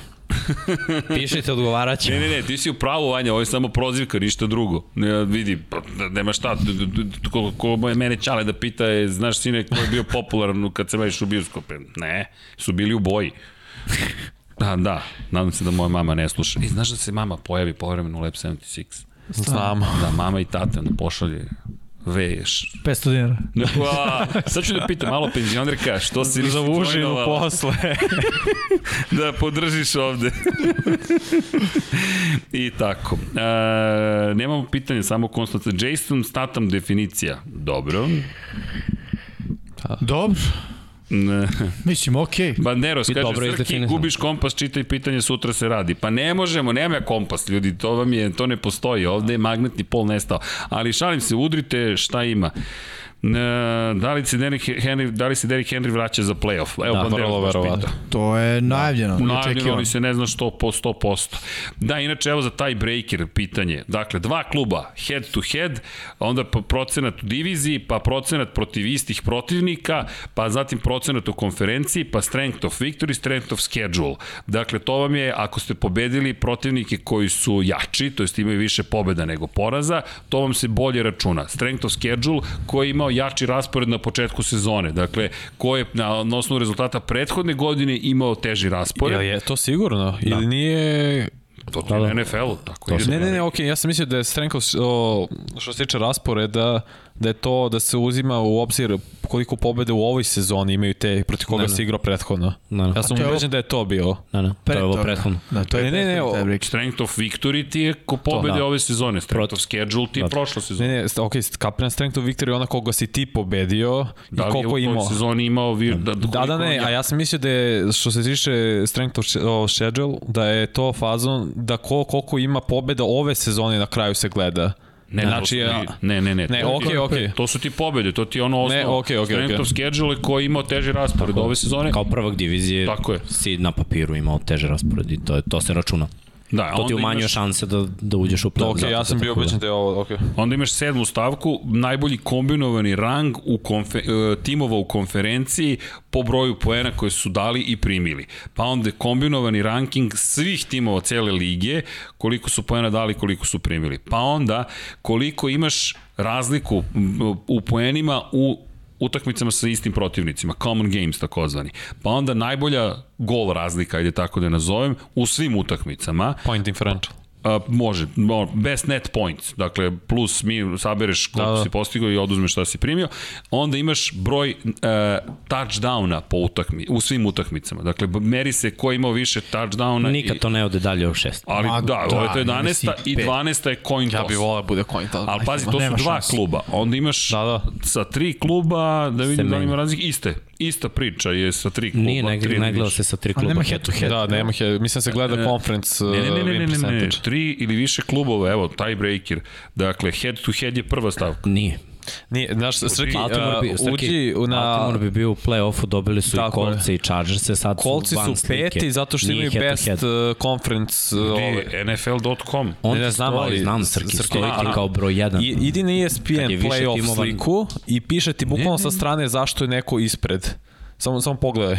[SPEAKER 2] Pišite, odgovarat ćemo.
[SPEAKER 1] Ne, ne, ne, ti si u pravu, Vanja, ovo je samo prozivka, ništa drugo. Ne, vidi, da nema šta, ko, ko mene čale da pita je, znaš sine, ko je bio popularan kad se veš u bioskope? Ne, su bili u boji. Da, da, nadam se da moja mama ne sluša. I znaš da se mama pojavi povremeno u Lab 76?
[SPEAKER 4] Znam.
[SPEAKER 1] Da, mama i tata nam pošalje E veješ.
[SPEAKER 3] 500 dinara.
[SPEAKER 1] Ne, a, sad ću da pitam malo penzionerka, što si nisi
[SPEAKER 4] Zavužinu posle.
[SPEAKER 1] da podržiš ovde. I tako. E, nemamo pitanja, samo konstanta. Jason Statham definicija. Dobro.
[SPEAKER 3] Dobro. Ne. Mislim, okej.
[SPEAKER 1] Okay. Banderos, kaže, dobro, Srki, gubiš kompas, čitaj pitanje, sutra se radi. Pa ne možemo, nema ja kompas, ljudi, to vam je, to ne postoji, ovde je magnetni pol nestao. Ali šalim se, udrite šta ima. da li se Derrick Henry, da li se Derrick Henry vraća za play-off? Evo,
[SPEAKER 4] Da,
[SPEAKER 1] Banderas
[SPEAKER 4] vrlo
[SPEAKER 1] baš pita.
[SPEAKER 4] verovatno.
[SPEAKER 3] To je najavljeno.
[SPEAKER 1] Najavljeno,
[SPEAKER 3] očekivano.
[SPEAKER 1] ali se ne zna što po 100%. Da, inače, evo za taj breaker pitanje. Dakle, dva kluba, head to head, onda pa procenat u diviziji, pa procenat protiv istih protivnika, pa zatim procenat u konferenciji, pa strength of victory, strength of schedule. Dakle, to vam je, ako ste pobedili protivnike koji su jači, to jest imaju više pobeda nego poraza, to vam se bolje računa. Strength of schedule koji je imao jači raspored na početku sezone. Dakle, ko je na, na osnovu rezultata prethodne godine imao teži raspored.
[SPEAKER 4] Jel je to sigurno? Da. Ili nije...
[SPEAKER 1] To
[SPEAKER 4] Da,
[SPEAKER 1] ti je na NFL-u, tako ide.
[SPEAKER 4] Ne, ne, ne, okej, ja sam mislio da je Strenkov, o, što se tiče rasporeda, da je to da se uzima u obzir koliko pobede u ovoj sezoni imaju te protiv koga se igrao prethodno.
[SPEAKER 2] Ne, ne.
[SPEAKER 4] Ja sam
[SPEAKER 3] A to je
[SPEAKER 4] ubeđen da je to bio.
[SPEAKER 2] Da, da, to je ovo
[SPEAKER 3] toga.
[SPEAKER 2] prethodno.
[SPEAKER 3] Da, to je
[SPEAKER 4] Ne, ne, ne,
[SPEAKER 3] prethodni
[SPEAKER 4] o-
[SPEAKER 3] taj break.
[SPEAKER 1] Strength of victory ti je ko pobede
[SPEAKER 2] da.
[SPEAKER 1] ove sezone. Strength of schedule ti je prošla
[SPEAKER 4] Ne,
[SPEAKER 1] sezona.
[SPEAKER 4] ne, st- okej, okay, kapitan Strength of Victory je ona koga si ti pobedio
[SPEAKER 1] Da li
[SPEAKER 4] i
[SPEAKER 1] je u
[SPEAKER 4] koliko je
[SPEAKER 1] toj
[SPEAKER 4] imao.
[SPEAKER 1] sezoni imao... Vi, da,
[SPEAKER 4] Da, da, ne, a ja sam mislio da je, što se tiče Strength of Sch- o, Schedule, da je to fazon da ko, koliko ima pobeda ove sezone na kraju se gleda.
[SPEAKER 1] Ne, znači,
[SPEAKER 4] znači,
[SPEAKER 1] ja,
[SPEAKER 4] ja-
[SPEAKER 1] ne, ne, ne.
[SPEAKER 4] Ne,
[SPEAKER 1] to ti-
[SPEAKER 4] okej, okej.
[SPEAKER 1] To su ti pobede, to ti je ono osnovno.
[SPEAKER 4] Ne, okej, okej,
[SPEAKER 1] Strength
[SPEAKER 4] okej.
[SPEAKER 1] of schedule je koji je imao teži raspored ove sezone.
[SPEAKER 2] Kao prvak divizije
[SPEAKER 1] Tako je.
[SPEAKER 2] si na papiru imao teže raspored i to, je, to se računa.
[SPEAKER 1] Da, a
[SPEAKER 2] To ti
[SPEAKER 1] onda
[SPEAKER 2] umanjuje
[SPEAKER 1] imaš-
[SPEAKER 2] šanse da, da uđeš u play-off.
[SPEAKER 4] Okej,
[SPEAKER 2] zato
[SPEAKER 4] ja sam
[SPEAKER 2] tako
[SPEAKER 4] bio
[SPEAKER 2] da.
[SPEAKER 4] ubeđen da je ovo, okej.
[SPEAKER 1] Onda imaš sedmu stavku, najbolji kombinovani rang u konfe, e, timova u konferenciji po broju poena koje su dali i primili. Pa onda kombinovani ranking svih timova cele lige, koliko su poena dali, koliko su primili. Pa onda koliko imaš razliku m, u poenima u utakmicama sa istim protivnicima, common games takozvani. Pa onda najbolja gol razlika, ajde tako da je nazovem, u svim utakmicama.
[SPEAKER 4] Point differential.
[SPEAKER 1] A, može, mo- best net points, dakle plus mi sabereš koliko da, da.
[SPEAKER 4] Da, da.
[SPEAKER 1] si postigao i oduzmeš šta si primio, onda imaš broj uh, touchdowna po utakmi, u svim utakmicama, dakle b- meri se ko je imao više touchdowna
[SPEAKER 2] Nikad
[SPEAKER 1] i,
[SPEAKER 2] to ne ode dalje od šest.
[SPEAKER 1] ali
[SPEAKER 3] Ma,
[SPEAKER 1] da,
[SPEAKER 3] da,
[SPEAKER 1] ovo je to 11.
[SPEAKER 3] mislim,
[SPEAKER 1] i
[SPEAKER 3] pet.
[SPEAKER 1] 12. je coin toss.
[SPEAKER 4] volao da bude coin toss.
[SPEAKER 1] Ali pazi, to
[SPEAKER 3] nema
[SPEAKER 1] su dva
[SPEAKER 3] šanse.
[SPEAKER 1] kluba. Onda imaš
[SPEAKER 4] Da, da.
[SPEAKER 1] sa tri kluba, da vidim da li
[SPEAKER 2] menja.
[SPEAKER 1] ima razlike, iste. Ista priča je sa tri kluba.
[SPEAKER 2] Nije, ne,
[SPEAKER 1] tri
[SPEAKER 2] ne gleda
[SPEAKER 1] više.
[SPEAKER 2] se sa tri
[SPEAKER 3] A
[SPEAKER 2] kluba.
[SPEAKER 3] Pa nema head to head.
[SPEAKER 4] Da, nema he, mislim da se gleda conference
[SPEAKER 1] Ne, ne, ne,
[SPEAKER 4] uh,
[SPEAKER 1] ne, ne,
[SPEAKER 4] win
[SPEAKER 1] ne, ne, ne,
[SPEAKER 4] percentage.
[SPEAKER 1] tri ili više klubova, evo, tiebreaker. Dakle, head to head je prva stavka.
[SPEAKER 2] Nije.
[SPEAKER 4] Nije, znaš, Srki,
[SPEAKER 2] Baltimore bi,
[SPEAKER 4] uh,
[SPEAKER 2] Srki,
[SPEAKER 4] uđi u na...
[SPEAKER 2] Baltimore bi bio u play-offu, dobili su i
[SPEAKER 4] Tako je.
[SPEAKER 2] Colts i Chargers, sad
[SPEAKER 4] Kolci
[SPEAKER 2] su van
[SPEAKER 4] su
[SPEAKER 2] slike.
[SPEAKER 4] peti zato što
[SPEAKER 2] Nije
[SPEAKER 4] imaju
[SPEAKER 2] head to
[SPEAKER 4] best
[SPEAKER 2] head.
[SPEAKER 4] uh, conference uh, ove.
[SPEAKER 1] Gde je NFL.com.
[SPEAKER 2] On
[SPEAKER 4] Ne,
[SPEAKER 2] ne,
[SPEAKER 4] ne,
[SPEAKER 2] znam,
[SPEAKER 4] stoji.
[SPEAKER 2] ali znam Srki,
[SPEAKER 4] Srki, da,
[SPEAKER 2] stoji ti
[SPEAKER 1] a-
[SPEAKER 2] kao broj 1.
[SPEAKER 4] I, E idi na ESPN
[SPEAKER 2] Kad je više
[SPEAKER 4] playoff
[SPEAKER 2] timova-
[SPEAKER 4] sliku i piše ti bukvalno sa strane zašto je neko ispred. Samo, samo pogledaj.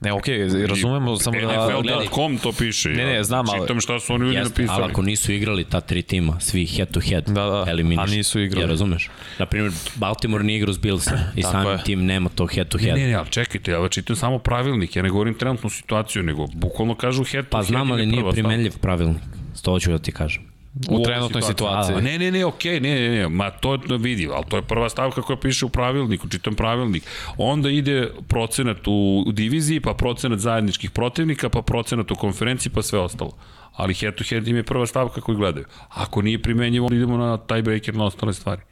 [SPEAKER 4] Ne, okej, razumemo, samo da...
[SPEAKER 1] NFL.com to piše.
[SPEAKER 4] Ne, ne, znam, ali-
[SPEAKER 1] Čitam šta su oni ljudi
[SPEAKER 2] Jeste,
[SPEAKER 1] napisali.
[SPEAKER 2] ali ako nisu igrali ta tri tima, svi head to head,
[SPEAKER 4] Da, da,
[SPEAKER 2] eliminiš.
[SPEAKER 4] a nisu igrali.
[SPEAKER 2] Ja razumeš. Naprimjer, Baltimore nije igrao s Billsom i samim
[SPEAKER 4] je.
[SPEAKER 2] tim nema to head to head.
[SPEAKER 1] Ne, ne, ali čekajte, ja čitam samo pravilnik, ja ne govorim trenutnu situaciju, nego bukvalno kažu head to
[SPEAKER 2] Pa
[SPEAKER 1] head
[SPEAKER 2] znam,
[SPEAKER 1] je
[SPEAKER 2] ali nije
[SPEAKER 1] prva stavka.
[SPEAKER 2] primenljiv pravilnik. To ću da ti kažem.
[SPEAKER 1] U
[SPEAKER 4] U
[SPEAKER 1] ovoj
[SPEAKER 4] trenutnoj
[SPEAKER 1] situaciji.
[SPEAKER 4] situaciji.
[SPEAKER 1] A, ne, ne, ne, okej, ne, ne, ne, ma to je vidi, ali to je prva stavka koja piše u pravilniku, čitam pravilnik. Onda ide procenat u, u diviziji, pa procenat zajedničkih protivnika, pa procenat u konferenciji, pa sve ostalo. Ali head to head im je prva stavka koju gledaju. Ako nije primenjivo, onda idemo na tiebreaker na ostale stvari.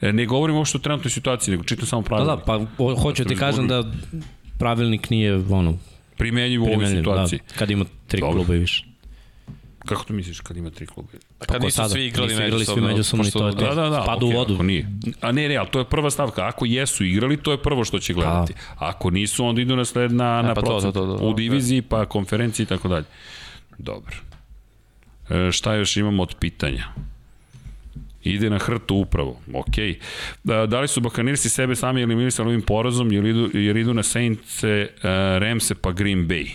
[SPEAKER 1] E, Ne govorim uopšte o trenutnoj situaciji, nego čitam samo
[SPEAKER 2] Pa
[SPEAKER 1] pravilnik.
[SPEAKER 2] da, pa o, hoću da ti kažem da pravilnik nije ono,
[SPEAKER 1] Primenjivo u ovoj
[SPEAKER 2] primenljiv. Da,
[SPEAKER 1] situaciji.
[SPEAKER 2] kad ima tri
[SPEAKER 1] Dobro.
[SPEAKER 2] kluba i više.
[SPEAKER 1] Kako to misliš kad ima tri kluba?
[SPEAKER 2] Pa
[SPEAKER 4] Kad
[SPEAKER 2] ko
[SPEAKER 4] nisu
[SPEAKER 2] sada?
[SPEAKER 4] svi igrali
[SPEAKER 2] Nisu
[SPEAKER 4] međusobno.
[SPEAKER 2] igrali svi međusobno i
[SPEAKER 4] pošto-
[SPEAKER 2] to je to.
[SPEAKER 1] Da, da, da.
[SPEAKER 2] Spada u
[SPEAKER 1] okej,
[SPEAKER 2] vodu.
[SPEAKER 1] Ako nije. A ne, ne, ali to je prva stavka. Ako jesu igrali, to je prvo što će
[SPEAKER 2] Da.
[SPEAKER 1] gledati. Ako nisu, onda idu na sled
[SPEAKER 2] E,
[SPEAKER 1] na, na
[SPEAKER 4] pa to,
[SPEAKER 1] procent.
[SPEAKER 4] to, to, to.
[SPEAKER 1] U diviziji, pa konferenciji i tako dalje. Dobro. E, šta još imamo od pitanja? Ide na hrtu upravo, okej. Da, da li su Bakanirsi sebe sami eliminisali ovim porazom, jer idu, jer idu na Saintse, e, Remse pa Green Bay?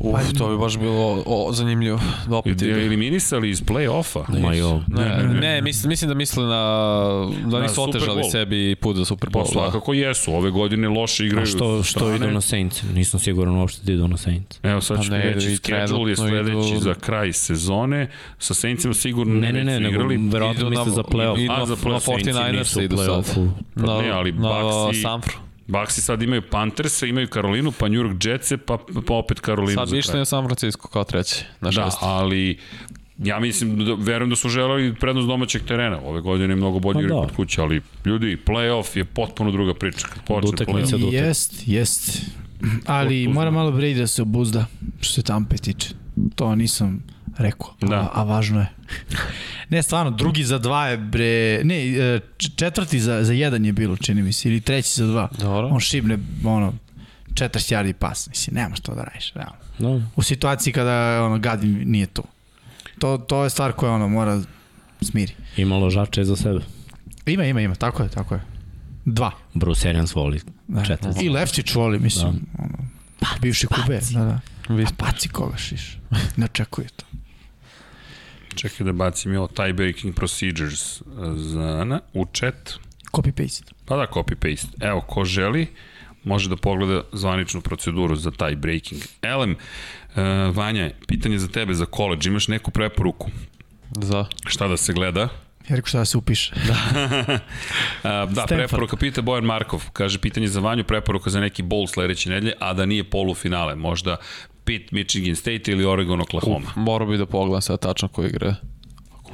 [SPEAKER 4] Uf, to bi baš bilo o, zanimljivo. Da opet
[SPEAKER 1] Ili-
[SPEAKER 4] idu.
[SPEAKER 1] Eliminisali iz play-offa?
[SPEAKER 2] Ma jo.
[SPEAKER 4] Ne, ne, mislim, mislim da misle na... Da
[SPEAKER 1] Na
[SPEAKER 4] nisu
[SPEAKER 1] Super
[SPEAKER 4] otežali
[SPEAKER 1] Bowl.
[SPEAKER 4] sebi put za Super
[SPEAKER 1] Pa
[SPEAKER 4] Bowl. da.
[SPEAKER 1] svakako jesu, ove godine loše igraju.
[SPEAKER 2] A što, što
[SPEAKER 1] strane.
[SPEAKER 2] idu na Saints? Nisam siguran uopšte da idu na Saints.
[SPEAKER 1] Evo sad ću
[SPEAKER 4] Pa ne,
[SPEAKER 1] ne, reći,
[SPEAKER 4] i
[SPEAKER 1] schedule je
[SPEAKER 4] trenutno
[SPEAKER 1] sledeći
[SPEAKER 4] idu-
[SPEAKER 1] za kraj sezone. Sa Saintsima sigurno
[SPEAKER 2] Ne, ne, ne,
[SPEAKER 1] su
[SPEAKER 2] nego
[SPEAKER 1] igrali.
[SPEAKER 2] verovatno
[SPEAKER 4] Idu na-
[SPEAKER 2] misle za
[SPEAKER 4] Idu
[SPEAKER 2] play-off. Da,
[SPEAKER 1] A,
[SPEAKER 4] na,
[SPEAKER 1] za
[SPEAKER 4] na
[SPEAKER 1] play-off, Saintsi
[SPEAKER 4] 49ers
[SPEAKER 2] nisu
[SPEAKER 4] idu
[SPEAKER 2] u
[SPEAKER 4] sad.
[SPEAKER 2] play-offu.
[SPEAKER 1] Pa ne, ali Bucks i-
[SPEAKER 4] Sanfru.
[SPEAKER 1] Baxi sad imaju Panthersa, imaju Karolinu, pa New York Jetse, pa, pa opet Karolinu
[SPEAKER 4] Sad
[SPEAKER 1] za
[SPEAKER 4] više
[SPEAKER 1] kraj.
[SPEAKER 4] na San Francisco kao treći. Na
[SPEAKER 1] Da,
[SPEAKER 4] šest.
[SPEAKER 1] ali ja mislim, da, verujem da su želeli prednost domaćeg terena. Ove godine je mnogo bolje
[SPEAKER 2] Pa
[SPEAKER 1] igraju
[SPEAKER 2] da.
[SPEAKER 1] kod kuće, ali ljudi, play-off je potpuno druga priča. Kad počne
[SPEAKER 2] utakmice
[SPEAKER 1] play-off.
[SPEAKER 2] do- Dutek.
[SPEAKER 3] Jest, jest. Ali mora malo Brady da se obuzda, što se Tampe tiče. To nisam rekao.
[SPEAKER 1] Da.
[SPEAKER 3] A, a važno je. ne, stvarno, drugi za dva je, bre... Ne, e, č- četvrti za, za jedan je bilo, čini mi se, ili treći za dva.
[SPEAKER 4] Dobro.
[SPEAKER 3] On šibne, ono, 40 yardi pas. Mislim, nemaš to da radiš, realno.
[SPEAKER 2] Da.
[SPEAKER 3] U situaciji kada, ono, Gadin nije tu. To, to je stvar koja, ono, mora smiri.
[SPEAKER 2] Ima ložače za sebe.
[SPEAKER 3] Ima, ima, ima, tako je, tako je. Dva.
[SPEAKER 2] Bruce Arians voli
[SPEAKER 3] Da,
[SPEAKER 2] četvrti.
[SPEAKER 3] I Leftić voli, mislim. Da. Ono, bivši kube. Da, da.
[SPEAKER 4] Vi-
[SPEAKER 3] A paci koga šiš. Ne očekuje to.
[SPEAKER 1] Čekaj da bacim i ovo tie breaking procedures za Ana u chat.
[SPEAKER 3] Copy paste.
[SPEAKER 1] Pa da, copy-paste. Evo, ko želi, može da pogleda zvaničnu proceduru za taj breaking. Elem, uh, Vanja, pitanje za tebe za koleđ. Imaš neku preporuku?
[SPEAKER 4] Za.
[SPEAKER 1] Šta da se gleda?
[SPEAKER 3] Ja rekao šta da se upiše.
[SPEAKER 1] A, da,
[SPEAKER 3] Stanford.
[SPEAKER 1] preporuka pita Bojan Markov. Kaže, pitanje za Vanju, preporuka za neki bowl sledeće nedelje, a da nije polufinale. Možda Pitt, Michigan State ili Oregon, Oklahoma.
[SPEAKER 4] Morao bi da pogledam sad tačno ko igra.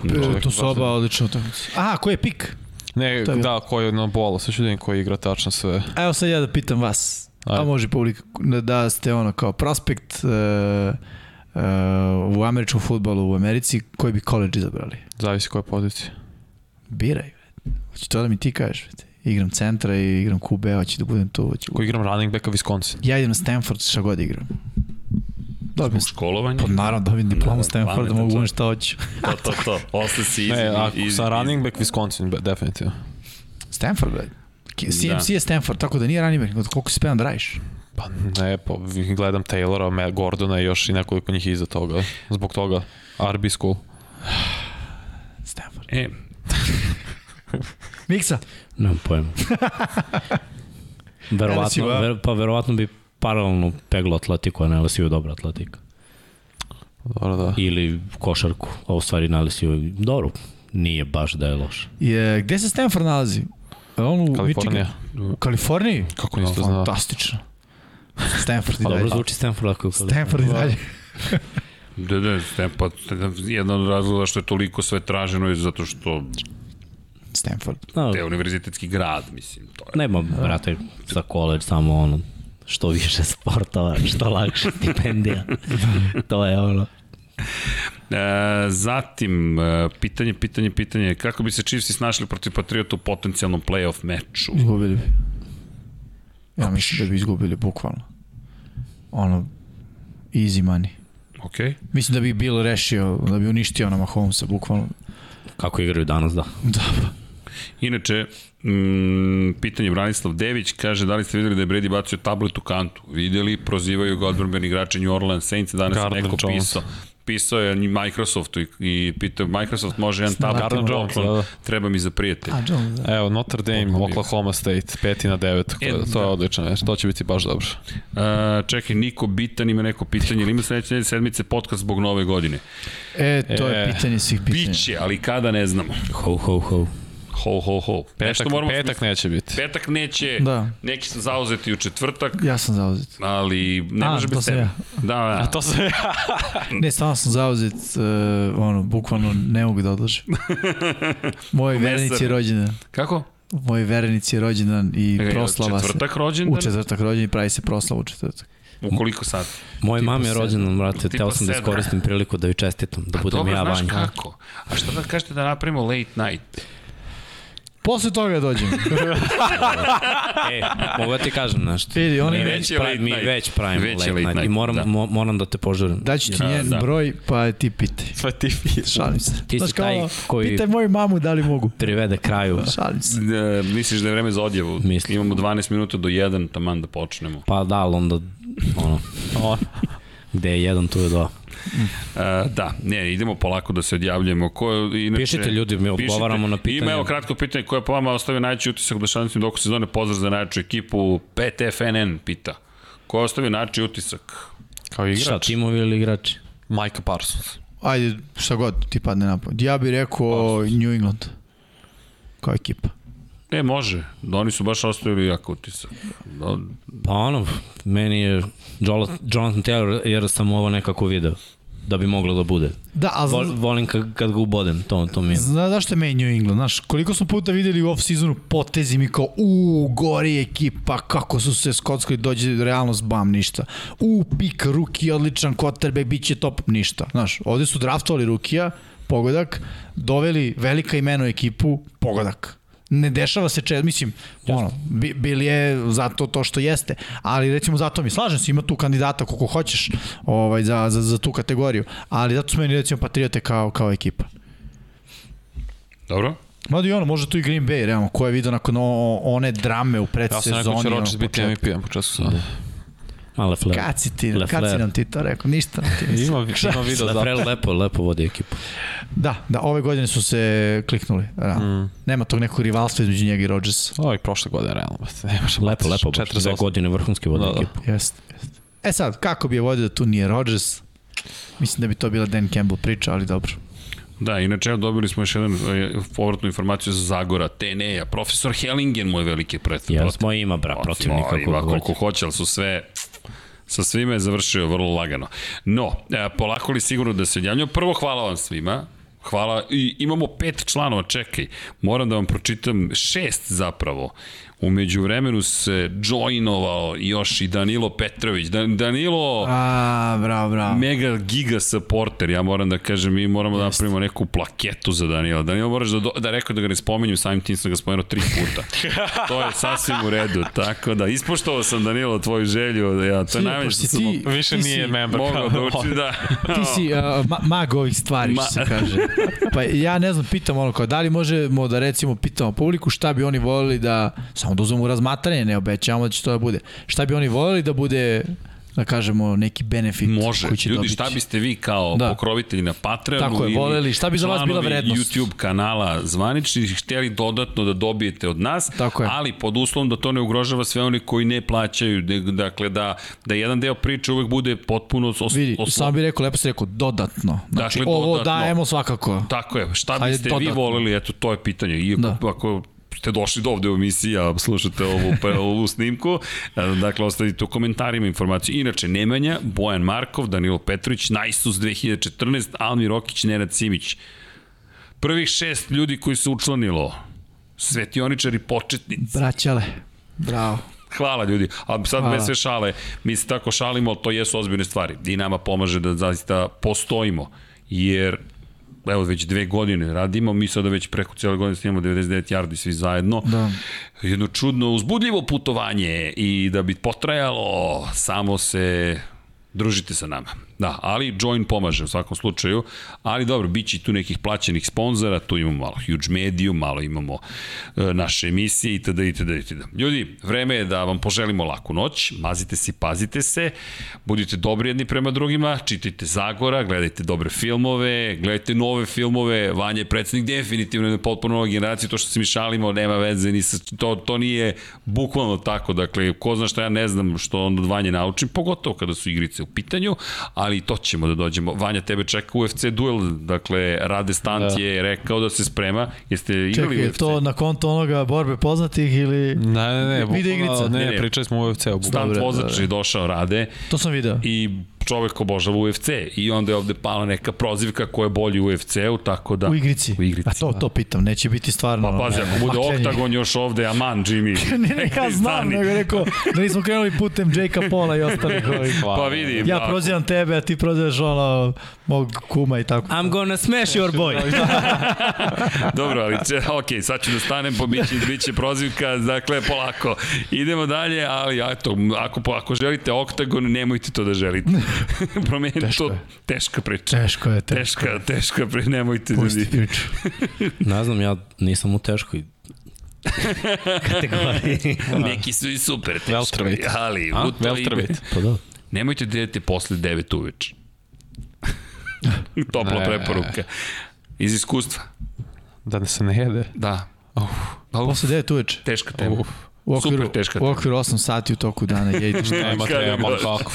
[SPEAKER 3] E,
[SPEAKER 4] Čovjek
[SPEAKER 3] to soba odlična utakmica. A, ko je pik?
[SPEAKER 4] Ne,
[SPEAKER 3] To je bilo.
[SPEAKER 4] da, ko je na bolu, sve ću da vidim ko igra tačno sve.
[SPEAKER 3] Evo sad ja da pitam vas.
[SPEAKER 4] Ajde.
[SPEAKER 3] A može publika da- da ste ono kao prospekt uh, uh, u američkom futbolu u Americi, koji bi college izabrali?
[SPEAKER 4] Zavisi koja je pozicija.
[SPEAKER 3] Biraj. bre. Hoće to da mi ti kažeš. bre. Igram centra i igram kube, hoće da budem tu. Hoće...
[SPEAKER 4] Ko igram running backa Wisconsin.
[SPEAKER 3] Ja idem na Stanford šta god igram. Dobijem
[SPEAKER 4] da
[SPEAKER 1] Zbog školovanja.
[SPEAKER 3] Pa naravno, dobijem
[SPEAKER 1] Da,
[SPEAKER 3] diplomu
[SPEAKER 1] da,
[SPEAKER 3] Stanforda,
[SPEAKER 1] pametan
[SPEAKER 3] mogu ono
[SPEAKER 1] čovjek.
[SPEAKER 3] šta hoću.
[SPEAKER 1] To, to, to. Osta si iz...
[SPEAKER 4] Pa- Ne, ako
[SPEAKER 1] iz-
[SPEAKER 4] sa
[SPEAKER 1] iz-
[SPEAKER 4] running back Wisconsin, be- definitivno.
[SPEAKER 3] Stanford, bre. K-
[SPEAKER 1] Da.
[SPEAKER 3] CMC je Stanford, tako da nije running back, nego koliko si da penal drajiš.
[SPEAKER 4] Pa ne, pa gledam Taylora, Matt Gordona i još i nekoliko njih iza toga. Zbog toga, RB school.
[SPEAKER 3] Stanford.
[SPEAKER 1] E,
[SPEAKER 3] Miksa.
[SPEAKER 2] Nemam pojma. verovatno,
[SPEAKER 3] LSU, a?
[SPEAKER 2] ver, pa verovatno bi paralelno peglo Atletiku, a na LSU dobra Atletika.
[SPEAKER 4] Dobro, da.
[SPEAKER 2] Ili košarku, a u stvari na LSU je dobro. Nije baš da je loš.
[SPEAKER 3] Je, gde se Stanford nalazi? Je On u
[SPEAKER 4] Kalifornija.
[SPEAKER 3] Michigan- U Kaliforniji? Pa
[SPEAKER 4] Kako nisi to znao?
[SPEAKER 3] Fantastično. Stanford i
[SPEAKER 2] Pa dobro
[SPEAKER 3] dalje.
[SPEAKER 2] zvuči Stanford ako Da. je kvalitet.
[SPEAKER 3] Stanford i dalje.
[SPEAKER 1] Da, da, ne, pa jedan od razloga što je toliko sve traženo je zato što
[SPEAKER 3] Stanford.
[SPEAKER 2] Da,
[SPEAKER 1] te univerzitetski grad, mislim, to je.
[SPEAKER 2] Nema, brate, za koleđ samo ono, što više sportova, što lakše stipendija. to je ono.
[SPEAKER 1] E, zatim, e, pitanje, pitanje, pitanje, kako bi se Chiefs snašli protiv Patriota u potencijalnom playoff meču?
[SPEAKER 3] Izgubili bi. Ja mislim da bi izgubili, bukvalno. Ono, easy money.
[SPEAKER 1] Ok?
[SPEAKER 3] Mislim da bi Bill rešio, da bi uništio ono Mahomesa, bukvalno.
[SPEAKER 2] Kako igraju danas, da.
[SPEAKER 3] Da,
[SPEAKER 1] Inače, mm, pitanje Branislav Dević kaže da li ste videli da je Brady bacio tablet u kantu? Videli, prozivaju ga odbrbeni igrači New Orleans Saints, danas je
[SPEAKER 4] Gardner
[SPEAKER 1] neko
[SPEAKER 4] Jones.
[SPEAKER 1] pisao pisao je Microsoftu i, i pitao Microsoft može jedan tablet
[SPEAKER 4] Gardner
[SPEAKER 1] u
[SPEAKER 4] Jones,
[SPEAKER 1] poklon,
[SPEAKER 4] da, da.
[SPEAKER 1] treba mi za prijatelj.
[SPEAKER 3] A, John, da.
[SPEAKER 4] Evo, Notre Dame, Oklahoma State, 5 na 9.
[SPEAKER 1] E,
[SPEAKER 4] to je
[SPEAKER 1] da.
[SPEAKER 4] odlično, već. to će biti baš dobro.
[SPEAKER 1] Uh, čekaj, Niko Bitan ima neko pitanje, ili ima sledeće nedelje sedmice podcast zbog nove godine?
[SPEAKER 3] E, to je
[SPEAKER 4] E,
[SPEAKER 3] pitanje svih pitanja.
[SPEAKER 1] Biće, ali kada ne znamo.
[SPEAKER 2] Ho, ho, ho.
[SPEAKER 1] Ho, ho, ho.
[SPEAKER 4] Petak,
[SPEAKER 1] Nešto moramo
[SPEAKER 4] petak neće biti.
[SPEAKER 1] Petak neće, da.
[SPEAKER 3] Da.
[SPEAKER 1] neki su zauzeti u četvrtak,
[SPEAKER 3] Ja sam zauzet.
[SPEAKER 1] ali ne
[SPEAKER 3] A,
[SPEAKER 1] može
[SPEAKER 3] to
[SPEAKER 1] bez
[SPEAKER 3] sam
[SPEAKER 1] tebe.
[SPEAKER 3] ja.
[SPEAKER 1] Da, da.
[SPEAKER 4] To se ja.
[SPEAKER 3] Ne, stvarno sam zauzet, uh, ono, bukvalno ne mogu da odložim. Moj
[SPEAKER 1] Komesar.
[SPEAKER 3] verenici je rođendan.
[SPEAKER 1] Kako?
[SPEAKER 3] Moj verenici je rođendan i
[SPEAKER 1] Čekaj,
[SPEAKER 3] proslava se.
[SPEAKER 1] četvrtak rođendan?
[SPEAKER 3] U četvrtak rođendan i pravi se proslava u četvrtak.
[SPEAKER 1] U koliko sati?
[SPEAKER 2] Moj
[SPEAKER 3] Tipa
[SPEAKER 2] mam je
[SPEAKER 3] sedam.
[SPEAKER 2] rođendan, brate,
[SPEAKER 1] Tipa
[SPEAKER 2] teo sam da
[SPEAKER 1] sedam.
[SPEAKER 2] iskoristim priliku da joj čestitam, da budem
[SPEAKER 1] Pa Dobro,
[SPEAKER 2] ja
[SPEAKER 1] znaš
[SPEAKER 2] vanja.
[SPEAKER 1] kako. A šta da kažete da napravimo late night?
[SPEAKER 3] Posle toga dođem.
[SPEAKER 2] E, mogu da ti kažem nešto?
[SPEAKER 3] Vidi, oni
[SPEAKER 2] Mi
[SPEAKER 1] Već
[SPEAKER 2] već,
[SPEAKER 1] je
[SPEAKER 2] pravi,
[SPEAKER 1] late
[SPEAKER 2] mi
[SPEAKER 1] night.
[SPEAKER 2] već pravimo
[SPEAKER 1] Već
[SPEAKER 2] late,
[SPEAKER 1] je late
[SPEAKER 2] night. I
[SPEAKER 1] night,
[SPEAKER 2] moram,
[SPEAKER 1] da.
[SPEAKER 2] da. Mo, moram da te požurim.
[SPEAKER 3] Daću ti
[SPEAKER 1] Da,
[SPEAKER 3] njen
[SPEAKER 1] da.
[SPEAKER 3] broj, pa ti pitaj.
[SPEAKER 4] Pa ti
[SPEAKER 3] Šalim se.
[SPEAKER 2] Ti si
[SPEAKER 3] Znaš kao,
[SPEAKER 2] taj koji-
[SPEAKER 3] Pitaj moju mamu da li mogu.
[SPEAKER 2] Privede kraju.
[SPEAKER 3] Šalim se.
[SPEAKER 1] E, misliš da je vreme za odjavu?
[SPEAKER 2] Mislim.
[SPEAKER 1] Imamo 12 minuta do 1, taman da počnemo.
[SPEAKER 2] Pa da, ali onda, ono,
[SPEAKER 4] On.
[SPEAKER 2] gde je jedan, tu je dva.
[SPEAKER 1] E, da, ne, idemo polako da se odjavljujemo. Ko, je- inače,
[SPEAKER 2] Pišite, ljudi, mi odgovaramo na pitanja.
[SPEAKER 1] Ima evo kratko pitanje koje je po vama ostavio najveći utisak da u dešavnicim doku sezone. Pozdrav za najveću ekipu. PTFNN pita. Ko je ostavio najveći utisak?
[SPEAKER 4] Kao
[SPEAKER 2] Šta,
[SPEAKER 4] igrač.
[SPEAKER 2] timovi ili igrači?
[SPEAKER 4] Mike Parsons.
[SPEAKER 3] Ajde, šta god ti padne na pamet. Ja bih rekao New England. Kao ekipa.
[SPEAKER 1] Ne, može. Da oni su baš ostavili jak utisak. Da,
[SPEAKER 2] Pa ono, meni je Jola- Jonathan Taylor, jer sam ovo nekako video. da bi moglo da bude.
[SPEAKER 3] Da, a
[SPEAKER 2] Vol,
[SPEAKER 3] zna,
[SPEAKER 2] volim kad, kad ga ubodem, to, to mi je.
[SPEAKER 3] zna, zašto je meni New England, znaš, koliko smo puta videli u off-seasonu potezi mi kao, u, gori ekipa, kako su se skockali, dođe realnost, bam, ništa. U, pik, ruki, odličan, kotrbe, bit će top, ništa. Znaš, ovde su draftovali rukija, pogodak, doveli velika imena u ekipu, pogodak. Ne dešava se često, mislim, ono, bi, bil je zato to što jeste, ali recimo zato mi slažem se, ima tu kandidata koliko hoćeš ovaj, za, za, za tu kategoriju, ali zato su meni recimo Patriote kao, kao ekipa.
[SPEAKER 1] Dobro?
[SPEAKER 3] Mada i ono, može tu i Green Bay, realno, ko je vidio nakon o, one drame u
[SPEAKER 4] Ja
[SPEAKER 3] predsezoni.
[SPEAKER 4] sam rekao da će
[SPEAKER 3] ono,
[SPEAKER 4] Rodgers biti
[SPEAKER 3] početak.
[SPEAKER 4] MVP-em po času sada.
[SPEAKER 2] Male flair.
[SPEAKER 4] da.
[SPEAKER 3] Kad si ti, kad si
[SPEAKER 2] Lafleur.
[SPEAKER 3] nam ti to rekao, ništa nam ti mislim.
[SPEAKER 4] E, Ima, ima video da. za
[SPEAKER 2] Lafrel lepo, lepo vodi ekipu.
[SPEAKER 3] Da, da, ove godine su se kliknuli. Da. Mm. Nema tog nekog rivalstva između njega i Rodgersa.
[SPEAKER 4] Ovo je prošle godine, realno. brate, Nema šta
[SPEAKER 2] Lepo, lepo, baš, dve
[SPEAKER 4] 48.
[SPEAKER 2] godine vrhunski vodi
[SPEAKER 4] Da, da.
[SPEAKER 2] ekipu.
[SPEAKER 3] Jeste, jeste. E sad, kako bi je vodio da tu nije Rodgers? Mislim da bi to bila Dan Campbell priča, ali dobro.
[SPEAKER 1] Da, inače evo, dobili smo još jednu e, povratnu informaciju za Zagora, Teneja, profesor Hellingen mu je velike pretve.
[SPEAKER 2] Jel smo ima,
[SPEAKER 4] Pa
[SPEAKER 2] bra, protivnika
[SPEAKER 1] koliko,
[SPEAKER 2] koliko
[SPEAKER 1] koliko
[SPEAKER 2] hoće.
[SPEAKER 1] hoće, ali su sve sa svime je završio vrlo lagano. No, e, polako li sigurno da se odjavljamo? Prvo, hvala vam svima. Hvala. I imamo pet članova, čekaj. Moram da vam pročitam šest zapravo. Umeđu vremenu se joinovao još i Danilo Petrović. Dan, Danilo...
[SPEAKER 3] A, bravo, bravo.
[SPEAKER 1] mega giga supporter, ja moram da kažem, mi moramo da napravimo neku plaketu za Danila. Danilo moraš da, do, da rekao da ga ne spomenju, samim tim sam ga spomenuo tri puta. to je sasvim u redu, tako da, ispoštovao sam Danilo tvoju želju, da ja, to je najmanje što
[SPEAKER 3] pošto
[SPEAKER 1] sam mo-
[SPEAKER 4] Više
[SPEAKER 3] ti
[SPEAKER 4] nije
[SPEAKER 3] si-
[SPEAKER 4] member.
[SPEAKER 1] mogao da uči, da.
[SPEAKER 3] Ti si uh, ma mag ovih stvari, što se kaže. Pa ja ne znam, pitam ono kao, da li možemo da recimo pitamo publiku šta bi oni volili da, samo da uzmemo u razmatranje, ne obećavamo da će to da bude, šta bi oni volili da bude, da kažemo, neki benefit
[SPEAKER 1] Može.
[SPEAKER 3] koji će
[SPEAKER 1] Ljudi,
[SPEAKER 3] dobiti.
[SPEAKER 1] šta biste vi kao da.
[SPEAKER 3] Da.
[SPEAKER 1] pokrovitelji na Patreonu
[SPEAKER 3] Tako je,
[SPEAKER 1] ili
[SPEAKER 3] voleli, šta bi za vas bila
[SPEAKER 1] članovi
[SPEAKER 3] vrednost?
[SPEAKER 1] YouTube kanala zvaničnih hteli dodatno da dobijete od nas,
[SPEAKER 3] Tako je.
[SPEAKER 1] ali pod uslovom da to ne ugrožava sve oni koji ne plaćaju, de- dakle da, da jedan deo priče uvek bude potpuno os,
[SPEAKER 3] Vidi,
[SPEAKER 1] os,
[SPEAKER 3] samo bih rekao, lepo si rekao, dodatno. Znači,
[SPEAKER 1] Dakle,
[SPEAKER 3] ovo
[SPEAKER 1] dodatno.
[SPEAKER 3] dajemo svakako.
[SPEAKER 1] Tako je, šta
[SPEAKER 3] Ajde,
[SPEAKER 1] biste vi
[SPEAKER 3] dodatno.
[SPEAKER 1] voleli, eto to je pitanje. I
[SPEAKER 3] Da.
[SPEAKER 1] da. ako ste došli do ovde u emisiji, a slušate ovu, pa, ovu snimku, e, dakle ostavite u komentarima informaciju. Inače, Nemanja, Bojan Markov, Danilo Petrović, Najsus 2014, Almir Rokić, Nenad Simić. Prvih šest ljudi koji se učlanilo, svetioničari početnici.
[SPEAKER 3] Braćale. Bravo.
[SPEAKER 1] Hvala ljudi, a sad
[SPEAKER 3] Hvala.
[SPEAKER 1] bez sve šale, mi se tako šalimo, ali to jesu ozbiljne stvari i nama pomaže da zaista postojimo, jer evo već dve godine radimo, mi sada već preko cijele godine snimamo 99 yardi svi zajedno.
[SPEAKER 3] Da.
[SPEAKER 1] Jedno čudno, uzbudljivo putovanje i da bi potrajalo, samo se družite sa nama. Da, ali join pomaže u svakom slučaju, ali dobro, bit će i tu nekih plaćenih sponzora, tu imamo malo huge mediju, malo imamo e, naše emisije itd. itd. itd. Ljudi, vreme je da vam poželimo laku noć, mazite se i pazite se, budite dobri jedni prema drugima, čitajte Zagora, gledajte dobre filmove, E, gledajte nove filmove, Vanja je predsednik definitivno je potpuno nova generacija, to što se mi šalimo, nema veze, ni sa, to, to nije bukvalno tako, dakle, ko zna šta ja ne znam što onda od Vanje naučim, pogotovo kada su igrice u pitanju, ali i to ćemo da dođemo. Vanja, tebe čeka UFC duel, dakle, Rade Stant
[SPEAKER 4] Da.
[SPEAKER 1] je rekao da se sprema, jeste igrali
[SPEAKER 3] Čekaj, je
[SPEAKER 1] UFC?
[SPEAKER 3] to na konto onoga borbe poznatih ili...
[SPEAKER 4] Ne, ne,
[SPEAKER 3] Video
[SPEAKER 4] ne, bukvalno,
[SPEAKER 3] igrica.
[SPEAKER 4] ne,
[SPEAKER 1] Ne,
[SPEAKER 4] ne,
[SPEAKER 1] ne.
[SPEAKER 4] pričali smo u UFC-u.
[SPEAKER 1] Stant
[SPEAKER 3] Dobre,
[SPEAKER 1] vozač je došao, Rade,
[SPEAKER 3] To sam video.
[SPEAKER 1] i čovek obožava UFC i onda je ovde pala neka prozivka ko je bolji u UFC-u, tako da...
[SPEAKER 3] U igrici.
[SPEAKER 1] U igrici. da.
[SPEAKER 3] A to, to pitam, neće biti stvarno.
[SPEAKER 1] Pa pazi, ako bude
[SPEAKER 3] oktagon
[SPEAKER 1] oktagon još ovde, aman, Jimmy.
[SPEAKER 3] ne, ne, ja
[SPEAKER 1] Neki
[SPEAKER 3] znam,
[SPEAKER 1] stani.
[SPEAKER 3] nego je rekao da nismo krenuli putem Jake'a Paula i ostalih ovih.
[SPEAKER 1] Pa vidi,
[SPEAKER 3] Ja
[SPEAKER 1] ako-
[SPEAKER 3] prozivam tebe, a ti prozivaš ono mog kuma i tako.
[SPEAKER 2] I'm gonna smash your boy.
[SPEAKER 1] Da. Dobro, ali če, ok, sad ću da stanem, pa biće, biće prozivka, dakle, polako. Idemo dalje, ali eto, ako, po- ako želite oktagon, nemojte to da želite. Promenite
[SPEAKER 3] Teško
[SPEAKER 1] to,
[SPEAKER 3] je.
[SPEAKER 1] teška priča.
[SPEAKER 3] Teško je, teško.
[SPEAKER 1] Teška, teška priča, nemojte da
[SPEAKER 3] Pusti
[SPEAKER 1] ljudi.
[SPEAKER 3] priču.
[SPEAKER 2] ne znam, ja nisam u teškoj kategoriji.
[SPEAKER 3] Da.
[SPEAKER 1] Neki su i super teški,
[SPEAKER 4] Welterweight.
[SPEAKER 1] ali
[SPEAKER 4] A?
[SPEAKER 1] u to ime.
[SPEAKER 4] Welterweight.
[SPEAKER 2] pa da.
[SPEAKER 1] Nemojte da jedete posle 9 uveče. Topla
[SPEAKER 4] Ne.
[SPEAKER 1] preporuka. Iz iskustva.
[SPEAKER 4] Da ne se ne jede.
[SPEAKER 1] Da. Uf, pa uf,
[SPEAKER 3] Posle 9 uveče.
[SPEAKER 1] teška tema. Uf.
[SPEAKER 3] U okviru,
[SPEAKER 1] Super teška
[SPEAKER 3] u
[SPEAKER 1] tema.
[SPEAKER 3] okviru 8 sati u toku dana jedite šta.
[SPEAKER 4] Nema,
[SPEAKER 1] Kada
[SPEAKER 4] treba,
[SPEAKER 1] god.
[SPEAKER 4] kako.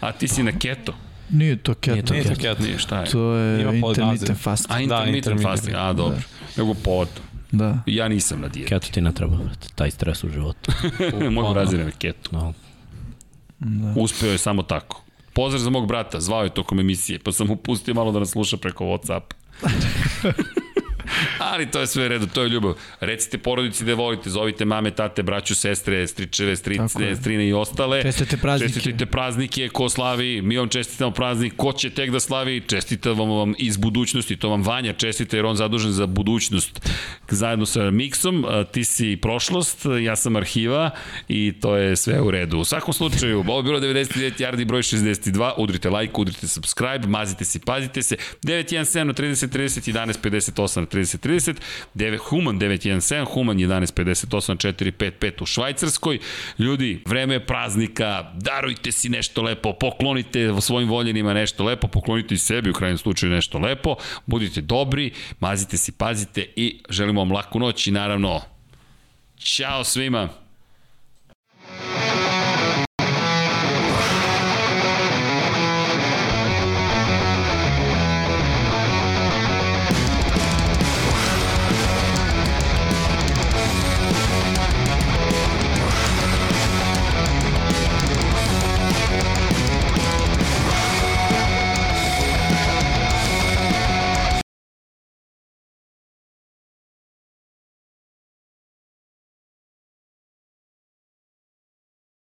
[SPEAKER 1] A ti si na keto.
[SPEAKER 3] Nije to keto.
[SPEAKER 2] Nije to keto.
[SPEAKER 4] Keto.
[SPEAKER 1] Nije, šta je?
[SPEAKER 3] To je
[SPEAKER 4] Ima pod
[SPEAKER 3] intermittent
[SPEAKER 4] naziv.
[SPEAKER 3] fast.
[SPEAKER 1] A intermittent
[SPEAKER 4] intermittent.
[SPEAKER 1] fasting, a dobro. Nego povodno.
[SPEAKER 3] Da.
[SPEAKER 1] Ja nisam na dijeti.
[SPEAKER 2] Keto ti ne treba, brate, taj stres u životu.
[SPEAKER 1] Mogu razine na ketu.
[SPEAKER 2] No,
[SPEAKER 1] Uspeo je samo tako. Pozdrav za mog brata, zvao je tokom emisije, pa sam mu pustio malo da nas sluša preko Whatsappa. Ali to je sve u redu, to je ljubav. Recite porodici da je volite, zovite mame, tate, braću, sestre, stričeve, strice, strine i ostale.
[SPEAKER 3] Čestite praznike.
[SPEAKER 1] Čestitite praznike, ko slavi, mi vam čestitamo praznik, ko će tek da slavi, čestitam vam iz budućnosti, to vam Vanja čestite jer on zadužen za budućnost zajedno sa Miksom, a, ti si prošlost, ja sam arhiva i to je sve u redu. U svakom slučaju, ovo je bilo 99 yardi broj 62, udrite like, udrite subscribe, mazite se, pazite se, 917 na 30 30, 11 58 na 30 30, 9, Human 917, Human 11 58 4 5 5 u Švajcarskoj. Ljudi, vreme je praznika, darujte si nešto lepo, poklonite svojim voljenima nešto lepo, poklonite i sebi u krajnjem slučaju nešto lepo, budite dobri, mazite si, pazite i želimo vam laku noć i naravno, čao svima!